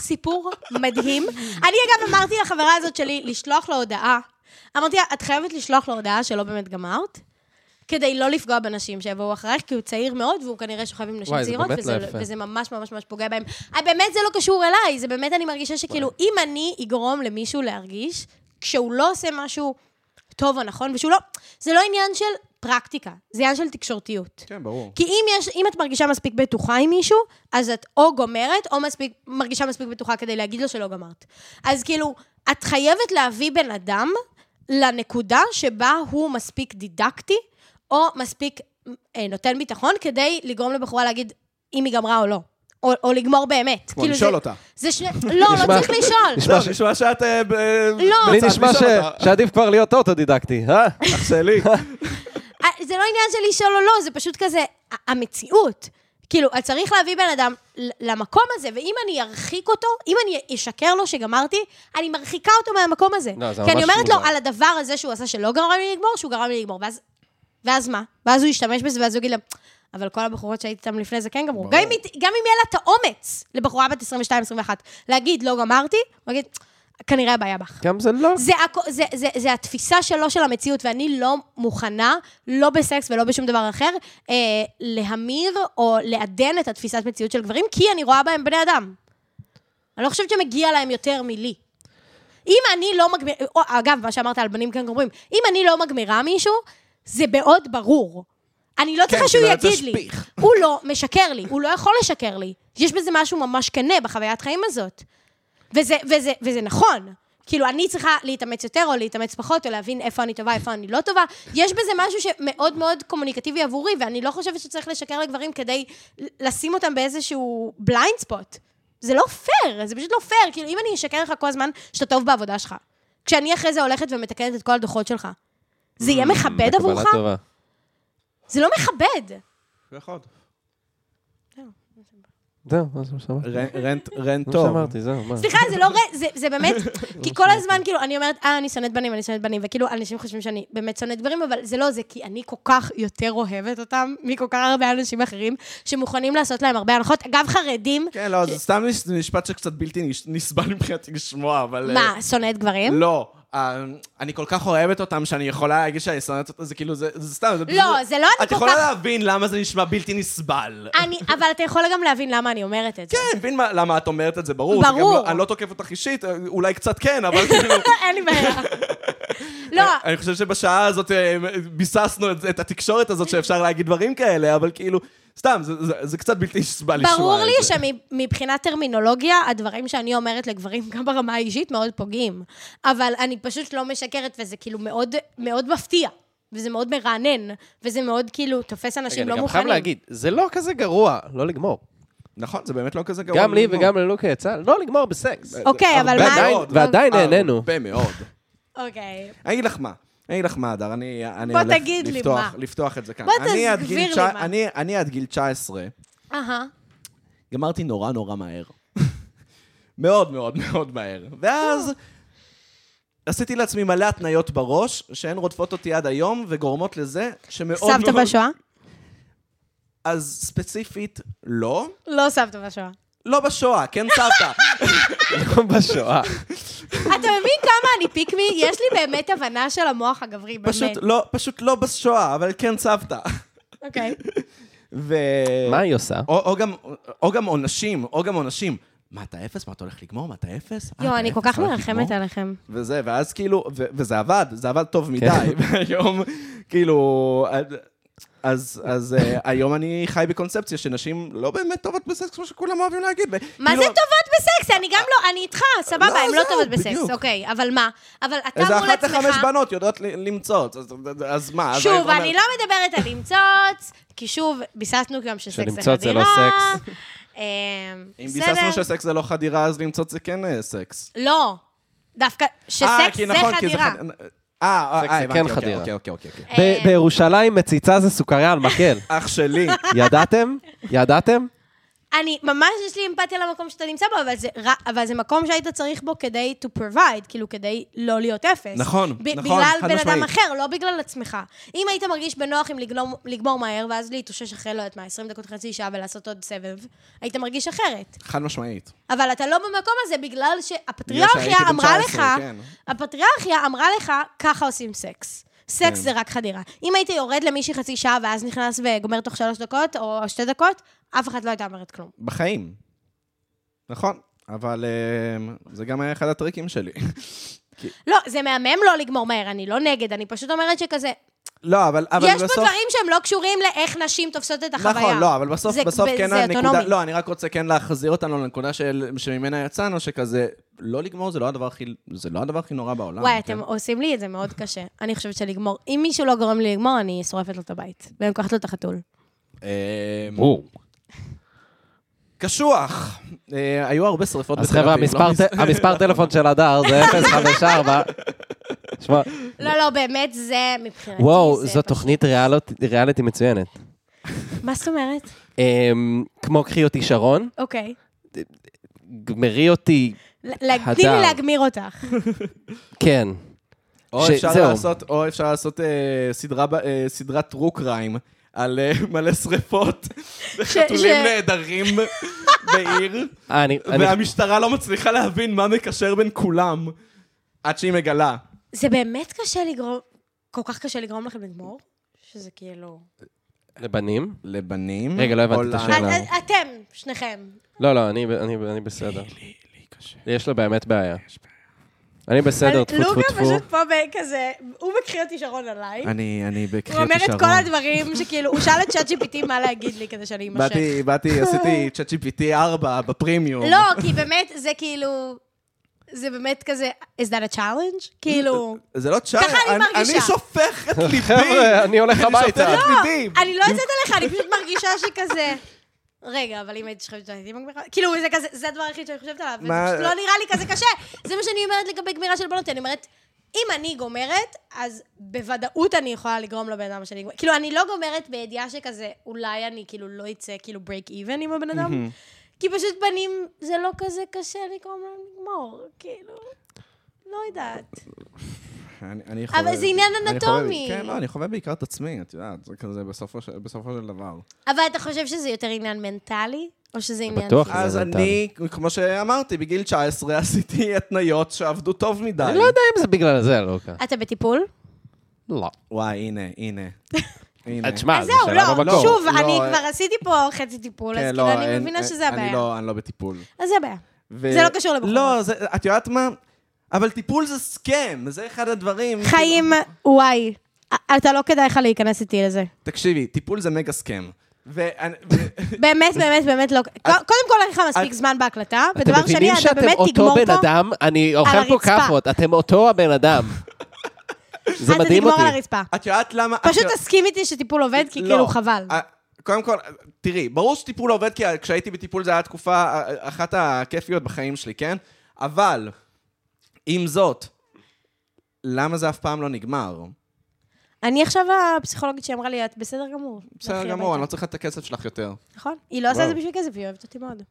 [SPEAKER 3] סיפור מדהים. אני אגב אמרתי לחברה הזאת שלי לשלוח לה הודעה. אמרתי לה, את חייבת לשלוח לו הודעה שלא באמת גמרת, כדי לא לפגוע בנשים שיבואו אחרייך, כי הוא צעיר מאוד, והוא כנראה שוכב עם נשים
[SPEAKER 1] וואי, זה
[SPEAKER 3] צעירות,
[SPEAKER 1] באמת
[SPEAKER 3] וזה,
[SPEAKER 1] לא יפה.
[SPEAKER 3] וזה ממש ממש ממש פוגע בהם. אה, באמת זה לא קשור אליי, זה באמת, אני מרגישה שכאילו, אם אני אגרום למישהו להרגיש, כשהוא לא עושה משהו טוב או נכון, ושהוא לא... זה לא עניין של פרקטיקה, זה עניין של תקשורתיות.
[SPEAKER 2] כן, ברור.
[SPEAKER 3] כי אם, יש, אם את מרגישה מספיק בטוחה עם מישהו, אז את או גומרת, או מספיק, מרגישה מספיק בטוחה כדי להגיד לו שלא גמרת. אז כאילו, את חייבת להביא בן אדם לנקודה שבה הוא מספיק דידקטי, או מספיק אה, נותן ביטחון, כדי לגרום לבחורה להגיד אם היא גמרה או לא. או, או לגמור באמת. כאילו
[SPEAKER 2] כמו לשאול
[SPEAKER 3] זה,
[SPEAKER 2] אותה.
[SPEAKER 3] זה שני... לא, לא
[SPEAKER 1] נשמע-
[SPEAKER 3] צריך לשאול.
[SPEAKER 1] נשמע
[SPEAKER 2] לא,
[SPEAKER 1] ש-
[SPEAKER 2] נשמע שאת... אה, ב-
[SPEAKER 3] לא.
[SPEAKER 1] לי
[SPEAKER 2] בצד
[SPEAKER 1] נשמע
[SPEAKER 2] לשאול
[SPEAKER 1] ש-
[SPEAKER 2] אותה.
[SPEAKER 1] שעדיף כבר להיות אוטודידקטי, אה?
[SPEAKER 2] אח שלי.
[SPEAKER 3] אה, זה לא עניין של לשאול או לא, זה פשוט כזה ה- המציאות. כאילו, אז צריך להביא בן אדם ל- למקום הזה, ואם אני ארחיק אותו, אם אני אשקר לו שגמרתי, אני מרחיקה אותו מהמקום הזה.
[SPEAKER 1] לא, זה
[SPEAKER 3] כי אני
[SPEAKER 1] ממש
[SPEAKER 3] אומרת לו
[SPEAKER 1] מוזר.
[SPEAKER 3] על הדבר הזה שהוא עשה שלא גרם לי לגמור, שהוא גרם לי לגמור, ואז, ואז מה? ואז הוא ישתמש בזה, ואז הוא יגיד לה, אבל כל הבחורות שהייתי איתן לפני זה כן גמרו. גם אם, היא- גם אם יהיה לה את האומץ לבחורה בת 22-21 להגיד, לא גמרתי, הוא יגיד, כנראה הבעיה בך.
[SPEAKER 1] [laughs] גם זה לא...
[SPEAKER 3] זה, הכ- זה, זה, זה התפיסה שלו של המציאות, ואני לא מוכנה, לא בסקס ולא בשום דבר אחר, אה, להמיר או לעדן את התפיסת מציאות של גברים, כי אני רואה בהם בני אדם. אני לא חושבת שמגיע להם יותר מלי. אם אני לא מגמירה, אגב, מה שאמרת על בנים כאן גומרים, אם אני לא מגמירה מישהו, זה מאוד ברור. אני לא צריכה שהוא
[SPEAKER 2] שלא
[SPEAKER 3] יגיד לי.
[SPEAKER 2] תשפיך.
[SPEAKER 3] הוא לא משקר לי, הוא לא יכול לשקר לי. יש בזה משהו ממש כנה בחוויית חיים הזאת. וזה, וזה, וזה נכון. כאילו, אני צריכה להתאמץ יותר או להתאמץ פחות, או להבין איפה אני טובה, איפה אני לא טובה. יש בזה משהו שמאוד מאוד קומוניקטיבי עבורי, ואני לא חושבת שצריך לשקר לגברים כדי לשים אותם באיזשהו בליינד ספוט. זה לא פייר, זה פשוט לא פייר. כאילו, אם אני אשקר לך כל הזמן שאתה טוב בעבודה שלך, כשאני אחרי זה הולכת ומתקנת את כל הדוחות שלך, זה יהיה מכבד
[SPEAKER 1] קבלה
[SPEAKER 3] עבורך?
[SPEAKER 1] Mm, טובה.
[SPEAKER 3] זה לא מכבד.
[SPEAKER 2] "נכון.
[SPEAKER 1] זהו, מה זה מה שאמרתי?
[SPEAKER 2] רנט- רנט- רנט
[SPEAKER 1] זה מה
[SPEAKER 2] טוב.
[SPEAKER 1] שאמרתי, זהו, מה?
[SPEAKER 3] סליחה, זה לא ר... זה, זה באמת... כי כל הזמן, כאילו, אני אומרת, אה, אני שונאת בנים, אני שונאת בנים, וכאילו, אנשים חושבים שאני באמת שונאת גברים, אבל זה לא זה, כי אני כל כך יותר אוהבת אותם מכל כך הרבה אנשים אחרים, שמוכנים לעשות להם הרבה הנחות. אגב, חרדים...
[SPEAKER 2] כן, לא, זה סתם מש- משפט שקצת בלתי נש- נסבל מבחינתי לשמוע, אבל... אה,
[SPEAKER 3] מה, שונאת גברים?
[SPEAKER 2] לא. אה, אני כל כך אוהבת אותם, שאני יכולה להגיד שאני שונאת אותם, זה כאילו, זה זה סתם, זה...
[SPEAKER 3] לא, זה לא אני
[SPEAKER 2] את
[SPEAKER 3] כל
[SPEAKER 2] יכולה
[SPEAKER 3] כך- אה,
[SPEAKER 2] להבין למה זה נשמע בלתי נסבל.
[SPEAKER 3] אני... אבל אתה יכול גם להבין למה אני אומרת את זה.
[SPEAKER 2] כן, מבין מה- למה את אומרת את זה, ברור. זה גם
[SPEAKER 3] ברור. לא.
[SPEAKER 2] לא- אני לא תוקף אותך אישית, אה, אולי קצת כן, אבל
[SPEAKER 3] [laughs]
[SPEAKER 2] כאילו...
[SPEAKER 3] אין לי בעיה. לא,
[SPEAKER 2] אני חושב שבשעה הזאת אה, ביססנו את- את התקשורת הזאת שאפשר להגיד דברים כאלה, אבל כאילו, סתם, זה- זה- זה קצת בלתי נסבל לשמוע את זה.
[SPEAKER 3] ברור לי שמבחינת טרמינולוגיה, הדברים שאני אומרת לגברים, גם ברמה האישית, מאוד פוגעים. אבל אני פשוט לא משקרת, וזה כאילו מאוד, מאוד מפתיע. וזה מאוד מרענן, וזה מאוד כאילו תופס
[SPEAKER 1] רגע,
[SPEAKER 3] אנשים
[SPEAKER 1] אני
[SPEAKER 3] לא
[SPEAKER 1] גם
[SPEAKER 3] מוכנים.
[SPEAKER 1] חייב להגיד, זה לא כזה גמור לא לגמור.
[SPEAKER 2] נכון, זה באמת לא כזה גרוע.
[SPEAKER 1] גם לי
[SPEAKER 2] לגמור.
[SPEAKER 1] וגם ללוקה יצא לא לגמור [laughs] בסקס.
[SPEAKER 3] אוקיי, אבל מה...
[SPEAKER 2] ועדיין-
[SPEAKER 1] ועדיין
[SPEAKER 2] אה,
[SPEAKER 1] נהנינו.
[SPEAKER 2] הרבה מאוד.
[SPEAKER 3] אוקיי.
[SPEAKER 2] אני אגיד לך מה. אני אגיד לך מה, הדר, אני, אני
[SPEAKER 3] בוא
[SPEAKER 2] הולך
[SPEAKER 3] תגיד לי
[SPEAKER 2] לפתוח,
[SPEAKER 3] מה.
[SPEAKER 2] לפתוח את זה כאן.
[SPEAKER 3] בוא
[SPEAKER 2] אני עד
[SPEAKER 3] תסביר
[SPEAKER 2] גיל
[SPEAKER 3] לי
[SPEAKER 2] תשע-
[SPEAKER 3] מה.
[SPEAKER 2] אני, אני עד גיל 19,
[SPEAKER 3] אהה.
[SPEAKER 2] גמרתי נורא נורא מהר. [laughs] מאוד מאוד מאוד מהר. ואז עשיתי לעצמי מלא התניות בראש, שהן רודפות אותי עד היום, וגורמות לזה שמאוד מאוד...
[SPEAKER 3] סבתא בשואה?
[SPEAKER 2] אז ספציפית, לא.
[SPEAKER 3] לא סבתא בשואה.
[SPEAKER 2] לא בשואה, כן
[SPEAKER 3] [laughs]
[SPEAKER 2] סבתא.
[SPEAKER 1] בשואה.
[SPEAKER 3] אתה מבין כמה אני פיקמי? יש לי באמת הבנה של המוח הגברי, באמת.
[SPEAKER 2] פשוט לא, פשוט לא בשואה, אבל כן סבתא.
[SPEAKER 3] אוקיי.
[SPEAKER 2] ו...
[SPEAKER 1] מה היא עושה?
[SPEAKER 2] או, או, גם, או גם עונשים, או גם עונשים. מה, אתה אפס? מה, אתה הולך לגמור? מה, אתה אפס? אה,
[SPEAKER 3] יואו,
[SPEAKER 2] אתה
[SPEAKER 3] אני כל
[SPEAKER 2] אפס?
[SPEAKER 3] כך
[SPEAKER 1] אוקיי.
[SPEAKER 2] אתה הולך
[SPEAKER 3] מרחמת
[SPEAKER 2] לגמור?
[SPEAKER 3] עליכם.
[SPEAKER 2] וזה, ואז כאילו, ו- וזה עבד, זה עבד טוב מדי. [laughs] והיום, כאילו... אז, אז אה, היום אני חי בקונספציה שנשים לא באמת טובות בסקס, כמו שכולם אוהבים להגיד.
[SPEAKER 3] מה זה
[SPEAKER 2] כאילו,
[SPEAKER 3] טובות בסקס? אני גם לא, אני איתך, סבבה,
[SPEAKER 2] לא,
[SPEAKER 3] הן לא
[SPEAKER 2] זהו,
[SPEAKER 3] טובות בסקס,
[SPEAKER 2] בדיוק.
[SPEAKER 3] אוקיי, אבל מה? אבל אתה
[SPEAKER 2] איזה
[SPEAKER 3] אמור
[SPEAKER 2] אחת לחמש
[SPEAKER 3] לעצמך...
[SPEAKER 2] בנות יודעות ל- למצוא, אז, אז מה? אז
[SPEAKER 3] שוב,
[SPEAKER 2] אומר-
[SPEAKER 3] אני לא מדברת על למצוץ, כי שוב, ביססנו גם שסקס זה חדירה.
[SPEAKER 1] שלמצוץ זה לא סקס.
[SPEAKER 3] אמ,
[SPEAKER 2] אם
[SPEAKER 3] בסדר.
[SPEAKER 2] ביססנו שסקס זה לא חדירה, אז למצוא זה כן אה, סקס.
[SPEAKER 3] לא, דווקא
[SPEAKER 2] אה,
[SPEAKER 3] שסקס
[SPEAKER 2] כי
[SPEAKER 3] זה
[SPEAKER 2] נכון, כי
[SPEAKER 3] חדירה.
[SPEAKER 2] חד- אה,
[SPEAKER 1] סקס
[SPEAKER 2] אה,
[SPEAKER 1] זה
[SPEAKER 2] הבנתי,
[SPEAKER 1] כן
[SPEAKER 2] אוקיי,
[SPEAKER 1] חדירה.
[SPEAKER 2] אוקיי, אוקיי, אוקיי.
[SPEAKER 3] אה,
[SPEAKER 1] ב- בירושלים מציצה זה סוכריה על מקל.
[SPEAKER 2] אח שלי.
[SPEAKER 1] ידעתם? ידעתם?
[SPEAKER 3] אני ממש, יש לי אמפתיה למקום שאתה נמצא בו, אבל זה, ר- אבל זה מקום שהיית צריך בו כדי to provide, כאילו כדי לא להיות אפס.
[SPEAKER 2] נכון, נכון,
[SPEAKER 3] בגלל
[SPEAKER 2] חד
[SPEAKER 3] בן אדם
[SPEAKER 2] משמעית.
[SPEAKER 3] אחר, לא בגלל עצמך. אם היית מרגיש בנוח עם לגמור, לגמור מהר, ואז להתאושש אחרי, לא יודעת מה, 20 דקות, חצי שעה, ולעשות עוד סבב, היית מרגיש אחרת.
[SPEAKER 2] חד משמעית.
[SPEAKER 3] אבל אתה לא במקום הזה בגלל שהפטריארכיה
[SPEAKER 2] שהייתי בן
[SPEAKER 3] לא, אמרה
[SPEAKER 2] 19,
[SPEAKER 3] לך,
[SPEAKER 2] כן.
[SPEAKER 3] הפטריארכיה אמרה לך, ככה עושים סקס. סקס
[SPEAKER 2] כן.
[SPEAKER 3] זה רק חדירה. אם היית יורד למישהי חצי שעה ואז נכנס וגומר תוך שלוש דקות או שתי דקות, אף אחת לא הייתה אומרת כלום.
[SPEAKER 2] בחיים. נכון. אבל אה, זה גם היה אחד הטריקים שלי. [laughs]
[SPEAKER 3] לא, זה מהמם לא לגמור מהר, אני לא נגד, אני פשוט אומרת שכזה,
[SPEAKER 2] לא, אבל, אבל
[SPEAKER 3] יש
[SPEAKER 2] בסוף...
[SPEAKER 3] פה דברים שהם לא קשורים לאיך נשים תופסות את החוויה.
[SPEAKER 2] נכון, לא, אבל בסוף,
[SPEAKER 3] זה-
[SPEAKER 2] בסוף
[SPEAKER 3] ב-
[SPEAKER 2] כן
[SPEAKER 3] זה
[SPEAKER 2] הנקודה...
[SPEAKER 3] אוטונומי.
[SPEAKER 2] לא, אני רק רוצה כן להחזיר אותנו לנקודה של, שממנה יצאנו, שכזה, לא לגמור זה לא הדבר הכי, זה לא הדבר הכי נורא בעולם.
[SPEAKER 3] וואי,
[SPEAKER 2] כן?
[SPEAKER 3] אתם עושים לי את זה מאוד קשה. אני חושבת שלגמור, אם מישהו לא גורם לי לגמור, אני שורפת לו את הבית. ואני לוקחת לו את החתול.
[SPEAKER 2] אה,
[SPEAKER 1] ברור. קשוח.
[SPEAKER 2] אה, היו הרבה שריפות
[SPEAKER 1] אז חבר'ה, המספר
[SPEAKER 2] לא מזה.
[SPEAKER 1] ט- המספר טלפון של הדר [laughs] זה 054.
[SPEAKER 3] [laughs]
[SPEAKER 1] שמע,
[SPEAKER 3] לא, לא, באמת, זה מבחינתי.
[SPEAKER 1] וואו,
[SPEAKER 3] זה
[SPEAKER 1] זו
[SPEAKER 3] פשוט-
[SPEAKER 1] תוכנית ריאלות- ריאליטי מצוינת.
[SPEAKER 3] מה זאת אומרת?
[SPEAKER 1] אמ, כמו קחי אותי שרון,
[SPEAKER 3] אוקיי.
[SPEAKER 1] גמרי אותי,
[SPEAKER 3] ל- ל- תני לי
[SPEAKER 1] הדר.
[SPEAKER 3] להגמיר אותך.
[SPEAKER 1] כן.
[SPEAKER 2] או
[SPEAKER 1] ש-
[SPEAKER 2] אפשר
[SPEAKER 1] זהו.
[SPEAKER 2] לעשות, או אפשר לעשות אה, סדרה ב- אה, סדרת טרו קריים על אה, [laughs] מלא שריפות וחתולים
[SPEAKER 3] ש-
[SPEAKER 2] נהדרים
[SPEAKER 3] [laughs]
[SPEAKER 2] בעיר,
[SPEAKER 1] אה, אני... אני-
[SPEAKER 2] והמשטרה לא מצליחה להבין מה מקשר בין כולם, עד שהיא מגלה.
[SPEAKER 3] זה באמת קשה לגרום, כל כך קשה לגרום לכם לגמור? שזה כאילו...
[SPEAKER 1] לבנים?
[SPEAKER 2] לבנים?
[SPEAKER 1] רגע, לא הבנתי
[SPEAKER 2] או
[SPEAKER 1] את
[SPEAKER 2] ל-
[SPEAKER 1] השאלה.
[SPEAKER 3] את- את- אתם, שניכם.
[SPEAKER 1] לא, לא, אני- אני אני בסדר. יש לו באמת בעיה. אני
[SPEAKER 3] אבל
[SPEAKER 1] בסדר, טפו טפו
[SPEAKER 3] לוגה
[SPEAKER 1] טפו.
[SPEAKER 3] פשוט פה בכזה, הוא מקריא אותי שרון עליי.
[SPEAKER 2] אני, אני בקריאות
[SPEAKER 3] הוא אומר את כל הדברים שכאילו, הוא שאל את צ'אט GPT מה להגיד לי כדי שאני אימשך.
[SPEAKER 2] באתי,
[SPEAKER 3] [laughs]
[SPEAKER 2] באתי, עשיתי צ'אט GPT 4 בפרימיום.
[SPEAKER 3] לא, כי באמת, זה כאילו... זה באמת כזה, is that a challenge? כאילו...
[SPEAKER 2] זה לא צ'אט,
[SPEAKER 3] ככה אני
[SPEAKER 2] אני
[SPEAKER 3] מרגישה.
[SPEAKER 2] שופך את ליבי.
[SPEAKER 1] [laughs] חבר'ה, אני הולך הביתה.
[SPEAKER 2] אני שופך את
[SPEAKER 3] לא,
[SPEAKER 2] ליבי.
[SPEAKER 3] אני לא יוצאת עליך, אני פשוט מרגישה שכזה... רגע, אבל אם הייתי חושבת שהייתי מגמירה... כאילו, זה כזה, זה הדבר היחיד שאני חושבת עליו, וזה
[SPEAKER 2] מה-
[SPEAKER 3] פשוט לא נראה לי כזה קשה. [laughs] זה מה שאני אומרת לגבי גמירה של בנות, אני אומרת, אם אני גומרת, אז בוודאות אני יכולה לגרום לבן אדם שאני... כאילו, אני לא גומרת בידיעה שכזה, אולי אני כאילו לא אצא כאילו break even עם הבן אדם, כי פשוט בנים, זה לא כזה קשה לגרום להם לגמור, כאילו... לא יודעת.
[SPEAKER 2] אני- אני
[SPEAKER 3] אבל
[SPEAKER 2] חווה-
[SPEAKER 3] זה עניין
[SPEAKER 2] אני
[SPEAKER 3] אנטומי.
[SPEAKER 2] חווה- כן, לא, אני חווה בעיקר את עצמי, את יודעת, זה כזה בסופו של- בסופו של דבר.
[SPEAKER 3] אבל אתה חושב שזה יותר עניין מנטלי, או שזה עניין...
[SPEAKER 1] בטוח.
[SPEAKER 3] פיזי?
[SPEAKER 2] אז
[SPEAKER 1] זה
[SPEAKER 2] אני, כמו שאמרתי, בגיל 19 [laughs] עשיתי התניות שעבדו טוב מדי.
[SPEAKER 1] אני לא יודע אם זה בגלל זה, לוקה.
[SPEAKER 3] אתה בטיפול?
[SPEAKER 1] לא.
[SPEAKER 2] וואי, הנה, הנה. הנה.
[SPEAKER 1] אה, תשמע,
[SPEAKER 3] אז
[SPEAKER 1] זה
[SPEAKER 3] זהו,
[SPEAKER 1] שאלה
[SPEAKER 3] לא,
[SPEAKER 1] במקור.
[SPEAKER 3] שוב,
[SPEAKER 2] לא,
[SPEAKER 3] אני
[SPEAKER 2] אה,
[SPEAKER 3] כבר עשיתי פה חצי טיפול, אז
[SPEAKER 2] כן,
[SPEAKER 3] כאילו
[SPEAKER 2] לא,
[SPEAKER 3] אני
[SPEAKER 2] אין-
[SPEAKER 3] מבינה
[SPEAKER 2] אין-
[SPEAKER 3] שזה
[SPEAKER 2] אני
[SPEAKER 3] הבעיה.
[SPEAKER 2] לא- אני לא בטיפול.
[SPEAKER 3] אז זה הבעיה.
[SPEAKER 2] ו-
[SPEAKER 3] זה לא קשור לבחורות.
[SPEAKER 2] לא, זה- את יודעת מה? אבל טיפול זה סכם, זה אחד הדברים. כאילו-
[SPEAKER 3] חיים,
[SPEAKER 2] לא.
[SPEAKER 3] וואי, א- אתה לא כדאי לך להיכנס איתי לזה.
[SPEAKER 2] תקשיבי, טיפול זה מגה סכם. ואני- ו- [laughs]
[SPEAKER 3] באמת, באמת, באמת לא... קודם כל, אין לך מספיק זמן בהקלטה,
[SPEAKER 1] אתם
[SPEAKER 3] ודבר שני,
[SPEAKER 1] מבינים לא,
[SPEAKER 3] אתה
[SPEAKER 1] שאתם
[SPEAKER 3] באמת
[SPEAKER 1] אותו
[SPEAKER 3] תגמור
[SPEAKER 1] בן
[SPEAKER 3] פה...
[SPEAKER 1] אדם? אני אוכל פה
[SPEAKER 3] הרצפה.
[SPEAKER 1] כאפות, אתם אותו הבן
[SPEAKER 3] [laughs]
[SPEAKER 1] אדם. זה
[SPEAKER 3] אה, אתה
[SPEAKER 1] מדהים
[SPEAKER 3] תגמור
[SPEAKER 1] אותי.
[SPEAKER 3] על הרצפה.
[SPEAKER 2] את יודעת למה... את
[SPEAKER 3] פשוט
[SPEAKER 2] יודעת-
[SPEAKER 3] תסכים איתי שטיפול עובד, כי כאילו חבל.
[SPEAKER 2] אוקיי. אה, קודם כל, תראי, ברור שטיפול לא עובד, כי כשהייתי בטיפול זו הייתה תקופה אה, אחת הכיפיות בחיים שלי, כן? אבל, עם זאת, למה זה אף פעם לא נגמר?
[SPEAKER 3] אני עכשיו הפסיכולוגית שאמרה לי, את בסדר גמור.
[SPEAKER 2] בסדר
[SPEAKER 3] לכי
[SPEAKER 2] גמור, אני
[SPEAKER 3] הביתה."
[SPEAKER 2] לא צריכה את הכסף שלך יותר.
[SPEAKER 3] נכון? היא לא עושה את זה
[SPEAKER 2] וואו.
[SPEAKER 3] בשביל כסף, היא אוהבת אותי מאוד.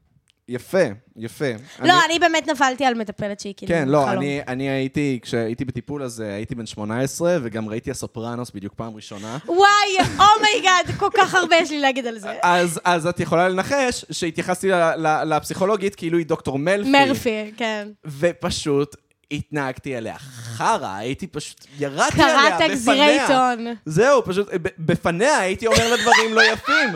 [SPEAKER 2] יפה, יפה.
[SPEAKER 3] לא, אני באמת נפלתי על מטפלת שהיא כאילו...
[SPEAKER 2] כן, לא,
[SPEAKER 3] חלום.
[SPEAKER 2] אני, אני הייתי, כשהייתי בטיפול אז אה, הייתי בן 18, וגם ראיתי הסופרנוס בדיוק פעם
[SPEAKER 3] [laughs]
[SPEAKER 2] ראשונה.
[SPEAKER 3] וואי, אומייגאד, כל כך הרבה יש לי להגיד על זה.
[SPEAKER 2] אז, אז את יכולה לנחש שהתייחסתי ל- ל- לפסיכולוגית כאילו היא דוקטור מלפי.
[SPEAKER 3] מרפי, [laughs] כן.
[SPEAKER 2] ופשוט התנהגתי עליה חרא, הייתי פשוט, ירדתי עליה בפניה.
[SPEAKER 3] קראת גזירי עיתון.
[SPEAKER 2] זהו, פשוט, ב- בפניה הייתי אומר לה דברים לא יפים.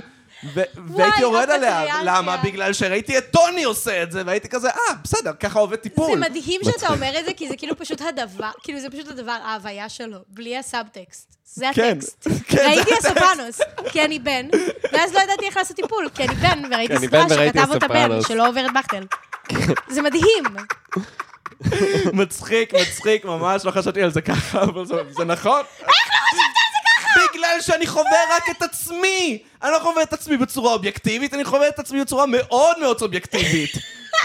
[SPEAKER 2] ו- והייתי יורד
[SPEAKER 3] אוקיי,
[SPEAKER 2] עליה,
[SPEAKER 3] ראיינתי
[SPEAKER 2] למה?
[SPEAKER 3] עליה.
[SPEAKER 2] בגלל שראיתי את טוני עושה את זה, והייתי כזה, אה, בסדר, ככה עובד טיפול.
[SPEAKER 3] זה מדהים שאתה אומר את זה, כי זה כאילו פשוט הדבר, כאילו זה פשוט הדבר, ההוויה שלו, בלי הסאבטקסט. זה
[SPEAKER 2] כן,
[SPEAKER 3] הטקסט.
[SPEAKER 2] כן, זה
[SPEAKER 3] ראיתי
[SPEAKER 2] הטקסט.
[SPEAKER 3] הסופרנוס, כי אני בן, ואז לא ידעתי איך לעשות טיפול, כי אני בן, וראיתי
[SPEAKER 1] כי אני
[SPEAKER 3] סדרה
[SPEAKER 1] בן וראיתי
[SPEAKER 3] שכתב אותה בן,
[SPEAKER 1] הסופרנוס.
[SPEAKER 3] שלא עובר את בכטל. זה [laughs] מדהים.
[SPEAKER 2] מצחיק, מצחיק, ממש לא חשבתי על זה ככה, אבל זה, זה נכון. איך לא חשבת על זה ככה? בגלל שאני חווה רק את עצמי. אני לא חווה את עצמי בצורה אובייקטיבית, אני חווה את עצמי בצורה מאוד מאוד
[SPEAKER 3] [laughs]
[SPEAKER 2] סובייקטיבית.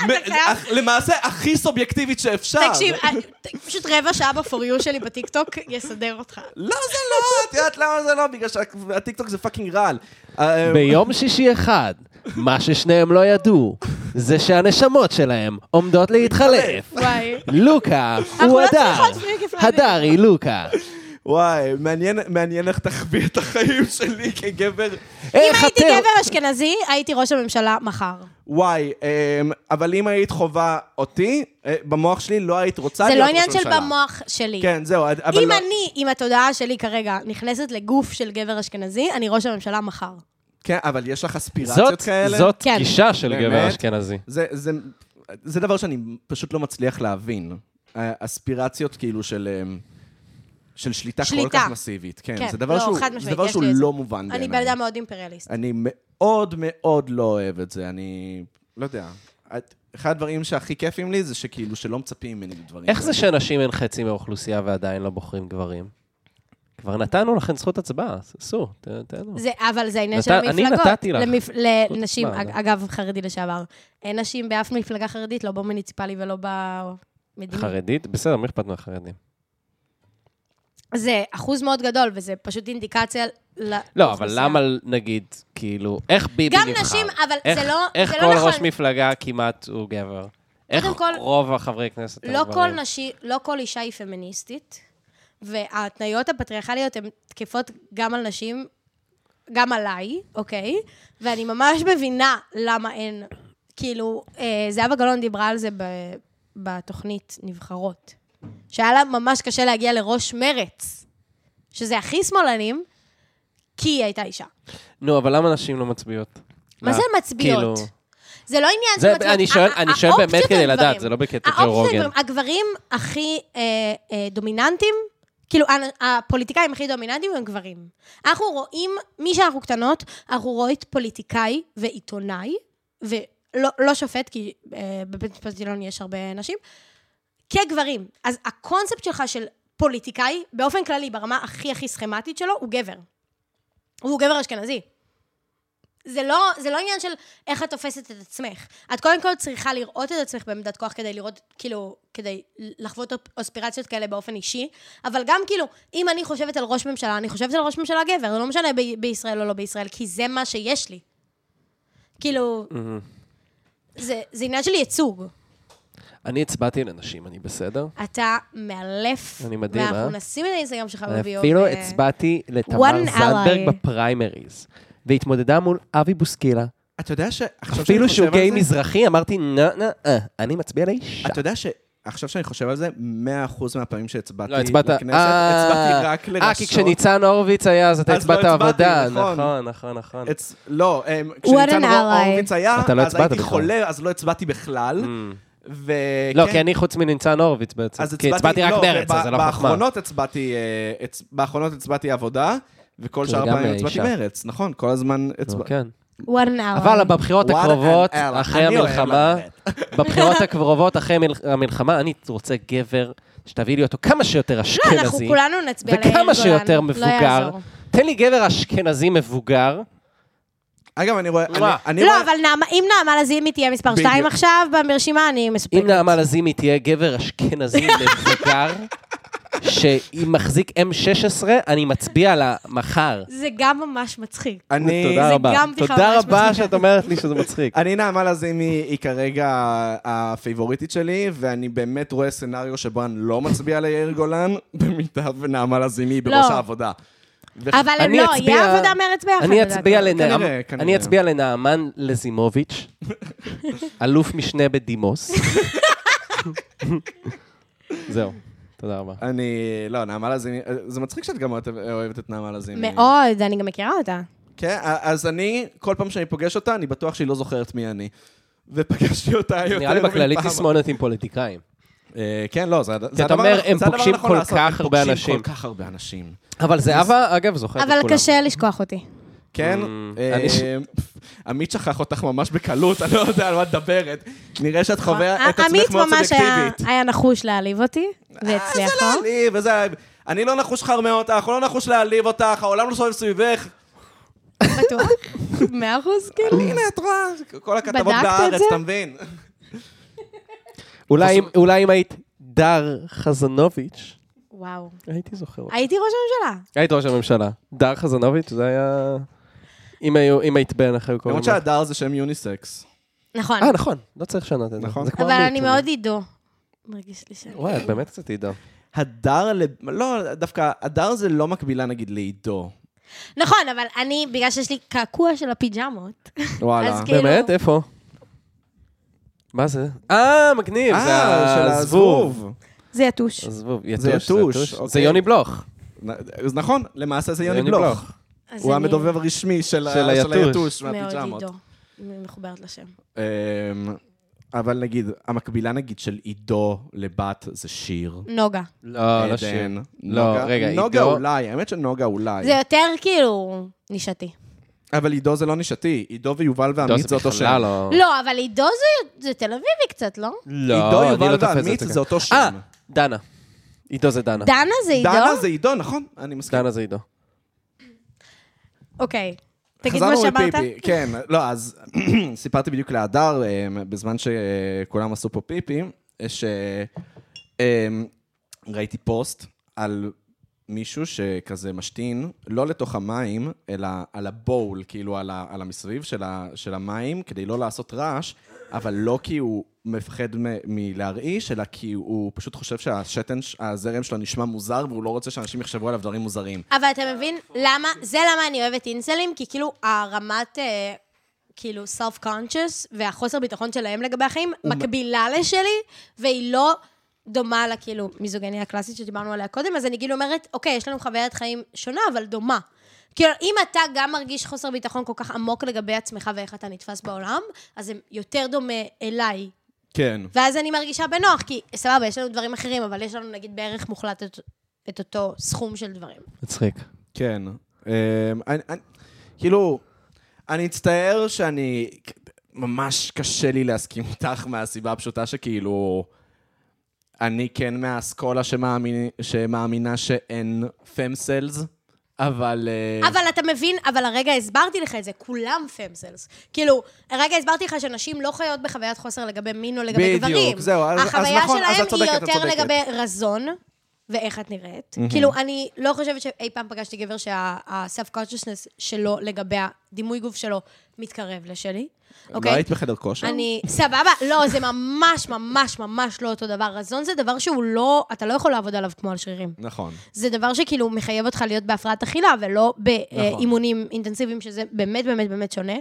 [SPEAKER 2] מ-
[SPEAKER 3] חייב-
[SPEAKER 2] אך- למעשה, הכי סובייקטיבית שאפשר.
[SPEAKER 3] תקשיב, אני- פשוט רבע שעה ב-for you שלי בטיקטוק יסדר אותך.
[SPEAKER 2] לא, זה לא, את יודעת למה זה לא? בגלל שהטיקטוק זה פאקינג רעל. אה,
[SPEAKER 1] ביום שישי אחד, מה ששניהם לא ידעו, זה שהנשמות שלהם עומדות להתחלף.
[SPEAKER 3] וואי.
[SPEAKER 1] לוקה
[SPEAKER 3] אנחנו
[SPEAKER 1] הוא
[SPEAKER 3] לא
[SPEAKER 1] הדר,
[SPEAKER 3] צריכות פריק פריידי.
[SPEAKER 1] הדר היא לוקה.
[SPEAKER 2] וואי, מעניין- מעניין איך תחווי את החיים שלי כגבר.
[SPEAKER 3] אם
[SPEAKER 1] איך
[SPEAKER 3] הייתי
[SPEAKER 1] אתם...
[SPEAKER 3] גבר אשכנזי, הייתי ראש הממשלה מחר.
[SPEAKER 2] וואי, אמ, אבל אם היית חווה אותי, אה, במוח שלי לא היית רוצה
[SPEAKER 3] זה
[SPEAKER 2] להיות
[SPEAKER 3] לא
[SPEAKER 2] ראש
[SPEAKER 3] עניין של
[SPEAKER 2] ממשלה.
[SPEAKER 3] במוח שלי.
[SPEAKER 2] כן, זהו, אבל
[SPEAKER 3] אם
[SPEAKER 2] לא...
[SPEAKER 3] אני, עם התודעה שלי כרגע, נכנסת לגוף של גבר אשכנזי, אני ראש הממשלה מחר.
[SPEAKER 2] כן, אבל יש לך אספירציות
[SPEAKER 1] זאת,
[SPEAKER 2] כאלה?
[SPEAKER 1] זאת
[SPEAKER 3] כן.
[SPEAKER 1] גישה של גבר
[SPEAKER 2] באמת?
[SPEAKER 1] אשכנזי.
[SPEAKER 2] זה, זה, זה דבר שאני פשוט לא מצליח להבין. אה, אספירציות כאילו של... אמ, של שליטה כל
[SPEAKER 3] שליטה.
[SPEAKER 2] כך מסיבית. כן,
[SPEAKER 3] כן,
[SPEAKER 2] זה דבר
[SPEAKER 3] לא,
[SPEAKER 2] שהוא,
[SPEAKER 3] חד
[SPEAKER 2] זה
[SPEAKER 3] משמעית,
[SPEAKER 2] דבר
[SPEAKER 3] יש
[SPEAKER 2] שהוא
[SPEAKER 3] לי את זה.
[SPEAKER 2] לא מובן בעיניי.
[SPEAKER 3] אני בן אדם מאוד אימפריאליסט.
[SPEAKER 2] אני מאוד מאוד לא אוהב את זה, אני לא יודע. את- אחד הדברים שהכי כיפים לי זה שכאילו שלא מצפים ממני דברים.
[SPEAKER 1] איך זה שנשים הן חצי מהאוכלוסייה ועדיין לא בוחרים גברים? כבר נתנו לכן זכות הצבעה, אז עשו, ת- תהנו.
[SPEAKER 3] זה, אבל זה העניין
[SPEAKER 1] נת-
[SPEAKER 3] של
[SPEAKER 1] אה, אני
[SPEAKER 3] המפלגות.
[SPEAKER 1] נתתי לך.
[SPEAKER 3] למפ... לנשים,
[SPEAKER 1] מה,
[SPEAKER 3] אג-
[SPEAKER 1] לא.
[SPEAKER 3] אגב, חרדי לשעבר. אין נשים באף מפלגה חרדית, לא במוניציפלי ולא במדיני.
[SPEAKER 1] חרדית? בסדר, מי אכפת מהחרדים?
[SPEAKER 3] זה אחוז מאוד גדול, וזה פשוט אינדיקציה ל...
[SPEAKER 1] לא, אבל
[SPEAKER 3] לאוכלוסייה.
[SPEAKER 1] למה, נגיד, כאילו, איך ביבי
[SPEAKER 3] גם
[SPEAKER 1] נבחר?
[SPEAKER 3] נשים, אבל
[SPEAKER 1] איך,
[SPEAKER 3] זה לא,
[SPEAKER 1] איך
[SPEAKER 3] זה
[SPEAKER 1] כל
[SPEAKER 3] לא נכון.
[SPEAKER 1] ראש מפלגה כמעט הוא גבר? איך
[SPEAKER 3] כל-
[SPEAKER 1] רוב החברי כנסת הם
[SPEAKER 3] לא כל,
[SPEAKER 1] גברים?
[SPEAKER 3] נשי, לא כל אישה היא פמיניסטית, וההתניות הפטריארכליות הן תקפות גם על נשים, גם עליי, אוקיי? ואני ממש מבינה למה אין... כאילו, אה, זהבה גלאון דיברה על זה ב, בתוכנית נבחרות, שהיה לה ממש קשה להגיע לראש מרץ, שזה הכי שמאלנים, כי היא הייתה אישה.
[SPEAKER 1] נו, אבל למה נשים לא מצביעות?
[SPEAKER 3] מה זה מצביעות?
[SPEAKER 1] כאילו-
[SPEAKER 3] זה לא עניין
[SPEAKER 1] זה-
[SPEAKER 3] של מצביעות.
[SPEAKER 1] אני שואל-
[SPEAKER 3] הא-
[SPEAKER 1] אני שואל באמת
[SPEAKER 3] האופציות
[SPEAKER 1] כדי
[SPEAKER 3] הן
[SPEAKER 1] לדעת,
[SPEAKER 3] גברים.
[SPEAKER 1] זה לא בקטע
[SPEAKER 3] האופציות
[SPEAKER 1] ג'ו
[SPEAKER 3] הן
[SPEAKER 1] רוגן.
[SPEAKER 3] גברים. הגברים הכי אה, אה, דומיננטיים, כאילו ה- הפוליטיקאים הכי דומיננטיים הם גברים. אנחנו רואים, משאנחנו קטנות, אנחנו רואות פוליטיקאי ועיתונאי, ולא לא שופט, כי אה, בבית משפט עליון יש הרבה נשים, כגברים. אז הקונספט שלך של פוליטיקאי, באופן כללי, ברמה הכי הכי סכמטית שלו, הוא גבר. הוא גבר אשכנזי. זה לא, זה לא עניין של איך את תופסת את עצמך. את קודם כל צריכה לראות את עצמך בעמדת כוח כדי לראות, כאילו, כדי לחוות אוספירציות כאלה באופן אישי, אבל גם כאילו, אם אני חושבת על ראש ממשלה, אני חושבת על ראש ממשלה גבר, זה לא משנה ב- בישראל או לא בישראל, כי זה מה שיש לי. כאילו,
[SPEAKER 1] מהמם. Mm-hmm.
[SPEAKER 3] זה, זה עניין של ייצוג.
[SPEAKER 1] אני הצבעתי לנשים, אני בסדר?
[SPEAKER 3] אתה מאלף.
[SPEAKER 1] אני מדהים, אה?
[SPEAKER 3] ואנחנו נשים את האינסטגרם שלך בביוב.
[SPEAKER 1] אפילו
[SPEAKER 3] ו-
[SPEAKER 1] הצבעתי לתמר
[SPEAKER 3] אה, One
[SPEAKER 1] זנדברג
[SPEAKER 3] ally.
[SPEAKER 1] בפריימריז, והתמודדה מול אבי בוסקילה.
[SPEAKER 2] אתה יודע ש... עכשיו
[SPEAKER 1] אפילו
[SPEAKER 2] שאני
[SPEAKER 1] שהוא
[SPEAKER 2] חושב על
[SPEAKER 1] גיי
[SPEAKER 2] זה-
[SPEAKER 1] מזרחי, אמרתי, נה, נה, אה, אני מצביע לאישה.
[SPEAKER 2] אתה יודע שעכשיו שאני חושב על זה, 100% מהפעמים שהצבעתי
[SPEAKER 1] לא, הצבעת...
[SPEAKER 2] לכנסת,
[SPEAKER 1] אה,
[SPEAKER 2] הצבעתי רק לרשות.
[SPEAKER 1] אה, כי כשניצן הורוביץ היה, אז אתה
[SPEAKER 2] אז לא
[SPEAKER 1] הצבעת
[SPEAKER 2] הצבעתי,
[SPEAKER 1] עבודה.
[SPEAKER 2] נכון.
[SPEAKER 1] נכון, נכון, נכון.
[SPEAKER 2] הצ- לא, אמ,
[SPEAKER 3] an
[SPEAKER 2] כשניצן
[SPEAKER 3] ally.
[SPEAKER 2] הורוביץ היה,
[SPEAKER 1] אתה לא
[SPEAKER 2] אז
[SPEAKER 1] הצבעת
[SPEAKER 2] הייתי
[SPEAKER 1] בכלל.
[SPEAKER 2] חולה, אז לא הצבעתי בכלל. וכן,
[SPEAKER 1] לא, כי אני חוץ מניצן הורוביץ בעצם.
[SPEAKER 2] כן. אז
[SPEAKER 1] כי הצבעתי רק
[SPEAKER 2] לא,
[SPEAKER 1] מרץ,
[SPEAKER 2] וב-
[SPEAKER 1] אז זה לא חכמה.
[SPEAKER 2] באחרונות הצבעתי, אה, הצ- באחרונות הצבעתי עבודה, וכל
[SPEAKER 1] שזה
[SPEAKER 2] שאר
[SPEAKER 1] גם,
[SPEAKER 2] הפעמים
[SPEAKER 1] אה,
[SPEAKER 2] הצבעתי
[SPEAKER 1] אישה.
[SPEAKER 2] מרץ, נכון, כל הזמן
[SPEAKER 1] נו,
[SPEAKER 2] הצבעתי.
[SPEAKER 1] כן.
[SPEAKER 3] one hour.
[SPEAKER 1] אבל בבחירות
[SPEAKER 2] וואלה,
[SPEAKER 1] הקרובות,
[SPEAKER 2] אה, אה,
[SPEAKER 1] אחרי
[SPEAKER 2] אני אוהב
[SPEAKER 1] המלחמה,
[SPEAKER 2] ללכת.
[SPEAKER 3] [laughs]
[SPEAKER 1] בבחירות הקרובות, אחרי המל- המלחמה, אני רוצה גבר שתביא לי אותו כמה שיותר
[SPEAKER 3] לא, אנחנו
[SPEAKER 1] אשכנזי,
[SPEAKER 3] כולנו נצביע ליאיר גולן.
[SPEAKER 1] וכמה שיותר
[SPEAKER 3] לא
[SPEAKER 1] מבוגר.
[SPEAKER 3] יעזור.
[SPEAKER 1] תן לי גבר אשכנזי מבוגר.
[SPEAKER 2] אגב, אני רואה, אני-
[SPEAKER 1] וואו.
[SPEAKER 2] אני
[SPEAKER 3] לא,
[SPEAKER 2] רואה,
[SPEAKER 3] אבל נעמה- אם נעמה לזימי תהיה מספר
[SPEAKER 2] בדיוק.
[SPEAKER 3] 2 עכשיו ברשימה, אני מספקת.
[SPEAKER 1] אם נעמה לזימי תהיה גבר [laughs] אשכנזי מבוגר, שהיא מחזיק M16, אני מצביע לה מחר.
[SPEAKER 3] זה גם ממש מצחיק.
[SPEAKER 2] אני,
[SPEAKER 1] תודה
[SPEAKER 3] זה
[SPEAKER 1] רבה.
[SPEAKER 3] גם לא בדיחה
[SPEAKER 1] תודה
[SPEAKER 3] ממש
[SPEAKER 1] רבה
[SPEAKER 3] מצחיקה.
[SPEAKER 1] שאת אומרת לי שזה מצחיק.
[SPEAKER 2] אני נעמה לזימי היא כרגע הפייבוריטית שלי, ואני באמת רואה סצנריו שבו אני לא מצביע ליאיר גולן, [laughs] במידה ונעמה לזימי היא בראש
[SPEAKER 3] לא.
[SPEAKER 2] העבודה.
[SPEAKER 3] אבל הם
[SPEAKER 1] אני
[SPEAKER 3] לא,
[SPEAKER 1] אצביע-
[SPEAKER 3] יהיה עבודה מרץ ביחד.
[SPEAKER 1] אני
[SPEAKER 3] לדעתי.
[SPEAKER 1] אצביע לנעמ-
[SPEAKER 2] כנראה, כנראה.
[SPEAKER 1] אני אצביע לנעמן
[SPEAKER 3] [laughs]
[SPEAKER 1] לזימוביץ', אלוף משנה בדימוס. זהו, תודה רבה.
[SPEAKER 2] אני, לא, נעמה לזימי, זה מצחיק שאת גם אוהבת- אוהבת את נעמה לזימי.
[SPEAKER 3] מאוד, אני גם מכירה אותה.
[SPEAKER 2] כן, אז אני, כל פעם שאני פוגש אותה, אני בטוח שהיא לא זוכרת מי אני. ופגשתי אותה יותר
[SPEAKER 1] נראה לי בכללית
[SPEAKER 2] מפעם.
[SPEAKER 1] תסמונת עם פוליטיקאים.
[SPEAKER 2] אה, כן, לא, זה הד- זה הדבר
[SPEAKER 1] אתה אומר,
[SPEAKER 2] הנכון-
[SPEAKER 1] הם
[SPEAKER 2] זה הדבר
[SPEAKER 1] פוגשים
[SPEAKER 2] הנכון
[SPEAKER 1] כל
[SPEAKER 2] לעשות,
[SPEAKER 1] כך הרבה
[SPEAKER 2] הם
[SPEAKER 1] אנשים.
[SPEAKER 2] פוגשים כל כך הרבה אנשים.
[SPEAKER 1] אבל זהבה, אגב, זוכרת את
[SPEAKER 3] אבל
[SPEAKER 1] כולם.
[SPEAKER 3] קשה לשכוח אותי.
[SPEAKER 2] כן?
[SPEAKER 1] Mm,
[SPEAKER 2] אה,
[SPEAKER 1] אני ש-
[SPEAKER 2] עמית שכח אותך ממש בקלות, אני לא יודע על מה את מדברת. נראה שאת חווה את
[SPEAKER 3] אה, עמית
[SPEAKER 2] עצמך מאוד
[SPEAKER 3] ממש היה- לא?
[SPEAKER 2] סלקטיבית.
[SPEAKER 3] היה נחוש להעליב אותי, והצליח
[SPEAKER 2] זה לא
[SPEAKER 3] לו.
[SPEAKER 2] להעליב, וזה... אני לא נחוש לחרמן אותך, לא נחוש להעליב אותך, העולם לא סובב סביבך.
[SPEAKER 3] בטוח? מאה אחוז, כאילו.
[SPEAKER 2] הנה, את רואה, כל הכתבות
[SPEAKER 3] בדקת את
[SPEAKER 2] בארץ,
[SPEAKER 3] זה?
[SPEAKER 2] אתה מבין?
[SPEAKER 1] אולי אם- אולי אם היית דר חזנוביץ',
[SPEAKER 3] וואו.
[SPEAKER 1] הייתי זוכר אותה.
[SPEAKER 3] הייתי ראש הממשלה.
[SPEAKER 1] היית ראש הממשלה. דר חזנוביץ', זה היה... אם היו- אם היית בן, איך היו קוראים
[SPEAKER 2] למרות
[SPEAKER 1] לך?
[SPEAKER 2] שהדר זה שם יוניסקס.
[SPEAKER 3] נכון.
[SPEAKER 1] אה, נכון, לא צריך לשנות את זה.
[SPEAKER 2] נכון.
[SPEAKER 1] זה כמו
[SPEAKER 3] אבל
[SPEAKER 1] עמית,
[SPEAKER 3] אני מאוד כאילו- עידו. מרגיש לי שאני...
[SPEAKER 1] וואי, את באמת קצת עידו.
[SPEAKER 2] הדר, לב- לא, דווקא הדר זה לא מקבילה נגיד לעידו.
[SPEAKER 3] נכון, אבל אני, בגלל שיש לי קעקוע של הפיג'מות, [laughs]
[SPEAKER 2] וואלה.
[SPEAKER 3] אז כאילו-
[SPEAKER 1] באמת? איפה? מה זה? אה, מגניב,
[SPEAKER 2] אה,
[SPEAKER 1] זה
[SPEAKER 2] של
[SPEAKER 1] הזבוב.
[SPEAKER 2] הזבוב.
[SPEAKER 3] זה יתוש.
[SPEAKER 1] הזבוב,
[SPEAKER 2] זה
[SPEAKER 1] יתוש,
[SPEAKER 2] יתוש,
[SPEAKER 1] זה יתוש. זה
[SPEAKER 2] אוקיי.
[SPEAKER 1] יוני בלוך.
[SPEAKER 2] נ- אז נכון, למעשה זה
[SPEAKER 1] זה
[SPEAKER 2] יוני בלוך.
[SPEAKER 3] אז
[SPEAKER 2] הוא
[SPEAKER 3] אני
[SPEAKER 2] המדובב הרשמי של ה-
[SPEAKER 1] של
[SPEAKER 2] של
[SPEAKER 1] היתוש.
[SPEAKER 2] היתוש
[SPEAKER 3] מאוד
[SPEAKER 2] מהפיג'מות.
[SPEAKER 3] עידו. אני מחוברת לשם.
[SPEAKER 2] אמ, אבל נגיד, המקבילה נגיד של עידו לבת זה שיר.
[SPEAKER 3] נוגה.
[SPEAKER 1] לא, לא
[SPEAKER 2] עדן,
[SPEAKER 1] שיר. לא,
[SPEAKER 2] נוגה-
[SPEAKER 1] רגע,
[SPEAKER 2] נוגה
[SPEAKER 1] עידו...
[SPEAKER 2] אולי, האמת שנוגה אולי.
[SPEAKER 3] זה יותר כאילו נישתי.
[SPEAKER 2] אבל עידו זה לא נישתי, עידו ויובל
[SPEAKER 1] עידו
[SPEAKER 2] ועמית זה
[SPEAKER 1] זה
[SPEAKER 2] אותו
[SPEAKER 1] בכלל
[SPEAKER 2] שם.
[SPEAKER 1] לא...
[SPEAKER 3] לא, אבל עידו זה- זה תל אביבי קצת,
[SPEAKER 2] אה.
[SPEAKER 3] לא?
[SPEAKER 2] עידו,
[SPEAKER 1] אני
[SPEAKER 2] יובל
[SPEAKER 1] לא תופס את
[SPEAKER 2] ועמית
[SPEAKER 1] ככה.
[SPEAKER 2] זה אותו שם.
[SPEAKER 1] אה, דנה. עידו זה דנה.
[SPEAKER 3] דנה זה עידו?
[SPEAKER 2] דנה זה עידו, נכון? אני מסכים.
[SPEAKER 1] דנה זה עידו.
[SPEAKER 3] אוקיי. תגיד
[SPEAKER 2] חזרנו
[SPEAKER 3] מה שאמרת.
[SPEAKER 2] מפיפי, כן, לא, אז [clears throat] סיפרתי בדיוק להדר, אה, בזמן שכולם עשו פה פיפי, שראיתי פוסט על מישהו שכזה משתין, לא לתוך המים, אלא על הבול, כאילו על, ה, על המסביב של, ה, של המים, כדי לא לעשות רעש, אבל לא כי הוא מפחד מ, מלהרעיש, אלא כי הוא פשוט חושב שהשתן, ש- הזרם שלו נשמע מוזר, והוא לא רוצה שאנשים יחשבו עליו דברים מוזרים.
[SPEAKER 3] אבל אתה מבין למה, זה למה אני אוהבת אינסלים, כי כאילו הרמת, אה, כאילו, self-conscious והחוסר ביטחון שלהם לגבי החיים מקבילה לשלי, והיא לא דומה לה, כאילו, מיזוגניה הקלאסית שדיברנו עליה קודם, אז אני כאילו אומרת, אוקיי, יש לנו חוויית חיים שונה, אבל דומה. כאילו, אם אתה גם מרגיש חוסר ביטחון כל כך עמוק לגבי עצמך ואיך אתה נתפס בעולם, אז זה יותר דומה אליי.
[SPEAKER 2] כן.
[SPEAKER 3] ואז אני מרגישה בנוח, כי סבבה, יש לנו דברים אחרים, אבל יש לנו נגיד בערך מוחלט את, את אותו סכום של דברים.
[SPEAKER 1] מצחיק.
[SPEAKER 2] כן. אמ, אני, אני, כאילו, אני מצטער שאני... ממש קשה לי להסכים איתך מהסיבה הפשוטה שכאילו... אני כן מהאסכולה שמאמין, שמאמינה שאין פם סלס, אבל... אה,
[SPEAKER 3] אבל אתה מבין, אבל הרגע הסברתי לך את זה, כולם פמסלס. כאילו, הרגע הסברתי לך שנשים לא חיות בחוויית חוסר לגבי מין או לגבי
[SPEAKER 2] בדיוק,
[SPEAKER 3] גברים.
[SPEAKER 2] זהו, אז- אז
[SPEAKER 3] החוויה
[SPEAKER 2] נכון, אז את
[SPEAKER 3] שלהם
[SPEAKER 2] צודקת, את
[SPEAKER 3] היא יותר
[SPEAKER 2] צודקת.
[SPEAKER 3] לגבי רזון. ואיך את נראית. כאילו, אני לא חושבת שאי פעם פגשתי גבר שה-self-consciousness שלו לגבי הדימוי גוף שלו מתקרב לשלי, אוקיי?
[SPEAKER 2] לא היית בחדר כושר?
[SPEAKER 3] אני, סבבה, לא, זה ממש ממש ממש לא אותו דבר. רזון זה דבר שהוא לא, אתה לא יכול לעבוד עליו כמו על שרירים.
[SPEAKER 2] נכון.
[SPEAKER 3] זה דבר שכאילו מחייב אותך להיות בהפרעת אכילה, ולא
[SPEAKER 2] נכון.
[SPEAKER 3] באימונים אינטנסיביים, שזה באמת באמת באמת שונה.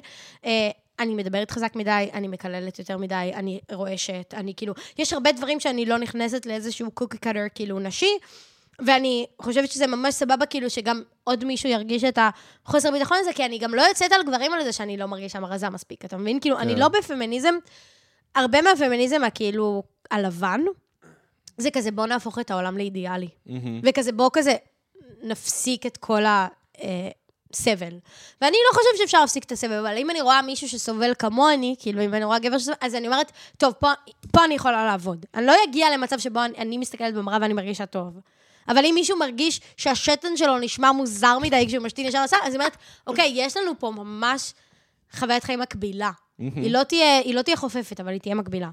[SPEAKER 3] אה, אני מדברת חזק מדי, אני מקללת יותר מדי, אני רועשת, אני כאילו... יש הרבה דברים שאני לא נכנסת לאיזשהו קוקי קאטר כאילו נשי, ואני חושבת שזה ממש סבבה כאילו שגם עוד מישהו ירגיש את החוסר ביטחון הזה, כי אני גם לא יוצאת על גברים על זה שאני לא מרגישה מרזה מספיק, אתה מבין? כאילו, אני לא בפמיניזם, הרבה מהפמיניזם הכאילו הלבן, זה כזה בוא נהפוך את העולם לאידיאלי. וכזה בוא כזה נפסיק את כל הסבל. ואני לא חושבת שאפשר להפסיק את הסבל, אבל אם אני רואה מישהו שסובל כמוני, כאילו אם אני רואה גבר שסובל, אז אני אומרת, טוב, פה, פה אני יכולה לעבוד. אני לא אגיע למצב שבו אני, אני מסתכלת במראה ואני מרגישה טוב. אבל אם מישהו מרגיש שהשתן שלו נשמע מוזר מדי כשהוא משתין ישר לסל, אז היא אומרת, אוקיי, יש לנו פה ממש חוויית חיים מקבילה. היא לא תהיה, היא לא תהיה חופפת, אבל היא תהיה מקבילה.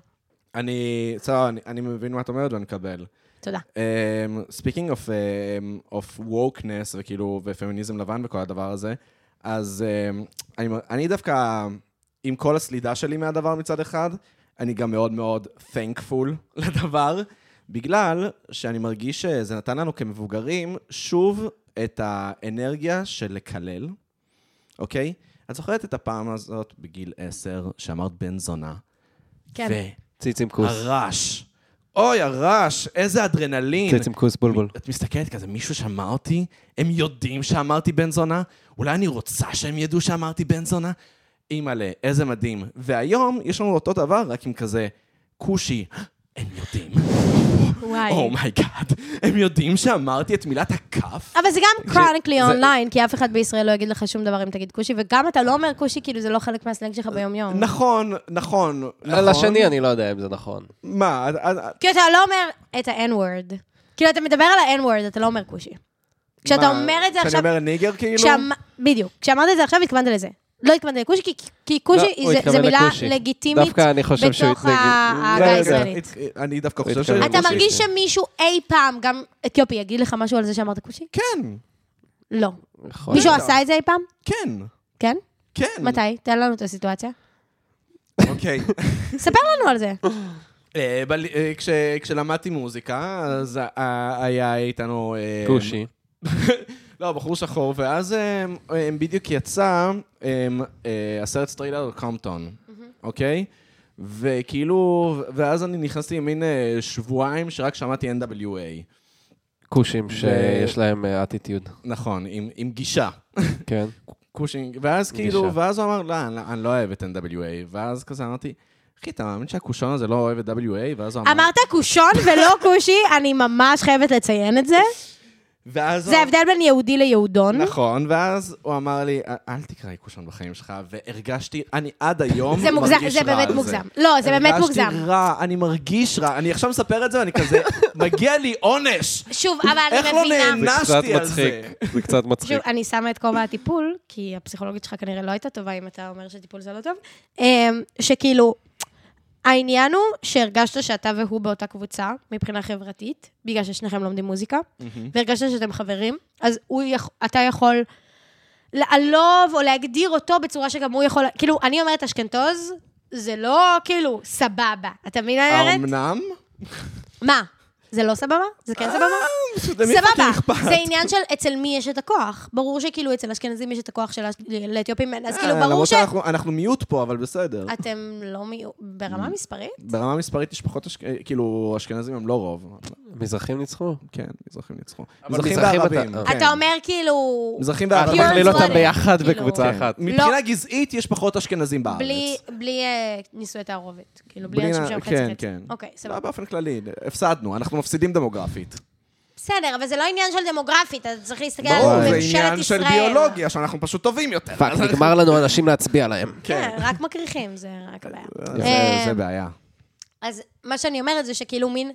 [SPEAKER 2] אני... בסדר, אני, אני מבין מה את אומרת ואני מקבל.
[SPEAKER 3] תודה.
[SPEAKER 2] Um, speaking of, um, of wokeness, וכאילו, ופמיניזם לבן וכל הדבר הזה, אז um, אני, אני דווקא, עם כל הסלידה שלי מהדבר מצד אחד, אני גם מאוד מאוד thankful [laughs] לדבר, בגלל שאני מרגיש שזה נתן לנו כמבוגרים שוב את האנרגיה של לקלל, אוקיי? את זוכרת את הפעם הזאת בגיל עשר, שאמרת בן זונה?
[SPEAKER 3] כן.
[SPEAKER 1] ציצים כוס.
[SPEAKER 2] הרעש. אוי, הרעש, איזה אדרנלין.
[SPEAKER 1] ציצים כוס בולבול.
[SPEAKER 2] את מסתכלת כזה, מישהו שמע אותי? הם יודעים שאמרתי בן זונה? אולי אני רוצה שהם ידעו שאמרתי בן זונה? אימא'לה, איזה מדהים. והיום יש לנו אותו דבר, רק עם כזה כושי. הם יודעים.
[SPEAKER 3] וואי.
[SPEAKER 2] אומייגאד. הם יודעים שאמרתי את מילת הכף?
[SPEAKER 3] אבל זה גם קרוניקלי
[SPEAKER 1] זה-
[SPEAKER 3] אונליין, כי אף אחד בישראל לא יגיד לך שום דבר אם תגיד כושי, וגם אתה לא אומר כושי, כאילו זה לא חלק מהסלנג שלך ביום-יום.
[SPEAKER 2] נכון, נכון, נכון.
[SPEAKER 1] לשני אני לא יודע אם זה נכון.
[SPEAKER 2] מה, אה, את- את-
[SPEAKER 3] כי אתה לא אומר את ה-N-word. כאילו, אתה מדבר על ה-N-word, אתה לא אומר כושי. כשאתה
[SPEAKER 2] מה,
[SPEAKER 3] אומר את זה
[SPEAKER 2] כשאני
[SPEAKER 3] עכשיו...
[SPEAKER 2] אומר ניגר כאילו?
[SPEAKER 3] כשאמ- בדיוק. כשאמרת את זה עכשיו, התכוונת לזה. לא התכוונת לכושי, כי- כי כושי
[SPEAKER 1] לא, הוא
[SPEAKER 3] זה-
[SPEAKER 1] התכוון
[SPEAKER 3] זה מילה
[SPEAKER 1] לכושי.
[SPEAKER 3] לגיטימית
[SPEAKER 1] דווקא אני חושב שהוא
[SPEAKER 3] בתוך
[SPEAKER 1] התנגד.
[SPEAKER 3] ה-
[SPEAKER 1] לא,
[SPEAKER 3] ההגה
[SPEAKER 1] רגע,
[SPEAKER 3] הישראלית.
[SPEAKER 2] אני דווקא חושב ש...
[SPEAKER 1] התכוון
[SPEAKER 3] אתה
[SPEAKER 1] לכושי.
[SPEAKER 3] אה, מרגיש שמישהו אי פעם, גם אתיופי, יגיד לך משהו על זה שאמרת כושי?
[SPEAKER 2] כן,
[SPEAKER 3] לא.
[SPEAKER 1] יכול
[SPEAKER 3] מישהו
[SPEAKER 1] להיות.
[SPEAKER 3] עשה את זה אי פעם?
[SPEAKER 2] כן,
[SPEAKER 3] כן?
[SPEAKER 2] כן.
[SPEAKER 3] מתי? תן לנו את הסיטואציה.
[SPEAKER 2] אוקיי.
[SPEAKER 3] ספר לנו על זה.
[SPEAKER 2] אה, בל- אה, כש- כשלמדתי מוזיקה, אז אה, היה איתנו... אה,
[SPEAKER 1] כושי.
[SPEAKER 2] לא, בחור שחור, ואז אה, אה, בדיוק יצא אה, אה, הסרט סטריילר קומפטון, אוקיי? וכאילו, ואז אני נכנסתי למין אה, שבועיים שרק שמעתי NWA.
[SPEAKER 1] כושים שיש להם אטיטיוד.
[SPEAKER 2] נכון, עם עם גישה.
[SPEAKER 1] כן.
[SPEAKER 2] קושינג, ואז כאילו,
[SPEAKER 1] גישה.
[SPEAKER 2] ואז הוא אמר, לא, אני לא- אני לא אוהב את NWA, ואז כזה אמרתי, אחי, אתה מאמין שהקושון הזה לא אוהב את WA? ואז הוא אמר...
[SPEAKER 3] אמרת קושון
[SPEAKER 2] [laughs]
[SPEAKER 3] ולא כושי, אני ממש חייבת לציין את זה.
[SPEAKER 2] ואז הוא-
[SPEAKER 3] זה ההבדל בין יהודי ליהודון.
[SPEAKER 2] [laughs] נכון, ואז הוא אמר לי, "אל- אל תקרא עיקושון בחיים שלך, והרגשתי, אני עד היום
[SPEAKER 3] זה
[SPEAKER 2] מרגיש רע
[SPEAKER 3] מוגזם,
[SPEAKER 2] על
[SPEAKER 3] זה באמת מוגזם. לא, זה באמת מוגזם.
[SPEAKER 2] הרגשתי רע, אני מרגיש רע, אני עכשיו מספר את זה, ואני כזה, [laughs] מגיע לי עונש!
[SPEAKER 3] שוב, אבל אני
[SPEAKER 2] איך לא
[SPEAKER 3] מבינה...
[SPEAKER 1] זה קצת
[SPEAKER 2] נשתי על
[SPEAKER 1] מצחיק,
[SPEAKER 2] זה.
[SPEAKER 1] זה קצת
[SPEAKER 3] שוב,
[SPEAKER 1] מצחיק.
[SPEAKER 3] אני שמה את כובע הטיפול, כי הפסיכולוגית שלך כנראה לא הייתה טובה אם אתה אומר שטיפול זה לא טוב, אמ, שכאילו, העניין הוא שהרגשת שאתה והוא באותה קבוצה, מבחינה חברתית, בגלל ששניכם לומדים מוזיקה, והרגשת שאתם חברים, אז הוא יכ... אתה יכול לעלוב או להגדיר אותו בצורה שגם הוא יכול... כאילו, אני אומרת אשכנתוז, זה לא כאילו סבבה. אתה מבין, ארץ?
[SPEAKER 2] האמנם?
[SPEAKER 3] מה? זה לא סבבה? זה כן סבבה?
[SPEAKER 2] למי
[SPEAKER 3] סבבה,
[SPEAKER 2] פאקינג אכפת?
[SPEAKER 3] זה עניין של אצל מי יש את הכוח. ברור שכאילו אצל אשכנזים יש את הכוח של האש- לאתיופים, אין, אז כאילו
[SPEAKER 2] אה,
[SPEAKER 3] ברור
[SPEAKER 2] למרות
[SPEAKER 3] ש...
[SPEAKER 2] שאנחנו- אנחנו מיעוט פה, אבל בסדר.
[SPEAKER 3] אתם לא מי... ברמה
[SPEAKER 2] Mm.
[SPEAKER 3] מספרית?
[SPEAKER 2] ברמה מספרית יש פחות, אשכ- אה, כאילו, אשכנזים הם לא רוב. אבל
[SPEAKER 3] אה-
[SPEAKER 1] מזרחים ניצחו?
[SPEAKER 2] כן, מזרחים ניצחו.
[SPEAKER 1] אבל
[SPEAKER 2] מזרחים
[SPEAKER 1] מזרחים אתה-
[SPEAKER 2] וערבים.
[SPEAKER 1] אה.
[SPEAKER 2] כן.
[SPEAKER 3] אתה אומר כאילו...
[SPEAKER 2] מזרחים
[SPEAKER 1] אתה
[SPEAKER 2] וערבים.
[SPEAKER 3] Pure
[SPEAKER 1] מכליל אותם
[SPEAKER 3] Blooded,
[SPEAKER 1] ביחד
[SPEAKER 3] כאילו.
[SPEAKER 1] בקבוצה
[SPEAKER 2] כן.
[SPEAKER 1] אחת.
[SPEAKER 2] מבחינה גזעית יש פחות אשכנזים בארץ.
[SPEAKER 3] בלי, בלי אה, נישואי תערובת, כאילו, בלי
[SPEAKER 2] בלי
[SPEAKER 3] אנשים
[SPEAKER 2] נ-
[SPEAKER 3] שהם חצי חצי.
[SPEAKER 2] כן, כן.
[SPEAKER 3] אוקיי, סבבה. אה,
[SPEAKER 2] לא, באופן כללי, הפסדנו, אנחנו מפסידים דמוגרפית.
[SPEAKER 3] בסדר, אבל זה לא עניין של דמוגרפית, אתה צריך להסתכל
[SPEAKER 2] ברור,
[SPEAKER 3] על
[SPEAKER 2] זה
[SPEAKER 3] ממשלת ישראל.
[SPEAKER 2] עניין של ביולוגיה, שאנחנו פשוט טובים יותר.
[SPEAKER 1] פאק,
[SPEAKER 2] אז אנחנו-
[SPEAKER 1] נגמר לנו אנשים להצביע להם.
[SPEAKER 3] כן, רק מקריחים, זה רק הבעיה.
[SPEAKER 2] זה- זה
[SPEAKER 3] אמ,
[SPEAKER 2] בעיה.
[SPEAKER 3] אז מה שאני אומרת זה שכאילו מין,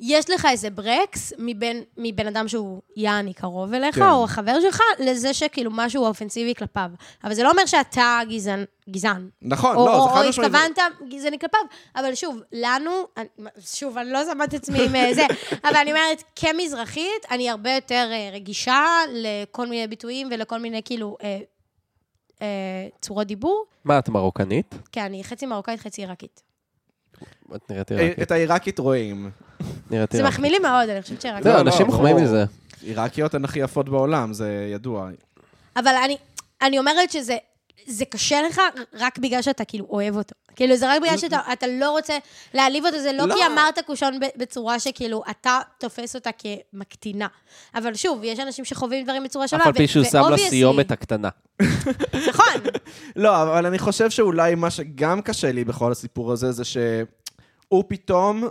[SPEAKER 3] יש לך איזה ברקס מבין, מבין אדם שהוא יעני קרוב אליך,
[SPEAKER 2] כן.
[SPEAKER 3] כן. או החבר שלך, לזה שכאילו משהו אופנסיבי כלפיו. אבל זה לא אומר שאתה גזען, גזען.
[SPEAKER 2] נכון,
[SPEAKER 3] או,
[SPEAKER 2] לא,
[SPEAKER 3] או,
[SPEAKER 2] זה
[SPEAKER 3] או
[SPEAKER 2] חד משמעית.
[SPEAKER 3] התכוונת גזעני כלפיו, אבל שוב, לנו, אני- שוב, אני לא שמה את עצמי
[SPEAKER 2] [laughs]
[SPEAKER 3] עם אה, זה, אבל אני אומרת, כמזרחית, אני הרבה יותר אה, רגישה לכל מיני ביטויים ולכל מיני כאילו אה, אה, צורות דיבור,
[SPEAKER 1] מה, את מרוקנית?
[SPEAKER 3] כי אני חצי מרוקאית, חצי עיראקית.
[SPEAKER 1] את נראית
[SPEAKER 2] אה,
[SPEAKER 1] עיראקית.
[SPEAKER 2] את העיראקית רואים.
[SPEAKER 1] נראית
[SPEAKER 3] זה
[SPEAKER 1] עיראקית.
[SPEAKER 3] מחמיא לי מאוד, אני חושבת שעיראקית.
[SPEAKER 1] זהו,
[SPEAKER 2] לא,
[SPEAKER 1] אנשים
[SPEAKER 2] לא,
[SPEAKER 1] מחמיאים
[SPEAKER 2] ברור.
[SPEAKER 1] מזה.
[SPEAKER 2] עיראקיות הן הכי יפות בעולם, זה ידוע.
[SPEAKER 3] אבל אני, אני אומרת שזה זה קשה לך רק בגלל שאתה כאילו אוהב אותו. כאילו, זה רק בגלל שאתה אתה לא רוצה להעליב אותו, זה לא,
[SPEAKER 2] לא.
[SPEAKER 3] כי אמרת קושון ב- בצורה שכאילו, אתה תופס אותה כמקטינה. אבל שוב, יש אנשים שחווים דברים בצורה שונה,
[SPEAKER 1] אף על פי שהוא שם לה
[SPEAKER 3] ו-obviously-
[SPEAKER 1] סיומת הקטנה.
[SPEAKER 3] נכון,
[SPEAKER 2] לא, אבל אני חושב שאולי מה שגם קשה לי בכל הסיפור הזה, זה שהוא פתאום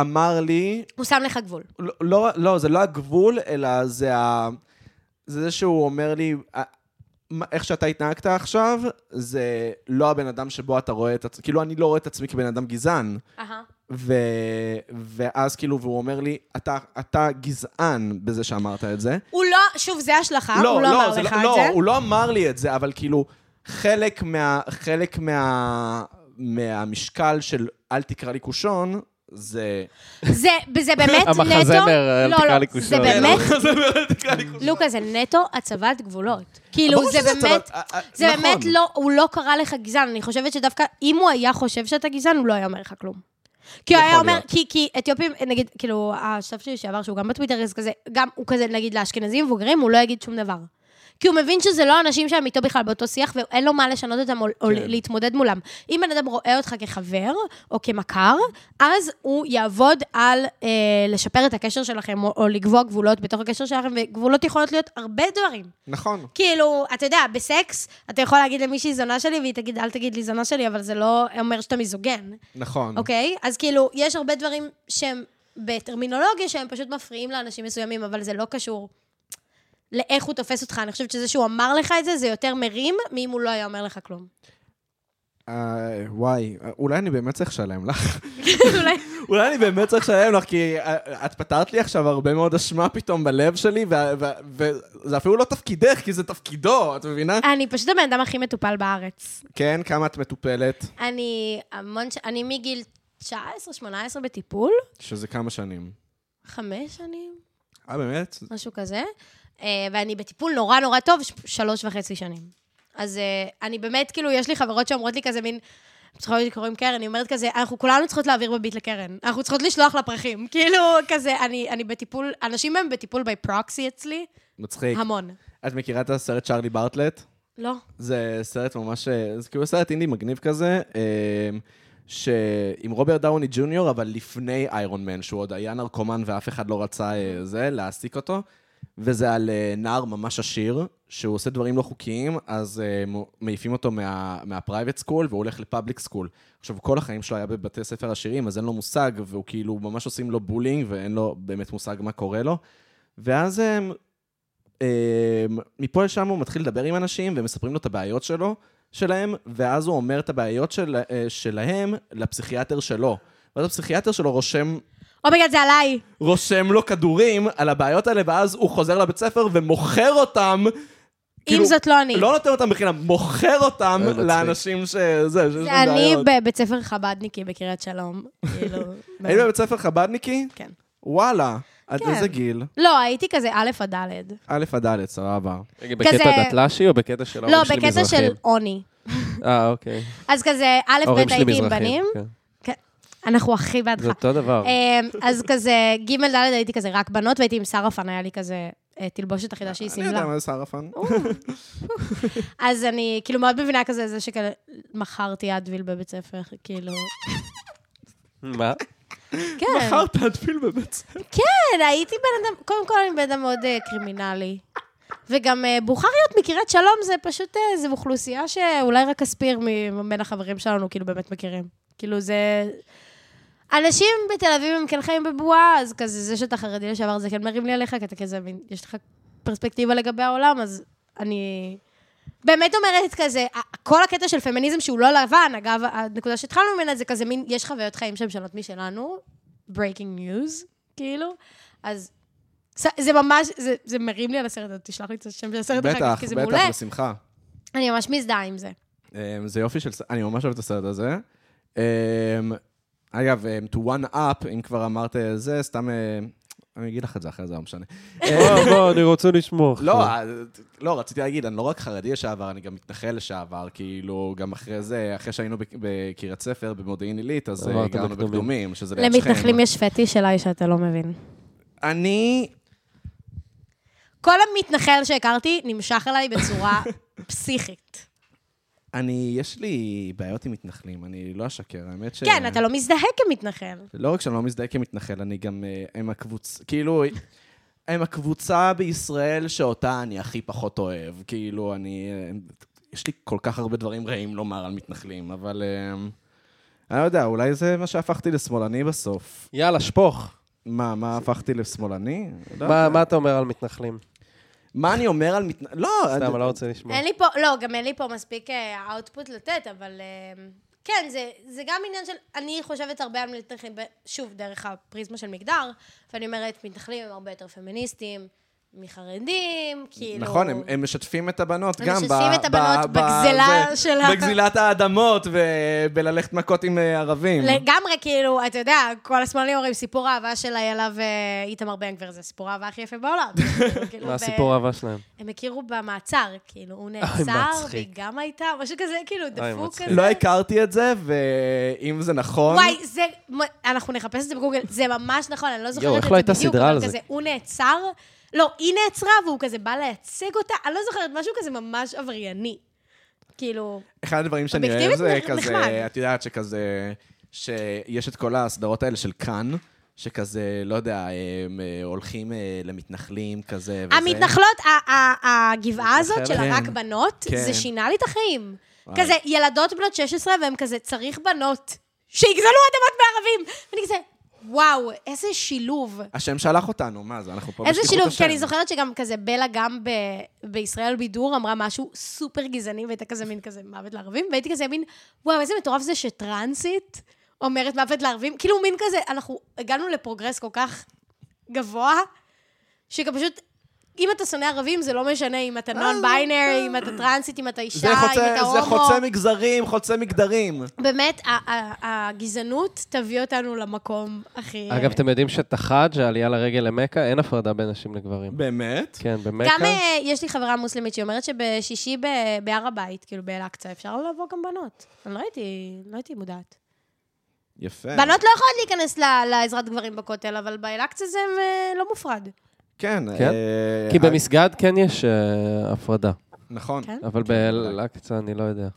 [SPEAKER 2] אמר לי,
[SPEAKER 3] הוא שם לך גבול.
[SPEAKER 2] לא- לא, לא, זה לא הגבול, אלא זה ה... זה זה שהוא אומר לי, "אה, מה- איך שאתה התנהגת עכשיו, זה לא הבן אדם שבו אתה רואה את עצמי, כאילו, אני לא רואה את עצמי כבן אדם גזען.
[SPEAKER 3] אהה.
[SPEAKER 2] ו... ואז כאילו, והוא אומר לי, אתה, אתה גזען בזה שאמרת את זה.
[SPEAKER 3] הוא לא, שוב, זה השלכה, הוא לא אמר
[SPEAKER 2] זה
[SPEAKER 3] לך
[SPEAKER 2] לא,
[SPEAKER 3] את
[SPEAKER 2] לא,
[SPEAKER 3] זה.
[SPEAKER 2] הוא לא אמר לי את זה, אבל כאילו, חלק מה... חלק מה... מהמשקל של אל תקרא לי קושון, זה...
[SPEAKER 3] זה, זה באמת נטו...
[SPEAKER 1] המחזמר, אל
[SPEAKER 3] לא,
[SPEAKER 1] תקרא
[SPEAKER 3] לא,
[SPEAKER 1] לי
[SPEAKER 3] זה
[SPEAKER 1] קושון.
[SPEAKER 3] באמת,
[SPEAKER 2] [laughs] זה אל תקרא לי קושון.
[SPEAKER 3] לוקה, זה נטו הצבת גבולות. כאילו,
[SPEAKER 2] ברור
[SPEAKER 3] זה
[SPEAKER 2] שזה
[SPEAKER 3] באמת...
[SPEAKER 2] הצבת- אה, אה,
[SPEAKER 3] זה
[SPEAKER 2] נכון.
[SPEAKER 3] באמת לא, הוא לא קרא לך גזען, אני חושבת שדווקא אם הוא היה חושב שאתה גזען, הוא לא היה אומר לך כלום. כי הוא
[SPEAKER 2] יכול
[SPEAKER 3] היה אומר,
[SPEAKER 2] להיות.
[SPEAKER 3] כי, כי אתיופים, נגיד, כאילו, השותף שלי שעבר, שהוא גם בטוויטר, אז כזה, גם הוא כזה, נגיד, לאשכנזים מבוגרים, הוא לא יגיד שום דבר. כי הוא מבין שזה לא אנשים שהם איתו בכלל באותו שיח, ואין לו מה לשנות אותם או,
[SPEAKER 2] כן.
[SPEAKER 3] או להתמודד מולם. אם בן אדם רואה אותך כחבר או כמכר, אז הוא יעבוד על אה, לשפר את הקשר שלכם, או, או לקבוע גבולות בתוך הקשר שלכם, וגבולות יכולות להיות הרבה דברים.
[SPEAKER 2] נכון.
[SPEAKER 3] כאילו, אתה יודע, בסקס, אתה יכול להגיד למישהי זונה שלי, והיא תגיד, אל תגיד לי זונה שלי, אבל זה לא אומר שאתה מיזוגן,
[SPEAKER 2] נכון.
[SPEAKER 3] אוקיי? אז כאילו, יש הרבה דברים שהם בטרמינולוגיה, שהם פשוט מפריעים לאנשים מסוימים, אבל זה לא קשור לאיך הוא תופס אותך. אני חושבת שזה שהוא אמר לך את זה, זה יותר מרים, מאם הוא לא היה אומר לך כלום.
[SPEAKER 2] אה, וואי, אה, אולי אני באמת צריך לשלם לך.
[SPEAKER 3] כאילו, אולי-
[SPEAKER 2] [laughs] אולי אני באמת צריך לשלם לך, כי אה, את פתרת לי עכשיו הרבה מאוד אשמה פתאום בלב שלי, וה- וה- וזה אפילו לא תפקידך, כי זה תפקידו, את מבינה?
[SPEAKER 3] אני פשוט הבן אדם הכי מטופל בארץ.
[SPEAKER 2] כן, כמה את מטופלת,
[SPEAKER 3] אני המון, ש- אני מגיל 19-18 בטיפול,
[SPEAKER 2] שזה כמה שנים.
[SPEAKER 3] חמש שנים,
[SPEAKER 2] אה, באמת?
[SPEAKER 3] משהו כזה. אה, ואני בטיפול נורא נורא טוב ש- שלוש וחצי שנים. אז אה, אני באמת, כאילו, יש לי חברות שאומרות לי כזה מין... פסיכולוגית קוראים קרן, היא אומרת כזה, אנחנו כולנו צריכות להעביר בביט לקרן. אנחנו צריכות לשלוח לפרחים. [laughs] כאילו, כזה, אני, אני בטיפול, אנשים הם בטיפול בי פרוקסי אצלי,
[SPEAKER 2] מצחיק.
[SPEAKER 3] המון.
[SPEAKER 2] את מכירה את הסרט צ'ארלי ברטלט?
[SPEAKER 3] לא.
[SPEAKER 2] זה סרט ממש, זה כאילו סרט אינדי מגניב כזה, אמ, ש... עם רוברט דאוני ג'וניור, אבל לפני איירון מן, שהוא עוד היה נרקומן ואף אחד לא רצה אה, זה, להעסיק אותו. וזה על אה, נער ממש עשיר, שהוא עושה דברים לא חוקיים, אז אה, מו- מעיפים אותו מה- מהפרייבט סקול, והוא הולך לפאבליק סקול. עכשיו, כל החיים שלו היה בבתי ספר עשירים, אז אין לו מושג, והוא כאילו, ממש עושים לו בולינג, ואין לו באמת מושג מה קורה לו. ואז אה, הם... הם- אמ, מפה לשם הוא מתחיל לדבר עם אנשים, והם מספרים לו את הבעיות שלו, שלהם, ואז הוא אומר את הבעיות של, אה, שלהם לפסיכיאטר שלו. ואז הפסיכיאטר שלו רושם
[SPEAKER 3] אומייגד, Oh זה עליי.
[SPEAKER 2] רושם לו כדורים על הבעיות האלה, ואז הוא חוזר לבית ספר ומוכר אותם.
[SPEAKER 3] אם
[SPEAKER 2] כאילו,
[SPEAKER 3] זאת לא אני.
[SPEAKER 2] לא נותן אותם בחינם, מוכר אותם
[SPEAKER 1] אה, מצחיק.
[SPEAKER 2] לאנשים שזה, שיש להם
[SPEAKER 3] זה
[SPEAKER 2] בעיות.
[SPEAKER 3] אני בבית ספר חבדניקי בקריית שלום. כאילו...
[SPEAKER 2] היית בבית ספר חבדניקי?
[SPEAKER 3] כן.
[SPEAKER 2] וואלה, עד
[SPEAKER 3] כן.
[SPEAKER 2] איזה גיל?
[SPEAKER 3] לא, הייתי כזה א' עד ד'.
[SPEAKER 2] א' עד ד', סבבה.
[SPEAKER 1] בקטע דתל"שי או בקטע של
[SPEAKER 3] לא,
[SPEAKER 1] ההורים שלי
[SPEAKER 3] בקטע
[SPEAKER 1] מזרחים?
[SPEAKER 3] של עוני.
[SPEAKER 1] אה, אוקיי.
[SPEAKER 3] אז כזה, א'
[SPEAKER 1] ההורים
[SPEAKER 3] ב'
[SPEAKER 1] שלי
[SPEAKER 3] הייתי עם
[SPEAKER 1] מזרחים.
[SPEAKER 3] בנים.
[SPEAKER 1] כן.
[SPEAKER 3] אנחנו הכי בעדך.
[SPEAKER 1] זה אותו דבר.
[SPEAKER 3] אמ, אז כזה, ג' ד' הייתי כזה רק בנות, והייתי עם סרפן, היה לי כזה אה, תלבושת אחידה שהיא
[SPEAKER 2] אני יודע
[SPEAKER 3] שמלה.
[SPEAKER 2] מה זה סרפן.
[SPEAKER 3] אז אני כאילו מאוד מבינה כזה זה שכאילו מכרתי אדוויל בבית ספר, כאילו...
[SPEAKER 1] מה?
[SPEAKER 3] כן,
[SPEAKER 2] מכרת תדפיל בבית ספר.
[SPEAKER 3] כן, הייתי בן אדם, קודם כל אני בן אדם מאוד אה, קרימינלי. וגם אה, בוכריות מקריית שלום זה פשוט, אה, זו אוכלוסייה שאולי רק אספיר מ- בין החברים שלנו, כאילו באמת מכירים. כאילו זה... אנשים בתל אביב הם כן חיים בבועה, אז כזה זה שאתה חרדי לשעבר זה כן מרים לי עליך, כי אתה כזה, מין- יש לך פרספקטיבה לגבי העולם, אז אני... באמת אומרת כזה, ה- כל הקטע של פמיניזם שהוא לא לבן, אגב, הנקודה שהתחלנו ממנה זה כזה מין, יש חוויות חיים שהן שונות משלנו, breaking news, כאילו, אז ס- זה ממש, זה, זה מרים לי על הסרט, אז תשלח לי את השם של הסרט אחר
[SPEAKER 2] בטח,
[SPEAKER 3] כך, כי זה מעולה.
[SPEAKER 2] בטח, בשמחה.
[SPEAKER 3] אני ממש מזדהה עם זה.
[SPEAKER 2] אמ, זה יופי של... ס- אני ממש אוהב את הסרט הזה. אמ, אגב, אמ, to one up, אם כבר אמרת זה, סתם... אמ, אני אגיד לך את זה אחרי זה, לא משנה.
[SPEAKER 1] בוא, בוא, אני רוצה לשמוע.
[SPEAKER 2] לא, אה, לא, רציתי להגיד, אני לא רק חרדי לשעבר, אני גם מתנחל לשעבר, כאילו, גם אחרי זה, אחרי שהיינו בק- בקריית ספר, במודיעין עילית, אז אה,
[SPEAKER 1] עברת
[SPEAKER 2] גרנו
[SPEAKER 1] בקדומים.
[SPEAKER 2] בקדומים, שזה ליד שכם.
[SPEAKER 3] למתנחלים יש פטיש אליי שאתה לא מבין.
[SPEAKER 2] אני...
[SPEAKER 3] כל המתנחל שהכרתי נמשך
[SPEAKER 2] [laughs]
[SPEAKER 3] אליי בצורה פסיכית.
[SPEAKER 2] אני, יש לי בעיות עם מתנחלים, אני לא אשקר, האמת ש...
[SPEAKER 3] כן, אתה לא מזדהה כמתנחל.
[SPEAKER 2] לא רק שאני לא מזדהה כמתנחל, אני גם... אה, הם הקבוצ... כאילו, הם הקבוצה בישראל שאותה אני הכי פחות אוהב. כאילו, אני... אה, יש לי כל כך הרבה דברים רעים לומר על מתנחלים, אבל... אה, אני לא יודע, אולי זה מה שהפכתי לשמאלני בסוף.
[SPEAKER 1] יאללה, שפוך.
[SPEAKER 2] מה, מה הפכתי לשמאלני? לא
[SPEAKER 1] מה
[SPEAKER 2] יודע.
[SPEAKER 1] מה אתה אומר על מתנחלים?
[SPEAKER 2] מה אני אומר על מתנחלים? לא,
[SPEAKER 1] סתם, אני
[SPEAKER 2] אני-
[SPEAKER 1] לא רוצה לשמוע.
[SPEAKER 3] אין לי פה, לא, גם אין לי פה מספיק אאוטפוט לתת, אבל אה, כן, זה, זה גם עניין של, אני חושבת הרבה על מתנחלים, ב- שוב, דרך הפריזמה של מגדר, ואני אומרת, מתנחלים הם הרבה יותר פמיניסטים מחרדים, כאילו...
[SPEAKER 2] נכון, הם, הם משתפים את הבנות
[SPEAKER 3] הם
[SPEAKER 2] גם.
[SPEAKER 3] משתפים את הבנות בגזלה של ה-
[SPEAKER 2] בגזילת האדמות ובללכת מכות עם אה, ערבים.
[SPEAKER 3] לגמרי, כאילו, אתה יודע, כל השמאלנים אומרים, סיפור האהבה של איילה ואיתמר בן גביר זה סיפור האהבה הכי יפה
[SPEAKER 2] [laughs]
[SPEAKER 3] בעולם. כאילו, כאילו,
[SPEAKER 1] מה
[SPEAKER 3] ב-
[SPEAKER 1] הסיפור האהבה שלהם?
[SPEAKER 3] הם הכירו במעצר, כאילו, הוא נעצר, והיא
[SPEAKER 1] אה, מצחיק. אה,
[SPEAKER 3] גם הייתה, משהו כזה, כאילו, דפוק
[SPEAKER 1] מצחיק.
[SPEAKER 3] כזה.
[SPEAKER 2] לא הכרתי את זה, ואם זה נכון...
[SPEAKER 3] וואי, זה... מ- אנחנו נחפש את זה בגוגל, זה ממש נכון, אני לא זוכרת את
[SPEAKER 1] יואו,
[SPEAKER 3] זה
[SPEAKER 1] איך
[SPEAKER 3] בדיוק,
[SPEAKER 1] לא הייתה סדרה
[SPEAKER 3] אבל
[SPEAKER 1] על זה?
[SPEAKER 3] כזה, הוא נעצר, לא, היא נעצרה והוא כזה בא לייצג אותה, אני לא זוכרת, משהו כזה ממש עברייני. כאילו,
[SPEAKER 2] אחד הדברים שאני אוהב
[SPEAKER 3] אובייקטיבית
[SPEAKER 2] זה
[SPEAKER 3] נח- נחמד.
[SPEAKER 2] כזה, את יודעת שכזה, שיש את כל הסדרות האלה של כאן, שכזה, לא יודע, הם אה, הולכים אה, למתנחלים כזה, וזה.
[SPEAKER 3] המתנחלות, ה- ה- ה- הגבעה הזאת של
[SPEAKER 2] כן.
[SPEAKER 3] הרק בנות,
[SPEAKER 2] כן.
[SPEAKER 3] זה שינה לי את החיים.
[SPEAKER 2] וואי.
[SPEAKER 3] כזה, ילדות בנות 16 והן כזה, צריך בנות שיגזלו אדמות מערבים. ואני כזה, וואו, איזה שילוב.
[SPEAKER 2] השם שלח אותנו, מה זה, אנחנו פה
[SPEAKER 3] איזה
[SPEAKER 2] בשליחות
[SPEAKER 3] שילוב,
[SPEAKER 2] השם.
[SPEAKER 3] כי אני זוכרת שגם כזה בלה גם ב, בישראל בידור אמרה משהו סופר גזעני, והייתה כזה מין כזה מוות לערבים, והייתי כזה מין, וואו, איזה מטורף זה שטרנסית אומרת מוות לערבים, כאילו מין כזה, אנחנו הגענו לפרוגרס כל כך גבוה, שגם פשוט, אם אתה שונא ערבים, זה לא משנה אם אתה נון ביינרי, אם אתה טרנסית, אם אתה
[SPEAKER 2] אה, זה
[SPEAKER 3] אישה, אם
[SPEAKER 2] חוצה-
[SPEAKER 3] אתה
[SPEAKER 2] זה
[SPEAKER 3] הומו.
[SPEAKER 2] חוצה מגזרים, חוצה מגדרים.
[SPEAKER 3] באמת, ה- ה- הגזענות תביא אותנו למקום הכי...
[SPEAKER 1] אגב, אתם יודעים שתחאג', העלייה לרגל למכה, אין הפרדה בין נשים לגברים.
[SPEAKER 2] באמת?
[SPEAKER 1] כן, במכה.
[SPEAKER 3] גם אה, יש לי חברה מוסלמית שאומרת שבשישי ב- בהר הבית, כאילו באל-אקצא, אפשר לבוא גם בנות. אני לא הייתי, לא הייתי מודעת.
[SPEAKER 2] יפה.
[SPEAKER 3] בנות לא יכולות להיכנס ל- לעזרת גברים בכותל, אבל באל-אקצא זה אה, לא
[SPEAKER 2] [laughs]
[SPEAKER 3] מופרד.
[SPEAKER 2] כן.
[SPEAKER 1] כן?
[SPEAKER 2] אה,
[SPEAKER 1] כי
[SPEAKER 2] אה,
[SPEAKER 1] במסגד כן יש אה, הפרדה,
[SPEAKER 2] נכון.
[SPEAKER 3] כן?
[SPEAKER 1] אבל
[SPEAKER 2] כן,
[SPEAKER 1] באל-אקצא אני לא יודע.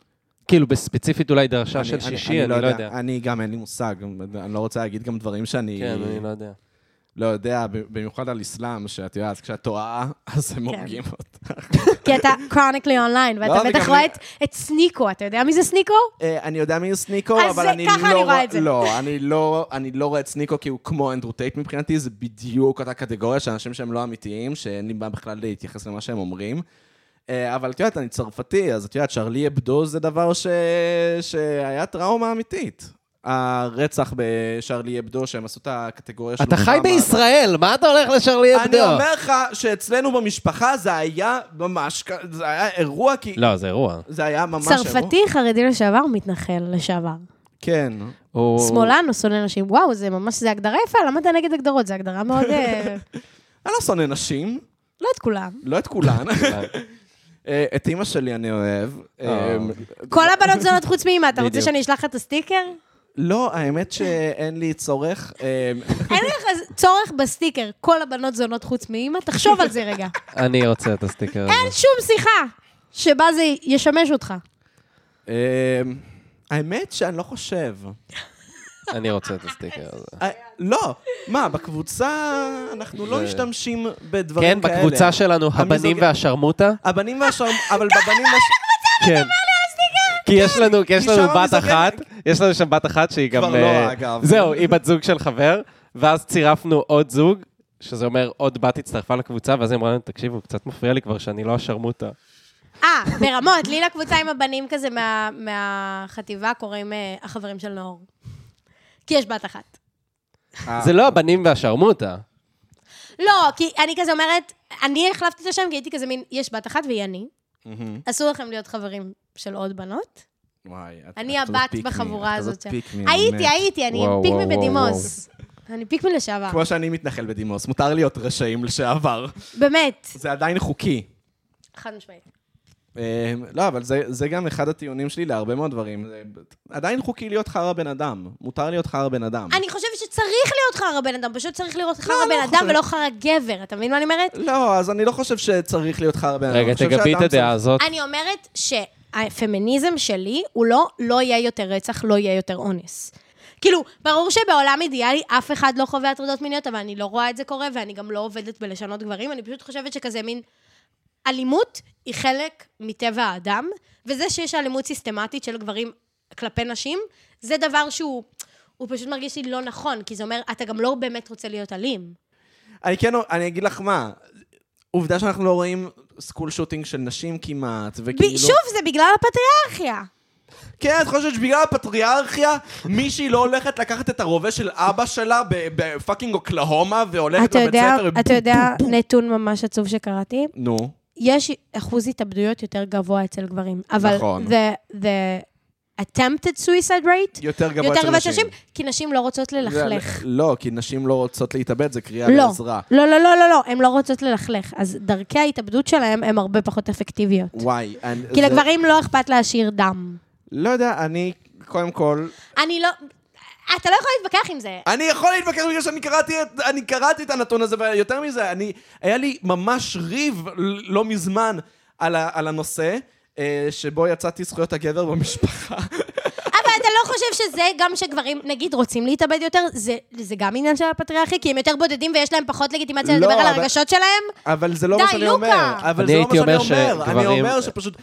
[SPEAKER 1] כאילו, בספציפית אולי דרשה
[SPEAKER 2] אני-
[SPEAKER 1] של
[SPEAKER 2] אני-
[SPEAKER 1] שישי, אני לא יודע.
[SPEAKER 2] אני גם, אין לי מושג. אני לא רוצה להגיד גם דברים שאני...
[SPEAKER 1] כן, אני לא יודע.
[SPEAKER 2] לא יודע, ב- במיוחד על אסלאם, שאת יודעת, כשאת טועה, [laughs] אז
[SPEAKER 3] כן.
[SPEAKER 2] הם הורגים אותך.
[SPEAKER 3] כי אתה chronically online,
[SPEAKER 2] לא,
[SPEAKER 3] ואתה
[SPEAKER 2] אני
[SPEAKER 3] בטח
[SPEAKER 2] גם-
[SPEAKER 3] רואה את- את סניקו, אתה יודע מי זה סניקו?
[SPEAKER 2] אה, אני יודע מי הוא סניקו,
[SPEAKER 3] אז
[SPEAKER 2] אבל
[SPEAKER 3] זה-
[SPEAKER 2] אני לא...
[SPEAKER 3] ככה אני רואה
[SPEAKER 2] רוא-
[SPEAKER 3] את זה.
[SPEAKER 2] לא, אני לא- אני לא רואה את סניקו כי הוא כמו אנדרו טייט מבחינתי, זה בדיוק אותה קטגוריה של אנשים שהם לא אמיתיים, שאין לי בעיה בכלל להתייחס למה שהם אומרים. אה, אבל את יודעת, אני צרפתי, אז את יודעת, שרלי אבדו זה דבר ש... שהיה טראומה אמיתית. הרצח בשרלי אבדו, שהם עשו את הקטגוריה של...
[SPEAKER 1] אתה חי
[SPEAKER 2] אובמה.
[SPEAKER 1] בישראל, מה אתה הולך לשרלי אבדו?
[SPEAKER 2] אני אומר לך שאצלנו במשפחה זה היה ממש... כ- זה היה אירוע, כי...
[SPEAKER 1] לא, זה אירוע.
[SPEAKER 2] זה היה ממש אירוע.
[SPEAKER 3] צרפתי, חרדי לשעבר, מתנחל לשעבר.
[SPEAKER 2] כן.
[SPEAKER 1] הוא-
[SPEAKER 3] שמאלן או שונא נשים. וואו, זה ממש, זה הגדרה יפה, למה אתה נגד הגדרות? זו הגדרה
[SPEAKER 2] [laughs]
[SPEAKER 3] מאוד... אה,
[SPEAKER 2] אני לא שונא נשים,
[SPEAKER 3] לא את כולם.
[SPEAKER 2] לא את [laughs] כולן. אה, את אימא שלי אני אוהב. אה,
[SPEAKER 3] כל הבנות זונות חוץ מאמא, אתה רוצה
[SPEAKER 1] בדיוק.
[SPEAKER 3] שאני אשלח לך את הסטיקר?
[SPEAKER 2] לא, האמת שאין לי צורך. אה,
[SPEAKER 3] אין לך צורך בסטיקר, כל הבנות זונות חוץ מאמא, תחשוב על זה [laughs] רגע.
[SPEAKER 1] אני רוצה את הסטיקר
[SPEAKER 3] אין
[SPEAKER 1] הזה.
[SPEAKER 3] שום שיחה שבה זה ישמש אותך.
[SPEAKER 2] אה, האמת שאני לא חושב.
[SPEAKER 1] אני רוצה את הסטיקר הזה.
[SPEAKER 2] אה, לא, מה, בקבוצה אנחנו לא משתמשים
[SPEAKER 1] כן,
[SPEAKER 2] בדברים כאלה.
[SPEAKER 1] בקבוצה שלנו, הבנים
[SPEAKER 2] המיזוג-
[SPEAKER 1] והשרמוטה.
[SPEAKER 2] הבנים והשרמוטה, אבל בבנים והשרמוטה
[SPEAKER 1] כן. כי יש לנו, כי יש
[SPEAKER 2] כי
[SPEAKER 1] לנו
[SPEAKER 2] שם
[SPEAKER 1] בת
[SPEAKER 2] המזוג-
[SPEAKER 1] אחת, יש לנו שם בת אחת שהיא גם...
[SPEAKER 2] כבר לא,
[SPEAKER 1] אה,
[SPEAKER 2] אגב.
[SPEAKER 1] זהו, היא בת זוג של חבר, ואז צירפנו עוד זוג, שזה אומר עוד בת הצטרפה לקבוצה, ואז היא אמרה לנו, תקשיבו, קצת מפריע לי כבר שאני לא השרמוטה.
[SPEAKER 3] [laughs] אה, ברמות, לי לקבוצה עם הבנים כזה מה- מהחטיבה קוראים אה, החברים של נאור. כי יש בת אחת.
[SPEAKER 1] זה לא הבנים והשרמוטה.
[SPEAKER 3] לא, כי אני כזה אומרת, אני החלפתי את השם כי הייתי כזה מין, יש בת אחת והיא אני. אסור לכם להיות חברים של עוד
[SPEAKER 2] [laughs]
[SPEAKER 3] בנות.
[SPEAKER 2] וואי, את-
[SPEAKER 3] אני
[SPEAKER 2] את כזאת
[SPEAKER 3] הבת
[SPEAKER 2] פיקמי,
[SPEAKER 3] בחבורה
[SPEAKER 2] את כזאת
[SPEAKER 3] הזאת.
[SPEAKER 2] פיקמי,
[SPEAKER 3] הייתי,
[SPEAKER 2] באמת.
[SPEAKER 3] הייתי, אני
[SPEAKER 1] וואו,
[SPEAKER 3] פיקמי
[SPEAKER 1] וואו,
[SPEAKER 3] בדימוס. אני פיקמי לשעבר.
[SPEAKER 2] כמו שאני מתנחל בדימוס, מותר להיות רשעים לשעבר.
[SPEAKER 3] באמת,
[SPEAKER 2] זה עדיין חוקי.
[SPEAKER 3] חד משמעית.
[SPEAKER 2] אה, לא, אבל זה, זה גם אחד הטיעונים שלי להרבה מאוד דברים. זה עדיין חוקי להיות חרא בן אדם. מותר להיות חרא בן אדם.
[SPEAKER 3] אני חושבת שצריך להיות חרא בן אדם, פשוט צריך להיות חרא
[SPEAKER 2] לא,
[SPEAKER 3] בן אדם
[SPEAKER 2] חושבת.
[SPEAKER 3] ולא חרא גבר, אתה מבין מה אני אומרת?
[SPEAKER 2] לא, אז אני לא חושב שצריך להיות חרא בן אדם.
[SPEAKER 1] רגע,
[SPEAKER 2] אה, אני חושב
[SPEAKER 1] תגבי את
[SPEAKER 2] שאדם
[SPEAKER 1] הדעה
[SPEAKER 2] לא.
[SPEAKER 1] הזאת.
[SPEAKER 3] אני אומרת שהפמיניזם שלי הוא לא, לא יהיה יותר רצח, לא יהיה יותר אונס. כאילו, ברור שבעולם אידיאלי אף אחד לא חווה הטרדות מיניות, אבל אני לא רואה את זה קורה, ואני גם לא עובדת בלשנות גברים, אני פשוט חושבת שכזה מין... אלימות היא חלק מטבע האדם, וזה שיש אלימות סיסטמטית של גברים כלפי נשים, זה דבר שהוא... הוא פשוט מרגיש לי לא נכון, כי זה אומר, אתה גם לא באמת רוצה להיות אלים.
[SPEAKER 2] צריך- אני כן, אני אגיד לך מה. עובדה שאנחנו לא רואים סקול שוטינג של נשים כמעט,
[SPEAKER 3] ב-
[SPEAKER 2] וכאילו...
[SPEAKER 3] שוב, זה בגלל הפטריארכיה.
[SPEAKER 2] כן, את חושבת שבגלל הפטריארכיה, מישהי לא הולכת לקחת את הרובה של אבא שלה ב- בפאקינג אוקלהומה, והולכת
[SPEAKER 3] אתה
[SPEAKER 2] לבית
[SPEAKER 3] יודע,
[SPEAKER 2] ספר...
[SPEAKER 3] אתה יודע נתון ממש עצוב שקראתי?
[SPEAKER 2] נו.
[SPEAKER 3] יש אחוז התאבדויות יותר גבוה אצל גברים, אבל
[SPEAKER 2] נכון.
[SPEAKER 3] the, the attempted suicide rate
[SPEAKER 2] יותר גבוה
[SPEAKER 3] יותר
[SPEAKER 2] אצל
[SPEAKER 3] גבוה
[SPEAKER 2] נשים.
[SPEAKER 3] אצל נשים, כי נשים לא רוצות ללכלך.
[SPEAKER 2] זה- לא, כי נשים לא רוצות להתאבד, זה קריאה
[SPEAKER 3] לא,
[SPEAKER 2] לעזרה.
[SPEAKER 3] לא, לא, לא, לא, לא, הן לא רוצות ללכלך. אז דרכי ההתאבדות שלהן הן הרבה פחות אפקטיביות.
[SPEAKER 2] וואי, אני...
[SPEAKER 3] כי
[SPEAKER 2] זה-
[SPEAKER 3] לגברים לא אכפת להשאיר דם.
[SPEAKER 2] לא יודע, אני, קודם כל...
[SPEAKER 3] אני לא... אתה לא יכול להתווכח עם זה.
[SPEAKER 2] אני יכול להתווכח בגלל שאני קראתי את, אני קראתי את הנתון הזה, ויותר מזה, אני... היה לי ממש ריב ל- לא מזמן על, ה, על הנושא, אה, שבו יצאתי זכויות הגבר במשפחה.
[SPEAKER 3] אבל אתה לא חושב שזה גם שגברים, נגיד, רוצים להתאבד יותר, זה, זה גם עניין של הפטריארכיה, כי הם יותר בודדים ויש להם פחות לגיטימציה
[SPEAKER 2] לא,
[SPEAKER 3] לדבר על
[SPEAKER 2] אבל-
[SPEAKER 3] הרגשות שלהם?
[SPEAKER 2] אבל זה לא מה
[SPEAKER 3] די,
[SPEAKER 2] שאני
[SPEAKER 3] לוקה.
[SPEAKER 2] אומר. אבל
[SPEAKER 1] אני
[SPEAKER 2] זה לא מה
[SPEAKER 1] הייתי
[SPEAKER 2] שאני
[SPEAKER 1] אומר
[SPEAKER 2] אומר. אני
[SPEAKER 1] שגברים-
[SPEAKER 2] אומר שפשוט...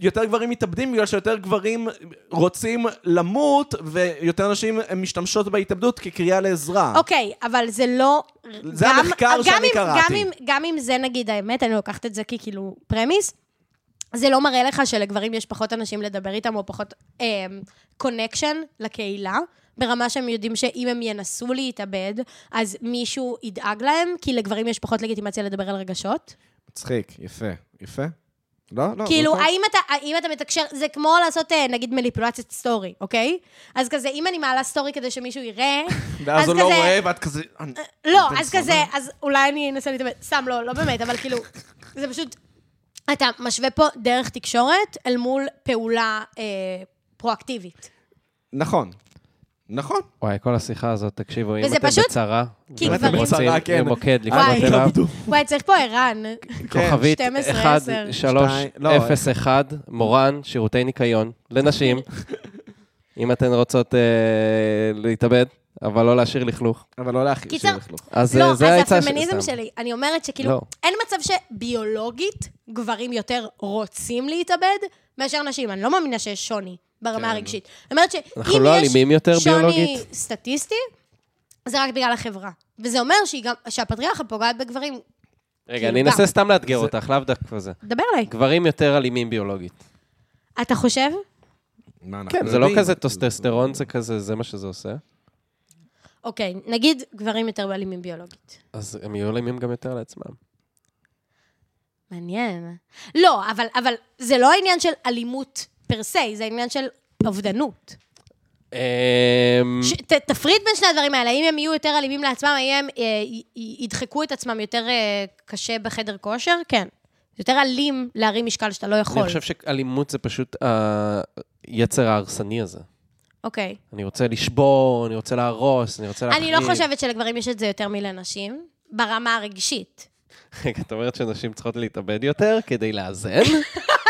[SPEAKER 2] יותר גברים מתאבדים בגלל שיותר גברים רוצים למות ויותר נשים משתמשות בהתאבדות כקריאה לעזרה.
[SPEAKER 3] אוקיי, אבל זה לא...
[SPEAKER 2] זה
[SPEAKER 3] גם-
[SPEAKER 2] המחקר
[SPEAKER 3] גם
[SPEAKER 2] שאני
[SPEAKER 3] אם-
[SPEAKER 2] קראתי.
[SPEAKER 3] גם אם, גם אם זה נגיד האמת, אני לוקחת את זה ככאילו פרמיס, זה לא מראה לך שלגברים יש פחות אנשים לדבר איתם, או פחות קונקשן לקהילה, ברמה שהם יודעים שאם הם ינסו להתאבד, אז מישהו ידאג להם, כי לגברים יש פחות לגיטימציה לדבר על רגשות.
[SPEAKER 2] מצחיק, יפה. יפה? לא, לא.
[SPEAKER 3] כאילו,
[SPEAKER 2] נכון.
[SPEAKER 3] האם אתה, האם אתה מתקשר, זה כמו לעשות אה, נגיד מניפולציית סטורי, אוקיי? אז כזה, אם אני מעלה סטורי כדי שמישהו יראה,
[SPEAKER 2] ואז
[SPEAKER 3] אז
[SPEAKER 2] הוא לא
[SPEAKER 3] כזה-
[SPEAKER 2] רואה, ואת כזה... אני-
[SPEAKER 3] לא,
[SPEAKER 2] אתם
[SPEAKER 3] אז
[SPEAKER 2] סבבה?
[SPEAKER 3] כזה, אז אולי אני אנסה להתאבד. סתם, לא, לא באמת, אבל כאילו, זה פשוט... אתה משווה פה דרך תקשורת אל מול פעולה אה, פרואקטיבית.
[SPEAKER 2] נכון. נכון.
[SPEAKER 1] וואי, כל השיחה הזאת, תקשיבו, אם
[SPEAKER 3] וזה
[SPEAKER 1] אתם
[SPEAKER 3] פשוט-
[SPEAKER 1] בצרה,
[SPEAKER 3] כי
[SPEAKER 1] ואתם
[SPEAKER 3] גברים-
[SPEAKER 1] רוצים
[SPEAKER 2] בצרה, כן.
[SPEAKER 1] למוקד, לפנות
[SPEAKER 3] וואי.
[SPEAKER 1] אליו,
[SPEAKER 3] וואי, צריך פה ערן.
[SPEAKER 2] כן.
[SPEAKER 1] כוכבית
[SPEAKER 3] 12,
[SPEAKER 2] 2, לא,
[SPEAKER 1] 1301, מורן,
[SPEAKER 2] [laughs]
[SPEAKER 1] שירותי ניקיון, לנשים. אם אתן רוצות אה, להתאבד, אבל לא להשאיר לכלוך.
[SPEAKER 2] אבל לא להכי
[SPEAKER 3] קיצר,
[SPEAKER 1] אז
[SPEAKER 3] לא,
[SPEAKER 1] אה, זה
[SPEAKER 3] אז
[SPEAKER 1] העצה שלי.
[SPEAKER 3] הפמיניזם
[SPEAKER 1] סתם.
[SPEAKER 3] שלי, אני אומרת שכאילו,
[SPEAKER 1] לא.
[SPEAKER 3] אין מצב שביולוגית גברים יותר רוצים להתאבד מאשר נשים. אני לא מאמינה שיש שוני ברמה הרגשית. אני אומרת שאם יש...
[SPEAKER 1] כן. אנחנו לא אלימים יותר ביולוגית?
[SPEAKER 3] שוני סטטיסטי, זה רק בגלל החברה. וזה אומר שהיא גם- שהפטריארכה פוגעת בגברים.
[SPEAKER 1] רגע,
[SPEAKER 3] כאילו,
[SPEAKER 1] אני
[SPEAKER 3] גם.
[SPEAKER 1] אנסה סתם לאתגר אותך, לאו דווקא זה.
[SPEAKER 3] דבר אליי.
[SPEAKER 1] גברים יותר אלימים ביולוגית.
[SPEAKER 3] אתה חושב?
[SPEAKER 1] כן, זה לא כזה טוסטסטרון, זה כזה, זה מה שזה עושה.
[SPEAKER 3] אוקיי, נגיד גברים יותר אלימים ביולוגית.
[SPEAKER 1] אז הם יהיו אלימים גם יותר לעצמם.
[SPEAKER 3] מעניין. לא, אבל, אבל זה לא העניין של אלימות פר סי, זה העניין של אובדנות.
[SPEAKER 1] אמ,
[SPEAKER 3] ש, ת, תפריד בין שני הדברים האלה, האם הם יהיו יותר אלימים לעצמם, האם הם אה, י- י- ידחקו את עצמם יותר אה, קשה בחדר כושר? כן. זה יותר אלים להרים משקל שאתה לא יכול.
[SPEAKER 1] אני חושב שאלימות זה פשוט היצר ההרסני הזה.
[SPEAKER 3] אוקיי.
[SPEAKER 1] אני רוצה לשבור, אני רוצה להרוס, אני רוצה להחריב.
[SPEAKER 3] אני לא חושבת שלגברים יש את זה יותר מלנשים, ברמה הרגשית.
[SPEAKER 1] רגע, את אומרת שנשים צריכות להתאבד יותר כדי לאזן?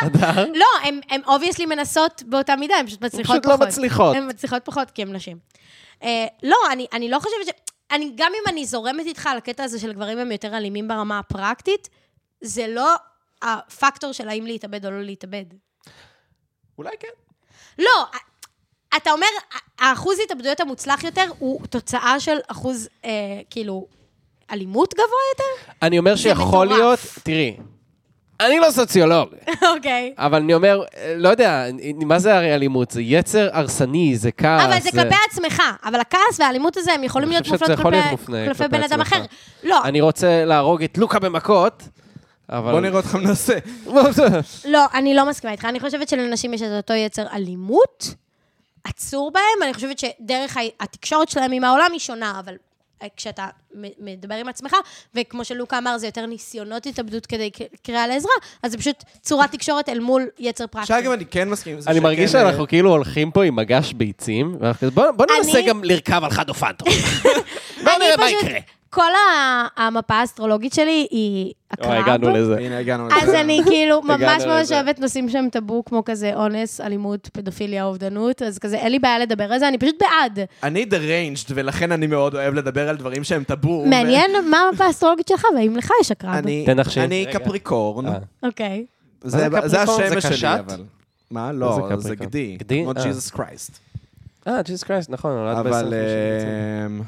[SPEAKER 1] אדר?
[SPEAKER 3] לא, הן אובייסלי מנסות באותה מידה, הן פשוט מצליחות
[SPEAKER 1] אה? פשוט
[SPEAKER 3] פחות.
[SPEAKER 1] לא מצליחות.
[SPEAKER 3] הן מצליחות פחות כי הן נשים. אה, לא, אני, אני לא חושבת ש... אני, גם אם אני זורמת איתך על הקטע הזה של גברים הם יותר אלימים ברמה הפרקטית, זה לא הפקטור של האם להתאבד או לא להתאבד.
[SPEAKER 1] [laughs] אולי כן.
[SPEAKER 3] לא, אתה אומר, האחוז התאבדויות המוצלח יותר הוא תוצאה של אחוז, אה, כאילו, אלימות גבוה יותר? [laughs]
[SPEAKER 1] אני אומר שיכול
[SPEAKER 3] מטורף.
[SPEAKER 1] להיות, תראי, אני לא סוציולוג,
[SPEAKER 3] אוקיי.
[SPEAKER 1] אבל אני אומר, אה, לא יודע, מה זה הרי אלימות? זה יצר הרסני, אה, זה כעס.
[SPEAKER 3] אבל זה כלפי עצמך, אבל הכעס והאלימות הזה, הם יכולים
[SPEAKER 1] אני
[SPEAKER 3] להיות
[SPEAKER 1] חושב שזה
[SPEAKER 3] מופנות
[SPEAKER 1] יכול להיות
[SPEAKER 3] כלפי-
[SPEAKER 1] מופנה
[SPEAKER 3] כלפי
[SPEAKER 1] כלפי
[SPEAKER 3] בן אדם
[SPEAKER 1] עצמך.
[SPEAKER 3] אחר. לא,
[SPEAKER 1] אני רוצה להרוג את לוקה במכות, אבל... [laughs]
[SPEAKER 2] בוא נראה אותך מנסה.
[SPEAKER 3] אוקיי. לא, אני לא מסכימה איתך. אני חושבת שלנשים יש את אותו יצר אלימות עצור בהם. אני חושבת שדרך ה- התקשורת שלהם עם העולם היא שונה, אבל אה, כשאתה מ- מדבר עם עצמך, וכמו שלוקה אמר, זה יותר ניסיונות התאבדות כדי ק- קריאה לעזרה, אז זה פשוט צורת תקשורת אל מול יצר פרקטי.
[SPEAKER 2] שאגב, אני כן מסכים עם זה.
[SPEAKER 1] אני
[SPEAKER 2] שכן,
[SPEAKER 1] מרגיש
[SPEAKER 2] אה,
[SPEAKER 1] שאנחנו כאילו הולכים פה עם מגש ביצים, ואנחנו כזה, בוא בוא ננסה
[SPEAKER 3] אני-
[SPEAKER 1] גם לרכב על חד
[SPEAKER 3] [laughs]
[SPEAKER 1] אופנטו. בוא
[SPEAKER 3] אני
[SPEAKER 1] נראה לא מה
[SPEAKER 3] פשוט-
[SPEAKER 1] יקרה.
[SPEAKER 3] כל ה- המפה האסטרולוגית שלי היא הקרב.
[SPEAKER 1] אוי, הגענו לזה.
[SPEAKER 2] הנה, הגענו לזה.
[SPEAKER 3] אז
[SPEAKER 1] [laughs]
[SPEAKER 3] אני כאילו ממש
[SPEAKER 1] הגענו
[SPEAKER 3] ממש
[SPEAKER 1] לזה.
[SPEAKER 3] אוהבת נושאים שהם טאבו, כמו כזה אונס, אלימות, פדופיליה, אובדנות, אז כזה אין לי בעיה לדבר על זה, אני פשוט בעד.
[SPEAKER 2] אני deranged, ולכן אני מאוד אוהב לדבר על דברים שהם טאבו.
[SPEAKER 3] מעניין מה המפה האסטרולוגית שלך, והאם לך יש
[SPEAKER 2] ו-
[SPEAKER 3] הקרב.
[SPEAKER 2] אני-
[SPEAKER 1] תנחשי.
[SPEAKER 2] אני
[SPEAKER 1] רגע.
[SPEAKER 2] קפריקורן.
[SPEAKER 1] אה.
[SPEAKER 3] אוקיי.
[SPEAKER 2] זה
[SPEAKER 1] מה זה
[SPEAKER 2] זה
[SPEAKER 1] קפריקורן? זה
[SPEAKER 2] השמש
[SPEAKER 1] קשת?
[SPEAKER 2] שלי, אבל. מה? לא,
[SPEAKER 1] זה
[SPEAKER 2] זה
[SPEAKER 1] קפריקורן?
[SPEAKER 2] גדי.
[SPEAKER 1] גדי?
[SPEAKER 2] כמו
[SPEAKER 1] אה.
[SPEAKER 2] ג'יזוס קרייסט.
[SPEAKER 1] אה, ג'יזוס קרייסט, נכון, נולד
[SPEAKER 2] אבל
[SPEAKER 1] ב-25.
[SPEAKER 2] אמ,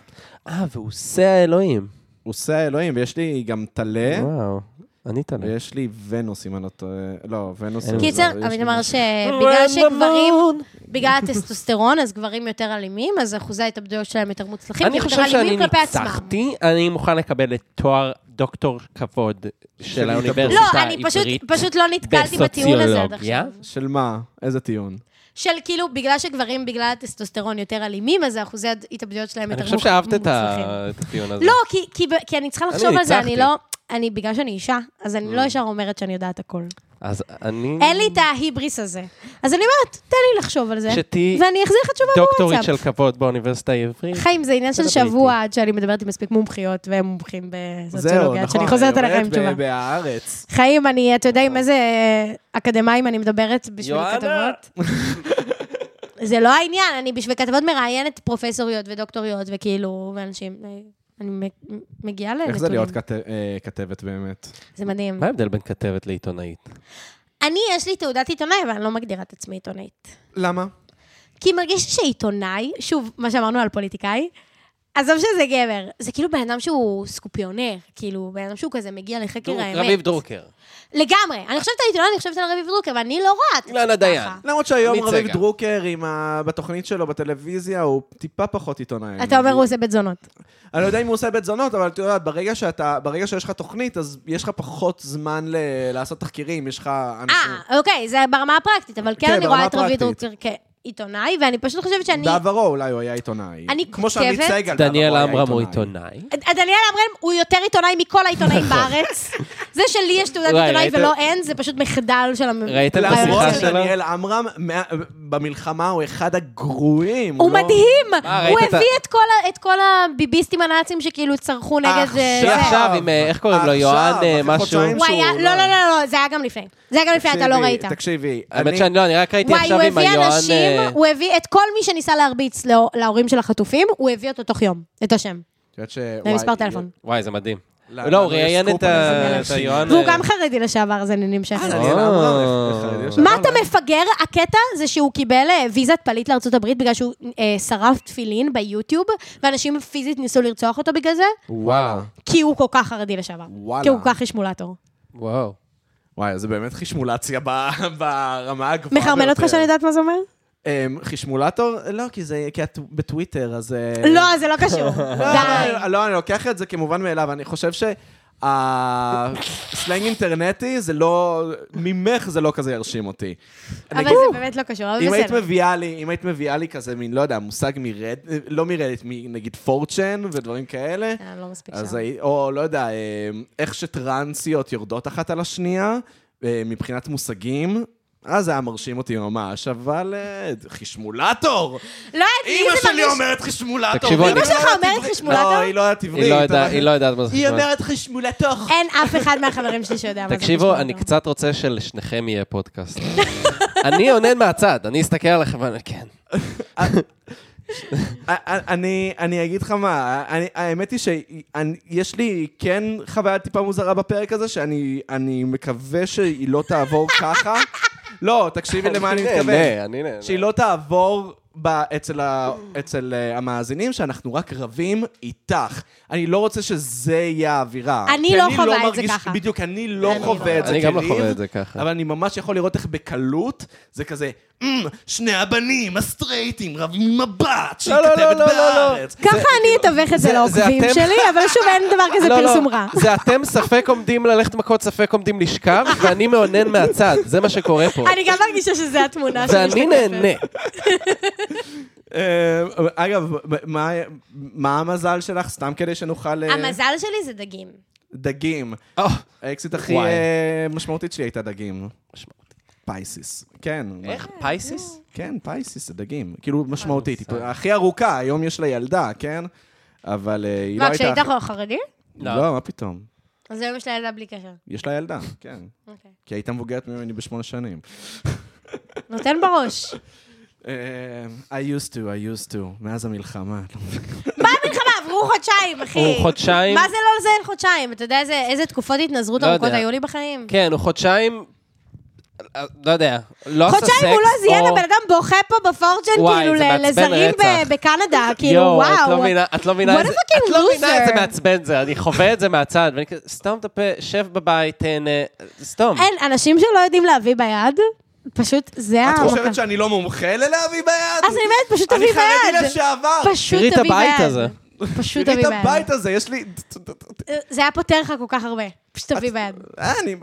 [SPEAKER 1] אה, והוא עושה האלוהים.
[SPEAKER 2] הוא עושה האלוהים, ויש לי גם טלה,
[SPEAKER 1] וואו, אני תלה.
[SPEAKER 2] ויש לי ונוס, אם אני לא טועה. לא, ונוס.
[SPEAKER 1] אין
[SPEAKER 2] לא,
[SPEAKER 3] קיצר,
[SPEAKER 2] יש לי
[SPEAKER 3] אבל
[SPEAKER 2] משהו.
[SPEAKER 3] אמר שבגלל אה, שגברים, כן, בגלל הטסטוסטרון, אז גברים יותר אלימים, אז אחוזי ההתאבדויות שלהם יותר מוצלחים, כי
[SPEAKER 1] אני
[SPEAKER 3] הם
[SPEAKER 1] חושב
[SPEAKER 3] יותר
[SPEAKER 1] שאני
[SPEAKER 3] אלימים כן, כלפי עצמם.
[SPEAKER 1] ניצחתי, אני מוכן לקבל את תואר דוקטור כבוד של
[SPEAKER 2] של
[SPEAKER 1] האוניברסיטה
[SPEAKER 3] לא,
[SPEAKER 1] העברית.
[SPEAKER 3] אני פשוט, פשוט לא נתקלתי בטיעון הזה עד
[SPEAKER 1] בסוציולוגיה.
[SPEAKER 3] עכשיו.
[SPEAKER 2] של מה? איזה טיעון?
[SPEAKER 3] של כאילו, בגלל שגברים, בגלל הטסטוסטרון יותר אלימים, אז אחוזי ההתאבדויות שלהם יותר
[SPEAKER 1] אני
[SPEAKER 3] מוצלחים.
[SPEAKER 1] חושב שאהבת את ה- את הטיעון הזה.
[SPEAKER 3] לא, כי- כי ב- כי אני צריכה
[SPEAKER 1] אני
[SPEAKER 3] לחשוב על זה, אני
[SPEAKER 1] ניצחתי. Mm.
[SPEAKER 3] לא... אני, בגלל שאני אישה, אז אני לא ישר אומרת שאני יודעת הכל.
[SPEAKER 1] אז אני...
[SPEAKER 3] אין לי את ההיבריס הזה. אז אני אומרת, תן לי לחשוב על זה,
[SPEAKER 1] שתהיי
[SPEAKER 3] ואני אחזיר לך תשובה
[SPEAKER 1] דוקטורית של
[SPEAKER 3] בוואטסאפ.
[SPEAKER 1] כבוד באוניברסיטה העברית.
[SPEAKER 3] [laughs] חיים, זה עניין של
[SPEAKER 1] תדברי
[SPEAKER 3] שבוע עד שאני מדברת עם מספיק מומחיות, והם מומחים
[SPEAKER 2] זהו,
[SPEAKER 3] בסוציולוגיה, עד
[SPEAKER 2] נכון.
[SPEAKER 3] שאני לא חוזרת
[SPEAKER 2] אני
[SPEAKER 3] אליך עם
[SPEAKER 2] אומרת ב- נכון.
[SPEAKER 3] תשובה.
[SPEAKER 2] בהארץ.
[SPEAKER 3] חיים, אני, אתה יודע עם איזה אה, אקדמאים אני מדברת בשביל
[SPEAKER 1] יואנה.
[SPEAKER 2] [laughs]
[SPEAKER 3] כתבות? זה לא העניין, אני בשביל כתבות מראיינת פרופסוריות ודוקטוריות, וכאילו, ואנשים... אה, אני מ- מגיעה לנתונים.
[SPEAKER 2] איך זה להיות כת- אה, כתבת באמת?
[SPEAKER 3] זה מדהים.
[SPEAKER 1] מה ההבדל בין כתבת לעיתונאית?
[SPEAKER 3] אני, יש לי תעודת עיתונאי, אבל אני לא מגדירה את עצמי עיתונאית.
[SPEAKER 2] למה?
[SPEAKER 3] כי מרגיש לי שעיתונאי, שוב, מה שאמרנו על פוליטיקאי, עזוב שזה גבר, זה כאילו בן אדם שהוא סקופיונר, כאילו, בן אדם שהוא כזה מגיע לחקר האמת.
[SPEAKER 1] רביב דרוקר.
[SPEAKER 3] לגמרי. אני חושבת על עיתונאי, אני חושבת על רביב דרוקר, ואני לא רואה את
[SPEAKER 1] אילנה דיין.
[SPEAKER 2] למרות שהיום
[SPEAKER 1] עמית
[SPEAKER 2] רביב
[SPEAKER 1] סגל.
[SPEAKER 2] דרוקר, עם ה- בתוכנית שלו בטלוויזיה, הוא טיפה פחות עיתונאי.
[SPEAKER 3] אתה אומר, הוא עושה בית זונות.
[SPEAKER 2] אני לא יודע אם הוא עושה בית זונות, אבל אתה יודע, ברגע שאתה, ברגע שיש לך תוכנית, אז יש לך פחות זמן ל- לעשות תחקירים, יש לך אנשים...
[SPEAKER 3] אה, אוקיי, זה ברמה הפרקטית, אבל כן
[SPEAKER 2] כן,
[SPEAKER 3] אני
[SPEAKER 2] ברמה
[SPEAKER 3] רואה את רביב
[SPEAKER 2] הפרקטית.
[SPEAKER 3] דרוקר כעיתונאי, ואני פשוט חושבת שאני...
[SPEAKER 2] בעברו אולי הוא היה עיתונאי.
[SPEAKER 3] אני
[SPEAKER 2] כמו שעמית
[SPEAKER 3] כותבת-
[SPEAKER 2] סגל בעברו
[SPEAKER 1] דניאל
[SPEAKER 2] היה
[SPEAKER 1] עמרם הוא עיתונאי.
[SPEAKER 2] [laughs]
[SPEAKER 3] דניאל אמרן הוא יותר עיתונאי מכל העיתונאים בארץ. זה שלי יש תעודת
[SPEAKER 1] וואי,
[SPEAKER 3] עיתונאי
[SPEAKER 1] ראית-
[SPEAKER 3] ולא אין, זה פשוט מחדל של הממשלה.
[SPEAKER 1] ראיתם את
[SPEAKER 2] למרות
[SPEAKER 1] השיחה שלו?
[SPEAKER 2] שדניאל עמרם מה- במלחמה הוא אחד הגרועים.
[SPEAKER 3] הוא
[SPEAKER 2] לא-
[SPEAKER 3] מדהים!
[SPEAKER 1] מה,
[SPEAKER 3] הוא
[SPEAKER 1] ראית את ה-
[SPEAKER 3] הביא את כל ה- את כל הביביסטים הנאצים שכאילו צרחו נגד... אה,
[SPEAKER 1] היא
[SPEAKER 3] זה.
[SPEAKER 1] עכשיו עם, אה, איך קוראים לו,
[SPEAKER 2] עכשיו,
[SPEAKER 1] יוהן, אה,
[SPEAKER 2] אחרי
[SPEAKER 1] משהו?
[SPEAKER 2] חודשיים
[SPEAKER 3] הוא
[SPEAKER 2] שהוא-
[SPEAKER 3] היה... לא, לא, לא, לא, זה היה גם לפני. זה היה גם לפני, אתה לא
[SPEAKER 2] תקשיבי,
[SPEAKER 3] ראית.
[SPEAKER 2] תקשיבי,
[SPEAKER 1] האמת
[SPEAKER 2] אני-
[SPEAKER 1] שאני לא, אני רק ראיתי
[SPEAKER 3] וואי,
[SPEAKER 1] עכשיו
[SPEAKER 3] הוא
[SPEAKER 1] עם
[SPEAKER 3] הביא
[SPEAKER 1] היוהן...
[SPEAKER 3] אנשים,
[SPEAKER 1] אה,
[SPEAKER 3] הוא הביא את כל מי שניסה להרביץ להור- להורים של החטופים, הוא הביא אותו תוך יום, את השם,
[SPEAKER 2] את יודעת ש- וואי,
[SPEAKER 3] ומספר טלפון.
[SPEAKER 1] וואי, זה מדהים.
[SPEAKER 2] לא,
[SPEAKER 1] לא, הוא
[SPEAKER 2] אבל יש
[SPEAKER 1] ראיין
[SPEAKER 2] סקופ
[SPEAKER 1] את ה-
[SPEAKER 2] על
[SPEAKER 1] את
[SPEAKER 2] זה.
[SPEAKER 1] היוהן...
[SPEAKER 3] והוא
[SPEAKER 1] אה,
[SPEAKER 3] גם חרדי לשעבר, אז אני
[SPEAKER 2] אה,
[SPEAKER 3] נמשכת.
[SPEAKER 2] דניאל
[SPEAKER 1] אה. לא,
[SPEAKER 2] עמרם, איך- איך- איך-
[SPEAKER 3] מה
[SPEAKER 2] איך-
[SPEAKER 3] אתה מפגר? הקטע זה שהוא קיבל אה, ויזת פליט לארצות הברית בגלל שהוא אה, שרף תפילין ביוטיוב, ואנשים פיזית ניסו לרצוח אותו בגלל זה,
[SPEAKER 2] וואו.
[SPEAKER 1] אה,
[SPEAKER 3] כי הוא כל כך חרדי לשעבר.
[SPEAKER 2] וואלה.
[SPEAKER 3] כי הוא כל כך חשמולטור.
[SPEAKER 1] וואו.
[SPEAKER 2] וואי, זה באמת חשמולציה ב- ברמה הגבוהה
[SPEAKER 3] מחרמן אותך
[SPEAKER 2] ביותר.
[SPEAKER 3] שאני יודעת מה זה אומר?
[SPEAKER 2] אמ, חשמולטור? לא, כי זה, כי את בטוויטר, אז... אה,
[SPEAKER 3] לא, זה לא קשור.
[SPEAKER 2] לא,
[SPEAKER 3] די.
[SPEAKER 2] לא, לא, אני לוקח את זה כמובן מאליו. אני חושב שהסלנג אינטרנטי זה לא... ממך זה לא כזה ירשים אותי.
[SPEAKER 3] אבל
[SPEAKER 2] נגיד,
[SPEAKER 3] זה באמת לא קשור, אבל
[SPEAKER 2] אם היית
[SPEAKER 3] בסדר.
[SPEAKER 2] מביאה לי, אם היית מביאה לי כזה מין, לא יודע, מושג מרד... לא מרדט, נגיד פורצ'ן ודברים כאלה,
[SPEAKER 3] אה, לא מספיק
[SPEAKER 2] אז
[SPEAKER 3] שם.
[SPEAKER 2] הי- או לא יודע, אה, איך שטרנסיות יורדות אחת על השנייה, אה, מבחינת מושגים, אז זה היה מרשים אותי ממש, אבל אה,
[SPEAKER 3] [laughs]
[SPEAKER 2] חשמולטור!
[SPEAKER 3] לא, לי
[SPEAKER 2] אימא
[SPEAKER 3] זה
[SPEAKER 2] שלי
[SPEAKER 3] מרגיש...
[SPEAKER 2] אומרת חשמולטור!
[SPEAKER 1] תקשיבו,
[SPEAKER 2] והיא
[SPEAKER 1] אני-
[SPEAKER 2] לא
[SPEAKER 3] אמא שלך
[SPEAKER 2] יודעת
[SPEAKER 3] אומרת
[SPEAKER 2] עברית.
[SPEAKER 3] חשמולטור?
[SPEAKER 2] לא, היא לא יודעת עברית.
[SPEAKER 1] היא לא
[SPEAKER 2] אבל-
[SPEAKER 1] יודעת- היא לא יודעת מה זה
[SPEAKER 2] היא
[SPEAKER 1] חשמול.
[SPEAKER 2] אומרת חשמולטור!
[SPEAKER 3] אין אף אחד מהחברים שלי שיודע מה זה
[SPEAKER 1] תקשיבו,
[SPEAKER 3] חשמולטור.
[SPEAKER 1] אני קצת רוצה שלשניכם יהיה פודקאסט. [laughs] אני עונן מהצד, אני אסתכל עליכם ואני, כן.
[SPEAKER 2] אה, אני, אני אגיד לך מה, אני, האמת היא שיש לי כן חוויה טיפה מוזרה בפרק הזה, שאני אני מקווה שהיא לא תעבור ככה. לא, תקשיבי למה
[SPEAKER 1] [laughs] כן,
[SPEAKER 2] אני מתכוון.
[SPEAKER 1] נהנה, אני נהנה.
[SPEAKER 2] שהיא לא תעבור ב, אצל, ה, אצל אה, המאזינים, שאנחנו רק רבים איתך. אני לא רוצה שזה יהיה האווירה.
[SPEAKER 3] אני
[SPEAKER 2] כי
[SPEAKER 3] לא חווה את זה
[SPEAKER 2] מרגיש-
[SPEAKER 3] ככה.
[SPEAKER 2] בדיוק, אני לא
[SPEAKER 3] אני לא
[SPEAKER 2] חווה את זה
[SPEAKER 1] אני גם לא
[SPEAKER 2] כריב,
[SPEAKER 1] חווה את זה ככה.
[SPEAKER 2] אבל אני ממש יכול לראות איך בקלות זה כזה, "אמ, שני הבנים, הסטרייטים, רבים עם הבת, שהיא
[SPEAKER 1] לא, לא,
[SPEAKER 2] כתבת
[SPEAKER 1] לא, לא, לא.
[SPEAKER 2] בארץ.
[SPEAKER 3] ככה אני אתווך את זה
[SPEAKER 1] זה-
[SPEAKER 3] לעוקבים
[SPEAKER 1] זה אתם-
[SPEAKER 3] שלי, אבל שוב, אין דבר
[SPEAKER 1] [laughs]
[SPEAKER 3] כזה
[SPEAKER 1] לא, לא.
[SPEAKER 3] פרסום רע.
[SPEAKER 1] זה אתם ספק עומדים ללכת מכות, ספק עומדים
[SPEAKER 3] [laughs]
[SPEAKER 1] לשכב, ואני מאונן מהצד, זה מה שקורה פה.
[SPEAKER 3] אני גם מרגישה שזו התמונה שלי.
[SPEAKER 1] ואני נהנה.
[SPEAKER 2] אה, אגב, מה- מה המזל שלך? סתם כדי שנוכל... אה,
[SPEAKER 3] המזל שלי זה דגים.
[SPEAKER 2] דגים.
[SPEAKER 1] אה,
[SPEAKER 2] האקסיט הכי
[SPEAKER 1] וואי.
[SPEAKER 2] אה, משמעותית שלי הייתה דגים.
[SPEAKER 1] משמעותי.
[SPEAKER 2] פייסיס. כן.
[SPEAKER 1] איך? פייסיס?
[SPEAKER 2] כן, פייסיס זה דגים. כאילו, משמעותית. היא
[SPEAKER 3] אה.
[SPEAKER 2] הכי ארוכה, היום יש לה ילדה, כן? אבל אה, היא לא
[SPEAKER 3] מה,
[SPEAKER 2] הייתה...
[SPEAKER 3] כשהיית חרדי?
[SPEAKER 2] לא, מה פתאום?
[SPEAKER 3] אז היום יש לה ילדה בלי קשר.
[SPEAKER 2] יש לה ילדה, כן.
[SPEAKER 3] אוקיי.
[SPEAKER 2] כי הייתה מבוגרת ממני בשמונה שנים.
[SPEAKER 3] נותן בראש.
[SPEAKER 2] אה, I used to, I used to, מאז המלחמה.
[SPEAKER 3] מה המלחמה? עברו חודשיים, אחי.
[SPEAKER 1] הוא חודשיים.
[SPEAKER 3] מה זה לא לזיין חודשיים? אתה יודע איזה- איזה תקופות התנזרות
[SPEAKER 1] לא
[SPEAKER 3] ארוכות
[SPEAKER 1] יודע.
[SPEAKER 3] היו לי בחיים?
[SPEAKER 1] כן, הוא חודשיים, אה, לא יודע, לא עשה סקס,
[SPEAKER 3] חודשיים הוא לא זיין,
[SPEAKER 1] או-
[SPEAKER 3] הבן אדם בוכה פה בפורג'ן,
[SPEAKER 1] וואי,
[SPEAKER 3] כאילו,
[SPEAKER 1] זה
[SPEAKER 3] ל-
[SPEAKER 1] מעצבן
[SPEAKER 3] לזרים ב-
[SPEAKER 1] רצח. [laughs]
[SPEAKER 3] בקנדה, כאילו,
[SPEAKER 1] יואו, את
[SPEAKER 3] וואו.
[SPEAKER 1] לא מבינה, את לא מבינה
[SPEAKER 3] What a
[SPEAKER 1] איזה-
[SPEAKER 3] fucking
[SPEAKER 1] את לא מבינה
[SPEAKER 3] loser.
[SPEAKER 1] איזה מעצבן זה, אני חווה את זה מהצד, ואני כזה, סתום את הפה, שב בבית, תהנה, סתום.
[SPEAKER 3] אין, אנשים שלא יודעים להביא ביד, פשוט זה
[SPEAKER 1] אה,
[SPEAKER 3] ה...
[SPEAKER 1] אוקיי.
[SPEAKER 2] את חושבת שאני לא מומחה ללהביא ביד?
[SPEAKER 3] אז אני אומרת, פשוט
[SPEAKER 2] אני
[SPEAKER 3] תביא
[SPEAKER 2] חרדי
[SPEAKER 3] ביד.
[SPEAKER 2] לשעבר.
[SPEAKER 3] פשוט
[SPEAKER 1] תראי את
[SPEAKER 3] תביא
[SPEAKER 1] הבית
[SPEAKER 3] ביד.
[SPEAKER 1] הזה.
[SPEAKER 3] פשוט
[SPEAKER 2] תראי
[SPEAKER 3] תביא
[SPEAKER 2] את
[SPEAKER 3] ביד.
[SPEAKER 2] הבית הזה, יש לי...
[SPEAKER 3] זה היה פותר לך כל כך הרבה. פשוט תביא ביד.
[SPEAKER 2] אה, אני...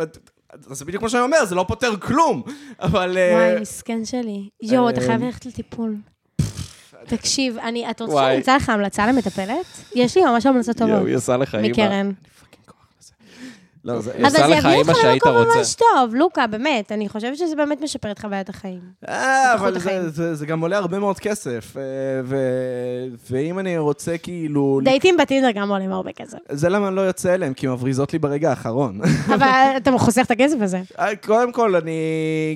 [SPEAKER 2] זה בדיוק מה שאני אומר, זה לא פותר כלום. אבל... אה,
[SPEAKER 3] וואי, מסכן שלי. יואו, אתה חייב ללכת לטיפול.
[SPEAKER 2] אה,
[SPEAKER 3] תקשיב, אני, את רוצה
[SPEAKER 1] וואי.
[SPEAKER 3] שאני אמצא לך המלצה למטפלת? יש לי ממש המלצות טובות.
[SPEAKER 1] עשה לך
[SPEAKER 3] מקרן.
[SPEAKER 2] לא, זה...
[SPEAKER 1] היא
[SPEAKER 3] אבל
[SPEAKER 1] עושה
[SPEAKER 3] זה
[SPEAKER 1] לך
[SPEAKER 3] יביא אותך
[SPEAKER 1] אימא שהיית
[SPEAKER 3] למקום
[SPEAKER 1] רוצה.
[SPEAKER 3] ממש טוב, לוקה, באמת. אני חושבת שזה באמת משפר את חוויית החיים.
[SPEAKER 2] אה,
[SPEAKER 3] איכות
[SPEAKER 2] אבל
[SPEAKER 3] החיים.
[SPEAKER 2] זה- זה- זה גם עולה הרבה מאוד כסף. אה, ו- ואם אני רוצה כאילו...
[SPEAKER 3] דייטים בטינדר גם עולים הרבה [laughs] כסף.
[SPEAKER 2] זה למה אני לא יוצא אליהם, כי מבריזות לי ברגע האחרון. [laughs]
[SPEAKER 3] אבל אתה חוסך את הכסף הזה.
[SPEAKER 2] אה, קודם כל, אני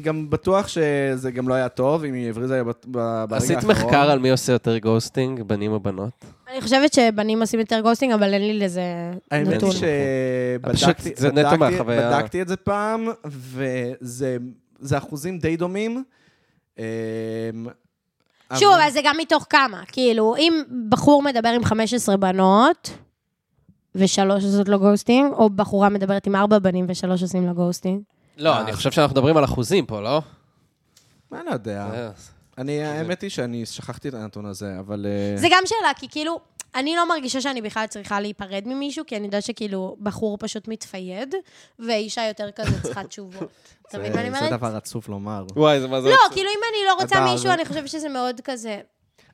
[SPEAKER 2] גם בטוח שזה גם לא היה טוב, אם היא הבריזה לי בת- ב- ברגע האחרון.
[SPEAKER 1] עשית מחקר על מי עושה יותר גוסטינג, בנים או בנות?
[SPEAKER 3] אני חושבת שבנים עושים יותר גוסטינג, אבל אין לי לזה
[SPEAKER 2] האמת
[SPEAKER 3] נתון.
[SPEAKER 2] היא
[SPEAKER 1] אה, פשוט
[SPEAKER 2] שבדקתי
[SPEAKER 1] זה נטו
[SPEAKER 2] בדקתי-
[SPEAKER 1] מהחוויה.
[SPEAKER 2] בדקתי את זה פעם, וזה זה אחוזים די דומים. אמ,
[SPEAKER 3] שוב,
[SPEAKER 2] אבל-
[SPEAKER 3] אבל זה גם מתוך כמה. כאילו, אם בחור מדבר עם 15 בנות, ושלוש עושות לו גוסטינג, או בחורה מדברת עם ארבע בנים ושלוש עושים לו גוסטינג.
[SPEAKER 1] לא,
[SPEAKER 2] אה,
[SPEAKER 1] אני
[SPEAKER 2] אז-
[SPEAKER 1] חושב שאנחנו מדברים על אחוזים פה, לא?
[SPEAKER 2] מה אני לא
[SPEAKER 1] אה,
[SPEAKER 2] יודע? אני, האמת היא שאני שכחתי את הנתון הזה, אבל... אה,
[SPEAKER 3] זה גם שאלה, כי כאילו, אני לא מרגישה שאני בכלל צריכה להיפרד ממישהו, כי אני יודעת שכאילו, בחור פשוט מתפייד, ואישה יותר כזה
[SPEAKER 2] [laughs]
[SPEAKER 3] צריכה תשובות. אתה מבין מה אני
[SPEAKER 2] אה, זה
[SPEAKER 3] אומרת?
[SPEAKER 2] דבר לא, עצוב לומר.
[SPEAKER 1] וואי, זה מה זה...
[SPEAKER 3] לא, כאילו, אם אני לא רוצה
[SPEAKER 2] אתה-
[SPEAKER 3] מישהו, אני חושבת שזה מאוד כזה...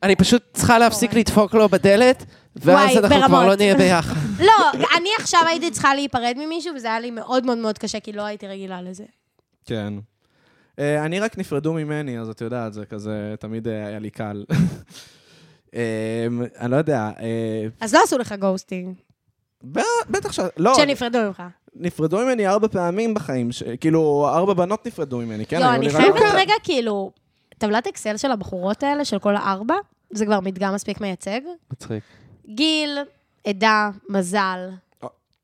[SPEAKER 1] אני פשוט צריכה להפסיק
[SPEAKER 3] קורה.
[SPEAKER 1] לדפוק לו בדלת, ואז
[SPEAKER 3] לא, וואי,
[SPEAKER 1] אנחנו כבר
[SPEAKER 3] ברמות.
[SPEAKER 1] לא נהיה ביחד.
[SPEAKER 3] לא, אני עכשיו הייתי צריכה להיפרד ממישהו, וזה היה לי מאוד מאוד מאוד קשה, כי לא הייתי רגילה לזה.
[SPEAKER 2] כן. אה, אני רק נפרדו ממני, אז את יודעת, זה כזה, תמיד אה, היה לי קל. [laughs] אה, אני לא יודע, אה,
[SPEAKER 3] אז לא עשו לך גוסטינג,
[SPEAKER 2] ב- בטח ש... לא,
[SPEAKER 3] כשנפרדו ממך.
[SPEAKER 2] נפרדו ממני ארבע פעמים בחיים, ש- כאילו, ארבע בנות נפרדו ממני, כן?
[SPEAKER 3] לא,
[SPEAKER 2] היו
[SPEAKER 3] אני
[SPEAKER 2] לי רק-
[SPEAKER 3] חייבת רגע, כאילו, טבלת אקסל של הבחורות האלה, של כל הארבע, זה כבר מדגם מספיק מייצג.
[SPEAKER 1] [laughs] מצחיק.
[SPEAKER 3] גיל, עדה, מזל.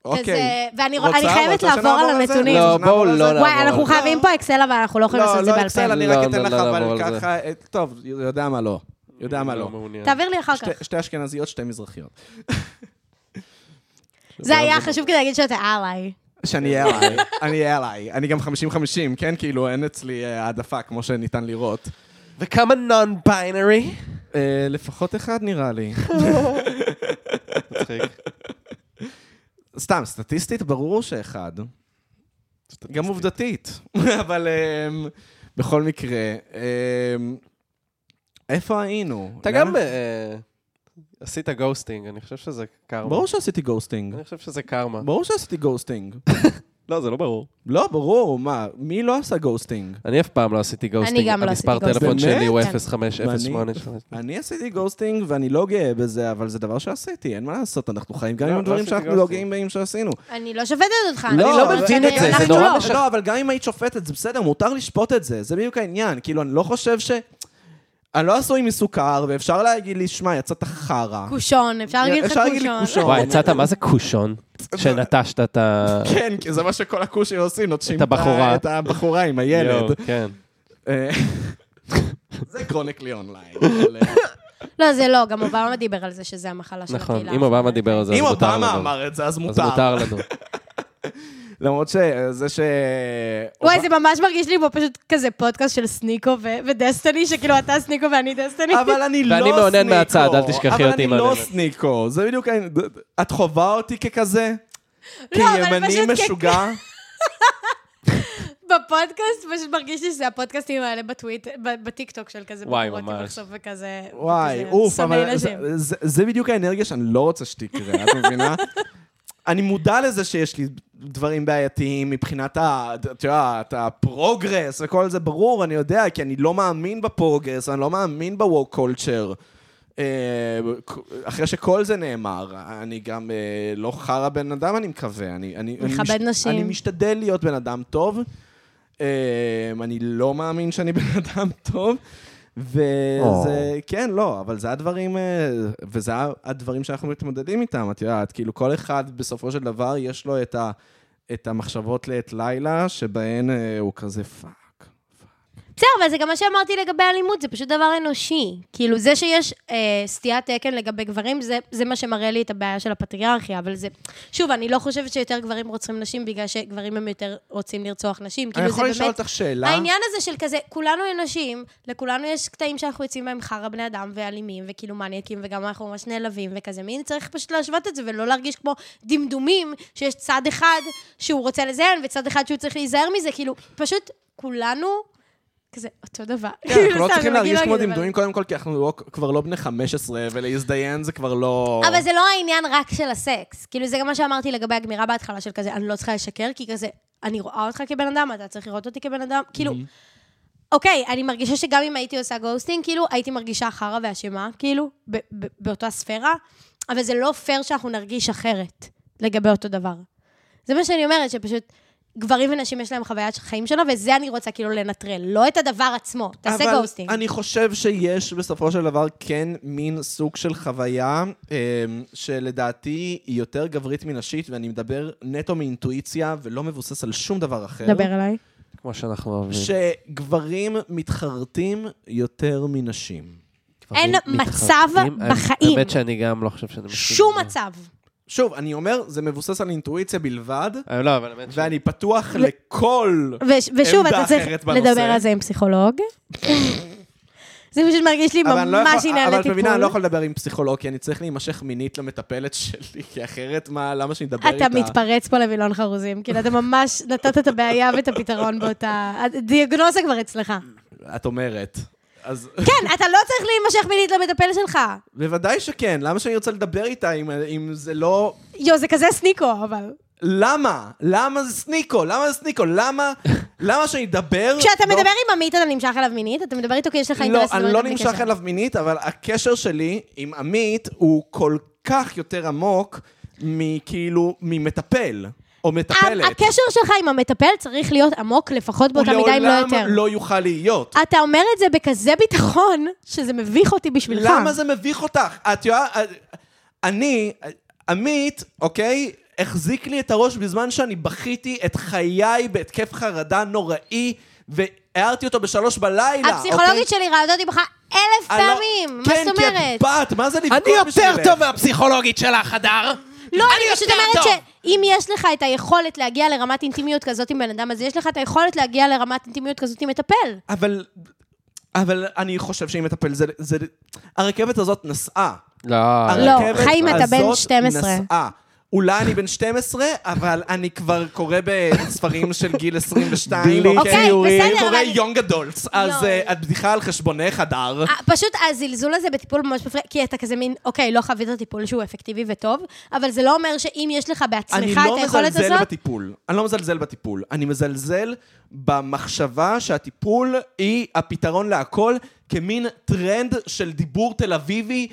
[SPEAKER 2] אוקיי.
[SPEAKER 3] כזה, ואני
[SPEAKER 2] רוצה-
[SPEAKER 3] אני חייבת
[SPEAKER 2] רוצה
[SPEAKER 3] לעבור
[SPEAKER 2] שנעבור
[SPEAKER 3] על
[SPEAKER 2] זה?
[SPEAKER 3] הנתונים.
[SPEAKER 1] לא,
[SPEAKER 2] שנעבור
[SPEAKER 1] בואו
[SPEAKER 2] על
[SPEAKER 1] לא
[SPEAKER 2] זה?
[SPEAKER 1] נעבור
[SPEAKER 3] וואי, אנחנו
[SPEAKER 1] אבל-
[SPEAKER 3] חייבים פה אקסל, אבל אנחנו לא יכולים לעשות
[SPEAKER 2] לא,
[SPEAKER 3] את זה
[SPEAKER 2] לא
[SPEAKER 3] בעל
[SPEAKER 2] אקסל,
[SPEAKER 3] פה.
[SPEAKER 2] אני
[SPEAKER 1] לא,
[SPEAKER 2] רק אתן
[SPEAKER 1] לא,
[SPEAKER 2] לך,
[SPEAKER 1] לא נעבור
[SPEAKER 2] אבל
[SPEAKER 1] על זה.
[SPEAKER 2] ככה, אה, טוב, יודע מה לא. יודע מה לא.
[SPEAKER 3] תעביר לי אחר כך.
[SPEAKER 2] שתי- שתי אשכנזיות, שתי מזרחיות. לא,
[SPEAKER 3] זה היה חשוב כדי להגיד שאתה אליי.
[SPEAKER 2] שאני אהיה עליי, אני אהיה עליי. אני גם 50-50, כן? כאילו, אין אצלי אה, העדפה, כמו שניתן לראות.
[SPEAKER 1] וכמה נון-בינרי?
[SPEAKER 2] אה, לפחות אחד נראה לי. [laughs]
[SPEAKER 1] מצחיק.
[SPEAKER 2] סתם, סטטיסטית ברור שאחד. גם עובדתית. [laughs] אבל אמ, בכל מקרה, אמ, איפה היינו?
[SPEAKER 1] [laughs] אתה
[SPEAKER 2] למה- לא?
[SPEAKER 1] גם אה, עשית גוסטינג, אני חושב שזה קרמה.
[SPEAKER 2] ברור שעשיתי גוסטינג.
[SPEAKER 1] אני חושב שזה קרמה.
[SPEAKER 2] [laughs] ברור שעשיתי גוסטינג.
[SPEAKER 1] לא, זה לא ברור.
[SPEAKER 2] לא, ברור, מה? מי לא עשה גוסטינג?
[SPEAKER 1] אני אף פעם לא עשיתי גוסטינג.
[SPEAKER 3] גם לא
[SPEAKER 1] המספר
[SPEAKER 3] עשיתי
[SPEAKER 1] טלפון
[SPEAKER 2] גוסטינג.
[SPEAKER 1] שלי הוא
[SPEAKER 3] באמת?
[SPEAKER 1] 05008.
[SPEAKER 2] אני עשיתי גוסטינג ואני לא גאה בזה, אבל זה דבר שעשיתי, אין מה לעשות, אנחנו חיים גם
[SPEAKER 1] לא,
[SPEAKER 2] עם
[SPEAKER 1] לא
[SPEAKER 2] הדברים
[SPEAKER 1] עשיתי
[SPEAKER 2] שאנחנו לא
[SPEAKER 1] גוסטינג.
[SPEAKER 2] גאים בהם שעשינו.
[SPEAKER 3] אני לא שופטת אותך.
[SPEAKER 1] לא,
[SPEAKER 3] אני
[SPEAKER 1] לא
[SPEAKER 3] אומרת
[SPEAKER 1] מבין
[SPEAKER 3] שאני-
[SPEAKER 1] את זה, זה
[SPEAKER 3] אנחנו
[SPEAKER 1] נורא
[SPEAKER 3] לא.
[SPEAKER 1] מש-
[SPEAKER 2] לא, אבל גם אם היית שופטת, זה בסדר, מותר לשפוט את זה, זה בדיוק העניין. כאילו, אני לא חושב ש... אני לא עשוי מסוכר, ואפשר להגיד לי, שמע, יצאת חרא.
[SPEAKER 3] קושון, אפשר להגיד לך
[SPEAKER 2] אפשר להגיד לי
[SPEAKER 3] קושון.
[SPEAKER 2] קושון.
[SPEAKER 1] וואי, יצאת, מה זה קושון? שנטשת את [laughs] ה...
[SPEAKER 2] כן, כי זה מה שכל הכושים עושים, נוטשים
[SPEAKER 1] את הבחורה.
[SPEAKER 2] את הבחורה עם הילד.
[SPEAKER 1] יואו, כן.
[SPEAKER 2] אה, זה
[SPEAKER 1] [laughs]
[SPEAKER 2] קרוניקלי אונליין.
[SPEAKER 3] לא, זה לא, גם אובמה דיבר על זה שזה המחלה של
[SPEAKER 1] נכון,
[SPEAKER 3] הקהילה.
[SPEAKER 1] אם אובמה דיבר על זה, אז
[SPEAKER 2] אם
[SPEAKER 1] מותר לנו.
[SPEAKER 2] אובמה אמר את זה, אז
[SPEAKER 1] אז
[SPEAKER 2] מותר.
[SPEAKER 1] מותר [laughs] לנו.
[SPEAKER 2] למרות שזה ש...
[SPEAKER 3] וואי, זה ממש מרגיש לי כמו פשוט כזה פודקאסט של סניקו ו- ודסטני, שכאילו אתה סניקו ואני דסטני.
[SPEAKER 2] אבל אני לא סניקו.
[SPEAKER 1] ואני מעונן מהצד, אל תשכחי
[SPEAKER 2] אבל
[SPEAKER 1] אותי
[SPEAKER 2] אני לא
[SPEAKER 1] מעוננת.
[SPEAKER 2] סניקו, זה בדיוק... העניין. את חווה אותי ככזה?
[SPEAKER 3] לא, אבל
[SPEAKER 2] כימני
[SPEAKER 3] פשוט כ-
[SPEAKER 2] משוגע?
[SPEAKER 3] בפודקאסט, פשוט מרגיש לי שזה הפודקאסטים האלה בטוויט, ב- בטיקטוק של כזה
[SPEAKER 1] וואי,
[SPEAKER 3] בחורות
[SPEAKER 1] ממש.
[SPEAKER 3] עם מחשוף וכזה.
[SPEAKER 2] וואי,
[SPEAKER 3] וכזה
[SPEAKER 2] אוף,
[SPEAKER 3] שונאי
[SPEAKER 2] אבל
[SPEAKER 3] נשים.
[SPEAKER 2] זה- זה- זה בדיוק האנרגיה שאני לא רוצה שתקרה, את
[SPEAKER 3] [laughs]
[SPEAKER 2] מבינה? אני מודע לזה שיש לי דברים בעייתיים מבחינת ה... את יודעת, הפרוגרס וכל זה, ברור, אני יודע, כי אני לא מאמין בפרוגרס, אני לא מאמין בווק קולצ'ר. אה, אחרי שכל זה נאמר, אני גם אה, לא חרא בן אדם, אני מקווה. אני, אני, אני
[SPEAKER 3] מכבד נשים.
[SPEAKER 2] אני משתדל להיות בן אדם טוב. אה, אני לא מאמין שאני בן אדם טוב. וזה, כן, לא, אבל זה הדברים, אה, וזה הדברים שאנחנו מתמודדים איתם, את יודעת, כאילו כל אחד בסופו של דבר יש לו את, ה, את המחשבות לעת לילה, שבהן אה, הוא כזה פאק.
[SPEAKER 3] כאילו, בסדר, אבל זה גם מה שאמרתי לגבי אלימות, זה פשוט דבר אנושי. כאילו, זה שיש אה, סטיית תקן לגבי גברים, זה, זה מה שמראה לי את הבעיה של הפטריארכיה, אבל זה... שוב, אני לא חושבת שיותר גברים רוצחים נשים בגלל שגברים הם יותר רוצים לרצוח נשים.
[SPEAKER 2] אני
[SPEAKER 3] כאילו, זה
[SPEAKER 2] יכול
[SPEAKER 3] באמת...
[SPEAKER 2] לשאול אותך שאלה?
[SPEAKER 3] העניין הזה של כזה, כולנו אנושיים, לכולנו יש קטעים שאנחנו יוצאים בהם חרא בני אדם ואלימים, וכאילו מניאקים, וגם אנחנו ממש נעלבים וכזה מין, צריך פשוט להשוות את זה ולא להרגיש כמו דמדומים, שיש צד אחד שהוא רוצה לזיין, וצד אחד שהוא צריך להיזהר מזה, כאילו, פשוט כולנו כזה אותו דבר.
[SPEAKER 2] כן, אנחנו
[SPEAKER 3] סתם,
[SPEAKER 2] לא
[SPEAKER 3] אני
[SPEAKER 2] צריכים
[SPEAKER 3] כאילו
[SPEAKER 2] להרגיש כמו
[SPEAKER 3] אגיד, אבל-
[SPEAKER 2] דמדומים, קודם כל, כי אנחנו לא- כבר לא בני 15, ולהזדיין זה כבר לא...
[SPEAKER 3] אבל זה לא העניין רק של הסקס. כאילו, זה גם מה שאמרתי לגבי הגמירה בהתחלה, של כזה, אני לא צריכה לשקר, כי כזה, אני רואה אותך כבן אדם, אתה צריך לראות אותי כבן אדם. כאילו, אוקיי, אני מרגישה שגם אם הייתי עושה גוסטינג, כאילו, הייתי מרגישה חרא ואשמה, כאילו, ב- ב- באותה ספירה, אבל זה לא פייר שאנחנו נרגיש אחרת לגבי אותו דבר. זה מה שאני אומרת, שפשוט... גברים ונשים יש להם חוויית חיים שלו, וזה אני רוצה כאילו לנטרל, לא את הדבר עצמו. תעשה
[SPEAKER 2] אבל
[SPEAKER 3] גוסטינג.
[SPEAKER 2] אני חושב שיש בסופו של דבר כן מין סוג של חוויה אמ, שלדעתי היא יותר גברית מנשית, ואני מדבר נטו מאינטואיציה ולא מבוסס על שום דבר אחר.
[SPEAKER 3] דבר אליי.
[SPEAKER 1] כמו שאנחנו אוהבים.
[SPEAKER 2] שגברים מתחרטים יותר מנשים.
[SPEAKER 3] אין
[SPEAKER 1] גברים
[SPEAKER 3] מצב
[SPEAKER 1] מתחרטים. אני-
[SPEAKER 3] בחיים.
[SPEAKER 1] האמת שאני גם לא חושב שאני... מסכים
[SPEAKER 3] שום
[SPEAKER 1] לזה.
[SPEAKER 3] מצב.
[SPEAKER 2] שוב, אני אומר, זה מבוסס על אינטואיציה בלבד,
[SPEAKER 1] אה, לא, אבל האמת ש...
[SPEAKER 2] ואני פתוח לכל...
[SPEAKER 3] וש- ושוב,
[SPEAKER 2] עמדה
[SPEAKER 3] אתה צריך
[SPEAKER 2] אחרת בנושא.
[SPEAKER 3] לדבר על זה עם פסיכולוג. זה פשוט מרגיש לי
[SPEAKER 2] אבל אני לא
[SPEAKER 3] ממש
[SPEAKER 2] יכול-
[SPEAKER 3] עניין
[SPEAKER 2] אבל את
[SPEAKER 3] לטיפול.
[SPEAKER 2] מבינה, אני לא יכול לדבר עם פסיכולוג, כי אני צריך להימשך מינית למטפלת שלי, כי אחרת, מה, למה שאני אדבר איתה?
[SPEAKER 3] אתה מתפרץ פה לווילון חרוזים, כאילו אתה ממש נתת את הבעיה ואת הפתרון באותה... הדיאגנוזה כבר אצלך.
[SPEAKER 2] את אומרת. אז
[SPEAKER 3] כן, אתה לא צריך להימשך מינית למטפל שלך.
[SPEAKER 2] בוודאי שכן, למה שאני רוצה לדבר איתה אם, אם זה לא...
[SPEAKER 3] יו, זה כזה סניקו, אבל.
[SPEAKER 2] למה? למה זה סניקו? למה זה סניקו?
[SPEAKER 3] [laughs]
[SPEAKER 2] למה, למה שאני אדבר...
[SPEAKER 3] כשאתה
[SPEAKER 2] לא-
[SPEAKER 3] מדבר עם עמית, אתה נמשך אליו מינית? אתה מדבר איתו כי יש לך
[SPEAKER 2] לא,
[SPEAKER 3] אינטרס
[SPEAKER 2] אני
[SPEAKER 3] לדבר
[SPEAKER 2] לא
[SPEAKER 3] איתו בלי
[SPEAKER 2] נמשך
[SPEAKER 3] קשר.
[SPEAKER 2] אליו מינית, אבל הקשר שלי עם עמית הוא כל כך יותר עמוק מכאילו, ממטפל, או
[SPEAKER 3] ה-
[SPEAKER 2] מטפלת.
[SPEAKER 3] הקשר שלך עם המטפל צריך להיות עמוק לפחות
[SPEAKER 2] הוא
[SPEAKER 3] באותה מידה, אם לא יותר.
[SPEAKER 2] לעולם לא יוכל להיות.
[SPEAKER 3] אתה אומר את זה בכזה ביטחון, שזה מביך אותי בשבילך.
[SPEAKER 2] למה זה מביך אותך? את יודעת, אני, עמית, אוקיי? החזיק לי את הראש בזמן שאני בכיתי את חיי בהתקף חרדה נוראי, והערתי אותו בשלוש בלילה.
[SPEAKER 3] הפסיכולוגית שלי ראתה אותי בך אלף
[SPEAKER 2] אוקיי. אני לא-
[SPEAKER 3] פעמים, מה זאת
[SPEAKER 2] כן, כי את
[SPEAKER 3] אומרת?
[SPEAKER 2] בת, מה זה לבכות
[SPEAKER 1] אני
[SPEAKER 2] בשבילך?
[SPEAKER 1] יותר טוב מהפסיכולוגית שלך, הדר.
[SPEAKER 3] לא, אני פשוט
[SPEAKER 1] יותר
[SPEAKER 3] אומרת
[SPEAKER 1] טוב.
[SPEAKER 3] שאם יש לך את היכולת להגיע לרמת אינטימיות כזאת עם בן אדם, אז יש לך את היכולת להגיע לרמת אינטימיות כזאת עם מטפל.
[SPEAKER 2] אבל... אבל אני חושב שאם מטפל זה, זה... הרכבת הזאת נסעה.
[SPEAKER 1] לא.
[SPEAKER 2] הרכבת
[SPEAKER 3] חיים, אתה בן
[SPEAKER 2] הזאת
[SPEAKER 3] 12.
[SPEAKER 2] נסעה. אולי אני בן 12, אבל אני כבר קורא בספרים של גיל 22.
[SPEAKER 1] בלי
[SPEAKER 3] אוקיי, ציורים. בסדר,
[SPEAKER 2] אני קורא
[SPEAKER 3] אבל- לא.
[SPEAKER 2] יונג אדולטס, אז
[SPEAKER 3] יואי.
[SPEAKER 2] אה, את בדיחה על חשבונך, הדר.
[SPEAKER 3] אה, פשוט הזלזול הזה בטיפול ממש מפריע, כי אתה כזה מין, אוקיי, לא חווית טיפול שהוא אפקטיבי וטוב, אבל זה לא אומר שאם יש לך
[SPEAKER 2] אני
[SPEAKER 3] בעצמך את
[SPEAKER 2] לא
[SPEAKER 3] היכולת
[SPEAKER 2] מזלזל
[SPEAKER 3] הזאת...
[SPEAKER 2] בטיפול. אני לא מזלזל בטיפול. אני מזלזל במחשבה שהטיפול היא הפתרון להכל, כמין טרנד של דיבור תל אביבי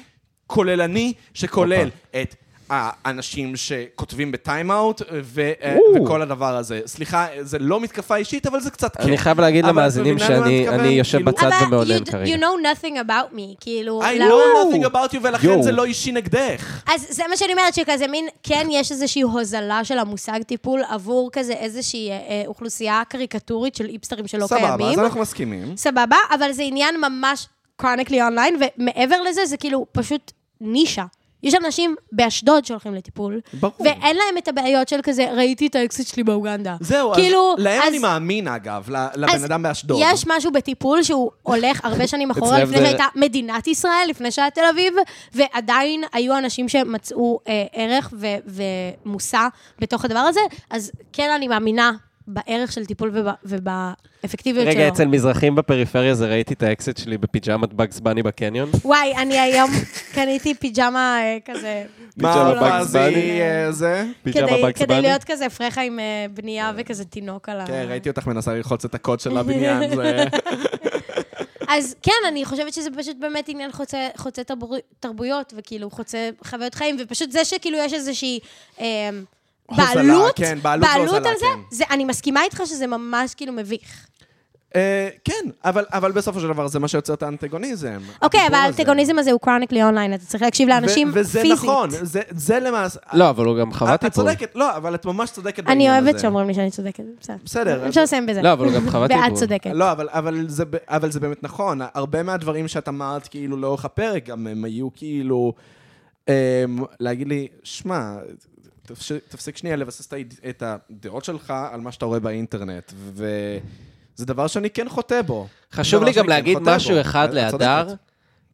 [SPEAKER 2] כוללני, שכולל את... האנשים שכותבים בטיים-אאוט ו- אה,
[SPEAKER 1] או.
[SPEAKER 2] וכל הדבר הזה. סליחה, זה לא מתקפה אישית, אבל זה קצת כן.
[SPEAKER 1] אני חייב להגיד
[SPEAKER 2] אבל את
[SPEAKER 1] למאזינים
[SPEAKER 2] מבינה למה אני
[SPEAKER 1] שאני
[SPEAKER 2] מתכוון?
[SPEAKER 1] אני יושב
[SPEAKER 2] כאילו-
[SPEAKER 1] בצד
[SPEAKER 3] אבל
[SPEAKER 1] ומאונן
[SPEAKER 3] you,
[SPEAKER 1] כרגע.
[SPEAKER 3] you know nothing about me, כאילו,
[SPEAKER 2] I
[SPEAKER 3] למה-
[SPEAKER 2] know nothing about you, ולכן
[SPEAKER 1] יואו.
[SPEAKER 2] זה לא אישי נגדך.
[SPEAKER 3] אז זה מה שאני אומרת, שכזה מין, כן יש איזושהי הוזלה של המושג טיפול עבור כזה איזושהי אה, אה, אוכלוסייה קריקטורית של איפסטרים שלא
[SPEAKER 2] סבבה,
[SPEAKER 3] לא קיימים.
[SPEAKER 2] אז אנחנו מסכימים.
[SPEAKER 3] סבבה, אבל זה עניין ממש קרוניקלי אונליין, ומעבר לזה זה כאילו פשוט נישה. יש אנשים באשדוד שהולכים לטיפול,
[SPEAKER 2] ברור.
[SPEAKER 3] ואין להם את הבעיות של כזה, ראיתי את האקסיט שלי באוגנדה.
[SPEAKER 2] זהו,
[SPEAKER 3] כאילו,
[SPEAKER 2] אז להם
[SPEAKER 3] אז-
[SPEAKER 2] אני מאמין, אגב, ל- לבן
[SPEAKER 3] אז
[SPEAKER 2] אדם באשדוד.
[SPEAKER 3] יש משהו בטיפול שהוא הולך
[SPEAKER 1] [laughs]
[SPEAKER 3] הרבה שנים אחורה,
[SPEAKER 1] אצלם
[SPEAKER 3] לפני
[SPEAKER 1] זה-
[SPEAKER 3] שהייתה מדינת ישראל, לפני שהיה תל אביב, ועדיין היו אנשים שמצאו אה, ערך ו- ומושא בתוך הדבר הזה, אז כן, אני מאמינה בערך של טיפול וב- ובאפקטיביות שלו.
[SPEAKER 1] רגע, אצל מזרחים בפריפריה זה ראיתי את האקזיט שלי בפיג'מת בגס בני בקניון.
[SPEAKER 3] וואי, אני היום [laughs] קניתי פיג'מה אה, כזה,
[SPEAKER 1] פיג'מה
[SPEAKER 2] מה
[SPEAKER 1] בגס בני.
[SPEAKER 2] פאזי אה, זה?
[SPEAKER 1] פיג'מה
[SPEAKER 3] כדי,
[SPEAKER 1] בגס
[SPEAKER 3] כדי
[SPEAKER 1] בני.
[SPEAKER 3] להיות כזה פרחה עם אה, בנייה וכזה תינוק על ה...
[SPEAKER 2] כן, ראיתי אותך מנסה ללחוץ את הקוד של
[SPEAKER 3] [laughs]
[SPEAKER 2] הבניין, זה...
[SPEAKER 3] אז כן, אני חושבת שזה פשוט באמת עניין חוצה, חוצה תרבור, תרבויות, וכאילו חוצה חוויות חיים, ופשוט זה שכאילו יש איזושהי... אמ,
[SPEAKER 2] הוזלה,
[SPEAKER 3] בעלות,
[SPEAKER 2] כן, בעלות והוזלה,
[SPEAKER 3] על זה,
[SPEAKER 2] כן.
[SPEAKER 3] זה, אני מסכימה איתך שזה ממש כאילו מביך.
[SPEAKER 2] אה, כן, אבל אבל בסופו של דבר זה מה שיוצר את האנטגוניזם.
[SPEAKER 3] אוקיי, אבל
[SPEAKER 2] החיבור הזה.
[SPEAKER 3] האנטגוניזם הזה הוא קרוניקלי אונליין, אתה צריך להקשיב
[SPEAKER 2] ו-
[SPEAKER 3] לאנשים
[SPEAKER 2] וזה
[SPEAKER 3] פיזית.
[SPEAKER 2] נכון, זה- זה למעשה...
[SPEAKER 1] לא, אבל הוא גם חווה
[SPEAKER 2] את- את
[SPEAKER 1] טיפול.
[SPEAKER 2] צודקת, לא, אבל את ממש צודקת
[SPEAKER 3] אני
[SPEAKER 2] בעניין הזה.
[SPEAKER 3] אוהבת שאומרים לי שאני צודקת, בסדר.
[SPEAKER 2] בסדר.
[SPEAKER 3] אפשר לסיים בזה.
[SPEAKER 1] לא, אבל הוא גם חווה טיפול.
[SPEAKER 3] ואת צודקת.
[SPEAKER 2] לא, אבל, אבל, זה, ב- אבל זה באמת נכון. הרבה מהדברים שאת אמרת כאילו לאורך הפרק, גם הם היו כאילו... אמ, להגיד לי, שמע, תפש- תפסיק שנייה לבסס את היד- את הדעות שלך על מה שאתה רואה באינטרנט. וזה דבר שאני כן חוטא בו.
[SPEAKER 1] חשוב
[SPEAKER 2] דבר
[SPEAKER 1] לי
[SPEAKER 2] שאני
[SPEAKER 1] גם
[SPEAKER 2] כן
[SPEAKER 1] להגיד
[SPEAKER 2] חוטא בו.
[SPEAKER 1] משהו אחד
[SPEAKER 2] את
[SPEAKER 1] להדר.
[SPEAKER 2] צודקת.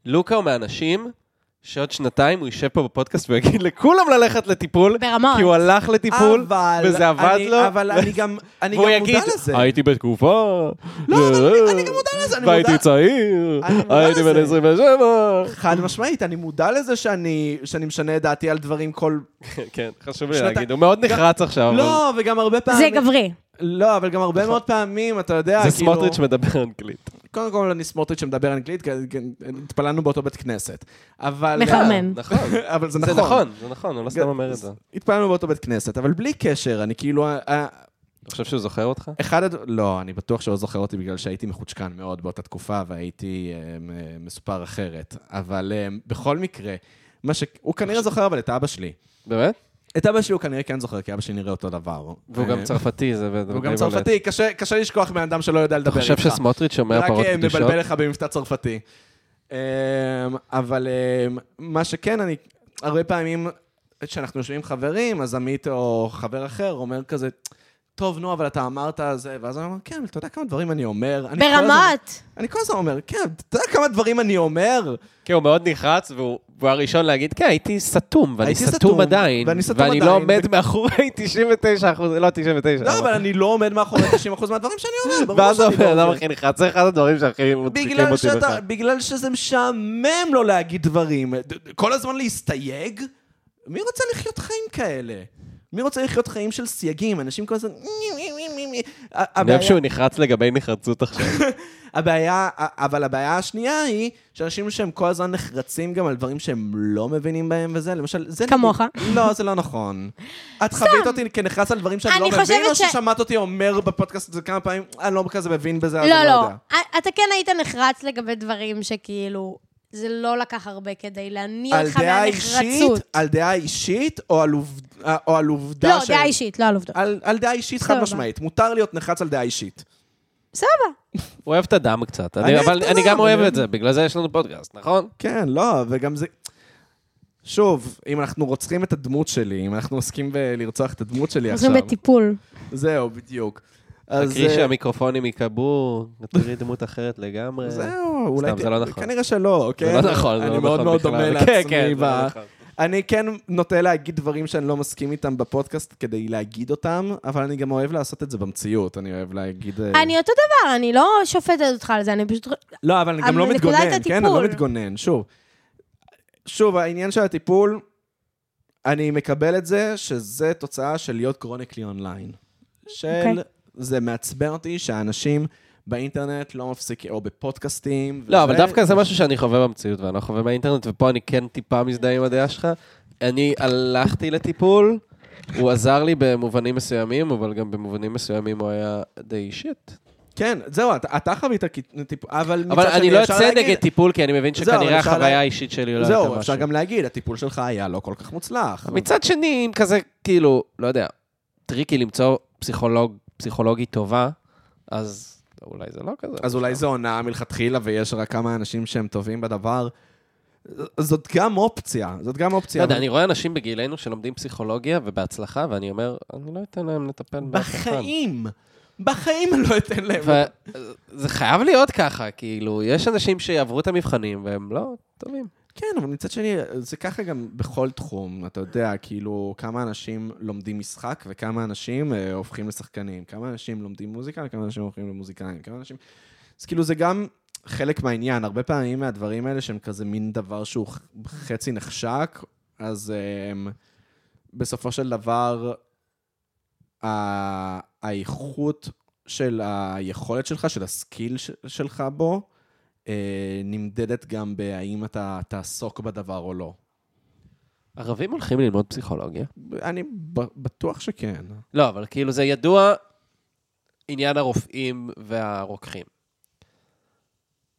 [SPEAKER 1] לוקה הוא מהאנשים שעוד שנתיים הוא יישב פה בפודקאסט ויגיד לכולם ללכת לטיפול,
[SPEAKER 3] ברמות.
[SPEAKER 1] כי הוא הלך לטיפול,
[SPEAKER 2] אבל
[SPEAKER 1] וזה עבד
[SPEAKER 2] אני-
[SPEAKER 1] לו,
[SPEAKER 2] אבל אני גם אני גם
[SPEAKER 1] והוא
[SPEAKER 2] מודע
[SPEAKER 1] יגיד,
[SPEAKER 2] לזה.
[SPEAKER 1] הייתי בתקופה,
[SPEAKER 2] לא, אבל אני-
[SPEAKER 1] אה,
[SPEAKER 2] אני גם מודע לזה, אני
[SPEAKER 1] והייתי
[SPEAKER 2] מודע-
[SPEAKER 1] צעיר,
[SPEAKER 2] אני מודע
[SPEAKER 1] הייתי בן
[SPEAKER 2] לזה.
[SPEAKER 1] 27.
[SPEAKER 2] חד משמעית, אני מודע לזה שאני שאני משנה את דעתי על דברים כל...
[SPEAKER 1] [laughs] כן, חשוב לי
[SPEAKER 2] שנתיים.
[SPEAKER 1] להגיד, הוא מאוד נחרץ עכשיו, אבל
[SPEAKER 2] לא, וגם הרבה פעמים...
[SPEAKER 3] זה גברי. לא,
[SPEAKER 2] לא, אבל גם הרבה מאוד פעמים, אתה יודע,
[SPEAKER 1] נכון. זה
[SPEAKER 2] כאילו...
[SPEAKER 1] סמוטריץ' מדבר אנגלית.
[SPEAKER 2] קודם כל, אני סמוטריץ' שמדבר אנגלית, כי- כי התפללנו באותו בית כנסת. אבל... אה,
[SPEAKER 3] מחרמן.
[SPEAKER 1] [laughs] נכון,
[SPEAKER 2] [laughs] אבל זה
[SPEAKER 1] זה
[SPEAKER 2] נכון.
[SPEAKER 1] נכון, זה נכון, הוא לא סתם אומר את זה.
[SPEAKER 2] התפללנו באותו בית כנסת, אבל בלי קשר, אני כאילו... אה, אה,
[SPEAKER 1] אתה חושב שהוא זוכר אותך?
[SPEAKER 2] אחד... הד- לא, אני בטוח שהוא לא זוכר אותי בגלל שהייתי מחוצ'קן מאוד באותה תקופה והייתי אה, מ- מסופר אחרת. אבל אה, בכל מקרה, מה ש... הוא כנראה זוכר אבל את אבא שלי.
[SPEAKER 1] באמת?
[SPEAKER 2] את אבא שלי הוא כנראה כן זוכר, כי אבא שלי נראה אותו דבר.
[SPEAKER 1] והוא
[SPEAKER 2] אה,
[SPEAKER 1] גם צרפתי, זה...
[SPEAKER 2] והוא גם צרפתי, קשה- קשה לשכוח בן אדם שלא יודע
[SPEAKER 1] אתה
[SPEAKER 2] לדבר איתך.
[SPEAKER 1] חושב שסמוטריץ' שומע פרות
[SPEAKER 2] רק אה,
[SPEAKER 1] קדושות?
[SPEAKER 2] מבלבל לך במבטא צרפתי. אמ, אבל אמ, מה שכן, אני... הרבה פעמים כשאנחנו יושבים עם חברים, אז עמית או חבר אחר אומר כזה, טוב, נו, אבל אתה אמרת זה, ואז אני אומר, כן, אבל אתה יודע כמה דברים אני אומר? אני כל הזמן-
[SPEAKER 3] ברמת.
[SPEAKER 2] אני כל הזמן אומר, כן, אתה יודע כמה דברים אני אומר?
[SPEAKER 1] כן, הוא מאוד נחרץ, והוא והוא הראשון להגיד, כן, הייתי סתום, ואני
[SPEAKER 2] הייתי
[SPEAKER 1] סתום
[SPEAKER 2] סתום,
[SPEAKER 1] עדיין,
[SPEAKER 2] ואני סתום
[SPEAKER 1] ואני לא
[SPEAKER 2] עדיין.
[SPEAKER 1] עומד מאחורי 99 אחוז, לא 99.
[SPEAKER 2] לא, אבל אני לא עומד מאחורי 90% מהדברים שאני אומר, ברור
[SPEAKER 1] ואז
[SPEAKER 2] שאני לא
[SPEAKER 1] הבן אדם
[SPEAKER 2] אומר.
[SPEAKER 1] הכי נחרץ, זה כן אחד הדברים שהכי מצחיקים
[SPEAKER 2] בגלל,
[SPEAKER 1] אותי בך.
[SPEAKER 2] שאתה, בגלל שזה משעמם לא להגיד דברים. ד- ד- כל הזמן להסתייג? מי רוצה לחיות חיים כאלה? מי רוצה לחיות חיים של סייגים? אנשים כל הזמן... ה-
[SPEAKER 1] אני
[SPEAKER 2] הבעיה-
[SPEAKER 1] אוהב שהוא נחרץ לגבי נחרצות עכשיו.
[SPEAKER 2] הבעיה, אבל הבעיה השנייה היא שאנשים שהם כל הזמן נחרצים גם על דברים שהם לא מבינים בהם וזה, למשל, זה... נגיד-
[SPEAKER 3] כמוך.
[SPEAKER 2] לא, זה לא נכון. את חווית אותי כנחרץ על דברים שאני
[SPEAKER 3] אני
[SPEAKER 2] לא מבין,
[SPEAKER 3] חושבת
[SPEAKER 2] או
[SPEAKER 3] ש-
[SPEAKER 2] ששמעת אותי אומר בפודקאסט הזה כמה פעמים, אני לא כזה מבין בזה, אז אני
[SPEAKER 3] לא,
[SPEAKER 2] לא
[SPEAKER 3] לא.
[SPEAKER 2] יודע.
[SPEAKER 3] א- אתה כן היית נחרץ לגבי דברים שכאילו, זה לא לקח הרבה כדי להניע
[SPEAKER 2] על
[SPEAKER 3] אותך
[SPEAKER 2] דעה אישית,
[SPEAKER 3] מהנחרצות.
[SPEAKER 2] על דעה אישית או על עובד- אה, או על עובדה
[SPEAKER 3] לא,
[SPEAKER 2] ש-
[SPEAKER 3] דעה אישית, לא על עובדות.
[SPEAKER 2] על, על דעה אישית חד
[SPEAKER 3] סבבה.
[SPEAKER 2] משמעית, מותר להיות נחרץ על דעה אישית.
[SPEAKER 3] סבבה.
[SPEAKER 1] הוא אוהב את הדם קצת, אני-
[SPEAKER 2] אני אוהב
[SPEAKER 1] אבל
[SPEAKER 2] את
[SPEAKER 1] אני
[SPEAKER 2] הדם,
[SPEAKER 1] גם אוהב
[SPEAKER 2] אני-
[SPEAKER 1] את זה, בגלל זה יש לנו פודקאסט, נכון?
[SPEAKER 2] כן, לא, וגם זה... שוב, אם אנחנו רוצחים את הדמות שלי, אם אנחנו עוסקים בלרצוח את הדמות שלי
[SPEAKER 3] אנחנו
[SPEAKER 2] עכשיו,
[SPEAKER 3] בטיפול.
[SPEAKER 2] זהו, בדיוק. אז
[SPEAKER 1] תקריא
[SPEAKER 2] אה,
[SPEAKER 1] שהמיקרופונים ייקבעו, תראי דמות אחרת לגמרי.
[SPEAKER 2] זהו, אולי...
[SPEAKER 1] סתם,
[SPEAKER 2] ת-
[SPEAKER 1] זה לא נכון.
[SPEAKER 2] כנראה שלא,
[SPEAKER 1] זה
[SPEAKER 2] כן?
[SPEAKER 1] לא נכון, זה לא
[SPEAKER 2] אני
[SPEAKER 1] נכון
[SPEAKER 2] מאוד מאוד
[SPEAKER 1] בכלל.
[SPEAKER 2] דומה
[SPEAKER 1] כן,
[SPEAKER 2] לעצמי
[SPEAKER 1] כן, זה לא
[SPEAKER 2] ב...
[SPEAKER 1] נכון.
[SPEAKER 2] אני כן נוטה להגיד דברים שאני לא מסכים איתם בפודקאסט כדי להגיד אותם, אבל אני גם אוהב לעשות את זה במציאות, אני אוהב להגיד... אה,
[SPEAKER 3] אני אותו דבר, אני לא שופטת אותך על זה, אני פשוט... אה,
[SPEAKER 2] לא, אבל אני גם
[SPEAKER 3] אבל
[SPEAKER 2] לא
[SPEAKER 3] נקודת
[SPEAKER 2] מתגונן, כן? אני לא
[SPEAKER 3] הטיפול.
[SPEAKER 2] מתגונן, שוב. שוב, העניין של הטיפול, אני מקבל את זה שזה תוצאה של להיות קרוניקלי אונליין. של...
[SPEAKER 3] אוקיי.
[SPEAKER 2] זה מעצבן אותי שהאנשים באינטרנט לא מפסיקים, או בפודקאסטים.
[SPEAKER 1] לא, אבל
[SPEAKER 2] וזה-
[SPEAKER 1] דווקא זה משהו שאני חווה במציאות ואני לא חווה מהאינטרנט, ופה אני כן טיפה מזדהה עם הדעה שלך. אני הלכתי לטיפול, הוא עזר לי במובנים מסוימים, אבל גם במובנים מסוימים הוא היה די שיט.
[SPEAKER 2] כן, זהו, אתה, אתה חווית כ- טיפול, אבל מצד
[SPEAKER 1] אבל אני
[SPEAKER 2] שני,
[SPEAKER 1] לא
[SPEAKER 2] אפשר
[SPEAKER 1] יוצא
[SPEAKER 2] להגיד-
[SPEAKER 1] נגד טיפול, כי אני מבין
[SPEAKER 2] זהו,
[SPEAKER 1] שכנראה
[SPEAKER 2] אפשר לה-
[SPEAKER 1] החוויה האישית שלי לא הייתה
[SPEAKER 2] זהו, אפשר
[SPEAKER 1] משהו.
[SPEAKER 2] גם להגיד, הטיפול שלך היה לא כל כך מוצלח.
[SPEAKER 1] מצד שני, אם כזה, כאילו, לא יודע, טריקי למצוא פסיכולוג, פסיכולוגית טובה, אז אולי זה לא כזה.
[SPEAKER 2] אז אולי זו הונאה מלכתחילה, ויש רק כמה אנשים שהם טובים בדבר. זאת גם אופציה, זאת גם
[SPEAKER 1] לא
[SPEAKER 2] אופציה.
[SPEAKER 1] יודע,
[SPEAKER 2] אבל-
[SPEAKER 1] אני רואה אנשים בגילנו שלומדים פסיכולוגיה ובהצלחה, ואני אומר, אני לא אתן להם לטפל באף אחד.
[SPEAKER 2] בחיים, בחיים אני לא אתן להם.
[SPEAKER 1] ו- זה חייב להיות ככה, כאילו, יש אנשים שיעברו את המבחנים והם לא טובים.
[SPEAKER 2] כן, אבל מצד שני, זה ככה גם בכל תחום, אתה יודע, כאילו, כמה אנשים לומדים משחק וכמה אנשים אה, הופכים לשחקנים, כמה אנשים לומדים מוזיקה וכמה אנשים הופכים למוזיקאים, כמה אנשים... אז כאילו, זה גם חלק מהעניין, הרבה פעמים מהדברים האלה שהם כזה מין דבר שהוא ח- חצי נחשק, אז אה, בסופו של דבר, ה- האיכות של היכולת שלך, של הסקיל ש- שלך בו, אה, נמדדת גם בהאם אתה תעסוק בדבר או לא.
[SPEAKER 1] ערבים הולכים ללמוד פסיכולוגיה.
[SPEAKER 2] אני ב- בטוח שכן.
[SPEAKER 1] לא, אבל כאילו, זה ידוע עניין הרופאים והרוקחים.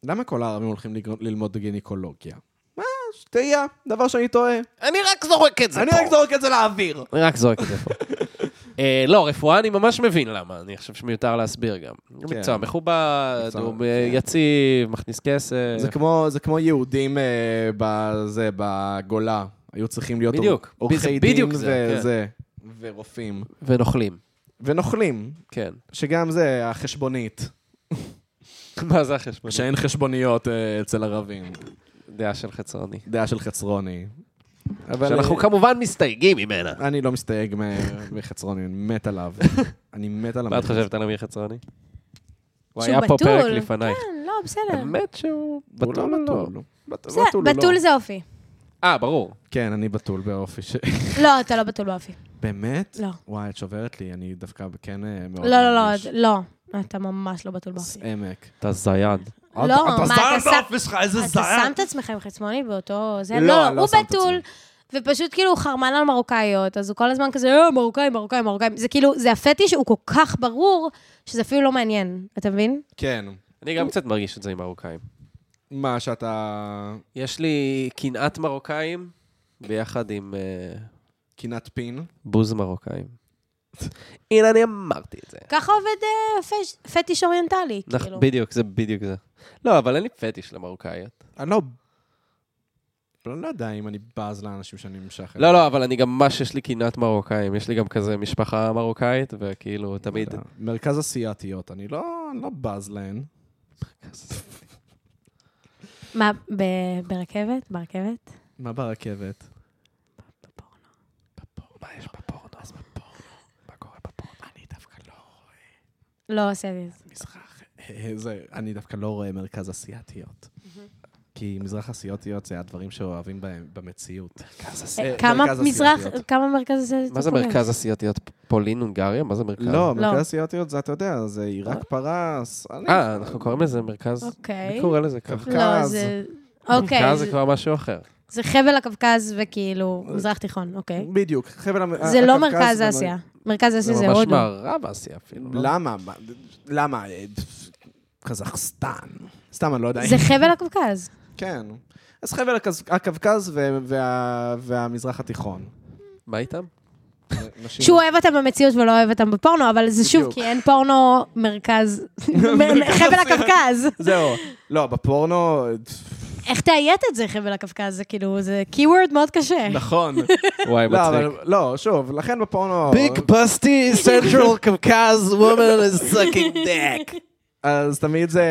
[SPEAKER 2] למה כל הערבים הולכים לגר- ללמוד גינקולוגיה? מה, תהייה, דבר שאני טועה.
[SPEAKER 1] אני רק זורק את זה
[SPEAKER 2] אני
[SPEAKER 1] פה.
[SPEAKER 2] רק זורק את זה לאוויר.
[SPEAKER 1] אני רק זורק את זה פה.
[SPEAKER 2] [laughs]
[SPEAKER 1] אה, לא, רפואה אני ממש מבין למה, אני חושב שמיותר להסביר גם.
[SPEAKER 2] כן.
[SPEAKER 1] מקצוע מכובד,
[SPEAKER 2] מקצוע,
[SPEAKER 1] הוא
[SPEAKER 2] כן.
[SPEAKER 1] אה, יציב, מכניס כסף.
[SPEAKER 2] זה כמו, זה כמו יהודים אה, בזה, בגולה. היו צריכים להיות
[SPEAKER 1] בדיוק.
[SPEAKER 2] עור- עורכי
[SPEAKER 1] בדיוק
[SPEAKER 2] דין
[SPEAKER 1] זה, כן.
[SPEAKER 2] וזה, ורופאים.
[SPEAKER 1] ונוכלים,
[SPEAKER 2] ונוכלים, [laughs]
[SPEAKER 1] כן.
[SPEAKER 2] שגם זה החשבונית.
[SPEAKER 1] מה זה החשבון?
[SPEAKER 2] שאין חשבוניות אה, אצל ערבים.
[SPEAKER 1] דעה של חצרוני.
[SPEAKER 2] דעה של חצרוני. אבל- אה,
[SPEAKER 1] שאנחנו כמובן מסתייגים ממנה.
[SPEAKER 2] אני לא מסתייג מ- מחצרוני, אני
[SPEAKER 1] [laughs]
[SPEAKER 2] מת עליו. אני מת עליו.
[SPEAKER 1] מה את חושבת על אמיר חצרוני? הוא
[SPEAKER 3] שהוא
[SPEAKER 1] היה פה
[SPEAKER 3] בתול.
[SPEAKER 1] פרק לפנייך.
[SPEAKER 3] כן, לא, בסדר.
[SPEAKER 1] האמת שהוא
[SPEAKER 2] הוא לא
[SPEAKER 1] בתול או לא?
[SPEAKER 2] בתול. בת-
[SPEAKER 3] בסדר,
[SPEAKER 2] בתול הוא לא.
[SPEAKER 3] בתול זה אופי.
[SPEAKER 1] אה, ברור.
[SPEAKER 2] כן, אני בתול באופי ש... [laughs]
[SPEAKER 3] לא, אתה לא בתול באופי.
[SPEAKER 2] באמת?
[SPEAKER 3] לא.
[SPEAKER 2] וואי, את שוברת לי, אני דווקא כן אה, מאוד...
[SPEAKER 3] לא, לא, לא,
[SPEAKER 2] מרגיש.
[SPEAKER 3] את- לא. אתה ממש לא בתול באופי.
[SPEAKER 2] עמק.
[SPEAKER 1] אתה זייד.
[SPEAKER 3] לא, מה, אתה שם-
[SPEAKER 2] שלך, איזה
[SPEAKER 3] אתה שם את עצמך עם חצמוני באותו... זה...
[SPEAKER 2] לא,
[SPEAKER 3] לא,
[SPEAKER 2] אני
[SPEAKER 3] לא,
[SPEAKER 2] לא
[SPEAKER 3] הוא
[SPEAKER 2] שם את
[SPEAKER 3] בתול, ופשוט כאילו הוא חרמן על מרוקאיות, אז הוא כל הזמן כזה, אה, מרוקאים, מרוקאים, מרוקאים. זה כאילו, זה הפטיש, הוא כל כך ברור, שזה אפילו לא מעניין, אתה מבין?
[SPEAKER 2] כן.
[SPEAKER 1] אני גם קצת מרגיש את זה עם מרוקאים.
[SPEAKER 2] מה, שאתה...
[SPEAKER 1] יש לי קנאת מרוקאים ביחד עם אה,
[SPEAKER 2] קינת פין?
[SPEAKER 1] בוז מרוקאים. הנה, אני אמרתי את זה.
[SPEAKER 3] ככה עובד אה, פש- פטיש אוריינטלי,
[SPEAKER 1] נכ-
[SPEAKER 3] כאילו.
[SPEAKER 1] לא, בדיוק, זה בדיוק זה. לא, אבל אין לי פטיש למרוקאיות.
[SPEAKER 2] אני לא... לא יודע אם אני בז לאנשים שאני נמשך
[SPEAKER 1] לא, לא, אבל אני גם ממש, יש לי קינת מרוקאים. יש לי גם כזה משפחה מרוקאית, וכאילו, תמיד...
[SPEAKER 2] אתה יודע, מרכז אסיאתיות, אני לא, אני לא בז להן.
[SPEAKER 3] מה, ב- ברכבת? ברכבת?
[SPEAKER 2] מה ברכבת?
[SPEAKER 3] בפורנו.
[SPEAKER 1] מה יש בפורנו? אז בפורנו. מה קורה בפורנו?
[SPEAKER 2] אני דווקא לא
[SPEAKER 3] לא עושה לי את זה.
[SPEAKER 2] מזרח... אה, זה, אני דווקא לא רואה מרכז אסיאתיות. כי מזרח אסיאתיות זה הדברים שאוהבים בהם במציאות. מרכז
[SPEAKER 3] אה, כמה מזרח, כמה מרכז עושה
[SPEAKER 1] מה זה מרכז אסיאתיות? פולין, הונגריה? מה זה מרכז?
[SPEAKER 2] לא, אה?
[SPEAKER 3] לא.
[SPEAKER 2] מרכז אסיאתיות זה, אתה יודע, זה עיראק פרס. אני-
[SPEAKER 1] אה, אנחנו קוראים לזה מרכז...
[SPEAKER 3] אוקיי.
[SPEAKER 1] אני קורא לזה ככה.
[SPEAKER 3] לא,
[SPEAKER 2] קווקז.
[SPEAKER 3] זה...
[SPEAKER 1] מרכז
[SPEAKER 3] אוקיי,
[SPEAKER 1] זה
[SPEAKER 3] זה-
[SPEAKER 1] כבר משהו אחר.
[SPEAKER 3] זה חבל הקווקז וכאילו מזרח תיכון, אוקיי.
[SPEAKER 2] בדיוק, חבל... המ-
[SPEAKER 3] זה לא
[SPEAKER 2] אה, הקווקז
[SPEAKER 3] מרכז
[SPEAKER 2] זה-
[SPEAKER 3] אסיה. מרכז אסיה
[SPEAKER 1] זה
[SPEAKER 3] זה
[SPEAKER 1] ממש
[SPEAKER 3] הודו.
[SPEAKER 1] מערב אסיה אפילו. לא?
[SPEAKER 2] למה? מה- למה? אה, קזחסטן. סתם, אני לא יודע.
[SPEAKER 3] זה חבל
[SPEAKER 2] [laughs]
[SPEAKER 3] הקווקז.
[SPEAKER 2] כן. אז חבל הקז- הקווקז ו- וה- והמזרח התיכון.
[SPEAKER 1] מה איתם?
[SPEAKER 2] נשים-
[SPEAKER 3] שהוא אוהב אותם במציאות ולא אוהב אותם בפורנו, אבל זה שוב,
[SPEAKER 2] בדיוק.
[SPEAKER 3] כי אין
[SPEAKER 2] [laughs]
[SPEAKER 3] פורנו מרכז... חבל הקווקז.
[SPEAKER 2] זהו. לא, בפורנו...
[SPEAKER 3] איך תאיית את זה, חבל הקווקז? זה כאילו, זה keyword מאוד קשה.
[SPEAKER 2] נכון.
[SPEAKER 1] וואי,
[SPEAKER 2] לא,
[SPEAKER 1] מצחיק.
[SPEAKER 2] אבל לא, שוב, לכן בפורנו...
[SPEAKER 1] busty central Caucas woman is sucking dick.
[SPEAKER 2] אז תמיד זה...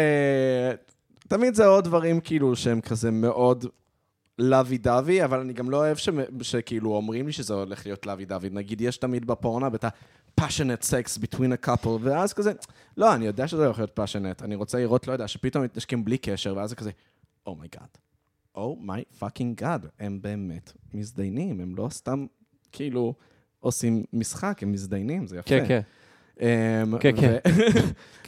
[SPEAKER 2] תמיד זה עוד דברים כאילו שהם כזה מאוד לוי דווי, אבל אני גם לא אוהב ש... שכאילו אומרים לי שזה הולך להיות לוי דווי. נגיד, יש תמיד בפורנה את ה-passionate sex between a couple, ואז כזה, לא, אני יודע שזה הולך להיות passionate, אני רוצה לראות, לא יודע, שפתאום מתנשקים בלי קשר, ואז זה כזה, "Oh אומייגאד. אומי פאקינג גאד. הם באמת מזדיינים, הם לא סתם כאילו עושים משחק, הם מזדיינים, זה יפה.
[SPEAKER 1] כן, כן.
[SPEAKER 2] אמ,
[SPEAKER 1] כן,
[SPEAKER 2] ו- [laughs]
[SPEAKER 1] כן.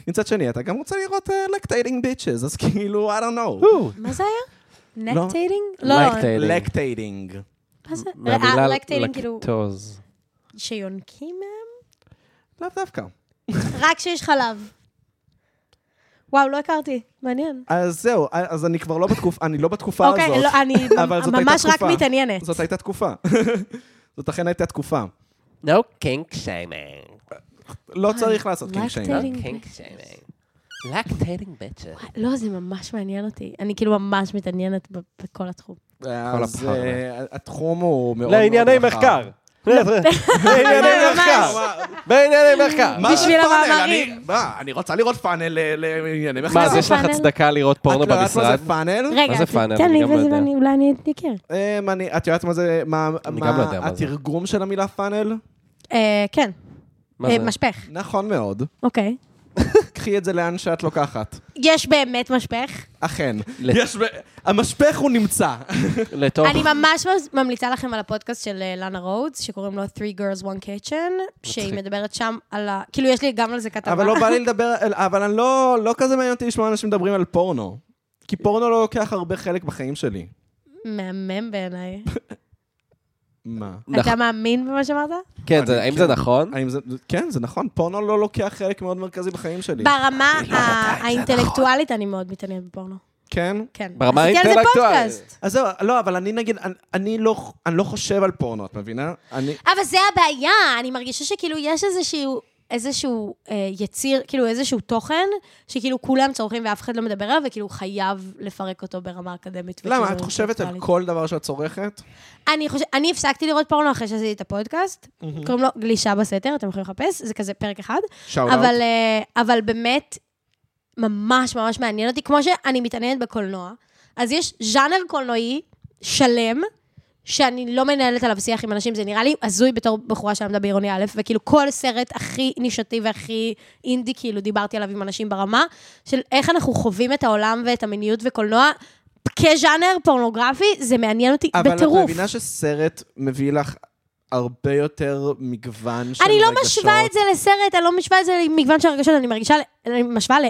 [SPEAKER 2] מצד שני, אתה גם רוצה לראות לקטייטינג ביצ'ס, אז כאילו, I don't know.
[SPEAKER 3] מה זה היה?
[SPEAKER 2] לא.
[SPEAKER 3] נקטייטינג? לא,
[SPEAKER 1] Lactating.
[SPEAKER 2] לקטייטינג.
[SPEAKER 3] מה זה?
[SPEAKER 1] מהמילה
[SPEAKER 3] אה, לקטייטינג כאילו...
[SPEAKER 1] לקטוז.
[SPEAKER 3] שיונקים מהם?
[SPEAKER 2] לאו דווקא.
[SPEAKER 3] רק שיש חלב. וואו, לא הכרתי. מעניין.
[SPEAKER 2] אז זהו, אז אני כבר לא בתקופה, אני לא בתקופה הזאת.
[SPEAKER 3] אוקיי, לא, אני
[SPEAKER 2] [laughs] אבל זאת הייתה
[SPEAKER 3] ממש רק
[SPEAKER 2] תקופה.
[SPEAKER 3] מתעניינת.
[SPEAKER 2] זאת הייתה תקופה. [laughs] זאת אכן הייתה תקופה.
[SPEAKER 1] No kink shaming.
[SPEAKER 3] אה,
[SPEAKER 2] לא צריך לעשות קינג שיינג.
[SPEAKER 3] לקטייטינג.
[SPEAKER 1] kink shaming. Lactating bitches.
[SPEAKER 3] לא, זה ממש מעניין אותי. אני כאילו ממש מתעניינת ב- בכל התחום.
[SPEAKER 2] אז
[SPEAKER 1] הפחר.
[SPEAKER 2] אה, התחום הוא מאוד מאוד רחב.
[SPEAKER 1] לא, לענייני
[SPEAKER 2] [laughs]
[SPEAKER 1] מחקר. [laughs] לענייני
[SPEAKER 3] ממש.
[SPEAKER 1] מחקר. בענייני מחקר.
[SPEAKER 2] מה זה
[SPEAKER 3] בשביל
[SPEAKER 2] פאנל?
[SPEAKER 3] המאמרים.
[SPEAKER 2] אני- מה, אני רוצה לראות פאנל אה, לענייני מחקר.
[SPEAKER 1] מה, אז
[SPEAKER 3] זה
[SPEAKER 1] יש לך
[SPEAKER 3] פאנל?
[SPEAKER 1] הצדקה לראות פורנו
[SPEAKER 2] את לא יודעת מה
[SPEAKER 1] במשרד?
[SPEAKER 2] זה פאנל?
[SPEAKER 3] רגע,
[SPEAKER 1] זה פאנל?
[SPEAKER 3] תן
[SPEAKER 1] אני
[SPEAKER 3] לי
[SPEAKER 1] גם
[SPEAKER 3] וזה
[SPEAKER 1] לא
[SPEAKER 3] ואני- אולי אני אתניכר.
[SPEAKER 2] אמ, אני- את יודעת מה זה, מה
[SPEAKER 1] אני
[SPEAKER 2] מה
[SPEAKER 1] גם לא יודע מה זה.
[SPEAKER 2] התרגום של המילה פאנל?
[SPEAKER 3] אה, כן,
[SPEAKER 1] מה
[SPEAKER 3] אה,
[SPEAKER 1] זה?
[SPEAKER 3] משפך,
[SPEAKER 2] נכון מאוד.
[SPEAKER 3] אוקיי.
[SPEAKER 2] קחי את זה לאן שאת לוקחת.
[SPEAKER 3] יש באמת משפך.
[SPEAKER 2] אכן.
[SPEAKER 1] ל-
[SPEAKER 2] יש... ב- המשפך הוא נמצא.
[SPEAKER 1] לתוך...
[SPEAKER 3] אני ממש ממ- ממליצה לכם על הפודקאסט של אה, לאנה רודס, שקוראים לו Three Girls One Kitchen, שהיא מדברת שם על ה... כאילו, יש לי גם על זה כתבה.
[SPEAKER 2] אבל לא בא לי לדבר... על- אבל אני לא... לא כזה מעניין אותי לשמוע אנשים מדברים על פורנו. כי פורנו לא לוקח הרבה חלק בחיים שלי.
[SPEAKER 3] מהמם בעיניי.
[SPEAKER 2] מה?
[SPEAKER 1] נכ-
[SPEAKER 3] אתה מאמין במה שאמרת?
[SPEAKER 1] נכון. כן, זה- האם זה נכון?
[SPEAKER 2] האם זה... כן, זה נכון, פורנו לא לוקח חלק מאוד מרכזי בחיים שלי.
[SPEAKER 3] ברמה
[SPEAKER 2] לא
[SPEAKER 3] ה-
[SPEAKER 2] נכון.
[SPEAKER 3] האינטלקטואלית אני מאוד מתעניינת בפורנו.
[SPEAKER 2] כן?
[SPEAKER 3] כן.
[SPEAKER 1] ברמה
[SPEAKER 3] עשיתי על זה
[SPEAKER 1] האינטלקטואלית.
[SPEAKER 3] פודקאסט.
[SPEAKER 2] אז זהו, לא, אבל אני נגיד, אני- אני לא- אני לא חושב על פורנו, את מבינה? אני...
[SPEAKER 3] אבל זה הבעיה, אני מרגישה שכאילו יש איזשהו, איזשהו אה, יציר, כאילו איזשהו תוכן, שכאילו כולם צורכים ואף אחד לא מדבר עליו, וכאילו חייב לפרק אותו ברמה אקדמית.
[SPEAKER 2] למה?
[SPEAKER 3] וכאילו
[SPEAKER 2] את חושבת על
[SPEAKER 3] אינטלקטואלית.
[SPEAKER 2] כל דבר שאת צורכת?
[SPEAKER 3] אני חושבת, אני הפסקתי לראות פורנו אחרי שעשיתי את הפודקאסט, קוראים לו גלישה בסתר, אתם יכולים לחפש, זה כזה פרק אחד,
[SPEAKER 2] שאוט
[SPEAKER 3] אבל, אה, אבל באמת, ממש ממש מעניין אותי, כמו שאני מתעניינת בקולנוע, אז יש ז'אנר קולנועי שלם, שאני לא מנהלת עליו שיח עם אנשים, זה נראה לי הזוי בתור בחורה שלמדה בעירוני א', וכאילו כל סרט הכי נישתי והכי אינדי, כאילו דיברתי עליו עם אנשים ברמה, של איך אנחנו חווים את העולם ואת המיניות וקולנוע. כז'אנר פורנוגרפי, זה מעניין אותי
[SPEAKER 2] אבל
[SPEAKER 3] אה, בטירוף.
[SPEAKER 2] את מבינה שסרט מביא לך הרבה יותר מגוון של
[SPEAKER 3] אני
[SPEAKER 2] רגשות.
[SPEAKER 3] לא משווה את זה לסרט, אני לא משווה את זה למגוון של הרגשות, אני מרגישה, ל- אני משווה ל...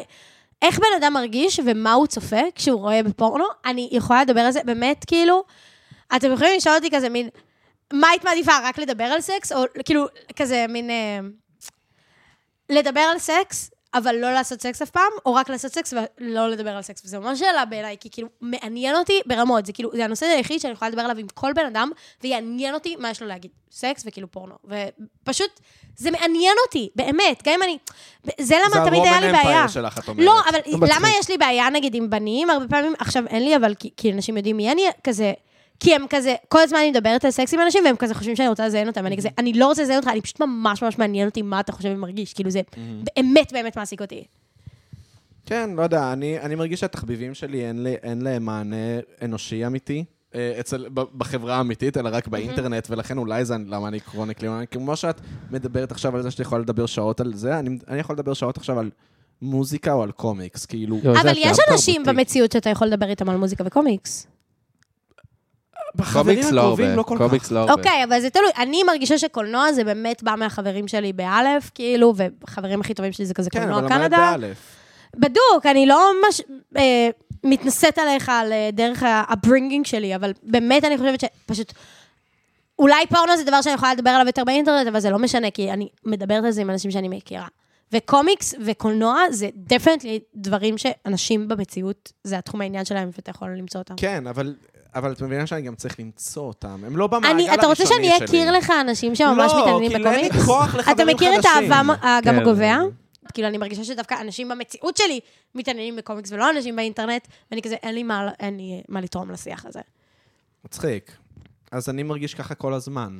[SPEAKER 3] איך בן אדם מרגיש ומה הוא צופה כשהוא רואה בפורנו, אני יכולה לדבר על זה, באמת, כאילו, אתם יכולים לשאול אותי כזה מין, מה היית מעדיפה, רק לדבר על סקס? או כאילו, כזה מין... אה, לדבר על סקס, אבל לא לעשות סקס אף פעם, או רק לעשות סקס ולא לדבר על סקס. וזו ממש שאלה בעיניי, כי כאילו, מעניין אותי ברמות. זה כאילו, זה הנושא היחיד שאני יכולה לדבר עליו עם כל בן אדם, ויעניין אותי מה יש לו להגיד. סקס וכאילו פורנו. ופשוט, זה מעניין אותי, באמת. גם אם אני... זה למה תמיד היה לי
[SPEAKER 2] זה ה-Roman
[SPEAKER 3] בעיה.
[SPEAKER 2] Empire שלך, את אומרת.
[SPEAKER 3] לא, אבל
[SPEAKER 1] מצחיק.
[SPEAKER 3] למה יש לי בעיה, נגיד, עם בנים? הרבה פעמים, עכשיו אין לי, אבל כי- כי אנשים יודעים מי אני, כזה... כי הם כזה, כל הזמן אני מדברת על סקס עם אנשים, והם כזה חושבים שאני רוצה לזיין אותם, ואני כזה, אני לא רוצה לזיין אותך, אני פשוט ממש ממש מעניין אותי מה אתה חושב ומרגיש, כאילו זה באמת באמת מעסיק אותי.
[SPEAKER 2] כן, לא יודע, אני, אני מרגיש שהתחביבים שלי אין, לי, אין להם מענה אנושי אמיתי. אה, אצל, ב- בחברה האמיתית, אלא רק באינטרנט, ולכן אולי זה למה אני קרוניקלי, אני- כמו שאת מדברת עכשיו על זה שאתה יכולה לדבר שעות על זה, אני, אני יכול לדבר שעות עכשיו על מוזיקה או על קומיקס, כאילו...
[SPEAKER 4] לא, זה
[SPEAKER 3] אבל יש
[SPEAKER 4] הקלאב
[SPEAKER 3] אנשים
[SPEAKER 4] תרבותי.
[SPEAKER 3] במציאות שאתה יכול לדבר איתם על מוזיקה וקומיקס.
[SPEAKER 2] בחברים
[SPEAKER 1] קומיקס לא
[SPEAKER 2] הקרובים
[SPEAKER 1] הרבה,
[SPEAKER 2] לא כל כך.
[SPEAKER 1] קומיקס לא הרבה.
[SPEAKER 3] אוקיי, אבל זה תלוי. אני מרגישה שקולנוע זה באמת בא מהחברים שלי באלף, כאילו, וחברים הכי טובים שלי זה כזה
[SPEAKER 2] כן,
[SPEAKER 3] קולנוע
[SPEAKER 2] אבל למדת
[SPEAKER 3] קנדה.
[SPEAKER 2] באלף.
[SPEAKER 3] בדוק, אני לא ממש אה, מתנשאת עליך על אה, דרך הברינגינג שלי, אבל באמת אני חושבת שפשוט... אולי פורנו זה דבר שאני יכולה לדבר עליו יותר באינטרנט, אבל זה לא משנה, כי אני מדברת על זה עם אנשים שאני מכירה. וקומיקס וקולנוע זה דפנטלי דברים שאנשים במציאות, זה התחום העניין שלהם, ואתה יכול למצוא אותם.
[SPEAKER 2] כן, אבל, אבל את מבינה שאני גם צריך למצוא אותם. הם לא במעגל הראשוני
[SPEAKER 3] אני,
[SPEAKER 2] שלי.
[SPEAKER 3] אתה רוצה שאני אכיר לך אנשים שממש
[SPEAKER 2] לא,
[SPEAKER 3] מתעניינים
[SPEAKER 2] כאילו אין לי
[SPEAKER 3] בקומיקס?
[SPEAKER 2] כוח
[SPEAKER 3] אתה
[SPEAKER 2] לחברים
[SPEAKER 3] מכיר את
[SPEAKER 2] חדשים.
[SPEAKER 3] האהבה האגם
[SPEAKER 1] כן.
[SPEAKER 3] הגובע? כאילו, אני מרגישה שדווקא אנשים במציאות שלי מתעניינים בקומיקס ולא אנשים באינטרנט, ואני כזה, אין לי מה, אין לי אה, מה לתרום לשיח הזה.
[SPEAKER 2] מצחיק. אז אני מרגיש ככה כל הזמן.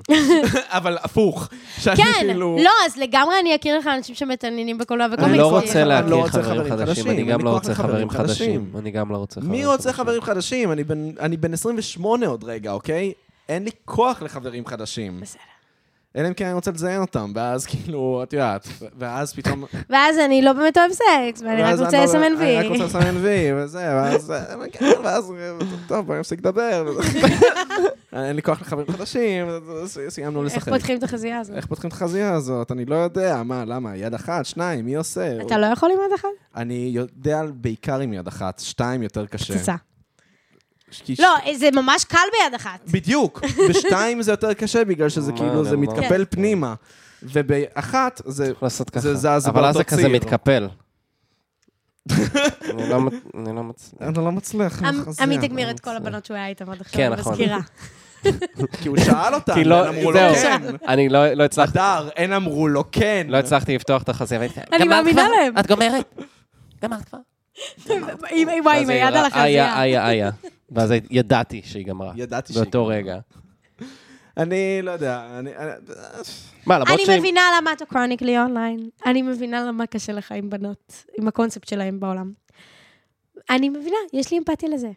[SPEAKER 2] אבל הפוך. שאני
[SPEAKER 3] כן,
[SPEAKER 2] כאילו...
[SPEAKER 3] לא, אז לגמרי אני אכיר לך אנשים שמתעניינים בקולנוע וקומיקס.
[SPEAKER 1] אני לא
[SPEAKER 3] כי-
[SPEAKER 1] רוצה
[SPEAKER 2] אני לא
[SPEAKER 1] להכיר
[SPEAKER 2] רוצה
[SPEAKER 1] חברים
[SPEAKER 2] חברים
[SPEAKER 1] חדשים,
[SPEAKER 2] חדשים,
[SPEAKER 1] אני גם
[SPEAKER 2] אני
[SPEAKER 1] לא
[SPEAKER 2] כל
[SPEAKER 1] רוצה
[SPEAKER 2] כך
[SPEAKER 1] חברים
[SPEAKER 2] חברים
[SPEAKER 1] חדשים.
[SPEAKER 2] חדשים.
[SPEAKER 1] אני גם לא רוצה חברים
[SPEAKER 2] מי רוצה חברים חדשים? אני בן- אני בן 28 עוד רגע, אוקיי? אין לי כוח לחברים חדשים.
[SPEAKER 3] בסדר.
[SPEAKER 2] אלא אם כן אני רוצה לזיין אותם, ואז כאילו, את יודעת, ואז פתאום...
[SPEAKER 3] ואז אני לא באמת אוהב סקס, ואני רק
[SPEAKER 2] ואז
[SPEAKER 3] רוצה
[SPEAKER 2] לא-
[SPEAKER 3] לסמן
[SPEAKER 2] אני רק
[SPEAKER 3] וי.
[SPEAKER 2] רוצה לסמן וי, וזה, ואז... כן, ואז... טוב, בואי נפסיק לדבר. [laughs] אין לי כוח לחברים חדשים, ס- סיימנו
[SPEAKER 3] איך
[SPEAKER 2] לשחק.
[SPEAKER 3] פותחים את החזייה הזאת?
[SPEAKER 2] איך פותחים את החזייה הזאת? אני לא יודע. מה, למה? יד אחת, שניים, מי עושה?
[SPEAKER 3] אתה לא יכול עם יד אחת?
[SPEAKER 2] אני יודע בעיקר עם יד אחת, שתיים יותר קשה.
[SPEAKER 3] פצצה.
[SPEAKER 2] כי
[SPEAKER 3] לא, זה ממש קל ביד אחת.
[SPEAKER 2] בדיוק.
[SPEAKER 1] אה,
[SPEAKER 2] בשתיים זה יותר קשה, בגלל שזה
[SPEAKER 1] מה,
[SPEAKER 2] כאילו, זה
[SPEAKER 1] למה?
[SPEAKER 2] מתקפל
[SPEAKER 3] כן.
[SPEAKER 2] פנימה. ובאחת זה...
[SPEAKER 1] צריך לעשות ככה.
[SPEAKER 2] זה זז
[SPEAKER 1] אבל אז זה
[SPEAKER 2] באותו
[SPEAKER 1] כזה
[SPEAKER 2] ציר.
[SPEAKER 1] מתקפל. אני לא מצ- אני לא מצליח.
[SPEAKER 2] אני לא מצליח.
[SPEAKER 3] עמ-
[SPEAKER 2] לחזר.
[SPEAKER 3] אמ- עמית הגמיר את כל הבנות שהוא היה איתן עד עכשיו,
[SPEAKER 1] כן,
[SPEAKER 3] אני
[SPEAKER 1] נכון.
[SPEAKER 2] [laughs]
[SPEAKER 3] מזכירה.
[SPEAKER 2] כי הוא שאל אותם,
[SPEAKER 1] כי לא-
[SPEAKER 2] הם אמרו לו
[SPEAKER 1] זהו.
[SPEAKER 2] כן.
[SPEAKER 1] אני לא לא הצלחתי.
[SPEAKER 2] הדר, הן אמרו לו כן.
[SPEAKER 1] לא הצלחתי לפתוח את החזיר.
[SPEAKER 3] אני מאמינה להם.
[SPEAKER 4] את גומרת? גמרת כבר?
[SPEAKER 3] עם- עם- וואי, עם היד על
[SPEAKER 1] איה,
[SPEAKER 3] החזייה.
[SPEAKER 1] איה, איה. ואז ידעתי שהיא גמרה.
[SPEAKER 2] ידעתי שהיא
[SPEAKER 1] באותו רגע.
[SPEAKER 2] אני לא יודע, אני... אני-
[SPEAKER 1] מה, למרות
[SPEAKER 3] אני
[SPEAKER 1] שהיא...
[SPEAKER 3] מבינה למה אתה קרוניקלי אונליין. אני מבינה למה קשה לך עם בנות, עם הקונספט שלהם בעולם. אני מבינה, יש לי אמפתיה לזה.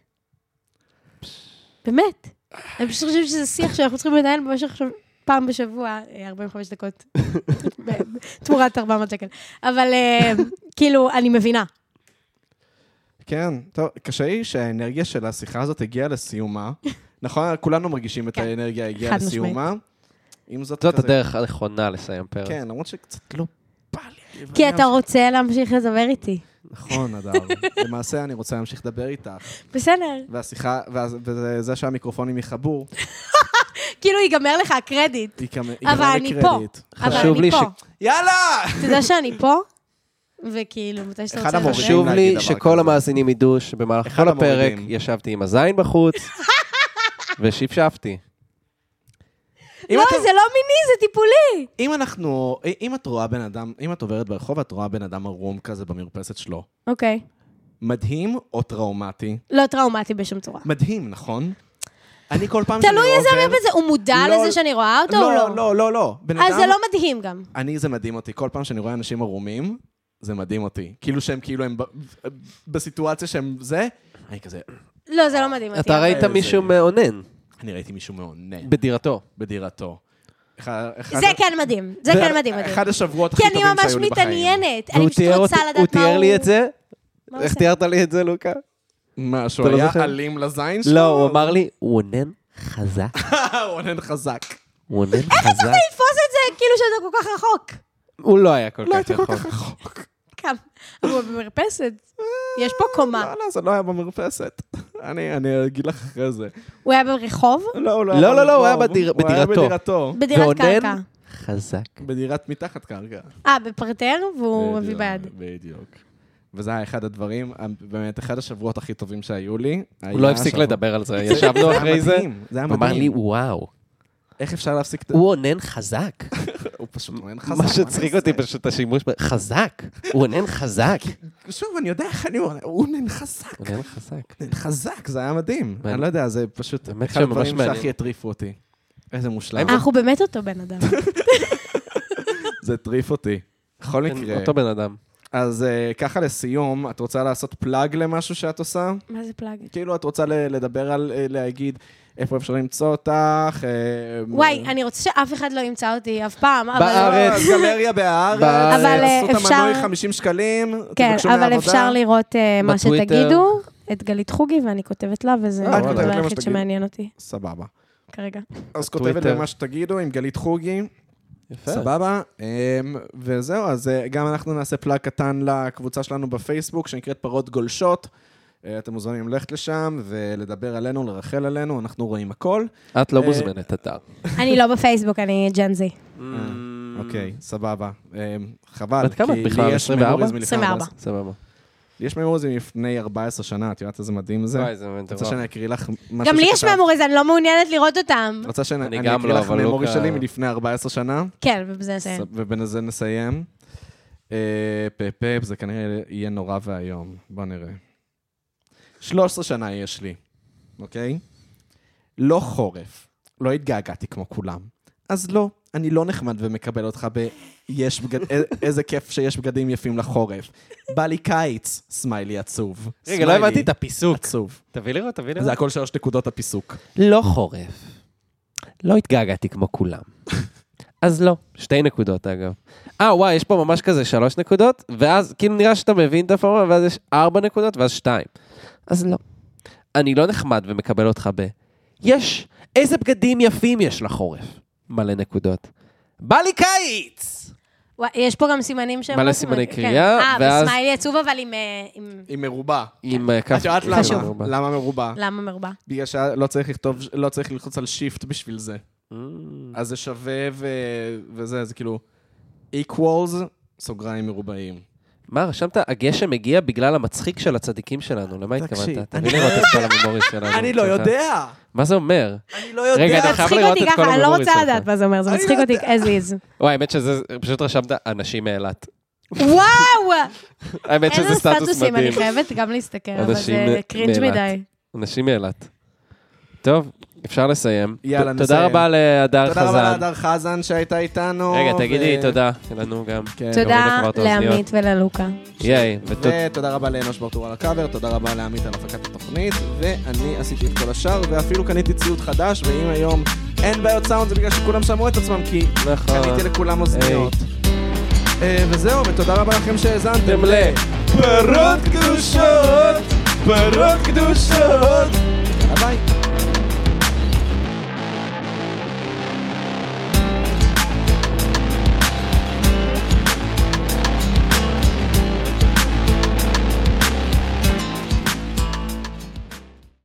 [SPEAKER 3] באמת. אני פשוט חושבת שזה שיח שאנחנו צריכים לנהל במשך עכשיו פעם בשבוע, אה, 45 דקות, ב- תמורת 400 שקל. אבל אה, כאילו, אני מבינה.
[SPEAKER 2] כן, טוב, קשה לי שהאנרגיה של השיחה הזאת הגיעה
[SPEAKER 3] [laughs]
[SPEAKER 2] לסיומה. נכון, כולנו מרגישים את
[SPEAKER 3] כן.
[SPEAKER 2] האנרגיה הגיעה
[SPEAKER 3] חד משמעית.
[SPEAKER 2] לסיומה. עם זאת,
[SPEAKER 1] זאת
[SPEAKER 2] כזה-
[SPEAKER 1] הדרך הנכונה לסיים פרק.
[SPEAKER 2] כן, למרות שקצת לא בא לי.
[SPEAKER 3] כי אתה רוצה להמשיך לדבר איתי.
[SPEAKER 2] נכון,
[SPEAKER 3] [laughs]
[SPEAKER 2] אדר. למעשה, אני רוצה להמשיך לדבר איתך.
[SPEAKER 3] בסדר.
[SPEAKER 2] והשיחה, ואז- וזה זה שהמיקרופונים יחברו,
[SPEAKER 3] כאילו, ייגמר לך הקרדיט.
[SPEAKER 2] ייגמר
[SPEAKER 3] אבל
[SPEAKER 2] ייגמר
[SPEAKER 3] אני
[SPEAKER 2] לקרדיט.
[SPEAKER 3] אבל
[SPEAKER 1] חשוב לי
[SPEAKER 3] אני
[SPEAKER 1] ש-
[SPEAKER 3] פה.
[SPEAKER 2] יאללה!
[SPEAKER 3] אתה יודע שאני פה, וכאילו, מתי שאתה
[SPEAKER 2] אחד
[SPEAKER 3] רוצה...
[SPEAKER 2] המורים.
[SPEAKER 1] חשוב
[SPEAKER 2] להגיד
[SPEAKER 1] לי
[SPEAKER 2] דבר
[SPEAKER 1] שכל
[SPEAKER 2] כזה.
[SPEAKER 1] המאזינים ידעו שבמהלך
[SPEAKER 2] אחד
[SPEAKER 1] כל הפרק
[SPEAKER 2] המורידים.
[SPEAKER 1] ישבתי עם הזין
[SPEAKER 3] [laughs]
[SPEAKER 1] בחוץ ושפשפתי.
[SPEAKER 2] אם
[SPEAKER 3] לא,
[SPEAKER 2] אתם-
[SPEAKER 3] זה לא מיני, זה טיפולי.
[SPEAKER 2] אם אנחנו, אם את רואה בן אדם, אם את עוברת ברחוב ואת רואה בן אדם ערום כזה במרפסת שלו,
[SPEAKER 3] אוקיי.
[SPEAKER 2] מדהים או טראומטי?
[SPEAKER 3] לא טראומטי בשום צורה.
[SPEAKER 2] מדהים, נכון? אני כל פעם שאני
[SPEAKER 3] תלוי
[SPEAKER 2] עובר...
[SPEAKER 3] איזה רב זה, הוא מודע
[SPEAKER 2] לא-
[SPEAKER 3] לזה שאני רואה אותו או
[SPEAKER 2] לא,
[SPEAKER 3] לא?
[SPEAKER 2] לא, לא, לא. בן
[SPEAKER 3] אז
[SPEAKER 2] אדם...
[SPEAKER 3] זה לא מדהים גם.
[SPEAKER 2] אני, זה מדהים אותי. כל פעם שאני רואה אנשים ערומים, זה מדהים אותי. כאילו שהם, כאילו הם ב- בסיטואציה שהם זה, אני כזה...
[SPEAKER 3] לא, זה לא מדהים אותי.
[SPEAKER 1] אתה ראית
[SPEAKER 2] איזה-
[SPEAKER 1] מישהו מאונן
[SPEAKER 2] אני ראיתי מישהו מאונן
[SPEAKER 1] בדירתו.
[SPEAKER 2] בדירתו. אחד- אחד-
[SPEAKER 3] זה כן מדהים. זה כן מדהים אותי.
[SPEAKER 2] אחד השבועות הכי
[SPEAKER 3] כי
[SPEAKER 2] טובים
[SPEAKER 3] אני ממש
[SPEAKER 2] שהיו לי בחיים.
[SPEAKER 3] מתעניינת. אני
[SPEAKER 1] והוא
[SPEAKER 3] פשוט
[SPEAKER 1] תיאר
[SPEAKER 3] רוצה
[SPEAKER 1] אותי-
[SPEAKER 3] לדעת מה הוא...
[SPEAKER 1] הוא תיאר לי את זה?
[SPEAKER 3] מה הוא
[SPEAKER 1] איך
[SPEAKER 3] עושה?
[SPEAKER 1] תיארת לי את זה, לוקה?
[SPEAKER 2] מה, שהוא
[SPEAKER 1] אתה לא
[SPEAKER 2] היה
[SPEAKER 1] זוכר?
[SPEAKER 2] אלים לזין שלו?
[SPEAKER 1] לא, הוא אמר לי, הוא אונן חזק.
[SPEAKER 2] [laughs] הוא אונן חזק.
[SPEAKER 1] הוא אונן חזק.
[SPEAKER 3] תתפוס את זה כאילו שאתה כל כך רחוק.
[SPEAKER 1] [laughs] הוא לא היה כל
[SPEAKER 2] לא
[SPEAKER 1] כך
[SPEAKER 2] הייתי כל
[SPEAKER 1] רחוק.
[SPEAKER 2] כך רחוק.
[SPEAKER 3] כמה? הוא במרפסת. יש פה קומה.
[SPEAKER 2] לא, לא, זה לא היה במרפסת. [laughs] אני אני אגיד לך אחרי זה.
[SPEAKER 3] הוא היה ברחוב?
[SPEAKER 2] לא, הוא
[SPEAKER 1] לא, לא, לא, הוא
[SPEAKER 2] ברחוב.
[SPEAKER 1] היה בדיר-
[SPEAKER 2] הוא
[SPEAKER 1] בדירתו.
[SPEAKER 2] היה בדירתו.
[SPEAKER 3] בדירת
[SPEAKER 1] ואונן?
[SPEAKER 3] קרקע.
[SPEAKER 1] חזק.
[SPEAKER 2] בדירת מתחת קרקע.
[SPEAKER 3] אה, בפרטר, והוא מביא
[SPEAKER 2] בדיוק,
[SPEAKER 3] ביד.
[SPEAKER 2] בדיוק. וזה היה אחד הדברים, באמת, אחד השבועות הכי טובים שהיו לי.
[SPEAKER 1] הוא לא הפסיק לדבר על זה, לא ישבנו אחרי זה.
[SPEAKER 2] זה היה
[SPEAKER 1] הוא אמר לי,
[SPEAKER 2] מדהים.
[SPEAKER 1] וואו,
[SPEAKER 2] איך אפשר להפסיק את...
[SPEAKER 1] הוא אונן חזק.
[SPEAKER 2] הוא פשוט מעניין חזק.
[SPEAKER 1] מה שצחיק
[SPEAKER 2] אני
[SPEAKER 1] אותי
[SPEAKER 2] עושה?
[SPEAKER 1] פשוט השימוש ב... חזק. הוא אונן [laughs] חזק.
[SPEAKER 2] שוב, אני יודע איך אני... אומר, הוא נן חזק.
[SPEAKER 1] אונן חזק.
[SPEAKER 2] נן חזק, זה היה מדהים.
[SPEAKER 1] מעניין.
[SPEAKER 2] אני לא יודע, זה פשוט...
[SPEAKER 1] האמת
[SPEAKER 2] אחד
[SPEAKER 1] שממש
[SPEAKER 2] הדברים
[SPEAKER 1] מעניין.
[SPEAKER 2] שהכי הטריפו אותי. איזה מושלם.
[SPEAKER 3] אנחנו באמת אותו בן אדם.
[SPEAKER 2] זה הטריף אותי. בכל מקרה.
[SPEAKER 1] כן, אותו בן אדם.
[SPEAKER 2] אז אה, ככה לסיום, את רוצה לעשות פלאג למשהו שאת עושה?
[SPEAKER 3] מה זה פלאג?
[SPEAKER 2] כאילו, את רוצה ל- לדבר על, אה, להגיד איפה אפשר למצוא אותך? אה,
[SPEAKER 3] וואי, אני רוצה שאף אחד לא ימצא אותי אף פעם, אבל... לא.
[SPEAKER 1] בארץ.
[SPEAKER 2] גלריה בארץ,
[SPEAKER 1] בארץ.
[SPEAKER 3] אבל, אה,
[SPEAKER 2] עשו את המנוי
[SPEAKER 3] אפשר-
[SPEAKER 2] 50 שקלים,
[SPEAKER 3] כן,
[SPEAKER 2] תבקשו
[SPEAKER 3] אבל
[SPEAKER 2] מהעבודה.
[SPEAKER 3] אפשר לראות אה, מה
[SPEAKER 1] בטוויטר. אוקיי.
[SPEAKER 3] שתגידו, את גלית חוגי, ואני כותבת לה, וזה
[SPEAKER 2] אה,
[SPEAKER 1] את כותבת
[SPEAKER 3] הדבר
[SPEAKER 2] לה מה
[SPEAKER 3] היחיד
[SPEAKER 2] שתגיד.
[SPEAKER 3] שמעניין אותי
[SPEAKER 2] סבבה.
[SPEAKER 3] כרגע.
[SPEAKER 2] אז
[SPEAKER 1] בטוויטר.
[SPEAKER 2] כותבת למה שתגידו עם גלית חוגי,
[SPEAKER 1] יפה.
[SPEAKER 2] סבבה. אמ, וזהו, אז אה, גם אנחנו נעשה פלאג קטן לקבוצה שלנו בפייסבוק, שנקראת פרות גולשות. אה, אתם מוזמנים ללכת לשם ולדבר עלינו, לרחל עלינו, אנחנו רואים הכל.
[SPEAKER 1] את לא
[SPEAKER 2] אה,
[SPEAKER 1] מוזמנת, אתה.
[SPEAKER 3] אני לא בפייסבוק, אני ג'נזי.
[SPEAKER 1] אה,
[SPEAKER 2] אוקיי, סבבה. אמ, חבל,
[SPEAKER 1] בת כמה את
[SPEAKER 2] כי
[SPEAKER 1] בכלל?
[SPEAKER 2] לי יש
[SPEAKER 1] 24?
[SPEAKER 2] ממוריז מלפני
[SPEAKER 3] 24.
[SPEAKER 2] 14.
[SPEAKER 1] סבבה.
[SPEAKER 2] לי יש ממוריז מלפני 14 שנה, את יודעת איזה מדהים זה?
[SPEAKER 1] וואי, זה
[SPEAKER 2] את רוצה
[SPEAKER 1] מטורף.
[SPEAKER 2] שאני אקריא לך משהו
[SPEAKER 3] גם לי יש
[SPEAKER 2] שכתב-
[SPEAKER 3] מהמוריז, אני לא מעוניינת לראות אותם.
[SPEAKER 2] את רוצה שאני
[SPEAKER 1] אני
[SPEAKER 2] אני
[SPEAKER 1] גם
[SPEAKER 2] אקריא
[SPEAKER 1] לא,
[SPEAKER 2] לך
[SPEAKER 1] אבל לא
[SPEAKER 2] ממורי
[SPEAKER 1] כ-
[SPEAKER 2] שלי מלפני 14 שנה?
[SPEAKER 3] כן, ובזה נסיים.
[SPEAKER 2] סב- ובזה נסיים. אה, פה פה, זה כנראה יהיה נורא ואיום. בוא נראה. 13 שנה יש לי, אוקיי? לא חורף. לא התגעגעתי כמו כולם. אז לא, אני לא נחמד ומקבל אותך ב... יש בגד... א- איזה כיף שיש בגדים יפים לחורף. בא לי קיץ, סמיילי עצוב.
[SPEAKER 1] רגע, לא
[SPEAKER 2] סמיילי
[SPEAKER 1] הבנתי את הפיסוק.
[SPEAKER 2] עצוב.
[SPEAKER 1] תביא לראות, תביא
[SPEAKER 2] זה
[SPEAKER 1] לראות.
[SPEAKER 2] הכל שלוש נקודות הפיסוק.
[SPEAKER 1] לא חורף. לא התגעגעתי כמו כולם. [laughs] אז לא. שתי נקודות, אגב. אה, וואי, יש פה ממש כזה שלוש נקודות, ואז כאילו נראה שאתה מבין את הפורמה, ואז יש ארבע נקודות, ואז שתיים. אז לא. אני לא נחמד ומקבל אותך ב... יש, איזה בגדים יפים יש לחורף. מלא נקודות. בא לי קיץ!
[SPEAKER 3] וואי, יש פה גם סימנים שהם...
[SPEAKER 1] מלא
[SPEAKER 3] לא
[SPEAKER 1] סימני
[SPEAKER 3] סימנים,
[SPEAKER 1] קריאה,
[SPEAKER 3] כן. אה,
[SPEAKER 1] ואז-
[SPEAKER 3] וסמיילי עצוב, אבל עם... אה, עם-
[SPEAKER 2] היא מרובה.
[SPEAKER 1] עם אה, כף...
[SPEAKER 2] את יודעת
[SPEAKER 3] חשוב.
[SPEAKER 2] למה? למה מרובה?
[SPEAKER 3] למה מרובע?
[SPEAKER 2] בגלל שלא צריך לכתוב, לא צריך ללחוץ על שיפט בשביל זה.
[SPEAKER 1] Mm. למה?
[SPEAKER 2] אז זה שווה ו... וזה, זה כאילו equals, סוגריים מרובעים.
[SPEAKER 1] מה, רשמת? הגשם הגיע בגלל המצחיק של הצדיקים שלנו, למה
[SPEAKER 2] תקשיב,
[SPEAKER 1] התכוונת?
[SPEAKER 2] אני
[SPEAKER 1] תביא
[SPEAKER 2] לא
[SPEAKER 1] לראות את כל הממוריס שלנו. שלך. מה זה אומר?
[SPEAKER 2] אני לא
[SPEAKER 1] רגע, אתה
[SPEAKER 3] זה
[SPEAKER 1] חייב
[SPEAKER 3] מצחיק
[SPEAKER 1] לראות
[SPEAKER 3] אותי
[SPEAKER 1] את כל
[SPEAKER 3] ככה, אני לא
[SPEAKER 1] הממוריס
[SPEAKER 3] רוצה
[SPEAKER 1] שלך.
[SPEAKER 3] לדעת מה זה אומר, זה
[SPEAKER 2] אני
[SPEAKER 3] מצחיק
[SPEAKER 2] לא
[SPEAKER 3] אותי as
[SPEAKER 1] [laughs]
[SPEAKER 3] is.
[SPEAKER 1] וואי, האמת שזה, פשוט רשמת אנשים מאילת.
[SPEAKER 3] וואו!
[SPEAKER 1] האמת שזה
[SPEAKER 3] איזה
[SPEAKER 1] סטטוס
[SPEAKER 3] סטטוסים, אני
[SPEAKER 1] מדהים.
[SPEAKER 3] חייבת גם להסתכל, אבל
[SPEAKER 1] אנשים כן,
[SPEAKER 3] זה
[SPEAKER 1] מ-
[SPEAKER 3] קרינג'
[SPEAKER 1] מאילת.
[SPEAKER 3] מדי.
[SPEAKER 1] אנשים מאילת. טוב, אפשר לסיים.
[SPEAKER 2] יאללה,
[SPEAKER 1] ת-
[SPEAKER 2] נסיים.
[SPEAKER 1] תודה רבה להדר
[SPEAKER 2] תודה רבה
[SPEAKER 1] חזן.
[SPEAKER 2] להדר חזן שהייתה איתנו.
[SPEAKER 1] רגע, תגידי
[SPEAKER 2] ו-
[SPEAKER 1] תודה לנו גם.
[SPEAKER 2] כן.
[SPEAKER 3] תודה
[SPEAKER 1] כבר את האוזניות.
[SPEAKER 3] לעמית וללוקה.
[SPEAKER 1] ייי, ותודה.
[SPEAKER 2] ותודה רבה לאנוש ברטור על הקאבר, תודה רבה לעמית על הפקת התוכנית, ואני עשיתי את כל השאר, ואפילו קניתי ציוד חדש, ואם היום אין בעיות סאונד זה בגלל שכולם שמעו את עצמם, כי
[SPEAKER 1] נכון.
[SPEAKER 2] קניתי לכולם אוזניות. אה, וזהו, ותודה רבה לכם שהאזנתם
[SPEAKER 1] תמלא.
[SPEAKER 2] פרות קדושות, פרות קדושות,